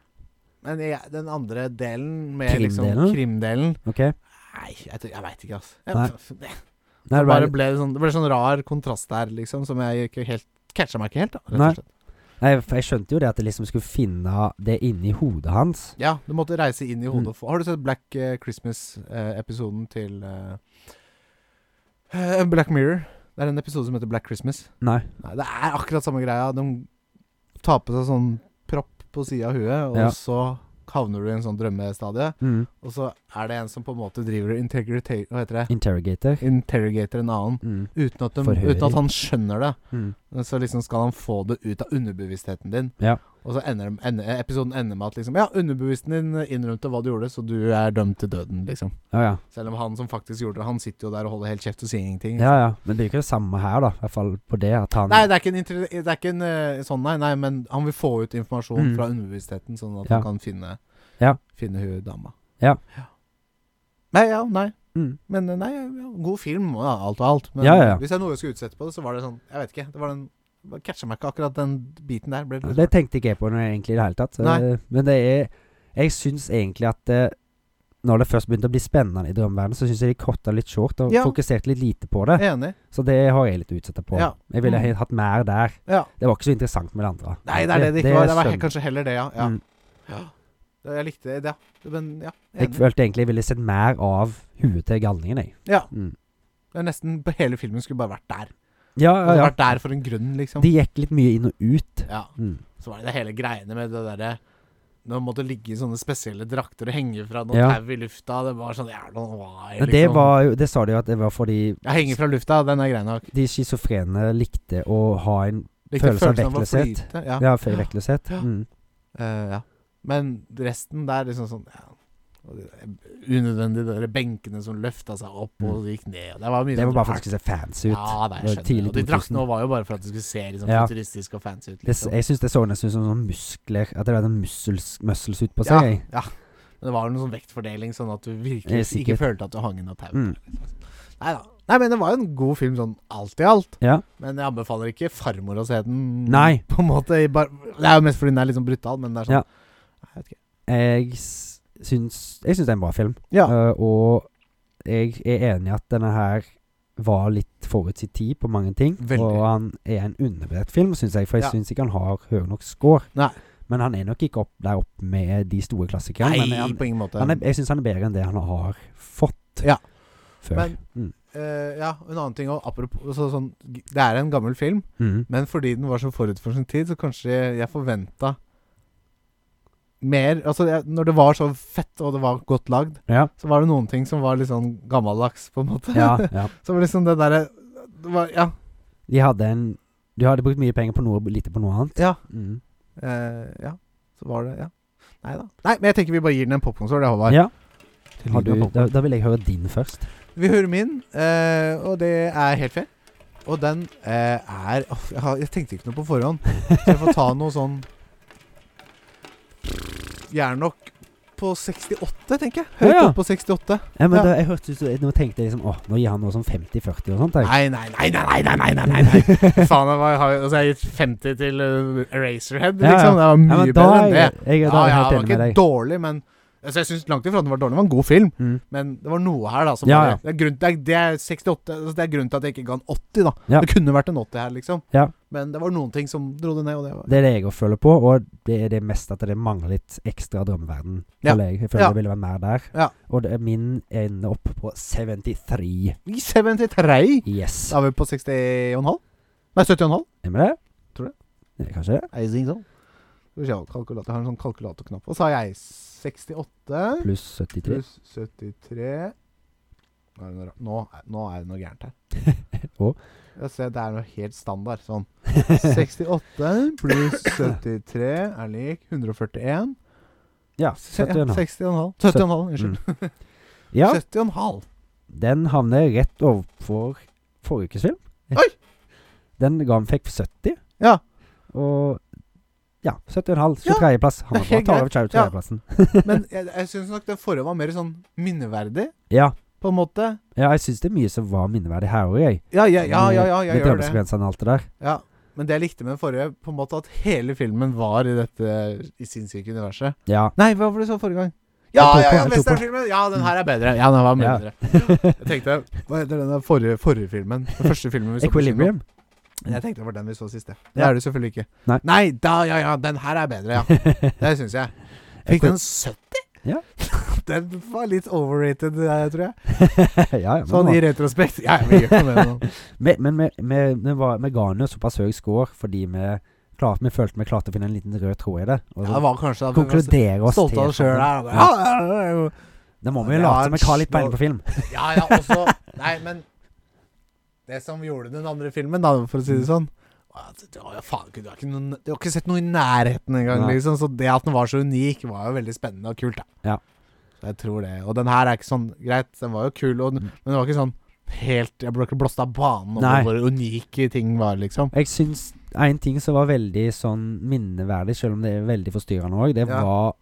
[SPEAKER 1] Men jeg, den andre delen, med
[SPEAKER 2] Krimdelen?
[SPEAKER 1] liksom krimdelen
[SPEAKER 2] Ok. Nei,
[SPEAKER 1] Nei, jeg, tror- jeg veit ikke, altså.
[SPEAKER 2] Nei.
[SPEAKER 1] Jeg, det
[SPEAKER 2] det
[SPEAKER 1] bare
[SPEAKER 2] ble-
[SPEAKER 1] ble sånn, det ble sånn rar kontrast der, liksom, som jeg ikke helt Catcha meg ikke helt, da. Rett
[SPEAKER 2] Nei.
[SPEAKER 1] og slett.
[SPEAKER 2] Nei, for jeg skjønte jo det at jeg liksom skulle finne det inni hodet hans.
[SPEAKER 1] Ja, du måtte reise inn i
[SPEAKER 2] Mm.
[SPEAKER 1] hodet. og få- Har du sett Black eh, Christmas-episoden til eh, eh, Black Mirror? Det er en episode som heter Black Christmas.
[SPEAKER 2] Nei.
[SPEAKER 1] Nei, det er akkurat samme greia. De tar på seg sånn propp på sida av huet, og
[SPEAKER 2] Ja.
[SPEAKER 1] så havner du i en sånn drømmestadie. (laughs)
[SPEAKER 2] Mm.
[SPEAKER 1] Og så er det en som på en måte driver og integrita- Hva heter det?
[SPEAKER 2] Interrogator.
[SPEAKER 1] interrogater en annen
[SPEAKER 2] Mm.
[SPEAKER 1] uten at, de,
[SPEAKER 2] Forhører.
[SPEAKER 1] uten at han skjønner det.
[SPEAKER 2] Mm.
[SPEAKER 1] Så liksom skal han få det ut av underbevisstheten din.
[SPEAKER 2] Ja.
[SPEAKER 1] Og så ender, de- ender episoden ender med at liksom Ja, underbevisstheten din innrømte hva du gjorde, så du er dømt til døden, liksom.
[SPEAKER 2] Ja, ja.
[SPEAKER 1] Selv om han som faktisk gjorde det, han sitter jo der og holder helt kjeft og sier ingenting.
[SPEAKER 2] Ja, ja. Men det er jo ikke det samme her, da. I hvert fall på det at han
[SPEAKER 1] Nei, det er ikke en, inter det er ikke en eh, sånn, nei, nei, men han vil få ut informasjon
[SPEAKER 2] Mm.
[SPEAKER 1] fra underbevisstheten, sånn at
[SPEAKER 2] Ja.
[SPEAKER 1] han kan finne
[SPEAKER 2] Ja.
[SPEAKER 1] Finne hun dama.
[SPEAKER 2] Ja.
[SPEAKER 1] Nei, ja, nei.
[SPEAKER 2] Mm.
[SPEAKER 1] Men eh, nei, ja, god film og alt og alt. Men
[SPEAKER 2] Ja, ja, ja.
[SPEAKER 1] hvis det er noe jeg skulle utsette på det, så var det sånn Jeg vet ikke. Det var den bare Catcha meg ikke akkurat den biten der. Ble
[SPEAKER 2] Ja,
[SPEAKER 1] litt
[SPEAKER 2] Det tenkte ikke jeg på når jeg egentlig i det hele tatt.
[SPEAKER 1] Nei.
[SPEAKER 2] Eh, Men det er Jeg syns egentlig at eh, når det først begynte å bli spennende i drømmeverdenen, så syns jeg de korta litt short og
[SPEAKER 1] Ja.
[SPEAKER 2] fokuserte litt lite på det.
[SPEAKER 1] Enig.
[SPEAKER 2] Så det har jeg litt å utsette på.
[SPEAKER 1] Ja.
[SPEAKER 2] Jeg ville
[SPEAKER 1] Mm.
[SPEAKER 2] he- hatt mer der.
[SPEAKER 1] Ja.
[SPEAKER 2] Det var ikke så interessant med det andre.
[SPEAKER 1] Nei, det er det det ikke var. Det var he-
[SPEAKER 2] skjønner-
[SPEAKER 1] kanskje heller det, ja. ja.
[SPEAKER 2] Mm.
[SPEAKER 1] ja. Det- Jeg likte det, ja. Men ja.
[SPEAKER 2] Jeg
[SPEAKER 1] Enig.
[SPEAKER 2] følte egentlig jeg ville sett mer av huet til galningen, jeg.
[SPEAKER 1] Ja.
[SPEAKER 2] Mm.
[SPEAKER 1] Det er nesten hele filmen skulle bare vært der.
[SPEAKER 2] Ja,
[SPEAKER 1] Det
[SPEAKER 2] ja,
[SPEAKER 1] hadde
[SPEAKER 2] ja.
[SPEAKER 1] Vært der for en grunn, liksom.
[SPEAKER 2] De gikk litt mye inn og ut.
[SPEAKER 1] Ja.
[SPEAKER 2] Mm.
[SPEAKER 1] Så var det det hele greiene med det derre Nå måtte ligge i sånne spesielle drakter og henge fra noen
[SPEAKER 2] Ja.
[SPEAKER 1] tau i lufta. Det var sånn jævla why,
[SPEAKER 2] Men det var jo Det sa de jo at det var fordi
[SPEAKER 1] Jeg henger fra lufta, den er grei nok.
[SPEAKER 2] de schizofrene likte å ha en
[SPEAKER 1] Likte
[SPEAKER 2] Følelse av
[SPEAKER 1] følelsen å
[SPEAKER 2] vektløshet.
[SPEAKER 1] flyte, Ja.
[SPEAKER 2] Ja, før vektløshet.
[SPEAKER 1] Ja.
[SPEAKER 2] Mm.
[SPEAKER 1] Eh, ja. Men resten der, liksom sånn ja. Og de der Unødvendige de der benkene som løfta seg opp og gikk ned. og Det var mye
[SPEAKER 2] Mm. Det var
[SPEAKER 1] sånn
[SPEAKER 2] bare for at
[SPEAKER 1] rart.
[SPEAKER 2] det skulle se fancy ut.
[SPEAKER 1] Ja, det
[SPEAKER 2] Det
[SPEAKER 1] jeg
[SPEAKER 2] var
[SPEAKER 1] skjønner jeg.
[SPEAKER 2] tidlig
[SPEAKER 1] Og de
[SPEAKER 2] 2000.
[SPEAKER 1] draktene var jo bare for at det skulle se liksom,
[SPEAKER 2] Ja.
[SPEAKER 1] futuristisk og fancy ut.
[SPEAKER 2] Det, s-
[SPEAKER 1] Liksom.
[SPEAKER 2] jeg syns det så nesten ut som sånne muskler. At det var en mussels, muscles ut på
[SPEAKER 1] Ja,
[SPEAKER 2] seg. jeg.
[SPEAKER 1] ja. Men det var jo noen sånn vektfordeling, sånn at du
[SPEAKER 2] Eh,
[SPEAKER 1] virkelig ikke
[SPEAKER 2] sikkert.
[SPEAKER 1] følte at du hang i noe tau.
[SPEAKER 2] Mm.
[SPEAKER 1] Nei da. Nei, men det var jo en god film sånn alt i alt.
[SPEAKER 2] Ja.
[SPEAKER 1] Men jeg anbefaler ikke farmor å se den.
[SPEAKER 2] Nei.
[SPEAKER 1] På en måte i bar Det er jo mest fordi den er litt sånn brutal, men det er sånn
[SPEAKER 2] Ja.
[SPEAKER 1] Nei, Jeg vet ikke.
[SPEAKER 2] Jeg s- syns Jeg syns det er en bra film.
[SPEAKER 1] Ja.
[SPEAKER 2] Eh, og jeg er enig i at denne her var litt forut sin tid på mange ting.
[SPEAKER 1] Veldig.
[SPEAKER 2] Og han er en undervurdert film, syns jeg, for jeg
[SPEAKER 1] Ja.
[SPEAKER 2] synes syns ikke han har høy nok score.
[SPEAKER 1] Nei.
[SPEAKER 2] Men han er nok ikke opp der oppe med de store klassikerne.
[SPEAKER 1] Nei,
[SPEAKER 2] men han,
[SPEAKER 1] på ingen måte.
[SPEAKER 2] han er, jeg syns han er bedre enn det han har fått
[SPEAKER 1] Ja.
[SPEAKER 2] før.
[SPEAKER 1] Men-
[SPEAKER 2] Mm.
[SPEAKER 1] Eh, ja, en annen ting også, apropos så, sånn, Det er en gammel film,
[SPEAKER 2] Mm.
[SPEAKER 1] men fordi den var så forut for sin tid, så kanskje jeg forventa mer Altså, jeg, når det var så fett og det var godt lagd,
[SPEAKER 2] Ja.
[SPEAKER 1] så var det noen ting som var litt sånn gammeldags, på en måte.
[SPEAKER 2] Ja, ja.
[SPEAKER 1] (laughs) så var det liksom det derre det var- Ja.
[SPEAKER 2] De hadde en Du hadde brukt mye penger på noe, lite på noe annet.
[SPEAKER 1] Ja.
[SPEAKER 2] Mm.
[SPEAKER 1] Eh, ja. Så var det Ja. Nei da. Nei, men jeg tenker vi bare gir den en popkornstål, det, Håvard.
[SPEAKER 2] ja.
[SPEAKER 1] Til
[SPEAKER 2] Har
[SPEAKER 1] lyd
[SPEAKER 2] du,
[SPEAKER 1] og
[SPEAKER 2] da,
[SPEAKER 1] popcorn.
[SPEAKER 2] da vil jeg høre din først.
[SPEAKER 1] Vi hører min, eh, og det er helt fair. Og den eh, er Åh, jeg, har, jeg tenkte ikke noe på forhånd, så jeg får ta noe sånn Jeg er nok på 68, tenker jeg. Høyt
[SPEAKER 2] Å, ja.
[SPEAKER 1] opp på 68.
[SPEAKER 2] Ja, men
[SPEAKER 1] Ja.
[SPEAKER 2] da, jeg hørte ut som- Nå tenkte jeg liksom Åh, nå gir han noe sånn 50-40 og sånt. Jeg.
[SPEAKER 1] Nei, nei, nei, nei, nei, nei, nei, nei, nei, nei.
[SPEAKER 2] (laughs)
[SPEAKER 1] Faen, jeg var, har, altså, jeg har gitt 50 til uh, Eraserhead,
[SPEAKER 2] Ja, ja.
[SPEAKER 1] liksom. Det var
[SPEAKER 2] Ja,
[SPEAKER 1] mye
[SPEAKER 2] men da
[SPEAKER 1] bedre
[SPEAKER 2] er
[SPEAKER 1] enn det.
[SPEAKER 2] jeg, jeg, er da
[SPEAKER 1] Ja,
[SPEAKER 2] er jeg
[SPEAKER 1] ja,
[SPEAKER 2] helt
[SPEAKER 1] den var
[SPEAKER 2] enig med
[SPEAKER 1] ikke
[SPEAKER 2] deg.
[SPEAKER 1] dårlig, men altså, Jeg syns langt ifra den var dårlig. Den var en god film,
[SPEAKER 2] Mm.
[SPEAKER 1] men det var noe her, da. Som
[SPEAKER 2] Ja,
[SPEAKER 1] bare,
[SPEAKER 2] ja.
[SPEAKER 1] Det, er grunn, det, er, det er 68 altså, Det er grunnen til at jeg ikke ga en 80, da.
[SPEAKER 2] Ja.
[SPEAKER 1] Det kunne vært en 80 her, liksom.
[SPEAKER 2] Ja.
[SPEAKER 1] Men det var noen ting som dro det ned, og det var
[SPEAKER 2] Det er det jeg også føler på, og det er det mest at det mangler litt ekstra drømmeverden.
[SPEAKER 1] Ja.
[SPEAKER 2] føler Jeg. jeg føler
[SPEAKER 1] Ja.
[SPEAKER 2] det ville vært mer der.
[SPEAKER 1] Ja.
[SPEAKER 2] Og det, min ender opp på 73.
[SPEAKER 1] I 73!
[SPEAKER 2] Yes.
[SPEAKER 1] Da er vi på 60,5? Nei, 70,5?
[SPEAKER 2] Er vi det?
[SPEAKER 1] Tror det.
[SPEAKER 2] Nei, Kanskje det?
[SPEAKER 1] Er det sånn? Skal vi se, kalkulator. Jeg har en sånn kalkulatorknapp. Og så har jeg 68.
[SPEAKER 2] Pluss 73.
[SPEAKER 1] Pluss 73 nå er, det noe, ra- nå, er- nå er det noe gærent her.
[SPEAKER 2] (laughs) Å?
[SPEAKER 1] Ja, se, det er noe helt standard. Sånn.
[SPEAKER 2] (laughs)
[SPEAKER 1] 68 pluss 73 er lik 141.
[SPEAKER 2] Ja.
[SPEAKER 1] Se, ja, 60,5.
[SPEAKER 2] 71.
[SPEAKER 1] 70,5. Unnskyld.
[SPEAKER 2] Mm. ja.
[SPEAKER 1] 70,5.
[SPEAKER 2] Den havner rett overfor forrige ukes film.
[SPEAKER 1] Oi!
[SPEAKER 2] Den ga han fikk 70,
[SPEAKER 1] Ja.
[SPEAKER 2] og ja, 70,5. 23.-plass. Han
[SPEAKER 1] det
[SPEAKER 2] var
[SPEAKER 1] er
[SPEAKER 2] bra.
[SPEAKER 1] helt
[SPEAKER 2] Tar
[SPEAKER 1] Ja.
[SPEAKER 2] over 23.-plassen.
[SPEAKER 1] Men jeg, jeg syns nok det forrige var mer sånn minneverdig,
[SPEAKER 2] Ja.
[SPEAKER 1] på en måte.
[SPEAKER 2] ja, jeg syns det er mye som var minneverdig her òg, jeg.
[SPEAKER 1] Ja, ja, ja, ja, ja jeg gjør det.
[SPEAKER 2] Med drømmeskrensene og alt det der.
[SPEAKER 1] Ja. Men det jeg likte med den forrige, på en måte at hele filmen var i dette i sinnssyke universet.
[SPEAKER 2] Ja.
[SPEAKER 1] Nei, hva var det du sa forrige gang?
[SPEAKER 2] Jeg
[SPEAKER 1] Ja,
[SPEAKER 2] tok
[SPEAKER 1] ja,
[SPEAKER 2] på-
[SPEAKER 1] ja,
[SPEAKER 2] jeg tok på-
[SPEAKER 1] westernfilmen! Ja, den her er bedre. Ja, den var mye
[SPEAKER 2] Ja.
[SPEAKER 1] bedre. Jeg
[SPEAKER 2] (laughs)
[SPEAKER 1] tenkte Hva heter den der forrige, forrige filmen? Den første filmen vi så på kino?
[SPEAKER 2] Equilibrium.
[SPEAKER 1] Jeg tenkte det var den vi så sist, ja. Det
[SPEAKER 2] Ja.
[SPEAKER 1] er det selvfølgelig ikke.
[SPEAKER 2] Nei.
[SPEAKER 1] da, ja, ja, den her er bedre, ja. Det syns jeg. Fikk den 70?
[SPEAKER 2] Ja.
[SPEAKER 1] (laughs) den var litt overrated, eh, tror jeg.
[SPEAKER 2] (laughs) ja, ja, men,
[SPEAKER 1] Sånn i
[SPEAKER 2] det var-
[SPEAKER 1] retrospekt. Ja, jeg vil ikke med
[SPEAKER 2] (laughs)
[SPEAKER 1] noe.
[SPEAKER 2] men, men vi- vi- vi var- vi ga han jo såpass høy score fordi vi, klar, vi følte vi klarte å finne en liten rød tråd i det. Og
[SPEAKER 1] Ja, det
[SPEAKER 2] så
[SPEAKER 1] var kanskje at vi var
[SPEAKER 2] konkludere oss
[SPEAKER 1] stolte av oss sjøl
[SPEAKER 2] til
[SPEAKER 1] her. og bare, Ja, ja, ja, ja.
[SPEAKER 2] Da må vi
[SPEAKER 1] Ja,
[SPEAKER 2] jo late som vi har litt
[SPEAKER 1] nå-
[SPEAKER 2] peiling på film.
[SPEAKER 1] Ja, ja, også Nei, men Det som gjorde den andre filmen, da, for å si det
[SPEAKER 2] Mm.
[SPEAKER 1] sånn var at det var jo faen ikke, du, har ikke noen, du har ikke sett noe i nærheten engang,
[SPEAKER 2] Nei.
[SPEAKER 1] liksom. Så det at den var så unik, var jo veldig spennende og kult, da.
[SPEAKER 2] Ja.
[SPEAKER 1] Så jeg tror det. Og den her er ikke sånn Greit, den var jo kul, og, den-
[SPEAKER 2] Mm.
[SPEAKER 1] men den var ikke sånn helt Jeg ble ikke blåst av banen
[SPEAKER 2] Nei.
[SPEAKER 1] over hvor unike ting var, liksom.
[SPEAKER 2] Jeg syns en ting som var veldig sånn minneverdig, selv om det er veldig forstyrrende òg, det
[SPEAKER 1] Ja.
[SPEAKER 2] var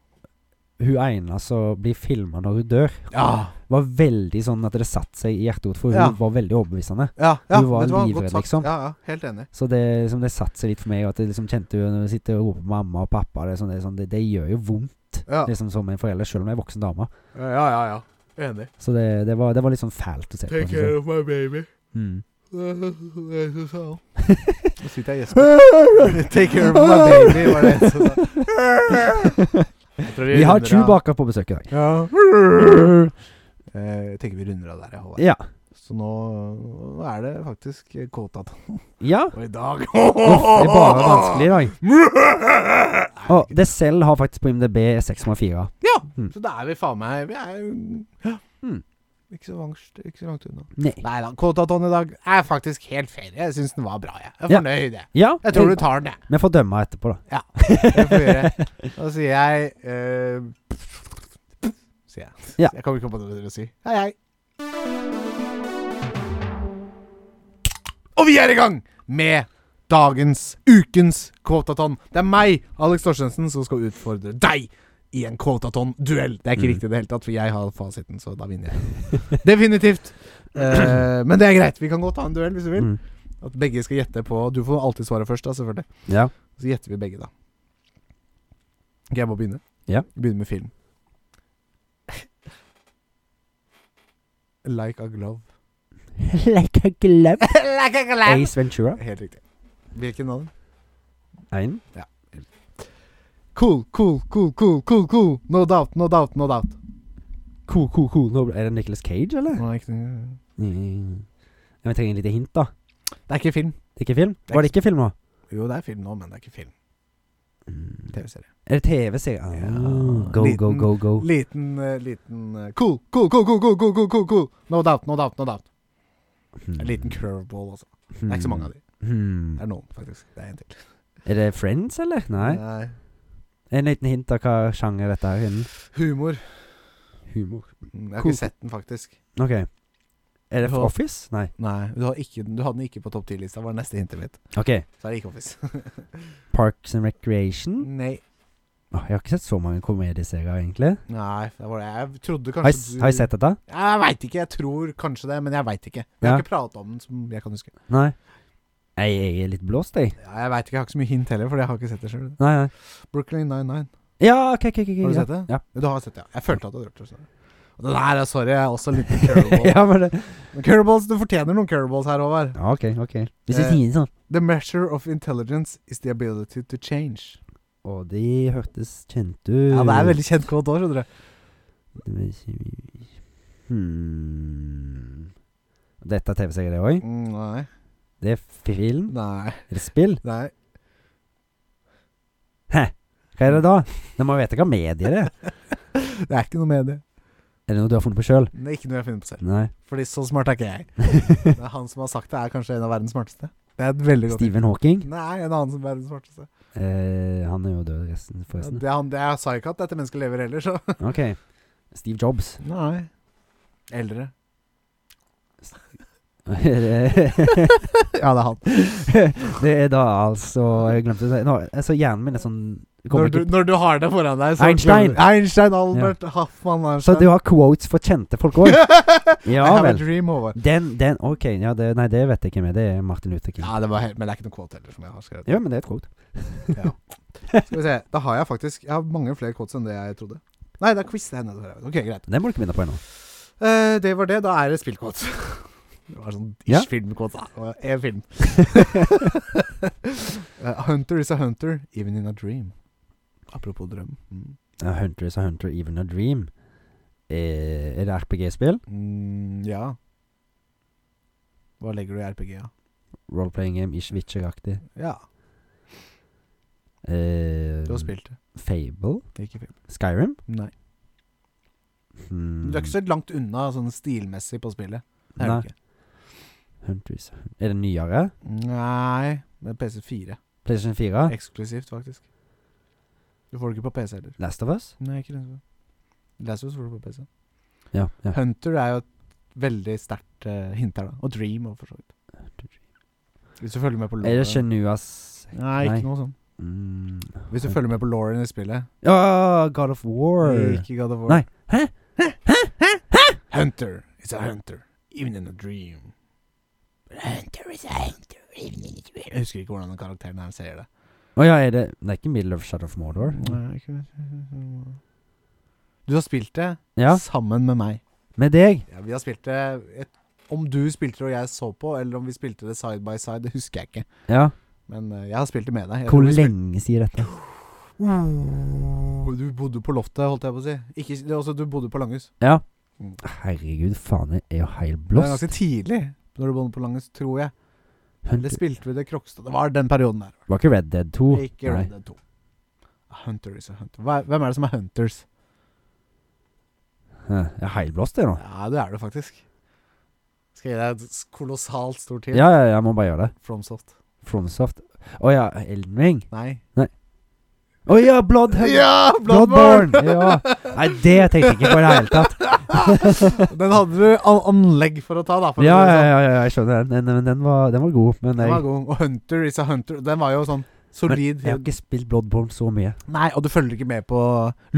[SPEAKER 2] hun ene som blir filma når hun dør.
[SPEAKER 1] Ja.
[SPEAKER 2] Var veldig sånn at det satte seg i hjertet vårt, for hun
[SPEAKER 1] Ja.
[SPEAKER 2] var veldig overbevisende.
[SPEAKER 1] Ja, ja
[SPEAKER 2] Du var
[SPEAKER 1] vet hva,
[SPEAKER 2] livredd,
[SPEAKER 1] godt sagt.
[SPEAKER 2] liksom.
[SPEAKER 1] Ja, ja, helt enig.
[SPEAKER 2] Så det, liksom, det satte seg litt for meg, og at jeg liksom kjente hun når hun sitter og roper på mamma og pappa. Det, er sånn, det, er sånn, det, det gjør jo vondt mitt.
[SPEAKER 5] Ja.
[SPEAKER 2] Liksom som en forelder, selv om jeg er voksen dame.
[SPEAKER 5] Ja, ja, ja. ja. Enig.
[SPEAKER 2] Så det, det, var, det var litt sånn fælt å se på.
[SPEAKER 5] Take
[SPEAKER 2] synes jeg.
[SPEAKER 5] care of my
[SPEAKER 1] (laughs)
[SPEAKER 5] baby.
[SPEAKER 2] Mm. (laughs)
[SPEAKER 5] Nå sitter jeg og gjesper.
[SPEAKER 1] Take care of my baby, var det en som sa.
[SPEAKER 5] Jeg tror
[SPEAKER 2] (laughs) Vi har
[SPEAKER 1] runder av.
[SPEAKER 2] Chewbacca på besøk i dag.
[SPEAKER 5] Ja.
[SPEAKER 1] Eh, Jeg tenker vi runder av der, jeg, Håvard.
[SPEAKER 2] Ja.
[SPEAKER 1] Så nå, nå er det faktisk eh, kåtat.
[SPEAKER 2] ja.
[SPEAKER 1] (laughs) Og i dag
[SPEAKER 2] Uff, det er bare
[SPEAKER 1] (laughs)
[SPEAKER 2] vanskelig i dag. Og det selv har faktisk på IMDb 6,4. Hmm.
[SPEAKER 1] Så da er vi faen meg Vi er jo- ja.
[SPEAKER 2] Mm.
[SPEAKER 1] ikke, så langt, ikke så langt unna.
[SPEAKER 2] Nei.
[SPEAKER 1] Nei da. Kåtaton i dag er faktisk helt fair. Jeg syns den var bra, jeg. Jeg er
[SPEAKER 2] Ja.
[SPEAKER 1] fornøyd, jeg.
[SPEAKER 2] Ja,
[SPEAKER 1] Jeg tror du tar den, jeg.
[SPEAKER 2] Vi får dømme etterpå, da.
[SPEAKER 1] Jeg får gjøre det. Da sier jeg eh, Sier jeg.
[SPEAKER 2] Ja.
[SPEAKER 1] Jeg kommer ikke på noe bedre å si. Hei, hei. Og vi er i gang med dagens, ukens kvotaton. Det er meg, Alex Torstensen, som skal utfordre deg i en kvotaton-duell. Det er ikke
[SPEAKER 2] Mm.
[SPEAKER 1] riktig i det hele tatt, for jeg har fasiten, så da vinner jeg. Definitivt. Eh, men det er greit. Vi kan godt ha en duell hvis du vil.
[SPEAKER 2] Mm.
[SPEAKER 1] At begge skal gjette på Du får alltid svare først, da, selvfølgelig.
[SPEAKER 2] Ja.
[SPEAKER 1] Så gjetter vi begge, da. Ok, jeg må begynne.
[SPEAKER 2] Ja.
[SPEAKER 1] Vi begynner med film. Like a glove.
[SPEAKER 2] (laughs) Like a glove.
[SPEAKER 1] (laughs) like a glove!
[SPEAKER 2] Ace Ventura.
[SPEAKER 1] Helt riktig. Hvilken av dem?
[SPEAKER 2] Ein.
[SPEAKER 1] Cool, cool, cool, cool, cool, cool. No doubt, no doubt, no doubt.
[SPEAKER 2] Cool, cool, cool. Nå ble- Er det Nicolas Cage, eller?
[SPEAKER 1] Nå er ikke det-
[SPEAKER 2] Mm. Ja, Vi trenger et lite hint, da.
[SPEAKER 1] Det er ikke film.
[SPEAKER 2] Det er ikke film?
[SPEAKER 1] er
[SPEAKER 2] Var det ikke film nå?
[SPEAKER 1] Jo, det er film nå, men det er ikke film. TV-serie.
[SPEAKER 2] Er det TV-serie? Ah,
[SPEAKER 1] Mm. Ja.
[SPEAKER 2] Go, go,
[SPEAKER 1] Liten-
[SPEAKER 2] go, go.
[SPEAKER 1] Liten, eh, liten eh, Cool, cool, cool, cool, cool, cool, cool, cool, cool. No doubt, no doubt, no doubt. En liten curveball, altså. Det er ikke så mange av de.
[SPEAKER 2] Hmm.
[SPEAKER 1] Det er noen, faktisk. Det er en til.
[SPEAKER 2] Er det Friends, eller? Nei.
[SPEAKER 1] Nei.
[SPEAKER 2] En liten hint av hva sjanger dette er innen.
[SPEAKER 1] Humor.
[SPEAKER 2] Humor.
[SPEAKER 1] Mm, Jeg har
[SPEAKER 2] Cool.
[SPEAKER 1] ikke sett den, faktisk.
[SPEAKER 2] Ok. Er det
[SPEAKER 1] Ja.
[SPEAKER 2] Office? Nei.
[SPEAKER 1] Nei, Du, har ikke, den- du hadde den ikke på topp 10-lista, var det neste hintet mitt.
[SPEAKER 2] Ok.
[SPEAKER 1] Så er det ikke Office.
[SPEAKER 2] (laughs) Parks and Recreation?
[SPEAKER 1] Nei.
[SPEAKER 2] Åh, jeg har ikke sett så mange komedieserier, egentlig.
[SPEAKER 1] Nei, det var det. Jeg trodde
[SPEAKER 2] Har jeg, s-
[SPEAKER 1] kanskje
[SPEAKER 2] har jeg sett dette?
[SPEAKER 1] Jeg veit ikke. Jeg tror kanskje det, men jeg veit ikke. Jeg
[SPEAKER 2] Ja.
[SPEAKER 1] har ikke prata om den som jeg kan huske.
[SPEAKER 2] Nei. Nei, jeg er litt blåst, jeg.
[SPEAKER 1] Ja, jeg vet ikke, jeg har ikke så mye hint heller, Fordi jeg har ikke sett det sjøl.
[SPEAKER 2] Nei, nei.
[SPEAKER 1] Brooklyn 99.
[SPEAKER 2] Ja, ok, ok, ok. ok,
[SPEAKER 1] Har du
[SPEAKER 2] ja.
[SPEAKER 1] sett det?
[SPEAKER 2] Ja.
[SPEAKER 1] Du har sett det, ja. Jeg følte at du hadde hørt det. så. Og Den her, er- sorry, jeg er også
[SPEAKER 2] (laughs)
[SPEAKER 1] en liten curveball.
[SPEAKER 2] ja, men det
[SPEAKER 1] Men Curveballs, Du fortjener noen curveballs her, Håvard.
[SPEAKER 2] Ja, OK, ok. Hvis jeg
[SPEAKER 1] Eh.
[SPEAKER 2] sier det sånn
[SPEAKER 1] The measure of intelligence is the ability to change.
[SPEAKER 2] Å, de hørtes kjent ut.
[SPEAKER 1] Ja, Det er veldig kjent kvote òg, skjønner du.
[SPEAKER 2] Hmm. Dette er TV-serie, det òg?
[SPEAKER 1] Mm, Nei.
[SPEAKER 2] Det er film?
[SPEAKER 1] Nei.
[SPEAKER 2] Er det spill?
[SPEAKER 1] Nei.
[SPEAKER 2] Hva er det da? Nå må jeg vite hva medie det er.
[SPEAKER 1] (laughs) Det er ikke noe med det.
[SPEAKER 2] Er det noe du har funnet på sjøl?
[SPEAKER 1] Det er ikke noe jeg har funnet på selv.
[SPEAKER 2] (laughs) Nei.
[SPEAKER 1] Fordi så smart er ikke jeg. Det er han som har sagt det, er kanskje en av verdens smarteste. Det er et veldig godt
[SPEAKER 2] Stephen Hawking?
[SPEAKER 1] Nei, en annen som er verdens smarteste.
[SPEAKER 2] Eh, han er jo død resten,
[SPEAKER 1] Ja,
[SPEAKER 2] forresten.
[SPEAKER 1] Det er han, det er, sa ikke at dette mennesket lever heller, så
[SPEAKER 2] Ok. Steve Jobs. (laughs)
[SPEAKER 1] Nei. Eldre.
[SPEAKER 2] det
[SPEAKER 1] Ja, det er han.
[SPEAKER 2] er da altså Jeg glemte å si nå, altså, Hjernen min er sånn jeg kommer
[SPEAKER 1] Når du,
[SPEAKER 2] ikke-
[SPEAKER 1] når du har det foran deg, så
[SPEAKER 2] Einstein.
[SPEAKER 1] Einstein, Albert Hoffmann
[SPEAKER 2] Så
[SPEAKER 1] Einstein.
[SPEAKER 2] du har quotes for kjente folk
[SPEAKER 1] (laughs)
[SPEAKER 2] òg?
[SPEAKER 1] I
[SPEAKER 2] Ja
[SPEAKER 1] have a
[SPEAKER 2] vel.
[SPEAKER 1] dream, Håvard.
[SPEAKER 2] Den, den Ok, ja, det, nei, det vet jeg ikke med. Det er Martin Luther King.
[SPEAKER 1] Ja, det var helt, men det er ikke noe quote heller, som jeg har skrevet.
[SPEAKER 2] Ja, men det er et quote. (laughs)
[SPEAKER 1] Skal vi se, Da har jeg faktisk Jeg har mange flere quotes enn det jeg trodde. Nei, det er quiz. det er henne. Ok, greit.
[SPEAKER 2] Den må du ikke minne på ennå.
[SPEAKER 1] Eh, det var det. Da er det spillkåt. (laughs) Det var sånn
[SPEAKER 2] Ja.
[SPEAKER 1] ish-filmkåt. Én
[SPEAKER 2] (laughs)
[SPEAKER 1] film. Eh, hunter is a hunter, even in a dream. Apropos drøm. Mm.
[SPEAKER 2] Ja, Hunter is a Hunter, Even a Dream. Eh, er det RPG-spill?
[SPEAKER 1] Mm, ja. Hva legger du i RPG, da?
[SPEAKER 2] Role-playing game, ish Witcher-aktig.
[SPEAKER 1] Ja,
[SPEAKER 2] Eh,
[SPEAKER 1] du har spilt det.
[SPEAKER 2] Fable?
[SPEAKER 1] Det er ikke film.
[SPEAKER 2] Skyrim?
[SPEAKER 1] Nei.
[SPEAKER 2] Hmm.
[SPEAKER 1] Du er ikke så langt unna sånn stilmessig på spillet. Det er
[SPEAKER 2] Nei.
[SPEAKER 1] du ikke.
[SPEAKER 2] Hunter is a Hunter. Er det nyere?
[SPEAKER 1] Nei, det er PC4.
[SPEAKER 2] PlayStation 4?
[SPEAKER 1] Eksklusivt, faktisk. Du får det ikke på PC heller.
[SPEAKER 2] Last of Us?
[SPEAKER 1] Nei, ikke det. Last of Us får du på PC.
[SPEAKER 2] Ja. ja.
[SPEAKER 1] Hunter er jo et veldig sterkt eh, hint her, da. Og Dream og for så vidt. Hvis du følger med på
[SPEAKER 2] Er det
[SPEAKER 1] Lauren
[SPEAKER 2] Genuas
[SPEAKER 1] Nei,
[SPEAKER 2] Nei.
[SPEAKER 1] ikke noe sånn.
[SPEAKER 2] mm.
[SPEAKER 1] Hvis du følger med på Lauren i spillet
[SPEAKER 2] Åh, God of War!
[SPEAKER 1] Ikke God of War.
[SPEAKER 2] Nei. Hæ?
[SPEAKER 1] Hunter is a hunter, even in a dream. Hunter is a hunter, even in a dream. Jeg husker ikke hvordan den karakteren her ser det.
[SPEAKER 2] Å ja, er det Det er ikke Middle of Shadow of Mordor?
[SPEAKER 1] Du har spilt det
[SPEAKER 2] Ja,
[SPEAKER 1] sammen med meg.
[SPEAKER 2] med deg.
[SPEAKER 1] Ja, vi har spilt det et, Om du spilte det og jeg så på, eller om vi spilte det side by side, det husker jeg ikke.
[SPEAKER 2] Ja.
[SPEAKER 1] Men eh, jeg har spilt det med deg. Jeg
[SPEAKER 2] Hvor
[SPEAKER 1] tror vi spilte-
[SPEAKER 2] lenge sier dette?
[SPEAKER 1] Oh, Du bodde på loftet, holdt jeg på å si. Ikke, det, er også, du bodde på Langhus.
[SPEAKER 2] Ja.
[SPEAKER 1] Mm.
[SPEAKER 2] Herregud, faen, jeg er jo helt
[SPEAKER 1] Det var
[SPEAKER 2] blåst.
[SPEAKER 1] ganske tidlig når du bodde på Langhus, tror jeg. Eller
[SPEAKER 2] Hunter,
[SPEAKER 1] spilte vi det Krokstad? Det var den perioden der.
[SPEAKER 2] var ikke Red Dead 2?
[SPEAKER 1] Ikke Red Dead 2. Hunter is a hunter. Hva, er- hvem er det som er hunters?
[SPEAKER 2] Nei. Jeg er helt blåst, jeg nå.
[SPEAKER 1] Ja, det er det faktisk. Skal jeg gi deg et s- kolossalt stort hint?
[SPEAKER 2] Ja, ja, jeg må bare gjøre det.
[SPEAKER 1] Fromsoft.
[SPEAKER 2] Fromsoft. Å ja, Elden Ring.
[SPEAKER 1] Nei.
[SPEAKER 2] Å ja, Bloodhound.
[SPEAKER 1] Ja! Bloodborne!
[SPEAKER 2] Bloodborne! ja. Nei, det tenkte jeg ikke på i det hele tatt.
[SPEAKER 1] (laughs) den hadde du an anlegg for å ta, da. For å
[SPEAKER 2] Ja,
[SPEAKER 1] si det
[SPEAKER 2] ja,
[SPEAKER 1] sånn.
[SPEAKER 2] ja, ja jeg skjønner den. Den, den, var, den var god, men
[SPEAKER 1] Den var
[SPEAKER 2] jeg,
[SPEAKER 1] god. Og Hunter is a hunter. Den var jo sånn solid.
[SPEAKER 2] jeg har ikke spilt Bloodborne så mye.
[SPEAKER 1] Nei, og du følger ikke med på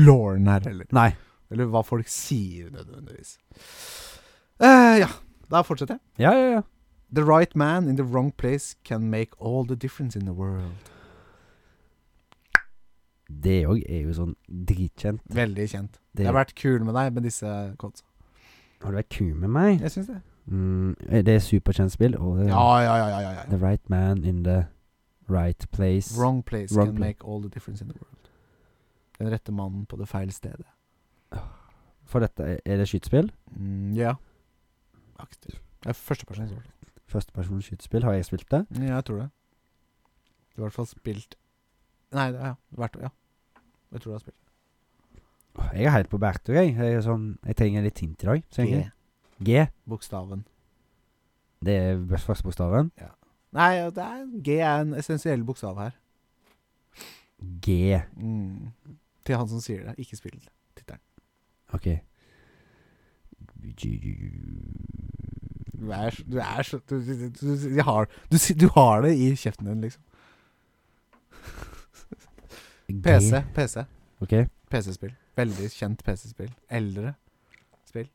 [SPEAKER 1] lauren her heller.
[SPEAKER 2] Nei.
[SPEAKER 1] Eller hva folk sier nødvendigvis. Eh, ja, da fortsetter jeg.
[SPEAKER 2] Ja, ja, ja.
[SPEAKER 1] The right man in the wrong place can make all the difference in the world.
[SPEAKER 2] Det òg er jo sånn dritkjent.
[SPEAKER 1] Veldig kjent.
[SPEAKER 2] Det,
[SPEAKER 1] Det har vært kul med deg med disse kodsa.
[SPEAKER 2] har du vært ku med meg?
[SPEAKER 1] Jeg syns det.
[SPEAKER 2] Mm, det er superkjent spill. Og det,
[SPEAKER 1] Ja, ja, ja. ja, ja, ja.
[SPEAKER 2] The right man in the right place.
[SPEAKER 1] Wrong place
[SPEAKER 2] Wrong
[SPEAKER 1] can
[SPEAKER 2] place.
[SPEAKER 1] make all the difference in the world. Den rette mannen på det feil stedet.
[SPEAKER 2] For dette er- er det skytespill.
[SPEAKER 1] Mm, ja. Aktiv. Det er førsteperson. så.
[SPEAKER 2] Førstepersons skytespill har jeg spilt det.
[SPEAKER 1] Ja, jeg tror det. Du har i hvert fall spilt Nei, det- ja. Hvert, ja. Jeg tror du har spilt.
[SPEAKER 2] Åh, Jeg er helt på bærtur, jeg. Jeg, er sånn, jeg trenger litt hint i dag. så jeg-
[SPEAKER 1] G.
[SPEAKER 2] G.
[SPEAKER 1] Bokstaven.
[SPEAKER 2] Det er best- første bokstaven.
[SPEAKER 1] Nei, det er, G er en essensiell bokstav her.
[SPEAKER 2] G.
[SPEAKER 1] Mm. Til han som sier det. Ikke spill tittelen.
[SPEAKER 2] Ok.
[SPEAKER 1] Du er, så- du er så du, du, du, du, jeg har, du, si- du har det i kjeften din, liksom.
[SPEAKER 2] G.
[SPEAKER 1] PC. PC.
[SPEAKER 2] Ok.
[SPEAKER 1] PC-spill. Veldig kjent PC-spill. Eldre spill.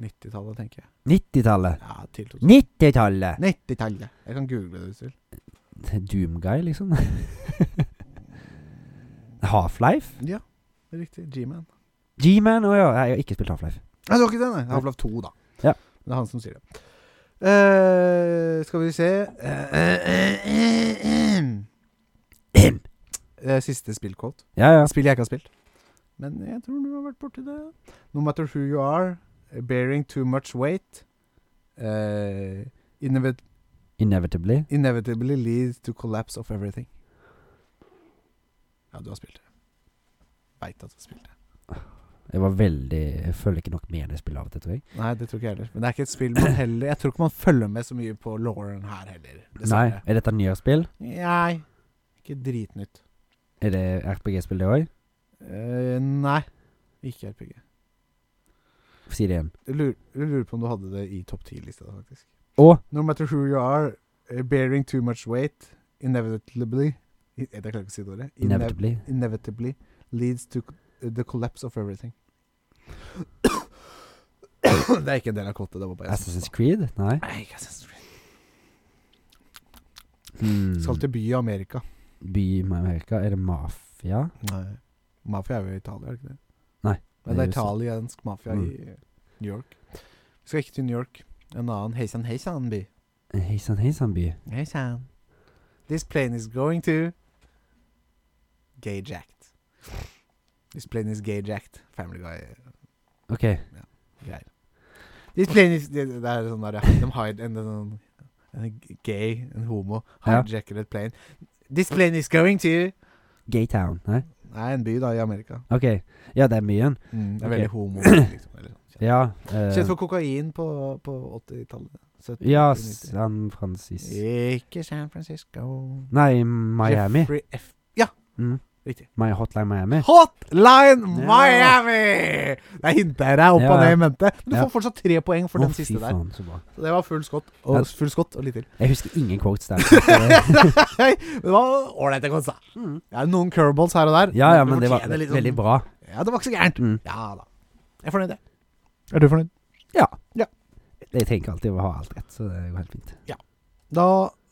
[SPEAKER 1] 90-tallet, tenker jeg.
[SPEAKER 2] 90-tallet.
[SPEAKER 1] Ja, til 2000.
[SPEAKER 2] 90-tallet!
[SPEAKER 1] 90-tallet. Jeg kan google det hvis du vil.
[SPEAKER 2] Doomguy, liksom. Half-Life?
[SPEAKER 1] Ja, riktig. G-man.
[SPEAKER 2] G-Man? Å ja, jeg har ikke spilt Half-Life. (clears throat)
[SPEAKER 1] Nei, det var ikke det, nei. Half-Life 2, da.
[SPEAKER 2] Ja.
[SPEAKER 1] Men Det er han som sier det. Eh, skal vi se Eh, uh, Eh, Siste spillkvote.
[SPEAKER 2] Ja, ja.
[SPEAKER 1] Spill jeg ikke har spilt. Men jeg tror du har vært borti det. No matter who you are, bearing too much weight eh, inevit
[SPEAKER 2] Inevitably.
[SPEAKER 1] inevitably leads to collapse of everything. Ja, du har spilt det. Veit at du har spilt det.
[SPEAKER 2] Jeg var veldig Jeg følger ikke nok med i det spillet av og til, tror jeg.
[SPEAKER 1] Nei, det tror ikke jeg heller. Men det er ikke et spill man heller Jeg tror ikke man følger med så mye på lauren her heller.
[SPEAKER 2] Nei.
[SPEAKER 1] dessverre.
[SPEAKER 2] Er dette nyere spill?
[SPEAKER 1] Nei. Ikke dritnytt.
[SPEAKER 2] Er det RPG-spill, det òg?
[SPEAKER 1] Eh, nei. Ikke RPG.
[SPEAKER 2] Si det igjen.
[SPEAKER 1] Jeg lurer, jeg lurer på om du hadde det i topp ti-lista, faktisk.
[SPEAKER 2] Å?
[SPEAKER 1] No matter who you are, eh, bearing too much weight, inevitably i- Jeg klarer ikke å si det ordet. Inev-
[SPEAKER 2] Inevitably.
[SPEAKER 1] inevitably leads to c- eh, the collapse of everything. (coughs) det er ikke en del av kvotet. Det var bare jeg som
[SPEAKER 2] Assassin's
[SPEAKER 1] sa.
[SPEAKER 2] Creed? Nei.
[SPEAKER 1] Nei, ikke Assassin's Creed.
[SPEAKER 2] Hmm.
[SPEAKER 1] Skal til by i Amerika.
[SPEAKER 2] By i Amerika? Er det mafia?
[SPEAKER 1] Nei. Mafia er jo i Italia, er det ikke det?
[SPEAKER 2] Nei,
[SPEAKER 1] Men det er
[SPEAKER 2] det er USA. Mm.
[SPEAKER 1] italiensk mafia i New York. Vi skal ikke til New York. En annen hei sann, hei sann by.
[SPEAKER 2] Hei sann, hei sann, by.
[SPEAKER 1] Hei sann. This plane is going to Gayjacked. This plane is gayjacked. Family guy-greier.
[SPEAKER 2] Ok.
[SPEAKER 1] This plane is Det, det er sånn der, ja. De har en, en, en gay, en homo,
[SPEAKER 2] Ja.
[SPEAKER 1] hijacker et plane. This plane is going to
[SPEAKER 2] Gaytown? Nei?
[SPEAKER 1] Nei, en by da i Amerika.
[SPEAKER 2] Ok. Ja, det er byen.
[SPEAKER 1] Mm, det er
[SPEAKER 2] Ok.
[SPEAKER 1] veldig homo. Liksom, eller sånn.
[SPEAKER 2] Ja. eh,
[SPEAKER 1] Kjent for kokain på, på 80-tallet. 70-tallet,
[SPEAKER 2] ja,
[SPEAKER 1] 90-tallet.
[SPEAKER 2] San Francisco
[SPEAKER 1] Ikke San Francisco
[SPEAKER 2] Nei, Miami.
[SPEAKER 1] Jeffrey F. Ja,
[SPEAKER 2] Mm.
[SPEAKER 1] riktig.
[SPEAKER 2] My Hotline Miami.
[SPEAKER 1] Hotline
[SPEAKER 2] Ja.
[SPEAKER 1] Miami! Der hinta jeg deg opp
[SPEAKER 2] Ja,
[SPEAKER 1] og
[SPEAKER 2] ja.
[SPEAKER 1] ned i mente. Men du
[SPEAKER 2] Ja.
[SPEAKER 1] får fortsatt tre poeng for
[SPEAKER 2] Å,
[SPEAKER 1] den siste
[SPEAKER 2] fy
[SPEAKER 1] der.
[SPEAKER 2] faen, så bra.
[SPEAKER 1] Så det var full skott.
[SPEAKER 2] Ja.
[SPEAKER 1] Og full skott og litt til.
[SPEAKER 2] Jeg husker ingen quotes der. (laughs)
[SPEAKER 1] (laughs) Nei, det var ålreite konser.
[SPEAKER 2] Mm.
[SPEAKER 1] Det er noen curveballs her og der.
[SPEAKER 2] ja, ja,
[SPEAKER 1] Du
[SPEAKER 2] men det var
[SPEAKER 1] fortjener litt
[SPEAKER 2] veldig
[SPEAKER 1] sånn-
[SPEAKER 2] bra.
[SPEAKER 1] Ja, det var ikke så gærent.
[SPEAKER 2] Mm.
[SPEAKER 1] Ja da. Jeg er fornøyd, jeg. Er du fornøyd?
[SPEAKER 2] Jeg trenger ikke alltid å ha alt rett, så det går helt fint.
[SPEAKER 1] Da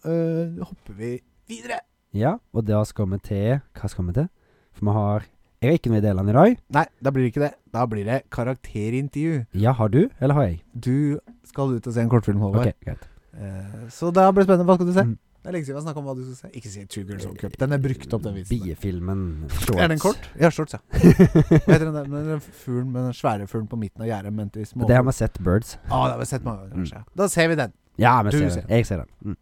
[SPEAKER 1] øh, hopper eh, vi videre
[SPEAKER 2] Ja, og da skal vi til Hva skal vi til? For vi har Jeg har ikke noe i delene i dag.
[SPEAKER 1] Nei, da blir det ikke det. Da blir det karakterintervju.
[SPEAKER 2] Ja, har du, eller har jeg?
[SPEAKER 1] Du skal ut og se en kortfilm, Håvard.
[SPEAKER 2] Ok, greit.
[SPEAKER 1] Eh, så da blir det spennende. Hva skal du se?
[SPEAKER 2] Mm.
[SPEAKER 1] Det er lenge siden vi har snakket om hva du skal se. Ikke si Two Girls One Cup. Den er brukt opp, den vitsen. der.
[SPEAKER 2] Biefilmen
[SPEAKER 1] Er den kort? Ja, shorts, ja. Hva
[SPEAKER 2] (laughs)
[SPEAKER 1] heter den der med den fuglen med den svære fuglen på midten av gjerdet? men til små-
[SPEAKER 2] Det har vi sett Birds.
[SPEAKER 1] Å, det har vi sett mange ganger, kanskje. Da ser vi den.
[SPEAKER 2] Ja, vi
[SPEAKER 1] Du
[SPEAKER 2] ser
[SPEAKER 1] ser
[SPEAKER 2] den. Jeg ser den. Mm.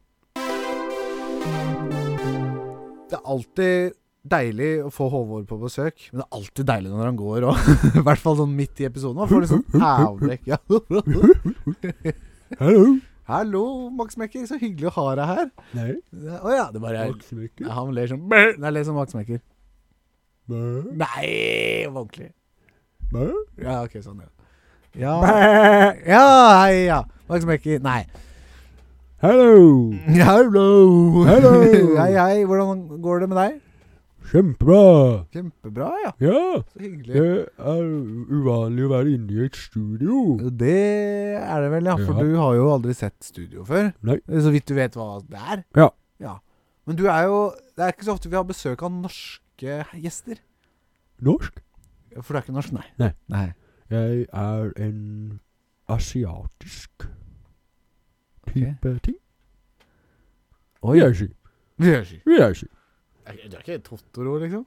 [SPEAKER 1] Det er alltid deilig å få Håvard på besøk, men det er alltid deilig når han går òg. (laughs) I hvert fall sånn midt i episoden. Man får litt sånn avbrekk. Ja. (laughs)
[SPEAKER 2] Hallo.
[SPEAKER 1] Hallo, Max Mekker. Så hyggelig å ha deg her.
[SPEAKER 2] Nei.
[SPEAKER 1] Å ja, det bare er
[SPEAKER 2] Aksmykke.
[SPEAKER 1] ja, Han ler sånn Bæ! Nei, ler som Max Mekker. Nei, ordentlig. Ja, OK, sånn, ja. Ja, ja, hei, ja. Max Mekker. Nei.
[SPEAKER 2] Hallo.
[SPEAKER 1] Hallo.
[SPEAKER 2] Hallo.
[SPEAKER 1] (laughs) hei, hei. Hvordan går det med deg?
[SPEAKER 2] Kjempebra.
[SPEAKER 1] Kjempebra, ja.
[SPEAKER 2] Ja,
[SPEAKER 1] Så hyggelig.
[SPEAKER 2] det er uvanlig å være inne i et studio.
[SPEAKER 1] Det er det vel, ja. For
[SPEAKER 2] Ja.
[SPEAKER 1] du har jo aldri sett studio før.
[SPEAKER 2] Nei.
[SPEAKER 1] Så vidt du vet hva det er.
[SPEAKER 2] Ja.
[SPEAKER 1] Men du er jo Det er ikke så ofte vi har besøk av norske gjester.
[SPEAKER 2] Norsk.
[SPEAKER 1] For du er ikke norsk, nei.
[SPEAKER 2] Nei. Jeg er en asiatisk type ting.
[SPEAKER 1] Oi.
[SPEAKER 2] Vil jeg si.
[SPEAKER 1] Vi gjør ikke.
[SPEAKER 2] Vil jeg si.
[SPEAKER 1] Du er ikke Totoro, liksom?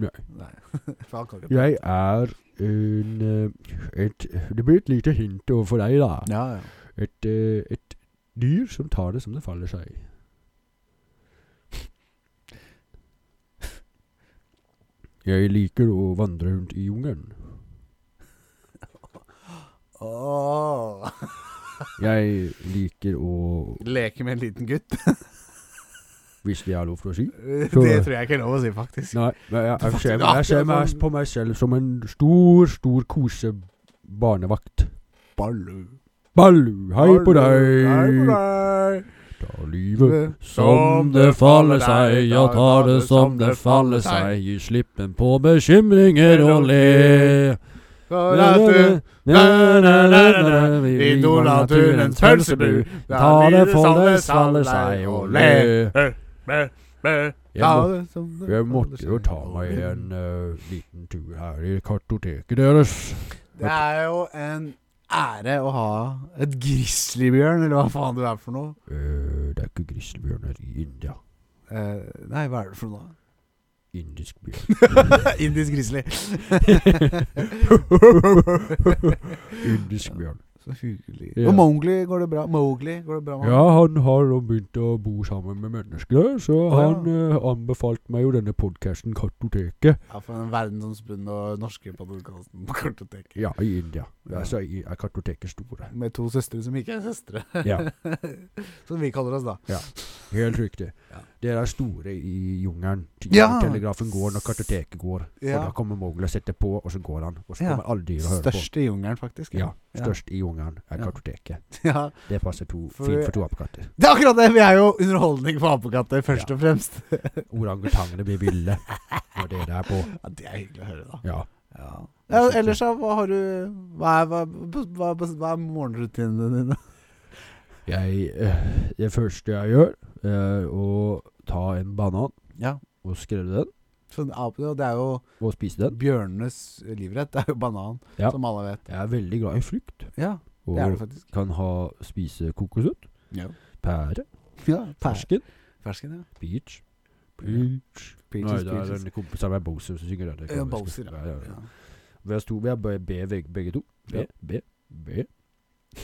[SPEAKER 2] Nei.
[SPEAKER 1] nei. (laughs) For han kan ikke
[SPEAKER 2] Jeg er en eh, et, Det blir et lite hint overfor deg, da.
[SPEAKER 1] Ja, ja.
[SPEAKER 2] Et, eh, et dyr som tar det som det faller seg. Jeg liker å vandre rundt i jungelen.
[SPEAKER 1] Åh.
[SPEAKER 2] Jeg liker å
[SPEAKER 1] Leke med en liten gutt? (laughs)
[SPEAKER 2] Hvis det er lov for å si.
[SPEAKER 1] det
[SPEAKER 2] Så-
[SPEAKER 1] tror jeg ikke er lov å si, faktisk.
[SPEAKER 2] Nei, men jeg, jeg, ser,
[SPEAKER 1] akkurat
[SPEAKER 2] jeg ser meg
[SPEAKER 1] sånn.
[SPEAKER 2] på meg selv som en stor, stor kosebarnevakt.
[SPEAKER 1] Ballu.
[SPEAKER 2] Ballu, hei på
[SPEAKER 1] Hei på
[SPEAKER 2] deg!
[SPEAKER 1] deg.
[SPEAKER 2] Ta livet som det faller seg, ja ta det som det faller seg. Gi slippen på bekymringer og le.
[SPEAKER 1] For at du
[SPEAKER 2] Vi bor naturens pølsebu, ta det for det faller seg og le. Jeg må Jeg måtte jo ta meg en eh, liten tur her i kartoteket deres.
[SPEAKER 1] Det er jo en ære å ha et grizzlybjørn, eller hva faen du er for noe.
[SPEAKER 2] Eh, det er ikke grizzlybjørner i India.
[SPEAKER 1] Eh, nei, hva er det for noe?
[SPEAKER 2] Indisk bjørn.
[SPEAKER 1] (laughs)
[SPEAKER 2] (laughs)
[SPEAKER 1] Indisk grizzly. (laughs)
[SPEAKER 2] Indisk bjørn.
[SPEAKER 1] Så hyggelig.
[SPEAKER 2] Ja.
[SPEAKER 1] Og Mowgli går det bra? Mowgli går det bra med?
[SPEAKER 2] Ja, han har nå begynt å bo sammen med mennesker, så
[SPEAKER 1] ja.
[SPEAKER 2] han eh, anbefalte meg jo denne podkasten Kartoteket.
[SPEAKER 1] ja, for den verdensomspunne og norske podkasten på kartoteket.
[SPEAKER 2] Ja, i India.
[SPEAKER 1] Ja.
[SPEAKER 2] Altså, i- er kartoteket
[SPEAKER 1] (laughs)
[SPEAKER 2] store.
[SPEAKER 1] Med to søstre som ikke er søstre.
[SPEAKER 2] Ja,
[SPEAKER 1] som vi kaller oss, da.
[SPEAKER 2] helt riktig.
[SPEAKER 1] Ja.
[SPEAKER 2] Dere er store i jungelen.
[SPEAKER 1] Ja.
[SPEAKER 2] Telegrafen går når kartoteket går.
[SPEAKER 1] Ja.
[SPEAKER 2] Og da kommer Mowgli og setter på, og så går han. Og så
[SPEAKER 1] Ja.
[SPEAKER 2] kommer alle dyr og hører på.
[SPEAKER 1] Største jungelen, faktisk.
[SPEAKER 2] Ja, størst i jungelen er
[SPEAKER 1] Ja.
[SPEAKER 2] kartoteket.
[SPEAKER 1] ja.
[SPEAKER 2] Det passer to,
[SPEAKER 1] For-
[SPEAKER 2] fint for to apekatter.
[SPEAKER 1] Det er akkurat det! Vi er jo underholdning for apekatter, først
[SPEAKER 2] Ja.
[SPEAKER 1] og fremst.
[SPEAKER 2] Orangutangene blir
[SPEAKER 1] (laughs)
[SPEAKER 2] ville når dere er på.
[SPEAKER 1] Ja, Det er hyggelig å høre, da.
[SPEAKER 2] Ja.
[SPEAKER 1] Ja. ellers, da? Hva har du Hva er, hva, hva, hva, hva er morgenrutinene dine?
[SPEAKER 2] Jeg, eh, det første jeg gjør, er å ta en banan
[SPEAKER 1] Ja.
[SPEAKER 2] og skrelle den,
[SPEAKER 1] Sånn, ape- og det er jo
[SPEAKER 2] og spise den.
[SPEAKER 1] bjørnenes livrett. Det er jo banan,
[SPEAKER 2] Ja.
[SPEAKER 1] som alle vet.
[SPEAKER 2] Jeg er veldig glad i frukt.
[SPEAKER 1] Ja,
[SPEAKER 2] Og
[SPEAKER 1] det er det faktisk.
[SPEAKER 2] kan ha, spise kokosnøtt,
[SPEAKER 1] Ja.
[SPEAKER 2] pære,
[SPEAKER 1] ja Fersk.
[SPEAKER 2] fersken,
[SPEAKER 1] Fersken, ja.
[SPEAKER 2] peach. Peach. Nei,
[SPEAKER 1] Peaches,
[SPEAKER 2] det er
[SPEAKER 1] peaches.
[SPEAKER 2] den kompisen med Bowser som synger den.
[SPEAKER 1] Ja, Bowser,
[SPEAKER 2] Ja, ja, ja.
[SPEAKER 1] Ja.
[SPEAKER 2] Vi har stor, vi har B, B veg- begge to. B,
[SPEAKER 1] Ja.
[SPEAKER 2] B, B.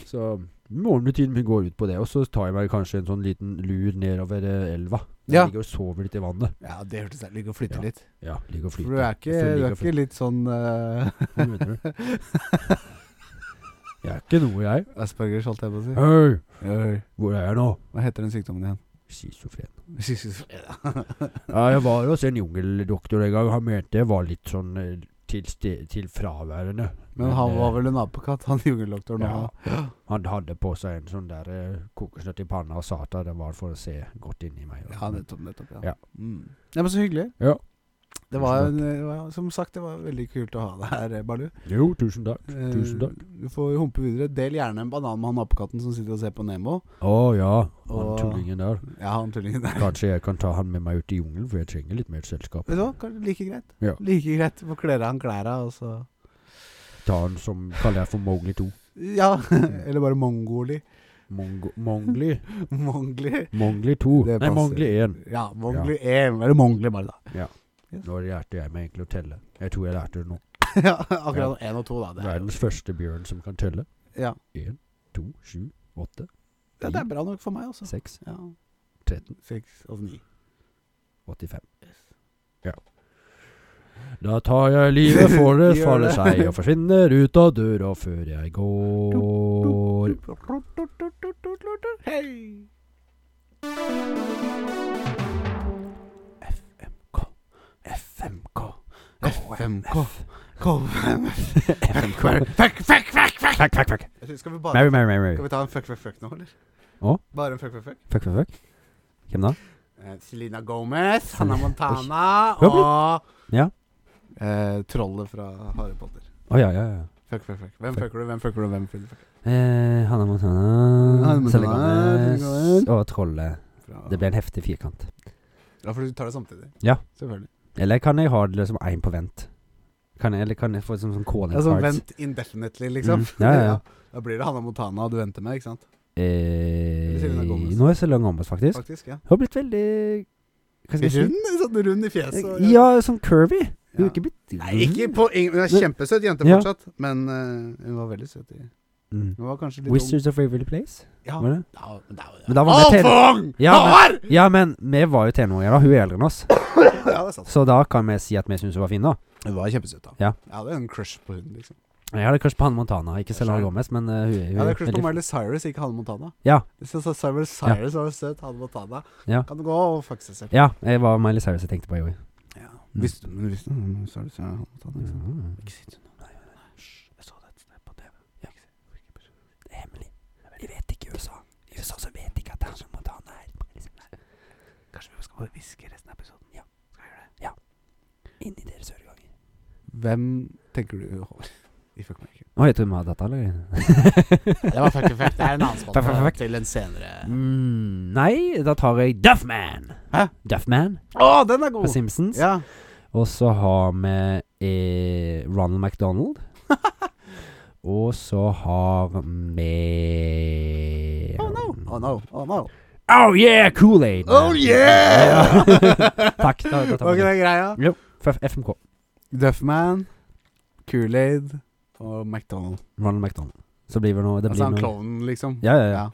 [SPEAKER 2] Så morgenrutinen min går ut på det. Og så tar jeg meg kanskje en sånn liten lur nedover eh, elva. Jeg
[SPEAKER 1] Ja.
[SPEAKER 2] ligger og sover litt i vannet.
[SPEAKER 1] ja, det hørtes deilig ut å flytte
[SPEAKER 2] Ja.
[SPEAKER 1] litt.
[SPEAKER 2] Ja, ligger og
[SPEAKER 1] For
[SPEAKER 2] flyter.
[SPEAKER 1] du er ikke,
[SPEAKER 2] Jeg
[SPEAKER 1] du
[SPEAKER 2] føler ligger
[SPEAKER 1] er
[SPEAKER 2] og
[SPEAKER 1] ikke litt sånn eh,
[SPEAKER 2] flyter. Hva mener du? Jeg er ikke noe, jeg.
[SPEAKER 1] Aspergers, holdt jeg på å si.
[SPEAKER 2] Hei,
[SPEAKER 1] Oi,
[SPEAKER 2] hvor er jeg nå?
[SPEAKER 1] Hva heter den sykdommen igjen?
[SPEAKER 2] Schizofren.
[SPEAKER 1] (laughs) Schizofreni.
[SPEAKER 2] Ja, jeg var hos en jungeldoktor en gang. Han mente jeg var litt sånn eh, til, ste til fraværende.
[SPEAKER 1] Men han
[SPEAKER 2] eh,
[SPEAKER 1] var vel en apekatt, han jungeldoktoren.
[SPEAKER 2] Ja.
[SPEAKER 1] Ja.
[SPEAKER 2] Han hadde på seg en sånn der eh, kokosnøtt i panna og sa at det var for å se godt inni meg.
[SPEAKER 1] Ja, nettopp. nettopp ja.
[SPEAKER 2] Ja.
[SPEAKER 1] Mm. ja, men så hyggelig.
[SPEAKER 2] Ja.
[SPEAKER 1] Det var, en, det var, som sagt, det var veldig kult å ha deg her, eh, Balu.
[SPEAKER 2] Jo, tusen takk.
[SPEAKER 1] Eh,
[SPEAKER 2] Tusen takk.
[SPEAKER 1] Du får humpe videre. Del gjerne en banan med han apekatten som sitter og ser på Nemo.
[SPEAKER 2] Å ja, han
[SPEAKER 1] Og-
[SPEAKER 2] tullingen der.
[SPEAKER 1] Ja, han tullingen der.
[SPEAKER 2] Kanskje jeg kan ta han med meg ut i jungelen, for jeg trenger litt mer selskap.
[SPEAKER 1] Vet du hva, kanskje like greit.
[SPEAKER 2] Ja.
[SPEAKER 1] Like greit. Få klær han klæra, og så
[SPEAKER 2] Ta han som kaller jeg for Mowgli 2.
[SPEAKER 1] Ja, (laughs) eller bare Mongoli.
[SPEAKER 2] Mongo, Mongli.
[SPEAKER 1] Mongli.
[SPEAKER 2] Mongli 2.
[SPEAKER 1] Det
[SPEAKER 2] Nei,
[SPEAKER 1] passer.
[SPEAKER 2] Mongli 1.
[SPEAKER 1] Ja, Mongli ja. Eller Mongli, bare, da. (laughs)
[SPEAKER 2] Nå lærte jeg meg egentlig å telle. Jeg tror jeg lærte det nå.
[SPEAKER 1] ja, akkurat én og to, da. Det er,
[SPEAKER 2] Verdens første bjørn som kan telle.
[SPEAKER 1] ja.
[SPEAKER 2] 1, 2, 7, 8,
[SPEAKER 1] ja, det er bra nok for meg, altså.
[SPEAKER 2] 6,
[SPEAKER 1] Ja.
[SPEAKER 2] 13,
[SPEAKER 1] Seks og ni.
[SPEAKER 2] 85. Ja. Da tar jeg livet for det
[SPEAKER 1] (laughs) Gjør
[SPEAKER 2] faller
[SPEAKER 1] det.
[SPEAKER 2] seg og forsvinner ut av døra før jeg går.
[SPEAKER 1] Hei! FMK. FMK. KFMF. Fuck, fuck, fuck, fuck!
[SPEAKER 2] Fuck, fuck, fuck.
[SPEAKER 1] Jeg synes, skal, vi bare,
[SPEAKER 2] Mary, Mary, Mary, Mary.
[SPEAKER 1] skal vi ta en fuck, fuck, fuck nå, eller?
[SPEAKER 2] Å?
[SPEAKER 1] Bare en fuck, fuck, fuck.
[SPEAKER 2] Fuck, fuck, fuck. Hvem da?
[SPEAKER 1] Eh, Selena Gomez, Hannah Montana
[SPEAKER 2] Oi.
[SPEAKER 1] og
[SPEAKER 2] Ja.
[SPEAKER 1] eh, trollet fra Harry Potter.
[SPEAKER 2] Å ja, ja, ja.
[SPEAKER 1] Fuck, fuck, fuck. Hvem
[SPEAKER 2] Fuck.
[SPEAKER 1] fucker du, hvem fucker du, hvem fucker du?
[SPEAKER 2] Eh, Hanna
[SPEAKER 1] Hannah
[SPEAKER 2] Montana,
[SPEAKER 1] Montana,
[SPEAKER 2] Selena Gomez
[SPEAKER 1] Selena Gomez.
[SPEAKER 2] og trollet.
[SPEAKER 1] Fra-
[SPEAKER 2] Det ble en heftig firkant.
[SPEAKER 1] Ja, for du tar det samtidig?
[SPEAKER 2] Ja.
[SPEAKER 1] Selvfølgelig.
[SPEAKER 2] Eller kan jeg ha det liksom én på vent? Kan jeg, eller kan jeg få det som sånn calling
[SPEAKER 1] Altså,
[SPEAKER 2] cards?
[SPEAKER 1] vent indefinitely, liksom.
[SPEAKER 2] Mm,
[SPEAKER 1] (laughs)
[SPEAKER 2] ja, ja, ja.
[SPEAKER 1] Da blir det Hanna Montana du venter med, ikke sant? Selena
[SPEAKER 2] Eh,
[SPEAKER 1] Gomez.
[SPEAKER 2] nå er Selena Gomez, faktisk.
[SPEAKER 1] Faktisk, ja.
[SPEAKER 2] Hun har blitt veldig Hva skal jeg
[SPEAKER 1] Rund, sånn rund i fjeset. og-
[SPEAKER 2] si? Ja, sånn curvy. Hun
[SPEAKER 1] Ja.
[SPEAKER 2] er ikke blitt Mm.
[SPEAKER 1] Nei, ikke på ingen Hun er kjempesøt jente
[SPEAKER 2] Ja.
[SPEAKER 1] fortsatt, men eh, hun var veldig søt. i-
[SPEAKER 2] Mm.
[SPEAKER 1] Hun var kanskje litt
[SPEAKER 2] Wizards of Waverly Place?
[SPEAKER 1] ung. Ja,
[SPEAKER 2] Var det?
[SPEAKER 1] da, da,
[SPEAKER 2] Men da var det tele-
[SPEAKER 1] Altfor ung!
[SPEAKER 2] Ja, men-
[SPEAKER 1] Håvard!
[SPEAKER 2] Ja, men vi var jo tenåringer da. Hun er eldre enn oss.
[SPEAKER 1] (laughs) Ja, det er sant.
[SPEAKER 2] Så da kan vi si at vi syns hun var fin, da.
[SPEAKER 1] Hun var kjempesøt, da.
[SPEAKER 2] Ja.
[SPEAKER 1] Jeg hadde en crush på hun, liksom.
[SPEAKER 2] Jeg hadde crush på Hanne Montana, ikke Selena
[SPEAKER 1] Skjønner.
[SPEAKER 2] Gomez, men eh, hun er
[SPEAKER 1] Jeg
[SPEAKER 2] jo
[SPEAKER 1] hadde crush på
[SPEAKER 2] veldig-
[SPEAKER 1] Miley Cyrus, ikke Hanne Montana.
[SPEAKER 2] Ja.
[SPEAKER 1] Jeg synes at Cyrus Cyrus var søt, Hanne Montana.
[SPEAKER 2] Ja.
[SPEAKER 1] Kan du gå og fucke seg selv?
[SPEAKER 2] Ja, jeg var Miley Cyrus jeg tenkte på i år.
[SPEAKER 1] Ja. Visste du men visste du men så er det så er det Hanne Montana, liksom? ikke sant?
[SPEAKER 2] Mm.
[SPEAKER 1] Ikke si det til noen. Nei, nei, nei. Hysj, jeg så det et sted på TV. Ikke si- ikke beskjed.
[SPEAKER 2] Det er hemmelig. De vet ikke i USA. I USA så vet de ikke at Hanne Montana er Miley Cyrus.
[SPEAKER 1] Kanskje vi skal bare hviske resten av episoden?
[SPEAKER 2] liksom Ja.
[SPEAKER 1] Skal vi gjøre det?
[SPEAKER 2] Inni deres øreganger.
[SPEAKER 1] Hvem tenker du, Håvard? I Fuck Mary Kill?
[SPEAKER 2] Å, heter hun Madata, eller?
[SPEAKER 1] Det var fuck effect. Det er en annen
[SPEAKER 2] Fuck, fuck,
[SPEAKER 1] spalte
[SPEAKER 2] fuck.
[SPEAKER 1] til en senere
[SPEAKER 2] (laughs) Mm, nei, da tar jeg Duffman.
[SPEAKER 1] Hæ?
[SPEAKER 2] Duffman
[SPEAKER 1] Å, den er
[SPEAKER 2] fra
[SPEAKER 1] god!
[SPEAKER 2] Simpsons.
[SPEAKER 1] Ja.
[SPEAKER 2] Og så har vi eh, Ronald (laughs) McDonald. Og så har vi
[SPEAKER 1] Oh no, oh no, oh no.
[SPEAKER 2] Oh yeah, Kool-Aid!
[SPEAKER 1] Oh yeah!
[SPEAKER 2] (laughs) Takk. Da, da tar
[SPEAKER 1] Var
[SPEAKER 2] vi
[SPEAKER 1] ikke
[SPEAKER 2] det.
[SPEAKER 1] det greia?
[SPEAKER 2] F- FMK.
[SPEAKER 1] Duffman, Kool-Aid og McDonald.
[SPEAKER 2] Ronald McDonald. Så blir vi nå Det
[SPEAKER 1] Altså
[SPEAKER 2] blir
[SPEAKER 1] han
[SPEAKER 2] noe
[SPEAKER 1] klovnen, liksom.
[SPEAKER 2] Ja, ja, ja.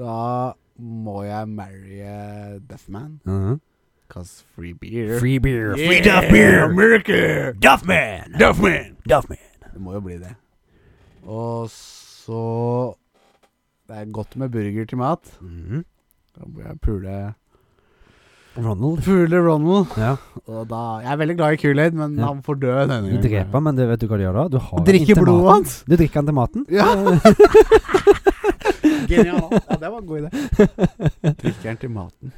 [SPEAKER 1] Da må jeg marry Duffman.
[SPEAKER 2] Mhm.
[SPEAKER 1] Cause free beer.
[SPEAKER 2] Free beer.
[SPEAKER 1] Yeah,
[SPEAKER 2] Free Duff beer.
[SPEAKER 1] America!
[SPEAKER 2] Duffman. Duffman. Duffman.
[SPEAKER 1] Det må jo bli det. Og så Det er godt med burger til mat.
[SPEAKER 2] Mhm.
[SPEAKER 1] Da må jeg pule
[SPEAKER 2] Ronald.
[SPEAKER 1] Pule Ronald.
[SPEAKER 2] Ja.
[SPEAKER 1] Og da Jeg er veldig glad i Kool-Aid, men
[SPEAKER 2] Ja.
[SPEAKER 1] han får dø denne
[SPEAKER 2] Du dreper, men det vet du hva du gjør da? Du har den
[SPEAKER 1] Drikke
[SPEAKER 2] til
[SPEAKER 1] blodet
[SPEAKER 2] maten.
[SPEAKER 1] hans!
[SPEAKER 2] Du drikker den til maten?
[SPEAKER 1] Ja. (laughs) Genial. Ja, det var en god idé. Drikker han til maten.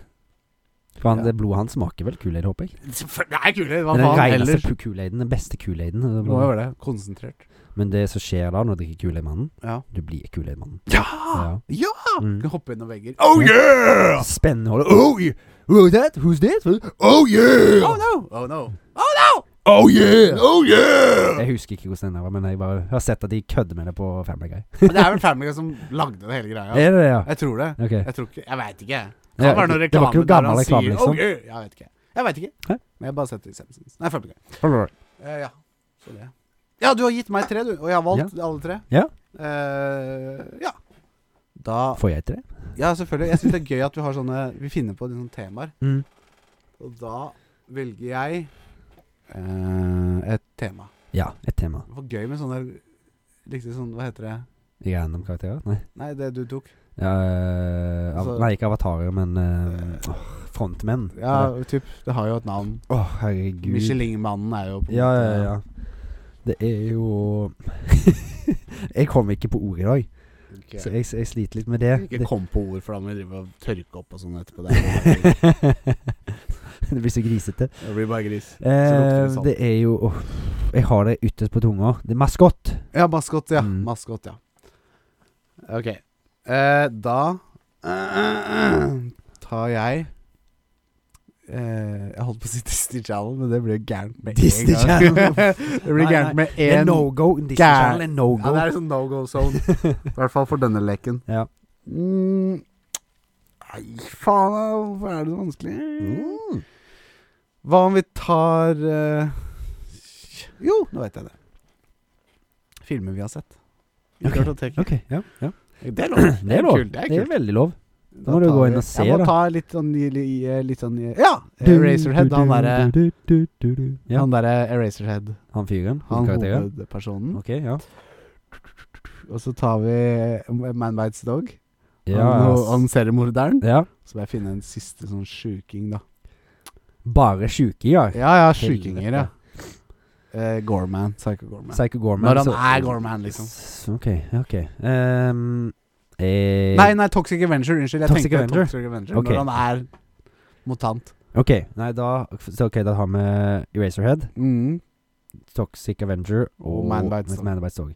[SPEAKER 2] For han,
[SPEAKER 1] Ja.
[SPEAKER 2] det blodet hans smaker vel Kool-Aid, håper jeg.
[SPEAKER 1] Det er Kool-Aid. Hva
[SPEAKER 2] Den
[SPEAKER 1] faen
[SPEAKER 2] reneste
[SPEAKER 1] ellers?
[SPEAKER 2] pu- Kool-Aiden, den beste Kool-Aiden. og det
[SPEAKER 1] Det må jo
[SPEAKER 2] bare-
[SPEAKER 1] være det. Konsentrert.
[SPEAKER 2] Men det som skjer da, når du drikker Kool-Aid-mannen,
[SPEAKER 1] Ja.
[SPEAKER 2] du blir Kool-Aid-mannen.
[SPEAKER 1] Ja!
[SPEAKER 2] Ja.
[SPEAKER 1] Ja!
[SPEAKER 2] Mm.
[SPEAKER 1] Kan hoppe inn noen vegger.
[SPEAKER 2] Oh,
[SPEAKER 1] yeah!
[SPEAKER 2] Spennende hold. Oh, yeah. Who's that? Who's that?
[SPEAKER 1] Oh yeah! Oh no! Oh no! Oh no! Oh yeah! Oh yeah!
[SPEAKER 2] Jeg husker ikke hvordan den der var, men jeg bare har sett at de kødder med det på Family Guy.
[SPEAKER 1] Men det er vel Family Guy som lagde det hele greia.
[SPEAKER 2] Er det det, ja?
[SPEAKER 1] Jeg tror det.
[SPEAKER 2] Ok.
[SPEAKER 1] Jeg tror ikke Jeg veit ikke. Det
[SPEAKER 2] Ja,
[SPEAKER 1] kan være noe
[SPEAKER 2] det
[SPEAKER 1] reklame
[SPEAKER 2] var ikke noe gammel reklame, liksom.
[SPEAKER 1] oh, yeah. Jeg vet ikke. Jeg vet ikke.
[SPEAKER 2] Hæ?
[SPEAKER 1] Men jeg har bare sett det i Simpsons. Nei, Family Guy.
[SPEAKER 2] Alright.
[SPEAKER 1] Eh, ja. Så det. Ja, du har gitt meg tre, du. Og jeg har valgt alle tre.
[SPEAKER 2] Ja.
[SPEAKER 1] Eh, ja. Da
[SPEAKER 2] Får jeg til det?
[SPEAKER 1] Ja, selvfølgelig. Jeg syns det er gøy at vi har sånne Vi finner på sånne temaer.
[SPEAKER 2] Mm.
[SPEAKER 1] Og da velger jeg eh, et tema.
[SPEAKER 2] Ja, et tema.
[SPEAKER 1] Det var gøy med sånne Liksom sånn Hva heter det?
[SPEAKER 2] Random karakterer? Nei.
[SPEAKER 1] Nei, det du tok.
[SPEAKER 2] Ja, eh, av,
[SPEAKER 1] Altså-
[SPEAKER 2] nei, ikke avatarer, men eh, åh, frontmenn.
[SPEAKER 1] Ja,
[SPEAKER 2] Eller-
[SPEAKER 1] typ. Det har jo et navn.
[SPEAKER 2] Åh, herregud.
[SPEAKER 1] Michelin-mannen er jo på en
[SPEAKER 2] Ja,
[SPEAKER 1] måte-
[SPEAKER 2] (laughs) ja, ja. Det er jo Jeg kom ikke på ordet i dag.
[SPEAKER 1] Ok.
[SPEAKER 2] Så jeg, jeg sliter litt med det.
[SPEAKER 1] Ikke
[SPEAKER 2] Det,
[SPEAKER 1] kom på ord, for da må vi drive og tørke opp og sånn etterpå. Det, er-
[SPEAKER 2] (laughs) det blir så grisete.
[SPEAKER 1] det blir bare gris.
[SPEAKER 2] Eh,
[SPEAKER 1] salt.
[SPEAKER 2] det er jo åh, Jeg har det ytterst på tunga. Det er maskott.
[SPEAKER 1] Ja, maskot, ja.
[SPEAKER 2] Mm.
[SPEAKER 1] Maskot, ja. Ok. Eh, da (clears throat) tar jeg eh, Jeg holdt på å si Disney Channel, men det blir jo gærent med
[SPEAKER 2] Disney
[SPEAKER 1] en gang. (laughs)
[SPEAKER 2] Channel.
[SPEAKER 1] det blir
[SPEAKER 2] Nei,
[SPEAKER 1] gærent med
[SPEAKER 2] Det er
[SPEAKER 1] én
[SPEAKER 2] no go. Disney
[SPEAKER 1] Gær-
[SPEAKER 2] Channel er no
[SPEAKER 1] Ja,
[SPEAKER 2] go.
[SPEAKER 1] det er sånn no go zone. I hvert fall for denne leken.
[SPEAKER 2] Ja.
[SPEAKER 1] Mm. Nei, faen, da, hvorfor er det så vanskelig? Mm. Hva om vi tar eh, Jo, nå vet jeg det. Filmer vi har sett. I
[SPEAKER 2] Ok,
[SPEAKER 1] kartoteket.
[SPEAKER 2] (laughs) Ok, ja, ja.
[SPEAKER 1] (laughs) Det er lov.
[SPEAKER 2] Det er lov.
[SPEAKER 1] kult, Det er
[SPEAKER 2] Det er
[SPEAKER 1] kult.
[SPEAKER 2] veldig lov. Da må
[SPEAKER 1] tar
[SPEAKER 2] du gå
[SPEAKER 1] vi-
[SPEAKER 2] inn og se,
[SPEAKER 1] Jeg
[SPEAKER 2] da.
[SPEAKER 1] må ta litt sånn, i- i- eh, litt sånn i- Ja! Eraserhead, han derre
[SPEAKER 2] Ja,
[SPEAKER 1] Han derre Eraserhead.
[SPEAKER 2] han fyren.
[SPEAKER 1] Han
[SPEAKER 2] karakteren.
[SPEAKER 1] hovedpersonen.
[SPEAKER 2] Ok, ja.
[SPEAKER 1] Og så tar vi eh, Man Bites Dog.
[SPEAKER 2] Ja,
[SPEAKER 1] han,
[SPEAKER 2] ass.
[SPEAKER 1] han seriemorderen.
[SPEAKER 2] ja.
[SPEAKER 1] Så må jeg finne en siste sånn sjuking, da.
[SPEAKER 2] Bare sjukinger.
[SPEAKER 1] Ja, ja, sjukinger, ja. Eh, Gorman. Psycho Gorman.
[SPEAKER 2] Psycho Gorman.
[SPEAKER 1] Når han
[SPEAKER 2] så-
[SPEAKER 1] er Gorman, liksom.
[SPEAKER 2] S- Ok, ok. Ehm, eh,
[SPEAKER 1] Nei, nei, Toxic Avenger. Unnskyld. Jeg
[SPEAKER 2] Toxic
[SPEAKER 1] tenkte
[SPEAKER 2] Avenger?
[SPEAKER 1] Toxic Avenger
[SPEAKER 2] Ok.
[SPEAKER 1] Når han er mutant.
[SPEAKER 2] Ok, nei, da Så ok, da har vi Eraserhead,
[SPEAKER 1] Mm.
[SPEAKER 2] Toxic Avenger og
[SPEAKER 1] Og Man Bites Dog.
[SPEAKER 2] Man Bites Dog.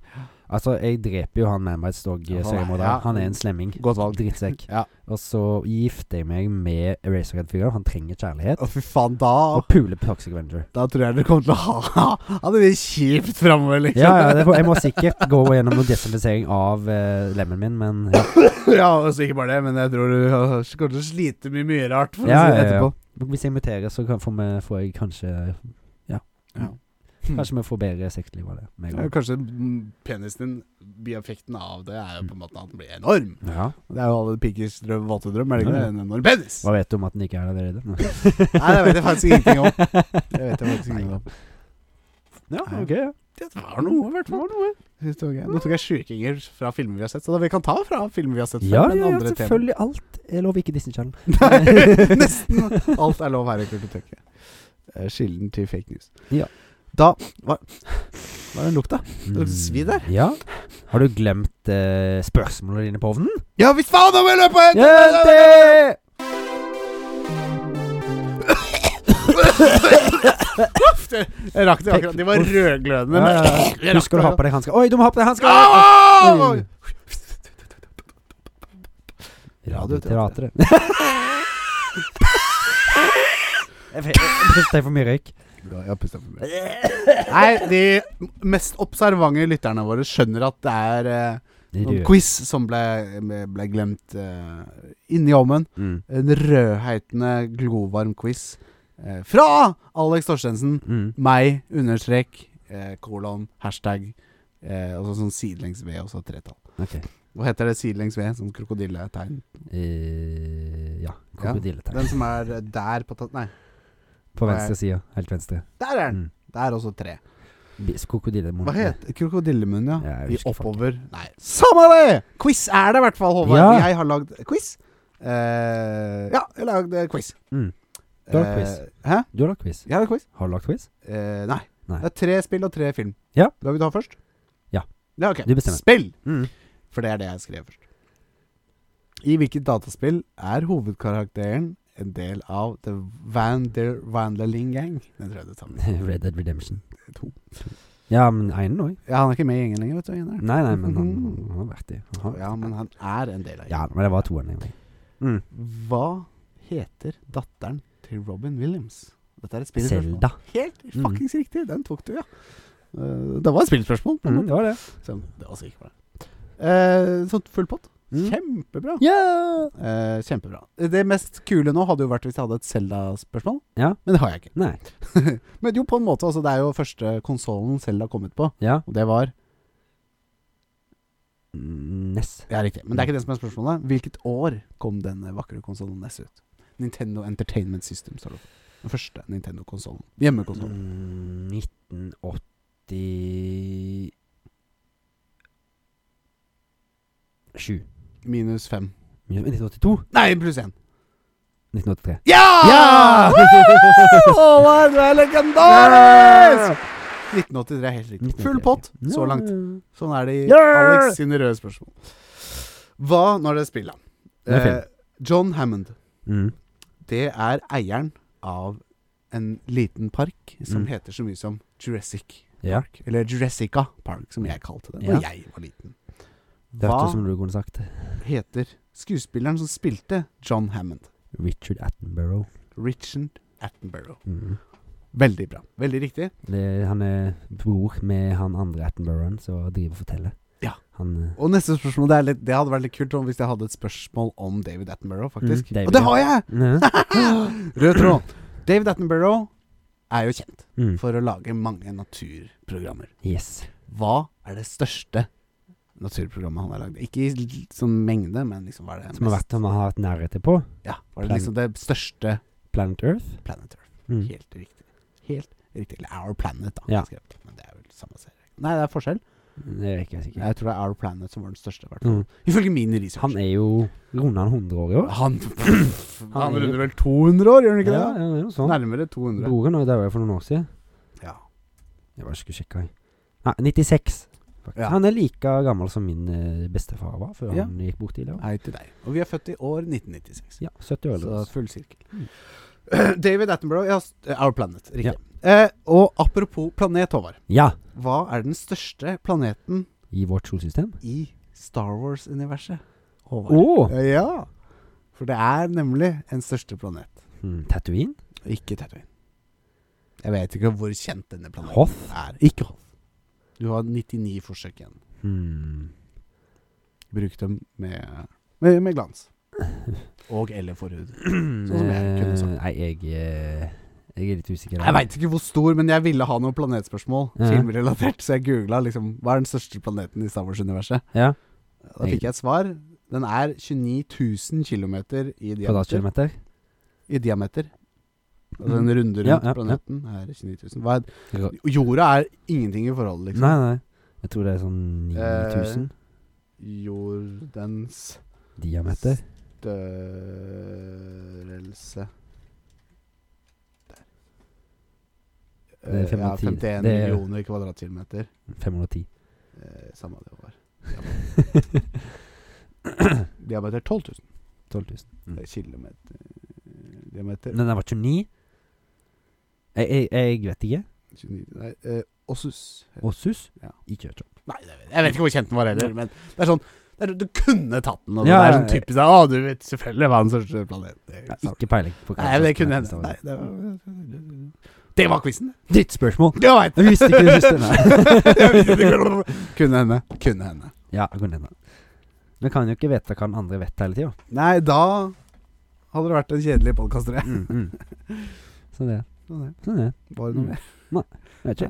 [SPEAKER 2] Altså, jeg dreper jo han Man Bites Dog eh,
[SPEAKER 1] Ja, han er-
[SPEAKER 2] seriemorderen.
[SPEAKER 1] ja.
[SPEAKER 2] Han er en slemming.
[SPEAKER 1] Godt valg.
[SPEAKER 2] Drittsekk.
[SPEAKER 1] Ja.
[SPEAKER 2] Og så gifter jeg meg med Eraserhead-fyren. Han trenger kjærlighet.
[SPEAKER 1] Å, fy faen, da
[SPEAKER 2] Og puler Toxic Avenger.
[SPEAKER 1] Da tror jeg dere kommer til å ha Ha det litt kjipt framover, liksom.
[SPEAKER 2] Ja, ja, det får, jeg må sikkert gå gjennom noe desinfisering av eh, lemmen min, men ja.
[SPEAKER 1] (laughs) Ja, og så ikke bare det, men jeg tror du har- kommer til å slite mye mye rart. For
[SPEAKER 2] Ja,
[SPEAKER 1] å si det
[SPEAKER 2] ja, ja.
[SPEAKER 1] etterpå.
[SPEAKER 2] Hvis jeg muterer, så kan, får, vi, får jeg kanskje
[SPEAKER 1] Ja.
[SPEAKER 2] Kanskje vi får bedre sexliv av det. meg
[SPEAKER 1] Ja,
[SPEAKER 2] og-
[SPEAKER 1] Kanskje mm, penisen din, bieffekten av det, er jo på en måte at den blir enorm.
[SPEAKER 2] Ja.
[SPEAKER 1] Det er jo alle pikkers drøm, våte drøm, er det ikke
[SPEAKER 2] Ja,
[SPEAKER 1] det?
[SPEAKER 2] ja.
[SPEAKER 1] En enorm penis!
[SPEAKER 2] Hva vet du om at den ikke er der allerede?
[SPEAKER 1] Nei, det vet jeg faktisk ingenting om. Det vet jeg faktisk ingenting om.
[SPEAKER 2] Ja, ok. ja.
[SPEAKER 1] Det var noe, i hvert fall. Det tok jeg- Nå tok jeg sjukinger fra filmer vi har sett, så da vi kan ta fra filmer vi har sett før.
[SPEAKER 2] Ja,
[SPEAKER 1] men
[SPEAKER 2] ja, ja,
[SPEAKER 1] andre tema.
[SPEAKER 2] selvfølgelig. Alt er lov, ikke Disney Channel.
[SPEAKER 1] Nei, nesten alt er lov her i Kulturtøkket. Eh, Kilden til fake news.
[SPEAKER 2] Ja.
[SPEAKER 1] Da Hva Hva er den lukta?
[SPEAKER 2] Mm,
[SPEAKER 1] Svi der.
[SPEAKER 2] Ja. Har du glemt eh, spørsmålene dine på ovnen?
[SPEAKER 1] Ja visst faen, da må jeg løpe! hit!
[SPEAKER 2] Jente!
[SPEAKER 1] Uff, det- Jeg rakk det akkurat. De var rødglødende. (laughs)
[SPEAKER 2] Ja, ja,
[SPEAKER 1] men-
[SPEAKER 2] ja. Husker du å ha på deg hansker? Oi, du må ha på deg hansker!
[SPEAKER 1] Au!
[SPEAKER 2] Oi. Radioteatret. (laughs) Jeg fe- jeg puster for mye (laughs) røyk.
[SPEAKER 1] Ja, jeg puster for mye. Nei, de mest observante lytterne våre skjønner at det er eh, noen quiz som ble, ble glemt eh, inni ovnen.
[SPEAKER 2] Mm.
[SPEAKER 1] En rødheitende, glovarm quiz eh, fra Alex Torstensen.
[SPEAKER 2] Mm.
[SPEAKER 1] Meg, understrek, eh, kolon, hashtag eh, Og så sånn sidelengs V, og så tretall.
[SPEAKER 2] Ok.
[SPEAKER 1] Hva heter det sidelengs V? Sånn krokodilletegn?
[SPEAKER 2] Eh, ja. Krokodilletegn.
[SPEAKER 1] Den som er eh, der på tatt... Nei,
[SPEAKER 2] På venstre side. Helt venstre.
[SPEAKER 1] der er den!
[SPEAKER 2] Mm.
[SPEAKER 1] Der også tre.
[SPEAKER 2] Bis- Krokodillemunn.
[SPEAKER 1] Hva heter Krokodillemunn, ja.
[SPEAKER 2] Ja, jeg
[SPEAKER 1] I
[SPEAKER 2] husker
[SPEAKER 1] oppover Nei, samme det! Quiz er det i hvert fall, Håvard.
[SPEAKER 2] Ja.
[SPEAKER 1] Jeg har lagd quiz. Eh, ja, jeg har lagd eh, quiz.
[SPEAKER 2] Mm. Du har
[SPEAKER 1] Eh,
[SPEAKER 2] quiz.
[SPEAKER 1] Hæ?
[SPEAKER 2] Du har lagt quiz.
[SPEAKER 1] Jeg har quiz.
[SPEAKER 2] Har du lagt quiz?
[SPEAKER 1] Eh, nei.
[SPEAKER 2] Nei.
[SPEAKER 1] Det er tre spill og tre film.
[SPEAKER 2] Ja.
[SPEAKER 1] Hva vil du ha først?
[SPEAKER 2] Ja.
[SPEAKER 1] Ja, ok.
[SPEAKER 2] Du bestemmer.
[SPEAKER 1] Spill!
[SPEAKER 2] Mm.
[SPEAKER 1] For det er det jeg skrev først. I hvilket dataspill er hovedkarakteren en del av The Van der Vanderling Gang? Den tror jeg du tar med.
[SPEAKER 2] (laughs) Red Dead Redemption.
[SPEAKER 1] To.
[SPEAKER 2] Ja, men einen òg.
[SPEAKER 1] Ja, han er ikke med i gjengen lenger, vet du. Einar.
[SPEAKER 2] Nei, nei, men han,
[SPEAKER 1] (laughs)
[SPEAKER 2] han har vært i. Han har.
[SPEAKER 1] Mm. Ja, men han er en del av
[SPEAKER 2] Ja,
[SPEAKER 1] gjengen.
[SPEAKER 2] men det var toeren, egentlig. Mm.
[SPEAKER 1] Hva heter datteren til Robin Williams? Dette er et spillspørsmål.
[SPEAKER 2] Selda.
[SPEAKER 1] Helt
[SPEAKER 2] Mm.
[SPEAKER 1] fuckings riktig! Den tok du, ja. Eh, det var et spillspørsmål. på en måte.
[SPEAKER 2] Mm, det var det.
[SPEAKER 1] Sånn, det var sikkert bra. Eh, sånn full pott.
[SPEAKER 2] Mm.
[SPEAKER 1] Kjempebra.
[SPEAKER 2] Yeah!
[SPEAKER 1] Eh, kjempebra. Det mest kule nå hadde jo vært hvis jeg hadde et Selda-spørsmål,
[SPEAKER 2] Ja.
[SPEAKER 1] men det har jeg ikke.
[SPEAKER 2] Nei.
[SPEAKER 1] Men jo, på en måte, altså, det er jo første konsollen Selda kom ut på,
[SPEAKER 2] Ja.
[SPEAKER 1] og det var
[SPEAKER 2] Mm, Ness.
[SPEAKER 1] Ja, riktig. Men det er
[SPEAKER 2] Mm.
[SPEAKER 1] ikke det som er spørsmålet. Hvilket år kom den vakre konsollen Ness ut? Nintendo Entertainment System, står det. på. Den første Nintendo-konsollen. Hjemmekonsollen.
[SPEAKER 2] Mm, 1987. Mm.
[SPEAKER 1] Minus fem.
[SPEAKER 2] 1982?
[SPEAKER 1] Nei, pluss én!
[SPEAKER 2] 1983.
[SPEAKER 1] Ja!
[SPEAKER 2] Ja!
[SPEAKER 1] Woo! Håvard, du er legendarisk! 1983 er helt riktig. Full pott så langt. Sånn er det i
[SPEAKER 2] Yeah!
[SPEAKER 1] Alex sine røde spørsmål. Hva når det spiller?
[SPEAKER 2] Det er film.
[SPEAKER 1] Eh, John Hammond.
[SPEAKER 2] Mm.
[SPEAKER 1] Det er eieren av en liten park som
[SPEAKER 2] Mm.
[SPEAKER 1] heter så mye som Jurassic
[SPEAKER 2] Ja.
[SPEAKER 1] Park. Eller Jurassica Park, som jeg kalte det da
[SPEAKER 2] Ja.
[SPEAKER 1] jeg var liten.
[SPEAKER 2] Det
[SPEAKER 1] Hva
[SPEAKER 2] hørtes ut som du kunne sagt.
[SPEAKER 1] heter skuespilleren som spilte John Hammond?
[SPEAKER 2] Richard Attenborough.
[SPEAKER 1] Richard Attenborough.
[SPEAKER 2] Mm.
[SPEAKER 1] Veldig bra. Veldig riktig.
[SPEAKER 2] Det, han er bror med han andre Attenboroughen som driver og forteller.
[SPEAKER 1] Ja.
[SPEAKER 2] Han eh,
[SPEAKER 1] Og neste spørsmål, det, er litt, det hadde vært litt kult om hvis jeg hadde et spørsmål om David Attenborough, faktisk.
[SPEAKER 2] Mm, David,
[SPEAKER 1] og det
[SPEAKER 2] ja.
[SPEAKER 1] har jeg! (laughs)
[SPEAKER 2] ja.
[SPEAKER 1] Rød tråd. David Attenborough er jo kjent
[SPEAKER 2] mm.
[SPEAKER 1] for å lage mange naturprogrammer.
[SPEAKER 2] Yes.
[SPEAKER 1] Hva er det største naturprogrammet han har lagd? Ikke i l- sånn mengde, men liksom hva er det
[SPEAKER 2] Som har vært som har hatt nærhet til på
[SPEAKER 1] Ja, var det liksom det største
[SPEAKER 2] Planet Earth.
[SPEAKER 1] Planet Earth.
[SPEAKER 2] Mm.
[SPEAKER 1] Helt riktig. Helt riktig. Eller Our Planet, da.
[SPEAKER 2] Ja.
[SPEAKER 1] skrev jeg. Men det er vel samme serie. Nei, det er forskjell.
[SPEAKER 2] Det er ikke jeg sikker
[SPEAKER 1] Jeg tror det er Our Planet som var den største, i hvert fall.
[SPEAKER 2] Mm.
[SPEAKER 1] Ifølge min research.
[SPEAKER 2] Han er jo runda han 100 år i år.
[SPEAKER 1] Han,
[SPEAKER 2] (clears throat) Han
[SPEAKER 1] han
[SPEAKER 2] er jo-
[SPEAKER 1] runder vel 200 år, gjør han ikke
[SPEAKER 2] ja,
[SPEAKER 1] det?
[SPEAKER 2] ja, det er noe sånt.
[SPEAKER 1] Nærmere 200.
[SPEAKER 2] Broren òg daua for noen år siden.
[SPEAKER 1] Ja.
[SPEAKER 2] Jeg bare skulle sjekke. jeg. Nei, 96. faktisk.
[SPEAKER 1] Ja.
[SPEAKER 2] Han er like gammel som min eh, bestefar var før
[SPEAKER 1] Ja.
[SPEAKER 2] han gikk bort tidligere.
[SPEAKER 1] Hei til deg. Og vi er født i år 1996.
[SPEAKER 2] Ja, 70 år
[SPEAKER 1] Så
[SPEAKER 2] eller
[SPEAKER 1] full sirkel. (clears throat) David Attenborough, ja, s- eh, Our Planet. Riktig.
[SPEAKER 2] Ja.
[SPEAKER 1] Eh, og apropos planet, Håvard.
[SPEAKER 2] Ja!
[SPEAKER 1] Hva er den største planeten
[SPEAKER 2] I vårt solsystem.
[SPEAKER 1] i Star Wars-universet?
[SPEAKER 2] Å!
[SPEAKER 1] Håvard. Eh, Ja. For det er nemlig en største planet.
[SPEAKER 2] Mm, Tatooine.
[SPEAKER 1] Ikke Tatooine. Jeg vet ikke hvor kjent denne planeten
[SPEAKER 2] Hoth.
[SPEAKER 1] er. Ikke Hoth. Du har 99 forsøk igjen.
[SPEAKER 2] Mm.
[SPEAKER 1] Bruk dem med, med, med glans. Og eller forhud. Sånn som jeg kunne sagt.
[SPEAKER 2] Eh, Nei, jeg eh, Jeg er litt usikker. der.
[SPEAKER 1] Jeg veit ikke hvor stor, men jeg ville ha noen planetspørsmål.
[SPEAKER 2] Ja.
[SPEAKER 1] Filmrelatert, så jeg googla liksom Hva er den største planeten i Star Wars-universet?
[SPEAKER 2] Ja,
[SPEAKER 1] Da fikk jeg et svar. Den er 29 000 km i diameter.
[SPEAKER 2] Kvadratkilometer. Mm.
[SPEAKER 1] I diameter. Altså den runde rundt
[SPEAKER 2] Ja, ja, ja.
[SPEAKER 1] planeten er 29 000. Hva er,
[SPEAKER 2] Nei,
[SPEAKER 1] jorda er ingenting i forhold, liksom.
[SPEAKER 2] nei. Jeg tror det er sånn 9000
[SPEAKER 1] Eh, Jordens
[SPEAKER 2] diameter.
[SPEAKER 1] Størrelse
[SPEAKER 2] Det
[SPEAKER 1] Eh,
[SPEAKER 2] er
[SPEAKER 1] Ja,
[SPEAKER 2] 51.
[SPEAKER 1] 51
[SPEAKER 2] Det er-
[SPEAKER 1] millioner kvadratkilometer.
[SPEAKER 2] 510.
[SPEAKER 1] Eh, samme det var.
[SPEAKER 2] (laughs)
[SPEAKER 1] Diameter 12 000
[SPEAKER 2] 12 000.
[SPEAKER 1] Det er kilometer Diameter
[SPEAKER 2] Men den var 29. Jeg, jeg, jeg vet ikke.
[SPEAKER 1] 29 Nei, eh, Ossus
[SPEAKER 2] Åsus?
[SPEAKER 1] Ja.
[SPEAKER 2] Ikke hørt om.
[SPEAKER 1] Nei, jeg vet, jeg vet ikke hvor kjent den var heller, men det er sånn det er, Du kunne tatt den, og det
[SPEAKER 2] Ja,
[SPEAKER 1] er
[SPEAKER 2] ja,
[SPEAKER 1] sånn
[SPEAKER 2] ja.
[SPEAKER 1] typisk Å, du vet selvfølgelig hva den største planeten er.
[SPEAKER 2] Ja, ikke peiling. på hva
[SPEAKER 1] Nei, men det
[SPEAKER 2] som
[SPEAKER 1] kunne
[SPEAKER 2] er
[SPEAKER 1] hende. Nei,
[SPEAKER 2] neste
[SPEAKER 1] det
[SPEAKER 2] år.
[SPEAKER 1] var, det var quizen.
[SPEAKER 2] Ditt spørsmål!
[SPEAKER 1] Jeg veit
[SPEAKER 2] Jeg visste ikke det siste,
[SPEAKER 1] (laughs) nei. kunne hende. Kunne hende.
[SPEAKER 2] Ja, det kunne hende. Vi kan jo ikke vite hva den andre vet hele tida.
[SPEAKER 1] Nei, da hadde det vært en kjedelig podkast, tror jeg.
[SPEAKER 2] (laughs) Sånn det er. Sånn er det.
[SPEAKER 1] Var det noe mer?
[SPEAKER 2] Jeg Vet ikke.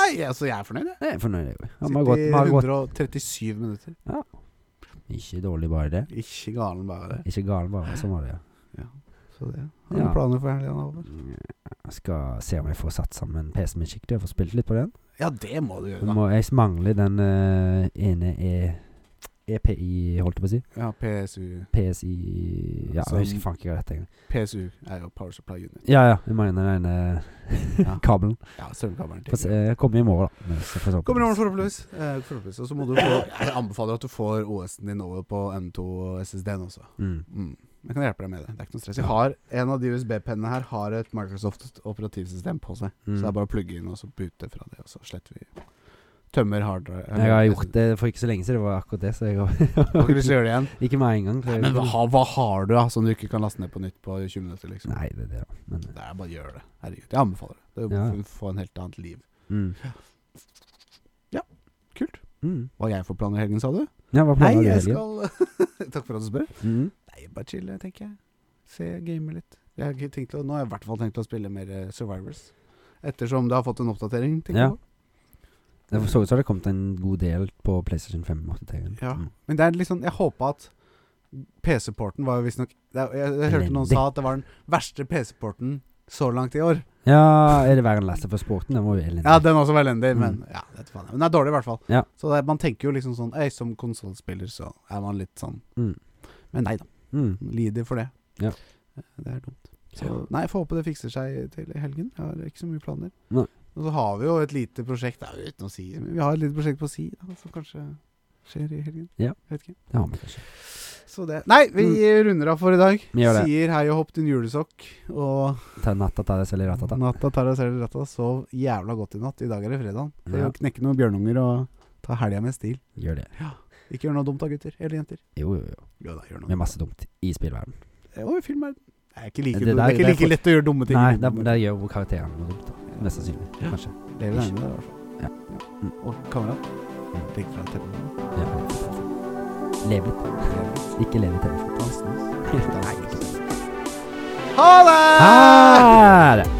[SPEAKER 1] Nei, altså, jeg er fornøyd, jeg.
[SPEAKER 2] Jeg er fornøyd, jeg òg. Vi har
[SPEAKER 1] Sitter i
[SPEAKER 2] gått, vi har gått
[SPEAKER 1] 137 minutter.
[SPEAKER 2] Ikke dårlig, bare det.
[SPEAKER 1] Ikke galen bare det.
[SPEAKER 2] Ikke gal, bare. Sånn var det, ja.
[SPEAKER 1] Så det. Har du
[SPEAKER 2] Ja.
[SPEAKER 1] planer for helga, Håvard?
[SPEAKER 2] Jeg skal se om jeg får satt sammen PC-en min skikkelig og får spilt litt på den.
[SPEAKER 1] Ja, det må du
[SPEAKER 2] Jeg,
[SPEAKER 1] gjøre, da.
[SPEAKER 2] må, jeg mangler den eh, ene e, EPI, holdt jeg på å si.
[SPEAKER 1] Ja, PSU
[SPEAKER 2] PSI Ja,
[SPEAKER 1] Som-
[SPEAKER 2] jeg husker faen ikke hva det heter engang.
[SPEAKER 1] PSU er jo Power Supply Unit.
[SPEAKER 2] Ja, ja. Jeg mangler den ene
[SPEAKER 1] Ja.
[SPEAKER 2] (laughs) kabelen.
[SPEAKER 1] Ja, Strømkabelen.
[SPEAKER 2] Få se, jeg kommer i morgen, da. Men så får jeg se.
[SPEAKER 1] Kommer i morgen, forhåpentligvis. Eh, forhåpentligvis. Og så må du få
[SPEAKER 2] (coughs)
[SPEAKER 1] Jeg anbefaler at du får OS-en din over på M2 og SSD-en også.
[SPEAKER 2] Mm.
[SPEAKER 1] Mm. Jeg kan hjelpe deg med det. Det er ikke noe stress. Jeg har, en av de USB-pennene her har et Microsoft operativsystem på seg.
[SPEAKER 2] Mm.
[SPEAKER 1] Så det er bare å plugge inn og så boote fra det, og så sletter vi Tømmer harddrive.
[SPEAKER 2] Jeg har
[SPEAKER 1] (laughs)
[SPEAKER 2] gjort det for ikke så lenge siden. Det var akkurat det. Så jeg
[SPEAKER 1] Har ikke
[SPEAKER 2] har
[SPEAKER 1] lyst til å gjøre det igjen.
[SPEAKER 2] (laughs) Ikke meg engang. så jeg-
[SPEAKER 1] Men hva, hva har du da, som du ikke kan laste ned på nytt på 20 minutter, liksom?
[SPEAKER 2] Nei, det er det, da. Men
[SPEAKER 1] Det er bare å gjøre det. Herregud. Jeg anbefaler det. Det er jo
[SPEAKER 2] Ja.
[SPEAKER 1] for å få en helt annet liv.
[SPEAKER 2] mm.
[SPEAKER 1] Ja, kult.
[SPEAKER 2] Mm.
[SPEAKER 1] Hva jeg får planer i helgen, sa du?
[SPEAKER 2] Ja, hva
[SPEAKER 1] Nei,
[SPEAKER 2] planer du i
[SPEAKER 1] jeg
[SPEAKER 2] helgen?
[SPEAKER 1] skal (laughs) Takk for at du spør.
[SPEAKER 2] Mm.
[SPEAKER 1] Nei, bare chille, tenker jeg. Se, game litt. Jeg har ikke tenkt å, nå har jeg i hvert fall tenkt å spille mer eh, Survivors. Ettersom det har fått en oppdatering, tenker
[SPEAKER 2] Ja.
[SPEAKER 1] jeg.
[SPEAKER 2] Det så ut som det kom til en god del på PlayStation 5. -åttetegn.
[SPEAKER 1] Ja.
[SPEAKER 2] Mm.
[SPEAKER 1] Men det er liksom, jeg håpa at PC-porten var jo visstnok det er- jeg, jeg hørte noen sa at det var den verste PC-porten så langt i år.
[SPEAKER 2] ja, er det verre enn Last of Us Sporten? Det må jo elendig.
[SPEAKER 1] Ja, den er også var elendig, men
[SPEAKER 2] Mm.
[SPEAKER 1] ja, vet faen. jeg. Men den er dårlig, i hvert fall.
[SPEAKER 2] Ja.
[SPEAKER 1] Så det, er- man tenker jo liksom sånn Ei, som konsollspiller så er man litt sånn
[SPEAKER 2] Mm.
[SPEAKER 1] Men nei da.
[SPEAKER 2] Mm.
[SPEAKER 1] Lider for det. Eh,
[SPEAKER 2] Ja.
[SPEAKER 1] Det er dumt. Så nei, jeg får håpe det fikser seg til i helgen. Jeg har ikke så mye planer.
[SPEAKER 2] Nei.
[SPEAKER 1] Og så har vi jo et lite prosjekt det er jo uten å si, men Vi har et lite prosjekt på si, da, som kanskje skjer i helgen.
[SPEAKER 2] Ja.
[SPEAKER 1] Vet ikke.
[SPEAKER 2] Det har vi kanskje.
[SPEAKER 1] Så det Nei, vi runder av for i dag.
[SPEAKER 2] Vi gjør det.
[SPEAKER 1] Sier hei og hopp din julesokk. Og
[SPEAKER 2] Ta natta, ta deg selv i ratata.
[SPEAKER 1] natta tar oss selv i rattet. Sov jævla godt i natt. I dag er det fredag.
[SPEAKER 2] Ja.
[SPEAKER 1] Ja. Knekke noen bjørnunger og ta helga med stil.
[SPEAKER 2] Gjør det.
[SPEAKER 1] Ikke gjør noe dumt da, gutter. Eller jenter.
[SPEAKER 2] Jo, jo, jo.
[SPEAKER 1] Jo da, gjør noe.
[SPEAKER 2] Med masse dumt i spillverden.
[SPEAKER 1] Og i filmverden. Det er ikke like,
[SPEAKER 2] Det
[SPEAKER 1] det
[SPEAKER 2] der-
[SPEAKER 1] er ikke
[SPEAKER 2] det er
[SPEAKER 1] like
[SPEAKER 2] for-
[SPEAKER 1] lett å gjøre dumme ting.
[SPEAKER 2] Nei, der, der gjør jo karakterene noe dumt. da. Mest sannsynlig. Kanskje.
[SPEAKER 1] Det er det ene, i hvert fall.
[SPEAKER 2] Ja.
[SPEAKER 1] Mm. Og kamerat. Legg fra deg telefonen.
[SPEAKER 2] Ja. Lev litt. Ikke lev i telefonen.
[SPEAKER 1] Ha det!
[SPEAKER 2] Ha det!